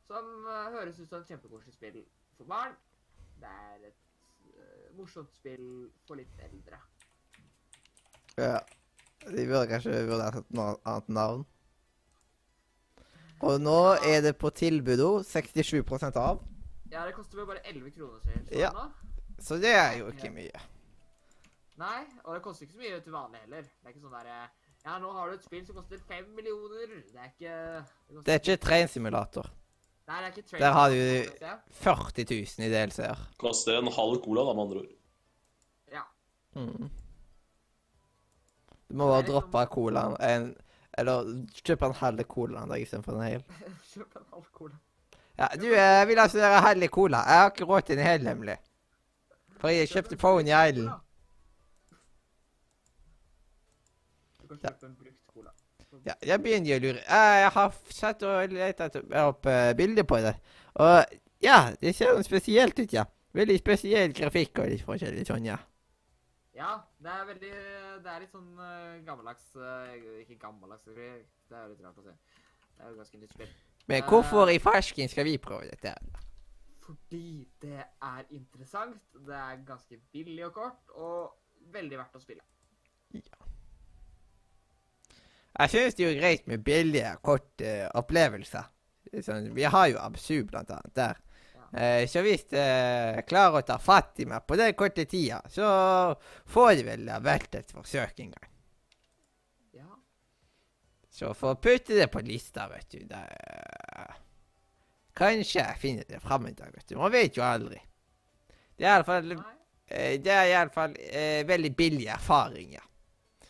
Som eh, høres ut som et kjempekoselig spill for barn. Det er et eh, morsomt spill for litt eldre.
ja. De burde kanskje vurdert et na- annet navn. Og nå er det på tilbud også, 67 av.
Ja, det koster vel bare 11 kroner, sier jeg,
Ja.
nå.
Så det er jo ikke mye.
Nei, og det koster ikke så mye til vanlig heller. Det er ikke sånn derre Ja, nå har du et spill som koster 5 millioner. Det er ikke det koster,
Det er ikke trainsimulator.
Nei, det er ikke
Der har du-
Train- Ja.
40 000 i DLC-er.
Koster en halv cola, da, med andre ord.
Ja. (laughs)
Mm. Du må bare
Det er liksom-
droppe colaen en, Eller kjøpe en halv cola en dag istedenfor en hel.
Kjøp en halv cola.
Ja, du, jeg vil altså gjøre halv cola. Jeg har ikke råd til en hel, nemlig. For jeg
Kjøp en
kjøpte Pony
brukt
Island.
cola. Du kan
Ja.
kjøpe en brukt cola.
Ja, jeg begynner å lure. Eh, Jeg har f- satt og lett etter opp eh, bilder på det. Og ja, det ser noe spesielt ut, ja. Veldig spesiell grafikk og litt forskjellig sånn, ja.
Ja, det er veldig Det er litt sånn eh, gammeldags eh, Ikke gammeldags, selvfølgelig. Det er jo litt rart å si. Det er jo ganske nytt spill.
Men hvorfor i farsken skal vi prøve dette?
Fordi det er interessant, det er ganske billig og kort, og veldig verdt å spille.
Jeg syns det er jo greit med billige, korte opplevelser. Sånn, vi har jo Absu, blant annet, der. Eh, så hvis eh, klarer å ta fatt i meg på den korte tida, så får det vel ha vært et forsøk en gang.
Ja.
Så for å putte det på lista, vet du det, Kanskje jeg finner det fram en dag, vet du. Man vet jo aldri. Det er iallfall
Nei.
eh, det er i alle fall, eh, veldig billig erfaring, ja.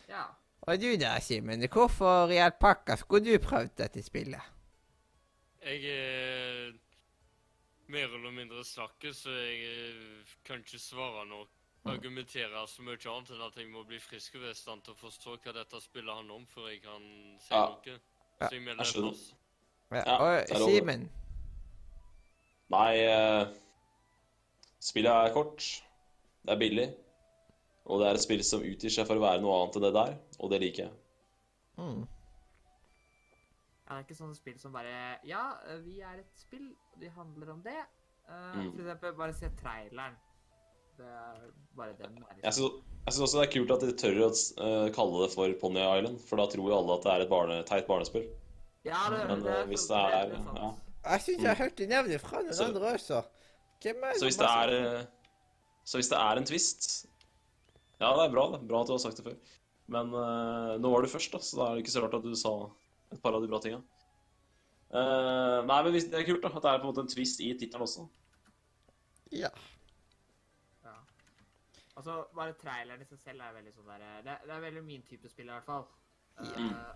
Ja.
Og du da, Simen. Hvorfor i all pakka skulle du prøvd dette spillet?
Jeg er mer eller mindre snakker, så jeg eh, kan ikke svare noe. Argumentere så mye annet enn at jeg må bli frisk og være i stand til å forstå hva dette spillet handler om, før jeg kan si
Ja.
noe. Så jeg melder
Jeg skjønner.
pass.
Ja,
Ja,
og
det er lov, det.
Simen,
Nei, eh, spillet er kort, det er billig, og det er et spill som utgir seg for å være noe annet enn det der, og det liker jeg.
Mm.
Ja, det er ikke sånne spill som bare Ja, eh, vi er et spill, og de handler om det. Eh,
Mm.
For eksempel, bare se traileren. Det er liksom- bare den der.
Jeg syns jeg synes også det er kult at de tør å eh, kalle det for Pony Island, for da tror jo alle at det er et barne, teit barnespill.
Ja, det, sånn
Men, eh, hvis det
sant,
er-
sant.
ja.
Jeg syns jeg hørte nevnet fra noen
Mm. Så-
andre også. Hvem er
Så hvis det er eh, Så hvis det er en twist Ja, det er bra, det. Bra at du har sagt det før. Men eh, nå var du først, da, så da er det ikke så rart at du sa et par av de bra tinga. Eh, nei, men hvis, det er kult da, at det er på en måte en twist i tittelen også.
Ja.
Ja. Altså, bare traileren i seg selv er veldig sånn der eh, Det, det er veldig min type spill, i hvert fall. Eh,
Ja.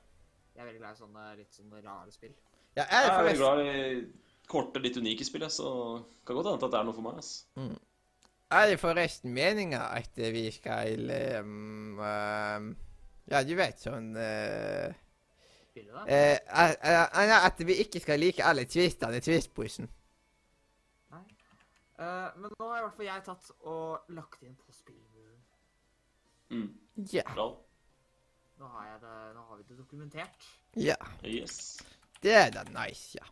jeg er veldig glad i sånne litt sånne rare spill.
ja
Jeg
jeg
er
er
veldig
forresten
glad i korte, litt unike spill, jeg, så det kan godt hende at det er noe for meg. ass.
Er det forresten meninga at vi skal ehm, ehm, Ja, du vet sånn eh,
Spiller du det?
eh, eh, eh, nei, At vi ikke skal like alle twistene i twistposen.
Eh, men nå har i hvert fall jeg tatt og lagt inn på spillmuren.
Mm,
Ja.
bra.
Nå har, jeg det, nå har vi det dokumentert.
ja.
Yes.
Det er da nice, ja.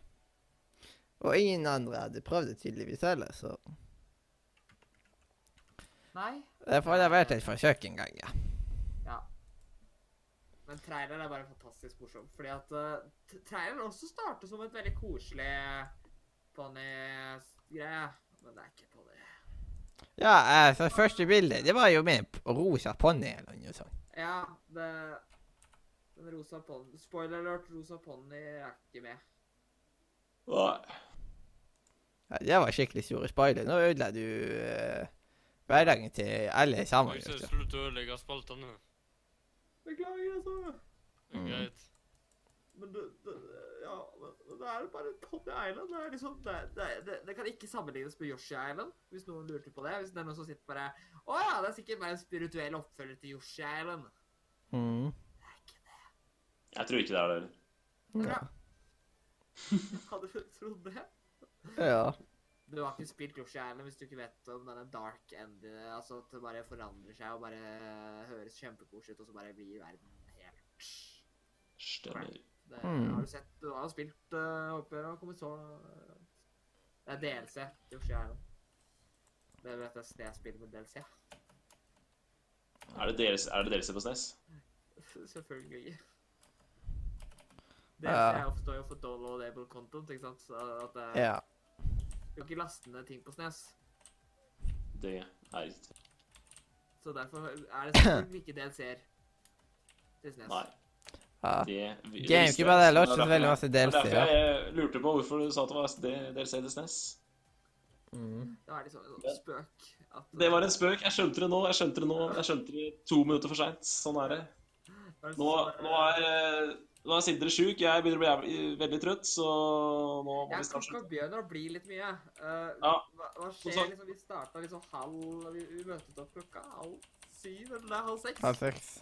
Og ingen andre hadde prøvd det tydeligvis heller, så
Nei,
Det får da vært et forsøk en gang, ja.
Ja. Men traileren er bare fantastisk morsom. Fordi at eh, t- traileren også starter som et veldig koselig ponni-greie. Men det er ikke ponni.
Ja, altså, første bilde, det var jo med en p- rosa ponni eller noe sånt.
Ja, det Den rosa ponni Spoiler alert, rosa ponni er ikke med.
Nei.
Ja, det var skikkelig store spoiler. Nå ødela du eh, hverdagen til alle sammen.
Jeg
vet
ser
du.
slutt å ødelegge spaltene.
Beklager, altså.
Det er
Mm.
Greit.
Men det, det Ja, men men det er jo bare Pony Island. Det er liksom det, det, det, det kan ikke sammenlignes med Yoshi Island, hvis noen lurte på det. Hvis det er noen som sitter bare Å ja, det er sikkert mer en spirituell oppfølger til Yoshi Island.
Mm.
Jeg tror ikke det er det heller.
Ja.
Hadde du trodd det?
ja.
Du har ikke spilt Yoshi Island hvis du ikke vet om denne dark end Altså at det bare forandrer seg og bare høres kjempekoselig ut, og så bare blir verden helt
Stemmer.
det,
Mm.
Har du sett Du har jo spilt uh, Håper jeg har kommet så Det er DLC til Yoshi Island. Det vet jeg det jeg spiller med DLC.
Er det deres, er det deres på SNES?
(laughs) Selvfølgelig. DLC
Ja.
er jo- står jo for downloadable content, ikke sant? Så at det,
ja.
Du kan ikke laste ned ting på SNES.
Det er ikke
Så derfor er det selvfølgelig ikke DLC-er til SNES.
Nei.
ja.
Det vi-
Gamecube
visste jeg.
hadde jeg
Det er
lagt ut
derfor
veldig
jeg-
masse
det er
DLC,
Derfor jeg lurte på hvorfor du sa at det var D- DLC til SNES.
Mm.
Det var liksom en
Ja.
sånn spøk. At,
Det var en spøk. Jeg skjønte det nå. Jeg skjønte det nå. Jeg skjønte det to minutter for seint. Sånn er det. Nå, nå er eh, nå er Sindre sjuk. Jeg begynner å bli jævlig- veldig trøtt, så nå må vi
Jeg
snart
klokka
slutte.
begynner å bli litt mye. Eh,
Ja.
hva, hva
Og
skjer
sånn-
så-
liksom? Vi starta liksom halv Vi, vi møttes opp klokka halv syv, eller nei, halv seks.
Halv seks.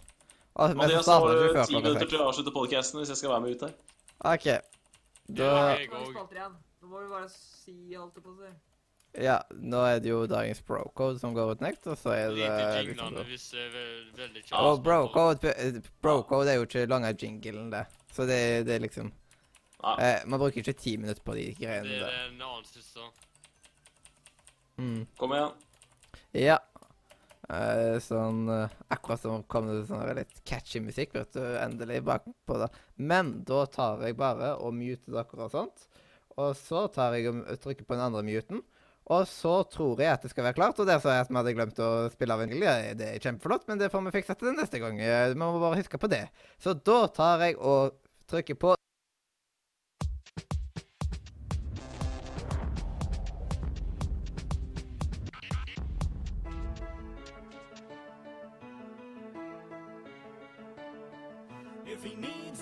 Altså, men så
Mathias, nå
starter
har
du
du
før
ti minutter
klokka
til
seks.
å avslutte podkasten hvis jeg skal være med ut her.
OK. Da
Ja,
Nei,
jeg
nå er det
òg.
spalter igjen. Nå må vi bare si alt det på seg.
Ja, nå er det jo dagens brocode som går ut nekt, og så er det
Lite
liksom
jinglene hvis det er ve- veldig kjapt.
Og brocode Brocode er jo ikke lang av jinglen, det. Så det, det er liksom
Ja.
eh, Man bruker ikke ti minutter på de
Det
greiene
er
der.
en annen siste.
Mm.
Kom igjen.
Ja. Eh, sånn eh, Akkurat som kom det sånn her litt catchy musikk, vet du, endelig bakpå det. Men da tar jeg bare og muter dere og sånt. Og så tar jeg og trykker på den andre muten. Og så tror jeg at det skal være klart. Og der sa jeg at vi hadde glemt å spille av en glede. Det er kjempeflott, men det får vi fiksa til neste gang. Eh, Vi må bare huske på det. Så da tar jeg og trykker på
If he needs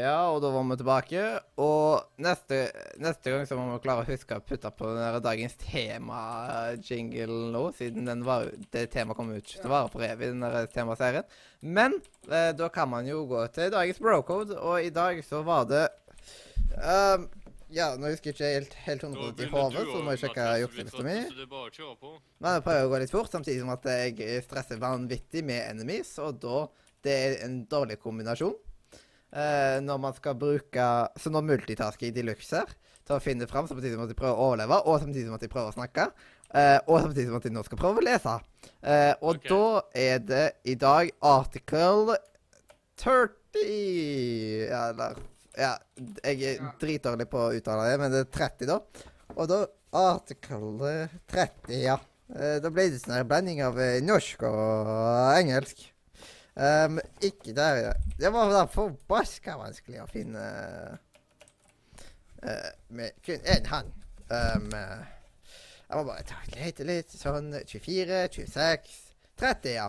Ja, og da var vi tilbake. Og neste, neste gang så må vi klare å huske å putte på den der dagens tema-jingle nå, siden den var, jo- det temaet kom jo ikke til å vare for evig, den der temaserien. Men eh, da kan man jo gå til dagens brocode, og i dag så var det ehm, Ja, nå husker jeg ikke helt, helt 100 i hodet, så må jeg sjekke jukselista mi.
Så det er bare å kjøre på.
Men jeg prøver å gå litt fort, samtidig som at jeg stresser vanvittig med enemies, og da Det er en dårlig kombinasjon. Eh, når man skal bruke Så når multitasking de luxe her, til å finne fram samtidig som at de prøver å overleve, og samtidig som at de prøver å snakke, eh, og samtidig som at de nå skal prøve å lese. Eh, og
Ok.
da er det i dag article 30 ja, Eller Ja, jeg er
Ja.
dritdårlig på å uttale det, men det er 30, da. Og da article 30, ja. Eh, Da ble det sånn en blanding av eh, norsk og engelsk. Ehm, ikke der Det var da forbaska vanskelig å finne eh, med kun én hånd. Ehm, eh, jeg må bare ta og lete litt. Sånn 24, 26 30, ja.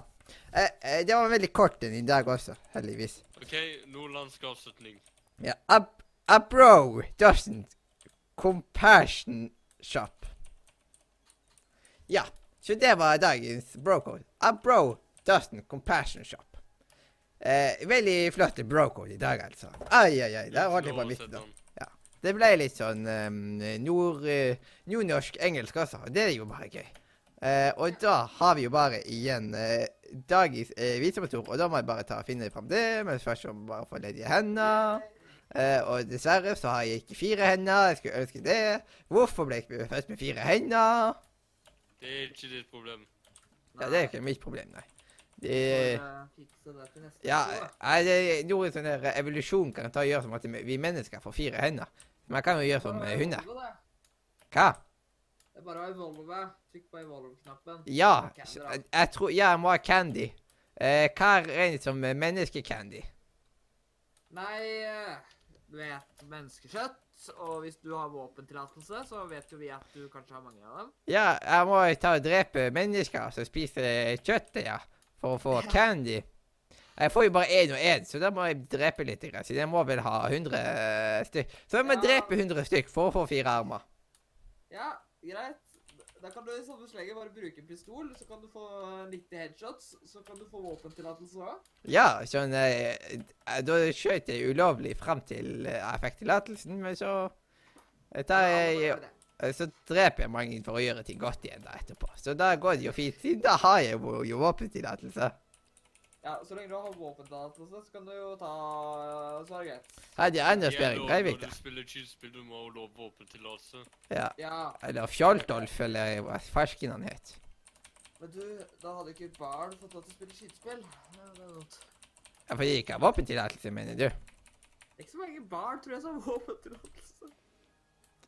Eh, eh, det var veldig kort en i dag også, heldigvis.
OK, nordlandsk avslutning.
Ja, a, a bro doesn't compassion shop. Ja, så det var dagens brocode. A bro doesn't compassion shop. Eh, veldig flott brocode i dag, altså. Ai, ai, ai. Der holdt jeg på å miste
Oversett
det.
den.
Det ble litt sånn eh, nord, eh, nordnorsk-engelsk også. og Det er jo bare gøy. Eh, og da har vi jo bare igjen eh, dagens uh, visemotor, og da må jeg bare ta og finne fram det. Men først så må jeg bare få ledige hender. Eh, og dessverre så har jeg ikke fire hender. Jeg skulle ønske det. Hvorfor ble jeg ikke født med fire hender?
Det er ikke ditt problem.
Ja, Det er ikke mitt problem, nei. Det,
Fikse det til neste
ja,
år, da.
nei, det er noe sånn der evolusjon kan ta og gjøre som at vi mennesker får fire hender. Man kan jo gjøre som eh, hunder.
Evolve, det.
Hva?
Det er bare å evolve. Trykk på evolve-knappen.
Ja.
Candy,
så-
da.
Jeg, jeg tror Ja, jeg må ha candy. Eh, hva regnes som eh, menneskecandy?
Nei, eh, du vet menneskekjøtt. Og hvis du har våpentillatelse, så vet jo vi at du kanskje har mange av dem.
Ja, jeg må ta og drepe mennesker som spiser eh, kjøttet, ja. For å få candy. Jeg får jo bare én og én, så da må jeg drepe litt. grann, Så jeg må vel ha 100 stykk. Så jeg må
Ja.
drepe 100 stykk for å få fire armer.
Ja, greit. Da kan du i samme slenge bare bruke en pistol, så kan du få 90 headshots. Så kan du få våpentillatelse òg.
Ja, sånn eh, eh, Da skjøt jeg ulovlig fram til eh, jeg fikk tillatelsen, men så eh, tar jeg Eh, Så dreper jeg mange for å gjøre ting godt igjen da etterpå. Så da går det jo fint, siden da har jeg jo, jo våpentillatelse.
Ja, så lenge du har våpentillatelse, så kan du jo ta Så er det greit.
Hadde jeg enda
Det
større
gjelder
Breivik,
Når
da.
du spiller skytespill, du må ha lov våpentillatelse.
Ja.
Ja,
Eller Fjoldolf, eller hva fersken han het.
men du, da hadde ikke barn fått lov til å spille skytespill. Ja, det er vondt.
Ja, For jeg ikke har våpentillatelse, mener du?
Det er ikke så mange barn, tror jeg, som har våpentillatelse.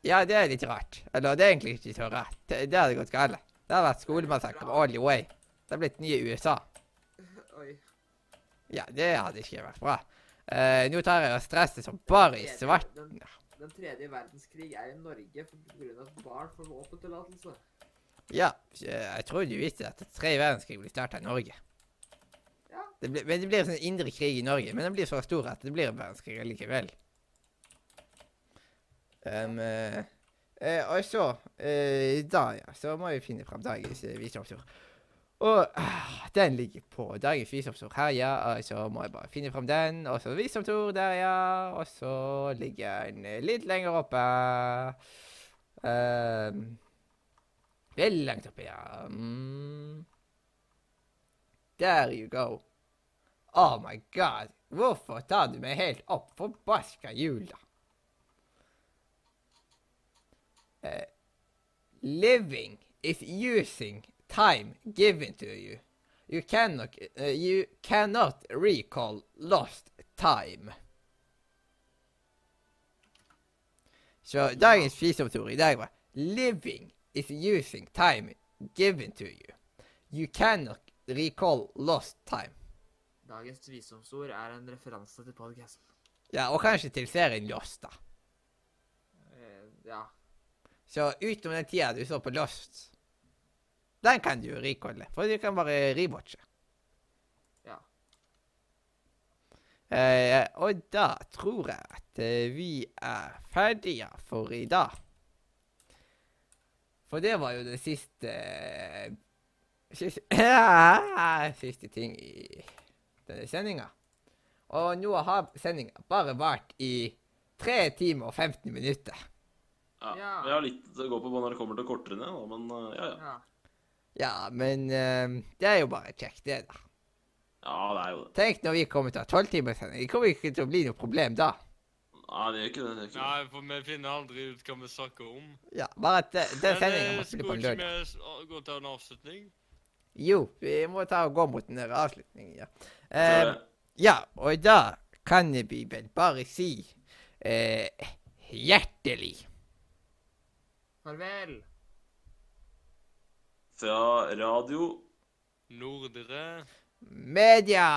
Ja, det er litt rart. Eller det er egentlig ikke så rart. Det, det hadde gått galt. Det har vært skolemassakre all the way. Det har blitt nye USA.
Oi.
Ja, det hadde ikke vært bra. Eh, nå tar jeg og stresser som bare i svart.
Den, den tredje verdenskrig er i Norge pga. at barn får våpentillatelse.
Ja, jeg tror du visste at tre verdenskrig ble starta i Norge.
Ja.
Det ble, men det blir sånn indre krig i Norge, men den blir så stor at det blir en verdenskrig likevel. Um, eh, eh, og så eh, Da, ja. Så må vi finne fram dagens eh, visdomsord. Og ah, den ligger på dagens visdomsord her, ja. Og så må jeg bare finne fram den. Og så visdomsord der, ja. Og så ligger den eh, litt lenger oppe. Um, Veldig langt oppe, ja. Mm. There you go. Oh my god. Hvorfor tar du meg helt opp forbaska jul, da? Eh, living is using time given to you. You cannot, eh, you cannot recall lost time. Så dagens fiseopptur i dag var Living is using time given to you. You cannot recall lost time.
Dagens visdomsord er en referanse til podkasten.
Ja, og kanskje til serien Lost, da.
Eh, ja.
Så utenom den tida du så på Lost, den kan du recallle, for du kan bare rewatche.
Ja.
Eh, og da tror jeg at eh, vi er ferdige for i dag. For det var jo det siste eh, Siste, (laughs) siste ting i denne sendinga. Og nå har sendinga bare vart i 3 timer og 15 minutter.
Ja.
Ja.
Vi har litt å gå på når det kommer til kortere ned, da, men eh, ja, ja.
ja.
Ja, men eh, det er jo bare kjekt, det, da.
Ja, det er jo det.
Tenk når vi kommer til å ha tolvtimerssending. Det kommer ikke til å bli noe problem da.
Nei, det gjør ikke det. det, gjør ikke det.
Nei, for vi finner aldri ut hva vi snakker om.
Ja, Bare at den- den sendinga
Men, eh,
må spille på
Skulle
lørdag.
ikke vi s- å- gå til en avslutning?
Jo, vi må ta og gå mot den der avslutningen, ja.
Så
Eh, ja, og da kan vi vel bare si eh, hjertelig
Farvel.
Fra radio
Nordre
media!